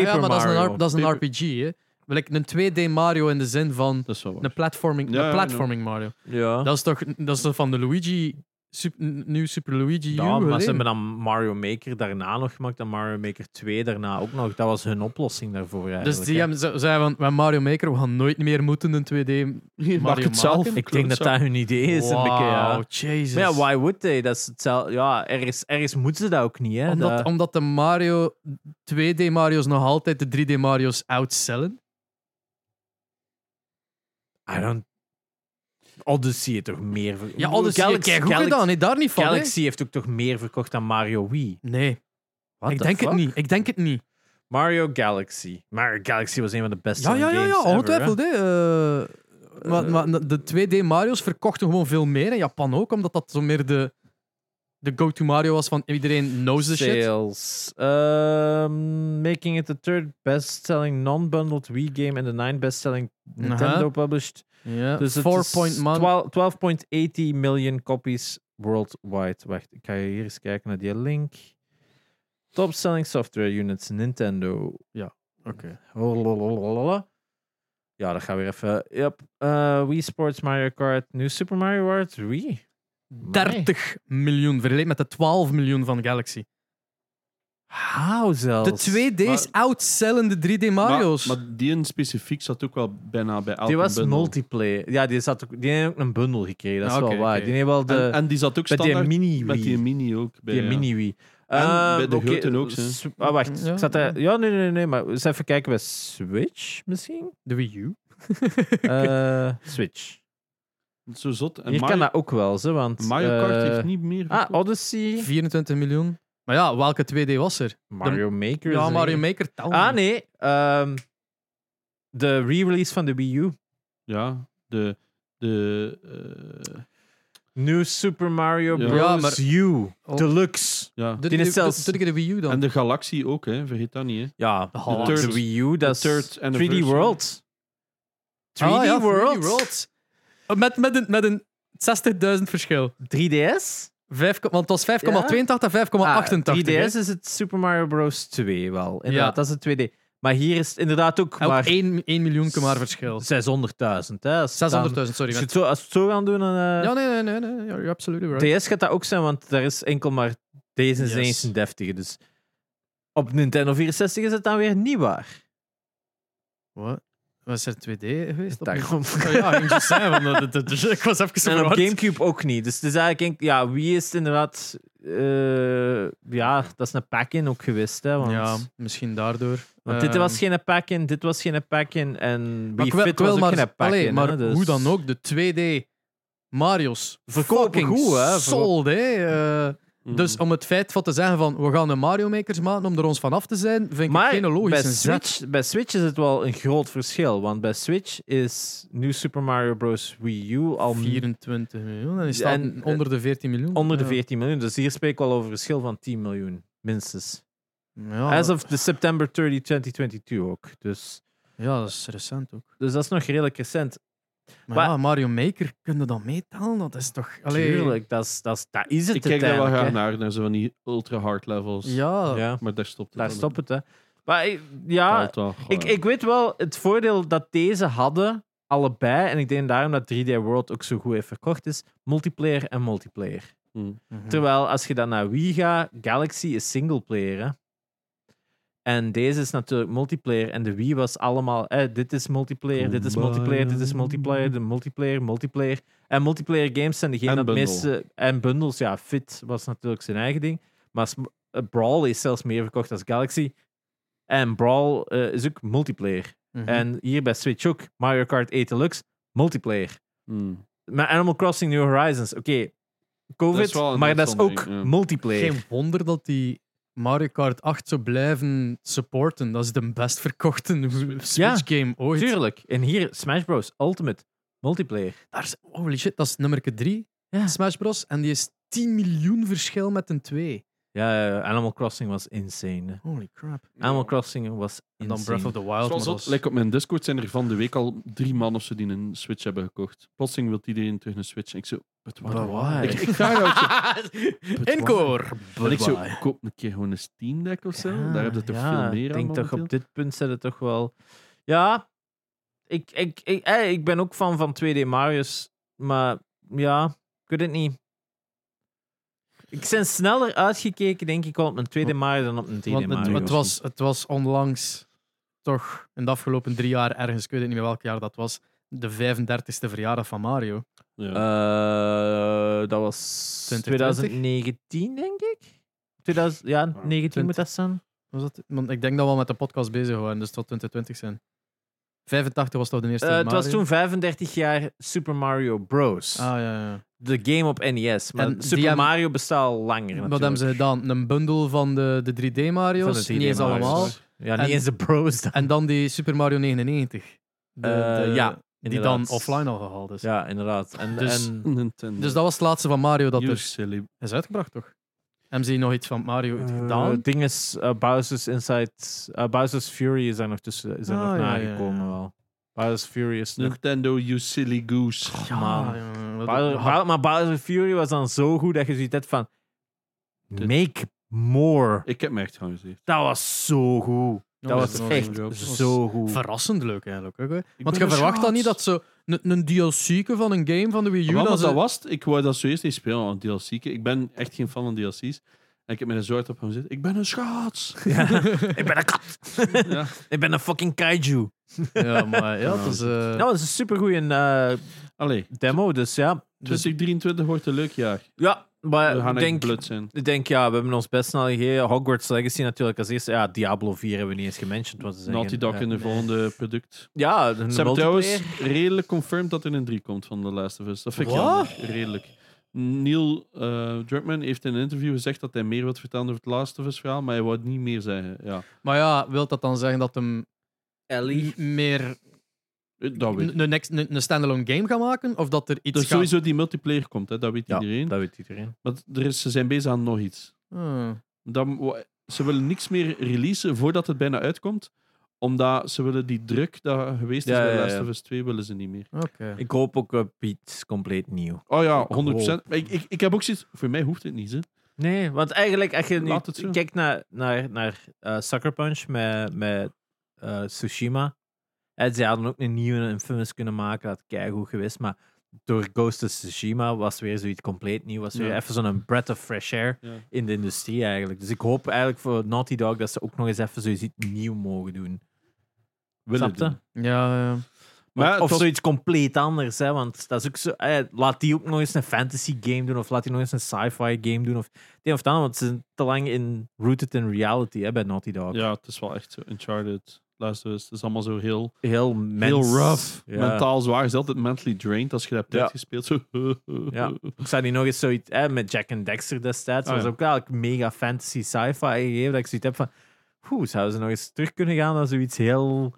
ja,
Paper
maar dat is een,
Mario.
R- dat is een
Paper-
RPG, hè. Wel, like, een 2D Mario in de zin van
Dat is wel waar.
een platforming,
Ja,
een
ja,
platforming Mario.
Ja,
Dat is toch dat is toch van de Luigi, sup- nieuw Super Luigi U
ja maar
geleden?
ze hebben dan Mario Maker daarna nog gemaakt en Mario Maker 2 daarna ook nog. Dat was hun oplossing daarvoor eigenlijk.
Dus die
hè.
hebben, ze zeiden van, "Wij Mario Maker, we gaan nooit meer moeten een 2D Mario
Maak het zelf.
maken.
Ik denk dat
Klootzak.
dat hun idee is. Een beetje, ja.
Wauw, jezus.
Maar ja, why would they? Dat is hetzelfde. Ja, ergens, ergens moeten ze dat ook niet. Hè?
omdat,
Dat-
omdat de Mario 2D Mario's nog altijd de 3D Mario's outsellen.
I don't... Odyssey heeft toch meer... ver-
Ja, oh, alles
Galaxy-
kijk goed
Galaxy-
gedaan, hè, daar niet van. hè.
Galaxy heeft ook toch meer verkocht dan Mario Wii?
Nee,
What
ik
the
denk het
fuck?
niet. Ik denk het niet.
Mario Galaxy. Mario Galaxy was een van de beste
Ja, ja, ja, ja,
games ever,
ongetwijfeld. hè. Eh, maar, maar de 2D Mario's verkochten gewoon veel meer in Japan ook, omdat dat zo meer de, de go-to Mario was van iedereen knows
hè.
the shit.
Sales. Ehm, making it the third best-selling non-bundled Wii game and the ninth best-selling Nintendo published.
Eh,
Ja,
Dus het
four
is
point man.
12 12.80 million copies worldwide. Wacht, ik ga hier eens kijken naar die link. Top selling software units, Nintendo.
Oké.
Lalalala. Ja, dat gaan we weer even. Yep. Eh, Wii Sports, Mario Kart, New Super Mario World, Wii. Amai.
30 miljoen, vergeleken met de 12 miljoen van Galaxy.
How zelfs?
De 2D's outsellende 3D Mario's.
Maar, maar die in specifiek zat ook wel bijna bij elke
Die was
bundel.
multiplayer. Ja, die, zat ook, die heeft ook een bundel gekregen. Dat is
Ah,
wel
oké,
waar.
oké.
Die heeft wel de.
En, en die zat ook
met eh, die
standaard
mini Wii.
met die mini ook. Bij,
Die
ja.
mini Wii.
En
Ehm,
bij de
oké,
grote ook, hè.
s- ah, wacht,
Ja.
ik zat daar- Ja, nee, nee, nee, maar eens even kijken bij Switch misschien.
de Wii U.
Eh, Switch.
Zo zot. En
Hier
Mario,
kan dat ook wel, ze, want...
Mario Kart
eh,
heeft niet meer.
Ah,
verkocht.
Odyssey,
24 miljoen. Maar ja, welke 2D was er?
Mario Maker. is
Ja,
er
Mario
niet.
Maker telt
Ah,
niet.
nee. ehm, de re-release van de Wii U.
Ja, de. de eh,
New Super Mario
Ja.
Bros.
Ja, maar-
U.
Oh.
Deluxe.
ja.
Doe
Die
ik
is
de-
zelfs-
doe ik de Wii U dan?
en de Galaxie ook, hè? vergeet dat niet. Hè.
Ja,
De
de,
third-
Wii U, dat is
third
3D
anniversary.
World. 3D
Ah, ja, 3D
World.
World. Eh, Met, met een, met een 60.000 verschil.
3DS?
Vijf, ko- want het was 5,82 en 5,88.
Ah,
hè.
3DS is het Super Mario Bros. 2 wel. Inderdaad,
Ja.
dat is het 2D. Maar hier is het inderdaad ook
Elk
maar
1, 1 miljoen maar verschil.
600.000. hè. Als het dan-
600.000,
Als
sorry.
je
man.
het zo, als je het zo gaan doen, dan... eh,
Ja, nee, nee, nee, nee. You're you're absolutely right.
DS gaat dat ook zijn, want daar is enkel maar deze is
Yes.
eens een deftige. Dus op Nintendo 64 is het dan weer niet waar.
Wat? Was er 2D geweest? op-
Daarom.
Oh ja, ik ging zo zijn, want dat- dat- dat- ik was even zo
En op
verward.
Gamecube ook niet. Dus het is eigenlijk... enkel- Ja, wie is het inderdaad... eh, ja, dat is een pack-in ook geweest, hè. Want,
Ja, misschien daardoor.
want dit
Ehm,
was geen pack-in, dit was geen pack-in. En
maar
Wii
ik wil-
Fit
ik wil
was ook
maar-
geen pack-in.
allee,
hè,
maar
dus-
hoe dan ook, de 2D Mario's
Verkopen
fucking
goed, hè. Mm.
sold, hè. Eh,
Mhm.
Dus om het feit van te zeggen van we gaan een Mario Makers maken om er ons van af te zijn, vind ik
Maar
geen
bij,
logische zet.
Switch, bij Switch is het wel een groot verschil. Want bij Switch is New Super Mario Bros. Wii U al
24 miljoen en is dat
En, eh,
onder de 14 miljoen.
onder de
Ja.
14 miljoen. Dus hier spreek ik wel over een verschil van 10 miljoen, minstens.
Ja,
As of de September 30, 2022 ook. Dus,
ja, dat is recent ook.
dus dat is nog redelijk recent.
Maar,
Maar-
ja, Mario Maker kunnen we dan meetellen? Dat is toch. Allee,
Tuurlijk, dat is, dat is, dat is het
Ik kijk daar wel
uiteindelijk,
graag
hè.
naar, naar zo van die ultra hard levels.
Ja,
Ja,
Maar daar stopt het.
daar
dan.
stopt het, hè. Maar ik- ja,
Daalt wel.
ik, ik weet wel het voordeel dat deze hadden allebei, en ik denk daarom dat 3D World ook zo goed heeft verkocht, is multiplayer en multiplayer.
Mhm.
Terwijl als je dan naar Wii gaat, Galaxy is singleplayer. Hè? En deze is natuurlijk multiplayer. En de Wii was allemaal: hè, dit is multiplayer, dit is multiplayer, dit is multiplayer, de multiplayer, multiplayer. En multiplayer games zijn degene
En
dat
bundle.
meeste. En bundles, ja, Fit was natuurlijk zijn eigen ding. Maar sm- eh, Brawl is zelfs meer verkocht als Galaxy. En Brawl eh, is ook multiplayer.
Mhm.
Mhm.
En hier bij Switch ook: Mario Kart 8 Deluxe, multiplayer.
Hmm.
Maar Animal Crossing New Horizons, oké.
Dat
COVID,
is wel een
maar dat is ook
uitzondering, ja.
multiplayer.
Geen wonder dat die Mario Kart 8 zo blijven supporten. Dat is de best verkochte Switch-game ooit.
Tuurlijk. En hier Smash Bros. Ultimate multiplayer.
Daar is, holy shit, dat is nummer 3,
Ja.
Smash Bros. En die is 10 miljoen verschil met een 2.
Ja, ja, Animal Crossing was insane.
Holy crap.
Animal Crossing was
En
insane.
dan Breath of the Wild.
Zoals
maar
dat,
dat is-
like op mijn Discord zijn er van de week al drie man of ze die een Switch hebben gekocht. Plotseling wil iedereen terug een Switch. En ik zo, but why?
But why?
Ik, ik ga jou zo- But
Encore!
En ik zo,
Bye-bye.
koop een keer gewoon een Steam Deck of zo. Daar heb je toch
ja,
veel meer
Ik
aan
denk toch op
momenteel?
dit punt zit het toch wel. Ja, ik, ik, ik, eh, ik ben ook fan van 2D Mario's, maar ja, ik weet het niet. Ik ben sneller uitgekeken, denk ik, wel op mijn 2D Mario dan op mijn 3D
Want het,
Mario.
het, was, het was onlangs toch in de afgelopen drie jaar ergens, ik weet het niet meer welk jaar dat was, de 35e verjaardag van Mario.
Ja.
Eh, dat was
2020?
2019, denk ik. Ah, 2000, ja, 19 moet dat zijn.
Was dat? Want ik denk dat we al met de podcast bezig waren, dus tot 2020 zijn. 85 was toch de eerste
Eh, het
Mario?
was toen 35 jaar Super Mario Bros.
Ah, ja, ja.
De game op NES. Maar
En die
Super
hebben-
Mario bestaat al langer.
Wat
natuurlijk.
hebben ze gedaan? Een bundel van de, de 3D-Mario's,
Van de
niet eens
3D Mario's.
allemaal.
Ja, niet
En-
eens de Bros. Dan.
En dan die Super Mario 99. De-
Eh,
de-
ja,
Die dan
inderdaad.
offline al gehaald is.
Ja, inderdaad. En,
Dus
Eh, en
Nintendo.
Dus dat was het laatste van Mario dat
You
er
silly.
is uitgebracht, toch? Hebben ze nog iets van Mario
eh,
gedaan?
ding is, eh, Bowser's Inside... eh, Bowser's Fury is daar nog, tussen, is daar
Ah,
nog
ja, ja,
nagekomen
ja.
wel. Bowser's Fury is nog...
Nintendo, you silly goose.
Ja, man.
jongen, wat-
Bowser-
wat-
Bow- maar Bowser Fury was dan zo goed dat je zoiets had van...
Dit-
Make more.
Ik heb me echt gewoon gezegd.
Dat was zo goed. dat
dat
was
is nog
echt
een joke.
zo goed.
verrassend leuk eigenlijk. Ook, hè. Want
ben
je verwacht dan
geschaamd.
niet dat ze een- een DLC'ke van een game van de Wii U...
Maar Oh, wat
dat ze-
dat was, het. ik wou dat zoiets niet spelen, want DLC. Ik ben echt geen fan van DLC's. En ik heb met een soort op gaan zitten. Ik ben een schaats.
Ja. ik ben een kat.
Ja.
ik ben een fucking kaiju.
Ja, maar ja, dat is... eh,
Nou, Dat was een supergoeie eh,
Allee,
demo, dus ja.
dus-
2023 wordt een leuk jaar.
Ja,
We
maar
gaan
ik
echt
Eh, denk,
blut zijn.
ik denk, ja, we hebben ons best snel gegeven. Hogwarts Legacy natuurlijk als eerste. Ja, Diablo 4 hebben we niet eens gementiond. Want ze zijn
Naughty
geen-
Dog
ja.
in de volgende product.
Ja, een
Ze hebben
multiplayer.
trouwens redelijk confirmed dat er een 3 komt van The Last of Us. Dat vind ik
Wat?
jammer. Redelijk. Neil eh, Druckmann heeft in een interview gezegd dat hij meer wilt vertellen over het Last of Us verhaal, maar hij wou het niet meer zeggen. Ja,
Maar ja, wil dat dan zeggen dat hem
Ellie.
m- meer
Eh,
dat weet ik.
een, next- een, een standalone game gaat maken? Of dat er iets
Dus
gaat...
sowieso die multiplayer komt, hè, dat weet
Ja,
iedereen.
dat weet iedereen.
Maar er is, ze zijn bezig aan nog iets.
Ah.
Dan, wa- ze willen niks meer releasen voordat het bijna uitkomt, omdat ze willen die druk dat geweest is
Ja,
bij
ja,
Last
ja.
of Us 2 willen ze niet meer.
Oké.
Ik hoop ook op iets compleet nieuw.
Oh ja,
Ik
100%. Maar Ik, ik, ik heb ook zoiets... Voor mij hoeft het niet, hè.
Nee, want eigenlijk als je
Laat het zo.
nu kijkt naar, naar, naar eh, Sucker Punch met, met eh, Tsushima. En ze hadden ook een nieuwe Infamous kunnen maken, dat had goed geweest. Maar door Ghost of Tsushima was weer zoiets compleet nieuw. Was weer
Ja.
even zo'n breath of fresh air
Ja.
in de industrie eigenlijk. Dus ik hoop eigenlijk voor Naughty Dog dat ze ook nog eens even zoiets nieuw mogen doen.
Willen
Snap je?
doen.
Ja, ja.
Maar
of
het was-
zoiets compleet anders, hè? Want dat is ook zo. eh, laat die ook nog eens een fantasy game doen, of laat die nog eens een sci-fi game doen, of het een of het ander, want ze zijn te lang in rooted in reality hè, bij Naughty Dog.
Ja, het is wel echt zo. Uncharted, Last of Us, het is allemaal zo heel...
Heel mens.
Heel rough.
Ja.
Mentaal zwaar. Het is altijd mentally drained als je dat hebt
Ja.
uitgespeeld. Zo.
Ja. Ik zou die nog eens zoiets eh, met Jack and Dexter destijds.
Ah,
was
ja.
ook eigenlijk mega fantasy sci-fi gegeven. Dat ik zoiets heb van. Hoe zouden ze nog eens terug kunnen gaan naar zoiets heel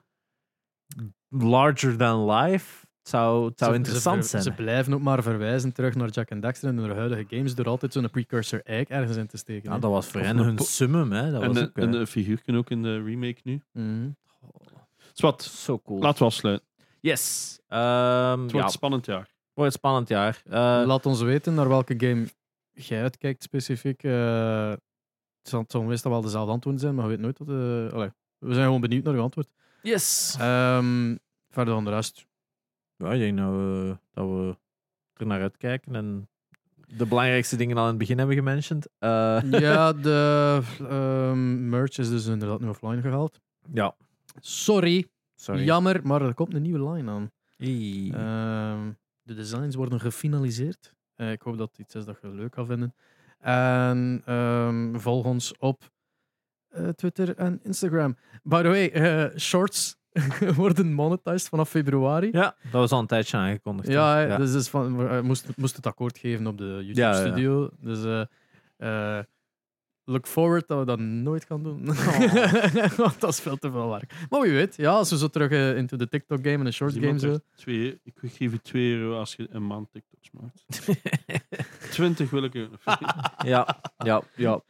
larger than life? Het zou, het zou
Ze-
interessant
ze, ver-
zijn.
Ze blijven ook maar verwijzen terug naar Jack and Dexter en hun huidige games door altijd zo'n precursor egg ergens in te steken.
Ja,
hè.
dat was voor
Of
hen
een
hun
po-
summum, hè? Dat
En,
was
een-
ook, eh, hè.
en een figuurtje ook in de remake nu.
Mhm.
Zwat,
Zo cool.
laten we afsluiten.
Yes. Ehm
Het
ja,
wordt een spannend jaar.
wordt een spannend jaar. Eh,
Laat ons weten naar welke game jij uitkijkt specifiek. Eh, het zal, het zal meestal wel dezelfde antwoorden zijn, maar je weet nooit dat... eh, allee, we zijn gewoon benieuwd naar uw antwoord.
yes.
Ehm, verder dan de rest.
Ja, ik denk dat we, dat we er naar uitkijken en de belangrijkste dingen al in het begin hebben gementioned. Eh,
ja, de ehm, merch is dus inderdaad nu offline gehaald.
ja,
Sorry,
sorry. Eh,
jammer, maar er komt een nieuwe line aan.
Ie.
Ehm, de designs worden gefinaliseerd. Eh, ik hoop dat het iets is dat je leuk gaat vinden. En ehm, volg ons op eh, Twitter en Instagram. By the way, eh, shorts worden monetized vanaf februari.
ja, dat was al een tijdje aangekondigd. hè.
Ja, hè, dus is van, eh, moest, moest het akkoord geven op de
Ja, ja, ja.
YouTube-studio. Dus eh, eh, look forward dat we dat nooit gaan doen.
Oh.
Want dat is veel te veel werk. Maar wie weet, ja, als we zo terug eh, into de TikTok-game en de
Als
short-game
iemand
zo.
zegt,
eh.
twee, ik geef je 2 euro als je een maand TikToks maakt. 20 wil ik er.
ja, ja, ja.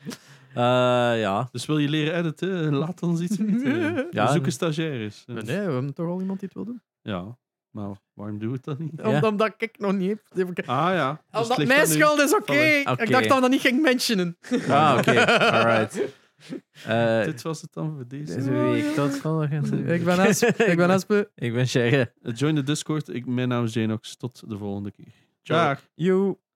Eh, ja.
Dus wil je leren editen? Laat ons iets weten.
Ja,
we zoeken
en-
stagiaires.
Nee, nee, we hebben toch al iemand die het wil doen?
Ja, maar waarom doen we het dan niet?
Ja.
Om- Omdat ik nog niet heb.
Ah ja. Dus het
Omdat
ligt
mijn
aan u.
schuld is oké.
Oké.
Ik dacht dat we dat niet ging mentionen.
Ah, oké. Alright. Eh,
Dit was het dan voor deze.
deze week. Tot volgende week.
Ik ben Aspe. Ik ben Aspe.
Ik ben Sherry.
Join de Discord. Ik, mijn naam is Janox. Tot de volgende keer.
Ciao.
Dag.
You.